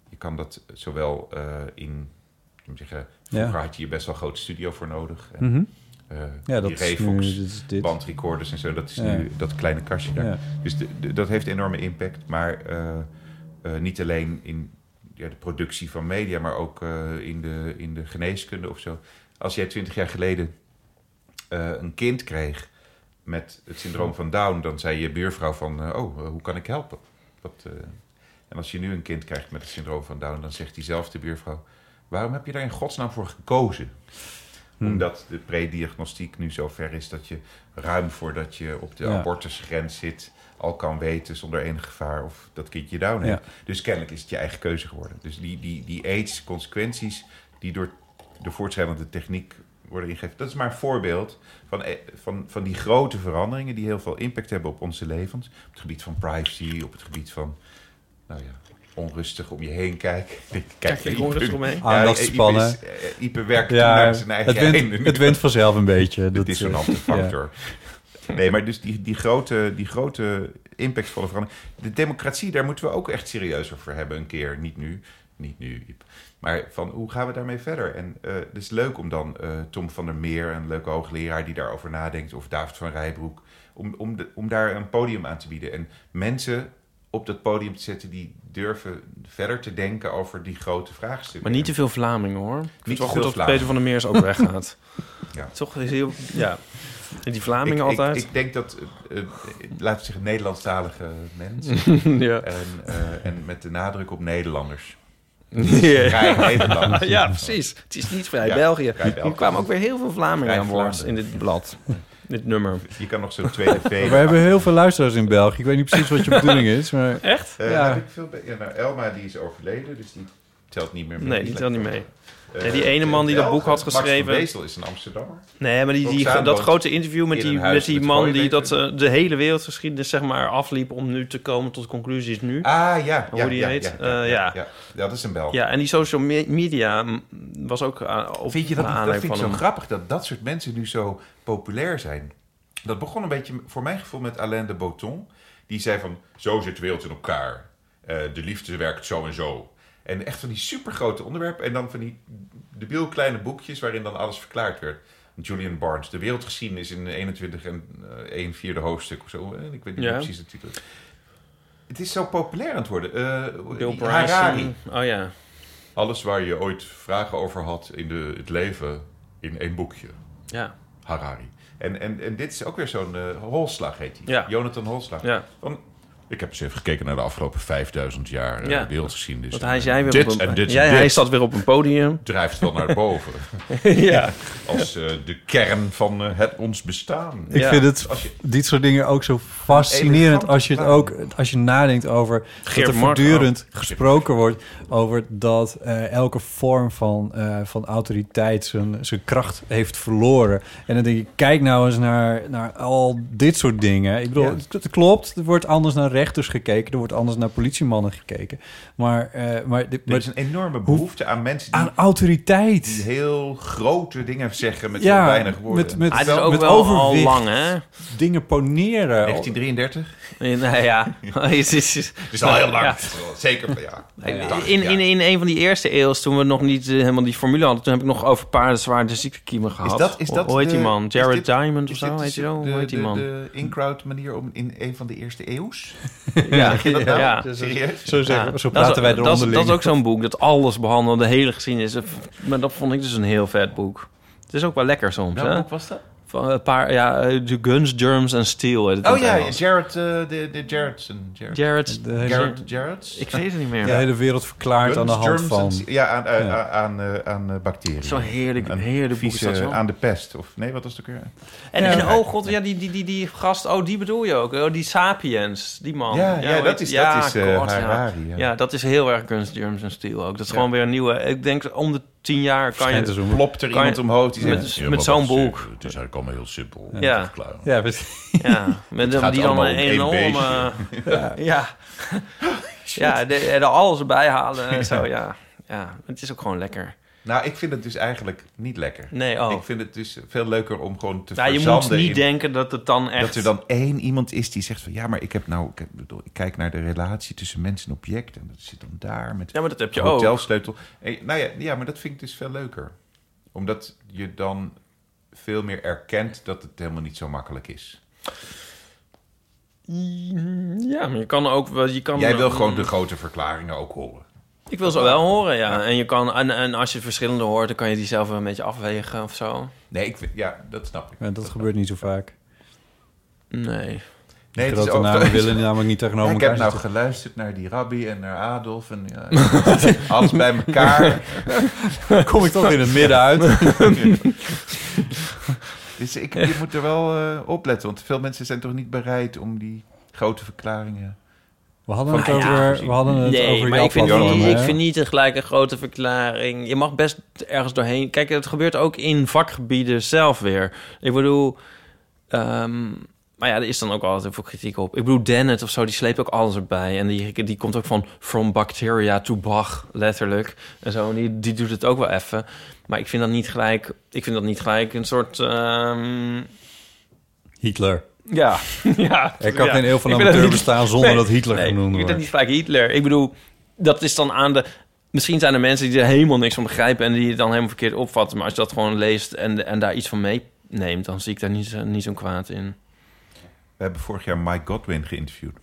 Speaker 1: Je kan dat zowel eh, in. ik moet Zeggen, vroeger had je hier best wel een groot studio voor nodig. En,
Speaker 2: Mhm.
Speaker 1: eh,
Speaker 2: Ja, dat
Speaker 1: die
Speaker 2: is nu
Speaker 1: Revox
Speaker 2: dit is dit.
Speaker 1: bandrecorders en zo. Dat is
Speaker 2: Ja.
Speaker 1: nu dat kleine kastje daar.
Speaker 2: Ja.
Speaker 1: Dus de- de- dat heeft enorme impact. Maar eh, eh, niet alleen in ja, de productie van media, maar ook eh, in, de, in de geneeskunde of zo. Als jij twintig jaar geleden eh, een kind kreeg met het syndroom van Down, dan zei je buurvrouw van, eh, oh, eh, hoe kan ik helpen? Wat, eh, En als je nu een kind krijgt met het syndroom van Down, dan zegt diezelfde buurvrouw, waarom heb je daar in godsnaam voor gekozen?
Speaker 2: Hmm.
Speaker 1: Omdat de prediagnostiek nu zo ver is dat je ruim voordat je op de
Speaker 2: Ja.
Speaker 1: abortusgrens zit, al kan weten zonder enig gevaar of dat kindje down heeft. Dus kennelijk is het je eigen keuze geworden. Dus die, die, die aids-consequenties die door de voortschrijdende techniek worden ingegeven. Dat is maar een voorbeeld van, eh, van, van die grote veranderingen die heel veel impact hebben op onze levens. Op het gebied van privacy, op het gebied van nou ja, onrustig om je heen kijken. [laughs] Kijk,
Speaker 6: Kijk,
Speaker 1: naar
Speaker 6: ik
Speaker 1: Ipe.
Speaker 6: onrustig omheen.
Speaker 2: Aandachtspannen.
Speaker 1: Ja, Ipe, is- eh, Ipe werkt
Speaker 2: Ja,
Speaker 1: naar zijn eigen
Speaker 2: het, wint,
Speaker 1: heen.
Speaker 2: het wint vanzelf een
Speaker 1: [laughs]
Speaker 2: beetje. eh,
Speaker 1: De dissonante
Speaker 2: [laughs]
Speaker 1: factor. Nee, maar dus die, die, grote, die grote impactvolle verandering. De democratie, daar moeten we ook echt serieus over hebben een keer. Niet nu, niet nu, Iep. Maar van hoe gaan we daarmee verder? En eh, het is leuk om dan eh, Tom van der Meer, een leuke hoogleraar die daarover nadenkt, of David van Rijbroek, om, om, de, om daar een podium aan te bieden. En mensen op dat podium te zetten die durven verder te denken over die grote vraagstukken.
Speaker 3: Maar niet te veel Vlamingen hoor. Ik
Speaker 1: Niet
Speaker 3: vind het wel
Speaker 1: te
Speaker 3: goed
Speaker 1: veel
Speaker 3: dat Peter van der Meers ook weggaat.
Speaker 1: [laughs] Ja.
Speaker 3: Toch is heel. Ja. En die Vlamingen
Speaker 1: ik, ik-
Speaker 3: altijd.
Speaker 1: Ik, denk dat, eh, eh, laten we zeggen, Nederlandstalige mensen.
Speaker 3: [laughs] ja.
Speaker 1: En, eh, en met de nadruk op Nederlanders.
Speaker 3: [laughs] Ja.
Speaker 1: Vrij Nederlanders.
Speaker 3: ja, precies. Het is niet vrij
Speaker 1: Ja,
Speaker 3: België.
Speaker 1: vrij België.
Speaker 3: Er kwamen ook weer heel veel Vlamingen
Speaker 1: Vrij
Speaker 3: aan boord in
Speaker 1: Vlaanderen.
Speaker 3: dit
Speaker 1: [laughs]
Speaker 3: blad. Dit nummer.
Speaker 1: Je kan nog zo'n tweede V.
Speaker 2: We hebben heel veel luisteraars in België. Ik weet niet
Speaker 1: [laughs]
Speaker 2: precies wat je bedoeling is, maar...
Speaker 3: Echt?
Speaker 1: Eh,
Speaker 2: ja.
Speaker 1: heb ik veel be- ja, nou, Elma die is overleden, dus die telt niet meer mee.
Speaker 3: Nee, die telt niet mee.
Speaker 1: Eh,
Speaker 3: Ja, die ene man die dat
Speaker 1: Belgen,
Speaker 3: boek had
Speaker 1: Max van
Speaker 3: geschreven.
Speaker 1: Wezel is een Amsterdammer.
Speaker 3: Nee, maar die, die,
Speaker 1: Roxane
Speaker 3: dat
Speaker 1: woont
Speaker 3: grote interview met
Speaker 1: in
Speaker 3: die,
Speaker 1: een huis
Speaker 3: met die
Speaker 1: met
Speaker 3: man die
Speaker 1: gooileven.
Speaker 3: dat, eh, de hele wereldgeschiedenis zeg maar, afliep om nu te komen tot conclusies nu.
Speaker 1: Ah, ja.
Speaker 3: Hoe
Speaker 1: ja,
Speaker 3: die
Speaker 1: ja,
Speaker 3: heet?
Speaker 1: Ja,
Speaker 3: Eh, ja.
Speaker 1: Dat is een Belg.
Speaker 3: Ja, en die social me- media mm, was ook aan, op
Speaker 1: Vind je dat,
Speaker 3: naar
Speaker 1: niet- dat
Speaker 3: aanleiding
Speaker 1: vind ik
Speaker 3: van
Speaker 1: zo
Speaker 3: hem.
Speaker 1: grappig dat dat soort mensen nu zo populair zijn. Dat begon een beetje voor mijn gevoel met Alain de Botton. Die zei van, zo zit de wereld in elkaar. Eh, de liefde werkt zo en zo. En echt van die supergrote onderwerpen. En dan van die debiel kleine boekjes waarin dan alles verklaard werd. Julian Barnes, de wereldgeschiedenis in 21 en eh 1 vierde hoofdstuk of zo. Eh, Ik weet niet
Speaker 3: Ja.
Speaker 1: meer precies de titel. Het is zo populair aan het worden. Eh,
Speaker 3: Bill Bryson.
Speaker 1: Harari.
Speaker 3: Oh ja.
Speaker 1: Alles waar je ooit vragen over had in de, het leven in één boekje.
Speaker 3: Ja.
Speaker 1: Harari. En, en, en dit is ook weer zo'n eh, Holslag heet hij.
Speaker 3: Ja.
Speaker 1: Jonathan Holslag.
Speaker 3: ja.
Speaker 1: Van, ik heb eens even gekeken naar de afgelopen 5000 jaar eh,
Speaker 3: Ja.
Speaker 1: wereldgeschiedenis.
Speaker 3: Want hij, jij weer
Speaker 1: dit
Speaker 3: op een,
Speaker 1: en dit
Speaker 3: jij,
Speaker 1: en dit
Speaker 3: hij staat weer op een
Speaker 1: [laughs]
Speaker 3: podium.
Speaker 1: drijft wel naar boven.
Speaker 3: [laughs] ja.
Speaker 1: als eh, de kern van eh, het ons bestaan.
Speaker 2: Ik
Speaker 3: Ja.
Speaker 2: vind het,
Speaker 1: Als je-
Speaker 2: dit soort dingen ook zo fascinerend
Speaker 1: Elegant
Speaker 2: als je het ook als je nadenkt over
Speaker 3: Geert
Speaker 2: dat er
Speaker 3: Mark
Speaker 2: voortdurend gesproken wordt over dat eh, elke vorm van, eh, van autoriteit zijn, zijn kracht heeft verloren. En dan denk ik, kijk nou eens naar, naar al dit soort dingen. Ik bedoel,
Speaker 1: Ja.
Speaker 2: het, het klopt, het wordt anders naar rechters gekeken, er wordt anders naar politiemannen gekeken. Maar, eh, maar, dit-
Speaker 1: Er
Speaker 2: maar
Speaker 1: is een enorme behoefte aan mensen die,
Speaker 2: aan autoriteit.
Speaker 1: die heel grote dingen zeggen met
Speaker 2: Ja,
Speaker 1: heel weinig woorden.
Speaker 2: met- met-
Speaker 3: Ah, dit is ook
Speaker 2: Met
Speaker 3: wel al
Speaker 2: overwicht.
Speaker 3: lang, hè?
Speaker 2: Dingen poneren.
Speaker 1: 1933?
Speaker 3: Nee, nou
Speaker 1: [laughs]
Speaker 3: ja. [laughs] Het is- is-
Speaker 1: Het is al heel lang.
Speaker 3: Ja.
Speaker 1: Zeker. Ja.
Speaker 3: [laughs] In, in, in een van die eerste eeuws, toen we nog niet eh, helemaal die formule hadden... toen heb ik nog over paardenzwaarde ziektekiemen gehad.
Speaker 1: Is dat, is dat
Speaker 3: Hoe heet die
Speaker 1: de-
Speaker 3: man?
Speaker 1: is
Speaker 3: Jared
Speaker 1: dit-
Speaker 3: Diamond of
Speaker 1: is
Speaker 3: zo?
Speaker 1: dit
Speaker 3: Heet die
Speaker 1: de-
Speaker 3: zo? Hoe
Speaker 1: de-
Speaker 3: heet die
Speaker 1: de-
Speaker 3: man?
Speaker 1: De in-crowd manier om in een van de eerste eeuws? [laughs]
Speaker 3: ja,
Speaker 1: dat nou?
Speaker 3: ja.
Speaker 1: Serieus?
Speaker 2: Zo, zeggen,
Speaker 3: Ja,
Speaker 2: zo
Speaker 3: dat is-
Speaker 2: praten wij
Speaker 3: dat is-
Speaker 2: er onderling.
Speaker 3: Dat is ook zo'n boek dat alles behandelt, de hele geschiedenis. Maar dat vond ik dus een heel vet boek. Het is ook wel lekker soms,
Speaker 1: Welk
Speaker 3: hè?
Speaker 1: boek was dat?
Speaker 3: Van een paar, ja, eh, The Guns, Germs and Steel. heet het in
Speaker 1: Oh
Speaker 3: het
Speaker 1: ja,
Speaker 3: Engels.
Speaker 1: Jared, eh, de, de Jaredson. Jared,
Speaker 3: Jared.
Speaker 2: De hele-
Speaker 1: Jared, Jareds?
Speaker 3: Ik weet het niet
Speaker 2: de
Speaker 3: meer.
Speaker 2: hele wereld verklaard aan de
Speaker 1: Germs,
Speaker 2: hand
Speaker 1: germs
Speaker 2: van...
Speaker 1: en- ja, aan, eh,
Speaker 2: Ja.
Speaker 1: aan, eh, aan eh, bacteriën.
Speaker 3: Zo'n heerlijk,
Speaker 1: Een
Speaker 3: heerlijk boek is
Speaker 1: vieze,
Speaker 3: dat wel.
Speaker 1: aan de pest. Of nee, wat was het ook weer?
Speaker 3: En, en oh god, ja, die, die, die, die gast, oh, die bedoel je ook. Oh, die Sapiens, die man.
Speaker 1: Ja, ja,
Speaker 3: hoe
Speaker 1: dat
Speaker 3: heet-
Speaker 1: is- dat is, eh,
Speaker 3: god, ja.
Speaker 1: Harari,
Speaker 3: Ja.
Speaker 1: ja.
Speaker 3: dat is heel erg Guns, Germs and Steel ook. Dat is
Speaker 1: Ja.
Speaker 3: gewoon weer een nieuwe... Ik denk om de tien jaar kan je...
Speaker 2: Schijnt te zoomen.
Speaker 1: Plopt er
Speaker 3: Kan je-
Speaker 1: iemand omhoog die
Speaker 3: met-
Speaker 1: zegt...
Speaker 3: met zo'n boek.
Speaker 1: Het is eigenlijk allemaal dus heel simpel.
Speaker 3: Ja.
Speaker 1: Het is klaar.
Speaker 2: Ja, precies.
Speaker 1: [laughs]
Speaker 3: Ja, met
Speaker 1: gaat
Speaker 3: die dan
Speaker 1: allemaal
Speaker 3: een
Speaker 1: om één
Speaker 3: enorme...
Speaker 1: [laughs]
Speaker 3: [laughs] Ja, ja. ja de, er alles erbij
Speaker 1: [laughs]
Speaker 3: halen en zo, ja. Ja, het is ook gewoon lekker.
Speaker 1: Nou, ik vind het dus eigenlijk niet lekker.
Speaker 3: Nee, oh.
Speaker 1: Ik vind het dus veel leuker om gewoon te
Speaker 3: Ja, je
Speaker 1: verzanden
Speaker 3: moet niet
Speaker 1: in-
Speaker 3: denken dat het dan echt...
Speaker 1: Dat er dan één iemand is die zegt van... Ja, maar ik heb nou... Ik, heb, bedoel, ik kijk naar de relatie tussen mens en object. En dat zit dan daar met
Speaker 3: Ja, maar dat heb je
Speaker 1: de
Speaker 3: ook.
Speaker 1: hotelsleutel. En, nou ja, ja, maar dat vind ik dus veel leuker. Omdat je dan veel meer erkent dat het helemaal niet zo makkelijk is.
Speaker 3: Ja, maar je kan ook... wel- Je kan
Speaker 1: Jij wil gewoon de grote verklaringen ook horen.
Speaker 3: Ik wil ze wel horen, ja. En, je kan, en, en als je verschillende hoort, dan kan je die zelf wel een beetje afwegen of zo.
Speaker 1: Nee, ik vind, ja, dat snap ik.
Speaker 2: Ja, dat gebeurt niet zo vaak.
Speaker 3: Nee.
Speaker 1: Nee, het is
Speaker 2: Grote
Speaker 1: ook- [laughs]
Speaker 2: namen willen namelijk niet
Speaker 1: Ja,
Speaker 2: tegenover
Speaker 1: ik
Speaker 2: elkaar
Speaker 1: heb nou
Speaker 2: Oh, zitten.
Speaker 1: geluisterd naar die rabbi en naar Adolf en ja, alles bij elkaar.
Speaker 2: Kom ik toch in het midden uit?
Speaker 1: Dus ik, je moet er wel eh, op letten, want veel mensen zijn toch niet bereid om die grote verklaringen.
Speaker 2: We hadden het
Speaker 3: Nou ja,
Speaker 2: over, we hadden het
Speaker 3: nee,
Speaker 2: over
Speaker 3: maar
Speaker 2: jouw
Speaker 3: ik vind,
Speaker 2: platform,
Speaker 3: niet,
Speaker 2: hè?
Speaker 3: ik vind niet tegelijk een grote verklaring. Je mag best ergens doorheen. Kijk, het gebeurt ook in vakgebieden zelf weer. Ik bedoel, ehm, maar ja, er is dan ook altijd heel veel kritiek op. Ik bedoel, Dennett of zo, die sleept ook alles erbij. En die, die komt ook van From Bacteria to Bach, letterlijk. En zo, en die, die doet het ook wel even. Maar ik vind dat niet gelijk, ik vind dat niet gelijk een soort... ehm,
Speaker 2: Hitler.
Speaker 3: ja, [laughs] ja.
Speaker 2: Er kan
Speaker 3: ja.
Speaker 2: geen eeuw van
Speaker 3: Ik vind dat
Speaker 2: amateur
Speaker 3: niet-
Speaker 2: bestaan zonder dat Hitler
Speaker 3: nee,
Speaker 2: genoemd
Speaker 3: Ik vind
Speaker 2: wordt.
Speaker 3: dat niet vaak Hitler. Ik bedoel, dat is dan aan de... Misschien zijn er mensen die er helemaal niks van begrijpen... en die het dan helemaal verkeerd opvatten. Maar als je dat gewoon leest en, en daar iets van meeneemt... dan zie ik daar niet, zo- niet zo'n kwaad in.
Speaker 1: We hebben vorig jaar Mike Godwin geïnterviewd.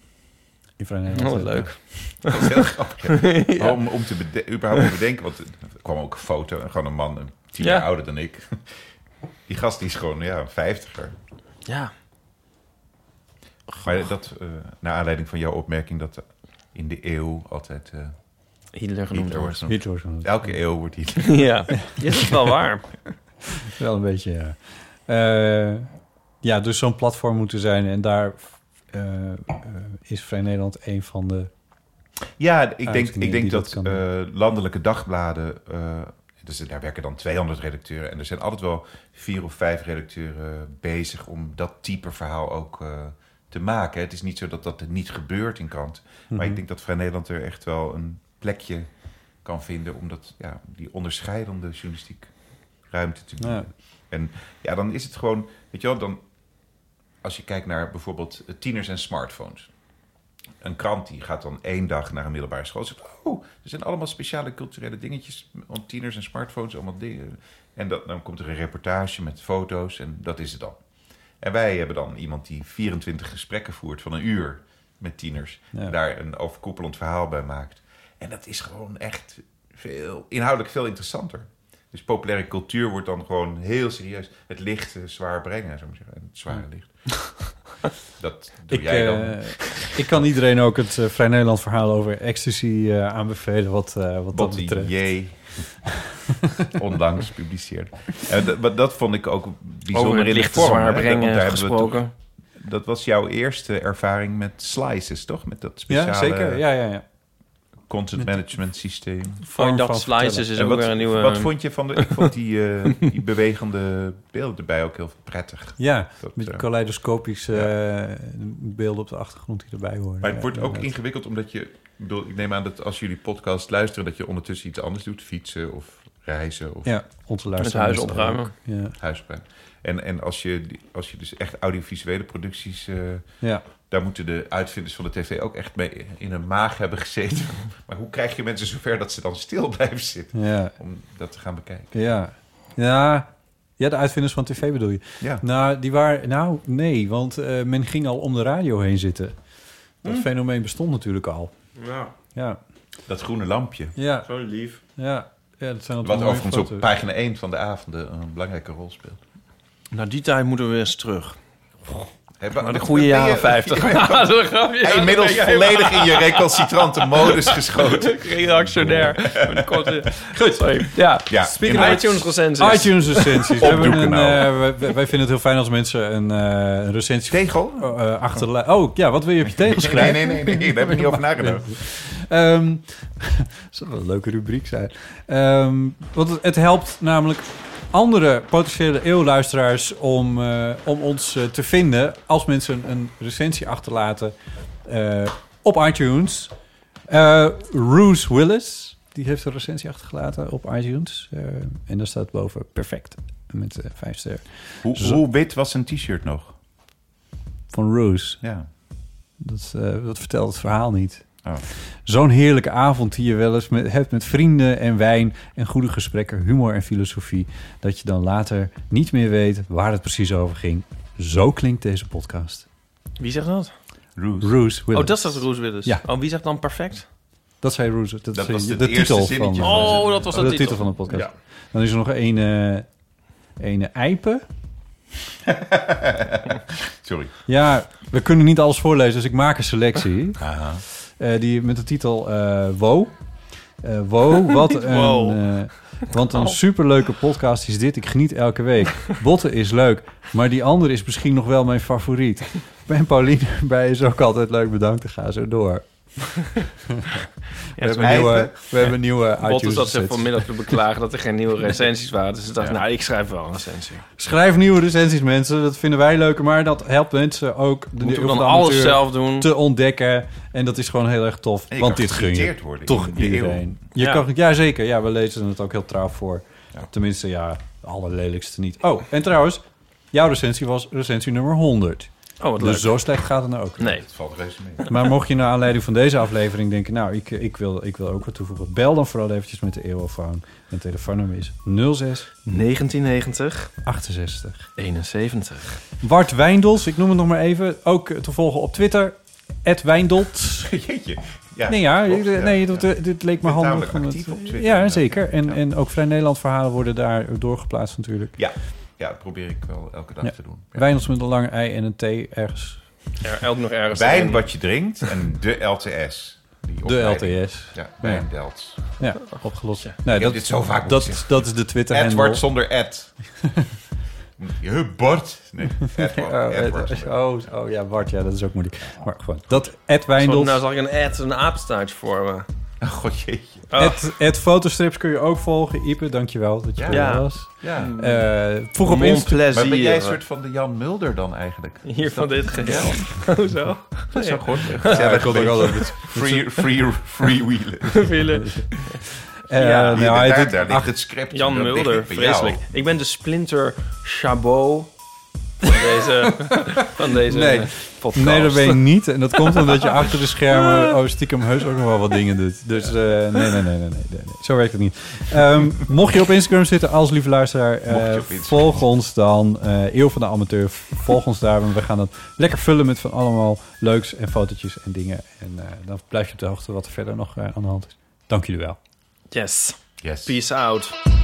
Speaker 2: Die vrij Nederland,
Speaker 3: Oh, wat
Speaker 2: hè?
Speaker 3: leuk.
Speaker 1: Dat is heel [laughs] grappig. hè? Om, om te bede- überhaupt te bedenken, want er kwam ook een foto, en gewoon een man, een tien
Speaker 3: Ja.
Speaker 1: jaar ouder dan ik. [laughs] Die gast die is gewoon ja, een vijftiger.
Speaker 3: Ja.
Speaker 1: Maar dat, eh, naar aanleiding van jouw opmerking dat in de eeuw altijd eh
Speaker 3: Hitler genoemd
Speaker 1: Hitler wordt
Speaker 3: [laughs] wordt.
Speaker 1: genoemd.
Speaker 2: Hitler is genoemd.
Speaker 1: Elke eeuw wordt Hitler [laughs]
Speaker 3: Ja, is dat wel waar?
Speaker 2: Wel een beetje, ja. Eh, ja, dus zo'n platform moeten zijn. En daar eh, eh, is Vrij Nederland een van de...
Speaker 1: Ja, ik denk,
Speaker 2: uitingen
Speaker 1: ik denk
Speaker 2: die
Speaker 1: dat,
Speaker 2: dat kan doen.
Speaker 1: eh, landelijke dagbladen. eh, dus daar werken dan 200 redacteuren. En er zijn altijd wel vier of vijf redacteuren bezig om dat type verhaal ook eh, te maken. Het is niet zo dat dat er niet gebeurt in krant. Maar
Speaker 2: Mhm.
Speaker 1: ik denk dat Vrij Nederland er echt wel een plekje kan vinden. om dat, ja, die onderscheidende journalistiek ruimte te bieden.
Speaker 2: Ja.
Speaker 1: En ja, dan is het gewoon, weet je wel, dan als je kijkt naar bijvoorbeeld eh, tieners en smartphones. Een krant die gaat dan één dag naar een middelbare school. en Zegt, oh, er zijn allemaal speciale culturele dingetjes om tieners en smartphones, allemaal dingen. En dat, dan komt er een reportage met foto's en dat is het dan. En wij hebben dan iemand die 24 gesprekken voert van een uur met tieners.
Speaker 2: Ja.
Speaker 1: En daar een overkoepelend verhaal bij maakt. En dat is gewoon echt veel, inhoudelijk veel interessanter. Dus populaire cultuur wordt dan gewoon heel serieus het licht eh, zwaar brengen, zou ik maar zeggen. En Het zware licht. [laughs] Dat doe
Speaker 2: Ik,
Speaker 1: jij dan.
Speaker 2: eh, ik kan iedereen ook het eh, Vrij Nederland verhaal over ecstasy eh, aanbevelen. Wat, eh, wat dat
Speaker 1: Botti
Speaker 2: betreft.
Speaker 3: [laughs]
Speaker 1: J. onlangs publiceerde. En dat, maar dat vond ik ook bijzonder
Speaker 3: Over het
Speaker 1: in de
Speaker 3: licht te
Speaker 1: vorm. hè.
Speaker 3: zwaar
Speaker 1: Want daar
Speaker 3: brengen
Speaker 1: hebben we toch-
Speaker 3: gesproken.
Speaker 1: dat was jouw eerste ervaring met slices, toch? Met dat
Speaker 2: Ja,
Speaker 1: speciale
Speaker 2: zeker. Ja, ja, ja.
Speaker 1: content management systeem.
Speaker 3: Oh,
Speaker 2: vorm van
Speaker 3: dat Slices
Speaker 2: vertellen.
Speaker 3: is
Speaker 1: En
Speaker 3: ook
Speaker 1: wat,
Speaker 3: weer een nieuwe...
Speaker 1: wat vond je van de... Ik vond die,
Speaker 3: [laughs]
Speaker 1: eh, die bewegende beelden erbij ook heel prettig.
Speaker 2: Ja,
Speaker 1: Dat,
Speaker 2: met die
Speaker 1: eh,
Speaker 2: kaleidoscopische eh, beelden op de achtergrond die erbij horen.
Speaker 1: Maar het
Speaker 2: Ja,
Speaker 1: wordt ook
Speaker 2: inderdaad.
Speaker 1: ingewikkeld omdat je... Ik, bedoel, ik neem aan dat als jullie podcast luisteren... dat je ondertussen iets anders doet. Fietsen of reizen of
Speaker 2: Ja, onze
Speaker 3: Met
Speaker 2: luisteraars.
Speaker 3: huis
Speaker 2: ook.
Speaker 3: opruimen.
Speaker 2: Ja,
Speaker 1: huispijn. En, en als, je, die- als je dus echt audiovisuele producties... eh,
Speaker 2: ja.
Speaker 1: daar moeten de uitvinders van de tv ook echt mee in hun maag hebben gezeten. [laughs] maar hoe krijg je mensen zover dat ze dan stil [laughs] blijven zitten?
Speaker 2: ja.
Speaker 1: Om dat te gaan bekijken.
Speaker 2: Ja. Ja. Ja, de uitvinders van tv bedoel je.
Speaker 1: Ja.
Speaker 2: Nou, die waren, nou nee, want eh, men ging al om de radio heen zitten. Dat
Speaker 1: Hm.
Speaker 2: fenomeen bestond natuurlijk al.
Speaker 6: Ja,
Speaker 2: Ja,
Speaker 1: Dat groene lampje.
Speaker 2: ja,
Speaker 6: zo lief.
Speaker 2: ja. ja dat zijn
Speaker 1: Wat
Speaker 2: altijd mooie
Speaker 1: overigens op
Speaker 2: foto's.
Speaker 1: pagina 1 van de avonden een belangrijke rol speelt.
Speaker 3: Nou, die tijd moeten we weer eens terug.
Speaker 1: Hey, wa-
Speaker 3: Maar de
Speaker 1: wat-
Speaker 3: goede
Speaker 1: wat ben je-
Speaker 3: jaren 50. [laughs] Dat is een grapje.
Speaker 1: Hey, inmiddels volledig in je recalcitrante modus geschoten.
Speaker 3: Reactionair. Met een korte- Goed, sorry. Ja,
Speaker 1: Ja,
Speaker 3: speaking
Speaker 1: in
Speaker 3: of
Speaker 1: iTunes.
Speaker 3: iTunes recensies.
Speaker 2: iTunes
Speaker 1: [laughs]
Speaker 2: recensies. We hebben een,
Speaker 1: Opdoekanaal.
Speaker 2: eh, wij- wij, wij vinden het heel fijn als mensen een, eh, een recensie
Speaker 1: Tegel?
Speaker 2: eh, achterlaten. Oh ja, wat wil je op je
Speaker 1: [laughs]
Speaker 2: tegel
Speaker 1: Nee,
Speaker 2: schrijven?
Speaker 1: nee, nee, nee, daar heb ik niet over nagedacht.
Speaker 2: Ehm [laughs] dat zou wel een leuke rubriek zijn. Ehm, want het, het helpt namelijk andere potentiële eeuwluisteraars om, eh, om ons eh, te vinden als mensen een recensie achterlaten eh, op iTunes. Eh Roos Willis, die heeft een recensie achtergelaten op iTunes. Eh, en daar staat boven perfect met eh, vijf sterren.
Speaker 1: Hoe,
Speaker 2: Zo.
Speaker 1: hoe wit was zijn t-shirt nog?
Speaker 2: Van Roos.
Speaker 1: Ja.
Speaker 2: Dat, eh, dat vertelt het verhaal niet.
Speaker 1: Oh.
Speaker 2: Zo'n heerlijke avond die je wel eens met, hebt met vrienden en wijn en goede gesprekken, humor en filosofie. Dat je dan later niet meer weet waar het precies over ging. Zo klinkt deze podcast.
Speaker 3: Wie zegt dat?
Speaker 1: Roos.
Speaker 2: Roos Willis.
Speaker 3: Oh, dat is dat Roos Willis.
Speaker 2: Ja.
Speaker 3: Oh, wie zegt dan perfect?
Speaker 2: Dat zei Roos. Dat, is
Speaker 1: was
Speaker 2: de,
Speaker 1: het eerste
Speaker 2: titel van,
Speaker 1: zinnetje.
Speaker 2: eh,
Speaker 3: Oh, dat was
Speaker 2: de
Speaker 3: dat
Speaker 2: titel.
Speaker 3: titel.
Speaker 2: van de podcast.
Speaker 1: Ja.
Speaker 2: Dan is er nog een, eh een eh, eipen.
Speaker 1: [laughs] Sorry.
Speaker 2: Ja, we kunnen niet alles voorlezen, dus ik maak een selectie.
Speaker 1: Aha.
Speaker 2: Eh, die met de titel eh Wo. Eh, wo,
Speaker 1: [laughs]
Speaker 2: wat een...
Speaker 3: wow.
Speaker 2: eh, want een superleuke podcast is dit. Ik geniet elke week. Botten is leuk, maar die andere is misschien nog wel mijn favoriet. Ben Pauline [laughs] erbij is ook altijd leuk. Bedankt, en ga zo door. we, hebben een nieuwe, we hebben een nieuwe
Speaker 3: Botten
Speaker 2: iTunes
Speaker 3: zat ze
Speaker 2: set.
Speaker 3: vanmiddag te beklagen dat er geen
Speaker 2: [laughs]
Speaker 3: nieuwe recensies waren. Dus ze dacht, nou, ik schrijf wel een recensie.
Speaker 2: Schrijf nieuwe recensies, mensen. Dat vinden wij leuker, maar dat helpt mensen ook... De,
Speaker 3: Moet ik
Speaker 2: of
Speaker 3: dan
Speaker 2: de
Speaker 3: alles
Speaker 2: amateur
Speaker 3: zelf doen?
Speaker 2: te ontdekken. En dat is gewoon heel erg tof,
Speaker 1: En je
Speaker 2: want
Speaker 1: kan
Speaker 2: dit gun je.
Speaker 1: geciteerd worden
Speaker 2: toch
Speaker 1: in de
Speaker 2: iedereen. Je
Speaker 3: Ja.
Speaker 2: Kan, ja, zeker. Ja, we lezen het ook heel trouw voor.
Speaker 1: Ja.
Speaker 2: Tenminste, ja, de allerlelijkste niet. Oh, en trouwens, jouw recensie was recensie nummer 100.
Speaker 3: Oh, wat
Speaker 2: Dus
Speaker 3: leuk.
Speaker 2: zo slecht gaat het nou ook. niet.
Speaker 3: Nee.
Speaker 1: Het valt reuze mee.
Speaker 2: Maar mocht je naar aanleiding van deze aflevering denken... nou, ik, ik, wil, ik wil ook wat toevoegen... bel dan vooral eventjes met de eeuwofoon. Mijn telefoonnummer is 06
Speaker 3: 1990,
Speaker 2: 68.
Speaker 3: 71.
Speaker 2: Bart Wijndels, ik noem het nog maar even. Ook te volgen op Twitter. Ed Wijndels.
Speaker 1: [laughs] Jeetje. Ja,
Speaker 2: Nee, ja,
Speaker 1: klopt,
Speaker 2: dit- nee, dat,
Speaker 1: ja.
Speaker 2: dit leek me
Speaker 1: bent
Speaker 2: handig.
Speaker 1: tamelijk
Speaker 2: om
Speaker 1: actief op Twitter,
Speaker 2: ja,
Speaker 1: ja.
Speaker 2: zeker. En,
Speaker 1: Ja.
Speaker 2: en ook Vrij Nederland verhalen worden daar doorgeplaatst natuurlijk.
Speaker 1: Ja. Ja, dat probeer ik wel elke dag
Speaker 2: Ja.
Speaker 1: te doen. Ja.
Speaker 2: Wijnels met een lange ei en een thee ergens.
Speaker 3: Er elk nog ergens.
Speaker 1: Wijn
Speaker 3: een.
Speaker 1: wat je drinkt en de LTS. Die
Speaker 2: De
Speaker 1: opleiding.
Speaker 2: LTS.
Speaker 1: Ja, wijn Delts.
Speaker 2: Ja, opgelost. Nee,
Speaker 1: heb
Speaker 2: dat,
Speaker 1: dit zo vaak moeten
Speaker 2: dat,
Speaker 1: zeggen.
Speaker 2: dat is de Twitter
Speaker 1: Edward
Speaker 2: handle.
Speaker 1: zonder Ed.
Speaker 2: [laughs]
Speaker 1: Hubbard. Nee, Edward.
Speaker 2: Oh,
Speaker 1: Edward.
Speaker 2: Ed- oh, oh ja, Bart, ja, dat is ook moeilijk. Maar gewoon, dat Ed
Speaker 3: Sorry,
Speaker 2: Wijndels.
Speaker 3: Nou zag ik een ad, een apenstaart voor me. Oh.
Speaker 1: Oh, god jeetje.
Speaker 2: Ed, Ed Fotostrips kun je ook volgen. Ipe, dankjewel dat je
Speaker 1: Ja.
Speaker 2: er
Speaker 3: Ja.
Speaker 2: was.
Speaker 1: Ja.
Speaker 2: Eh, vroeg op
Speaker 3: Mon
Speaker 2: Insta.
Speaker 3: plezier.
Speaker 1: Maar ben jij een soort van de Jan Mulder dan eigenlijk?
Speaker 3: Hier van dit geheel. [laughs] Hoezo?
Speaker 1: Dat zou goed.
Speaker 2: Ja, dat komt ook wel over.
Speaker 1: Free, free, freewheelen.
Speaker 3: Vielen.
Speaker 2: Eh,
Speaker 3: Ja,
Speaker 2: nou,
Speaker 1: Hier,
Speaker 2: hij
Speaker 1: daar,
Speaker 2: doet-
Speaker 1: daar ligt het script.
Speaker 3: Jan
Speaker 1: Dat ligt
Speaker 3: Mulder,
Speaker 1: niet bij jou.
Speaker 3: vreselijk. Ik ben de Splinter Chabot van
Speaker 1: [laughs]
Speaker 3: deze, van deze
Speaker 1: eh,
Speaker 2: Nee.
Speaker 3: podcast.
Speaker 2: Nee, dat weet ik niet. En dat komt omdat je achter de
Speaker 1: [laughs]
Speaker 2: schermen oh, stiekem heus ook nog wel wat dingen doet. Dus eh, nee, nee, nee, nee, nee, nee, nee. Zo werkt het niet. Ehm, mocht je op Instagram zitten als lieve luisteraar, eh,
Speaker 1: Mocht je op Instagram
Speaker 2: volg ons dan. eh Eeuw van de Amateur, volg ons daar. Want we gaan dat lekker vullen met van allemaal leuks en fotootjes en dingen. En eh, dan blijf je op de hoogte wat er verder nog eh, aan de hand is. Dank jullie wel.
Speaker 3: Yes.
Speaker 1: Yes.
Speaker 3: Peace out.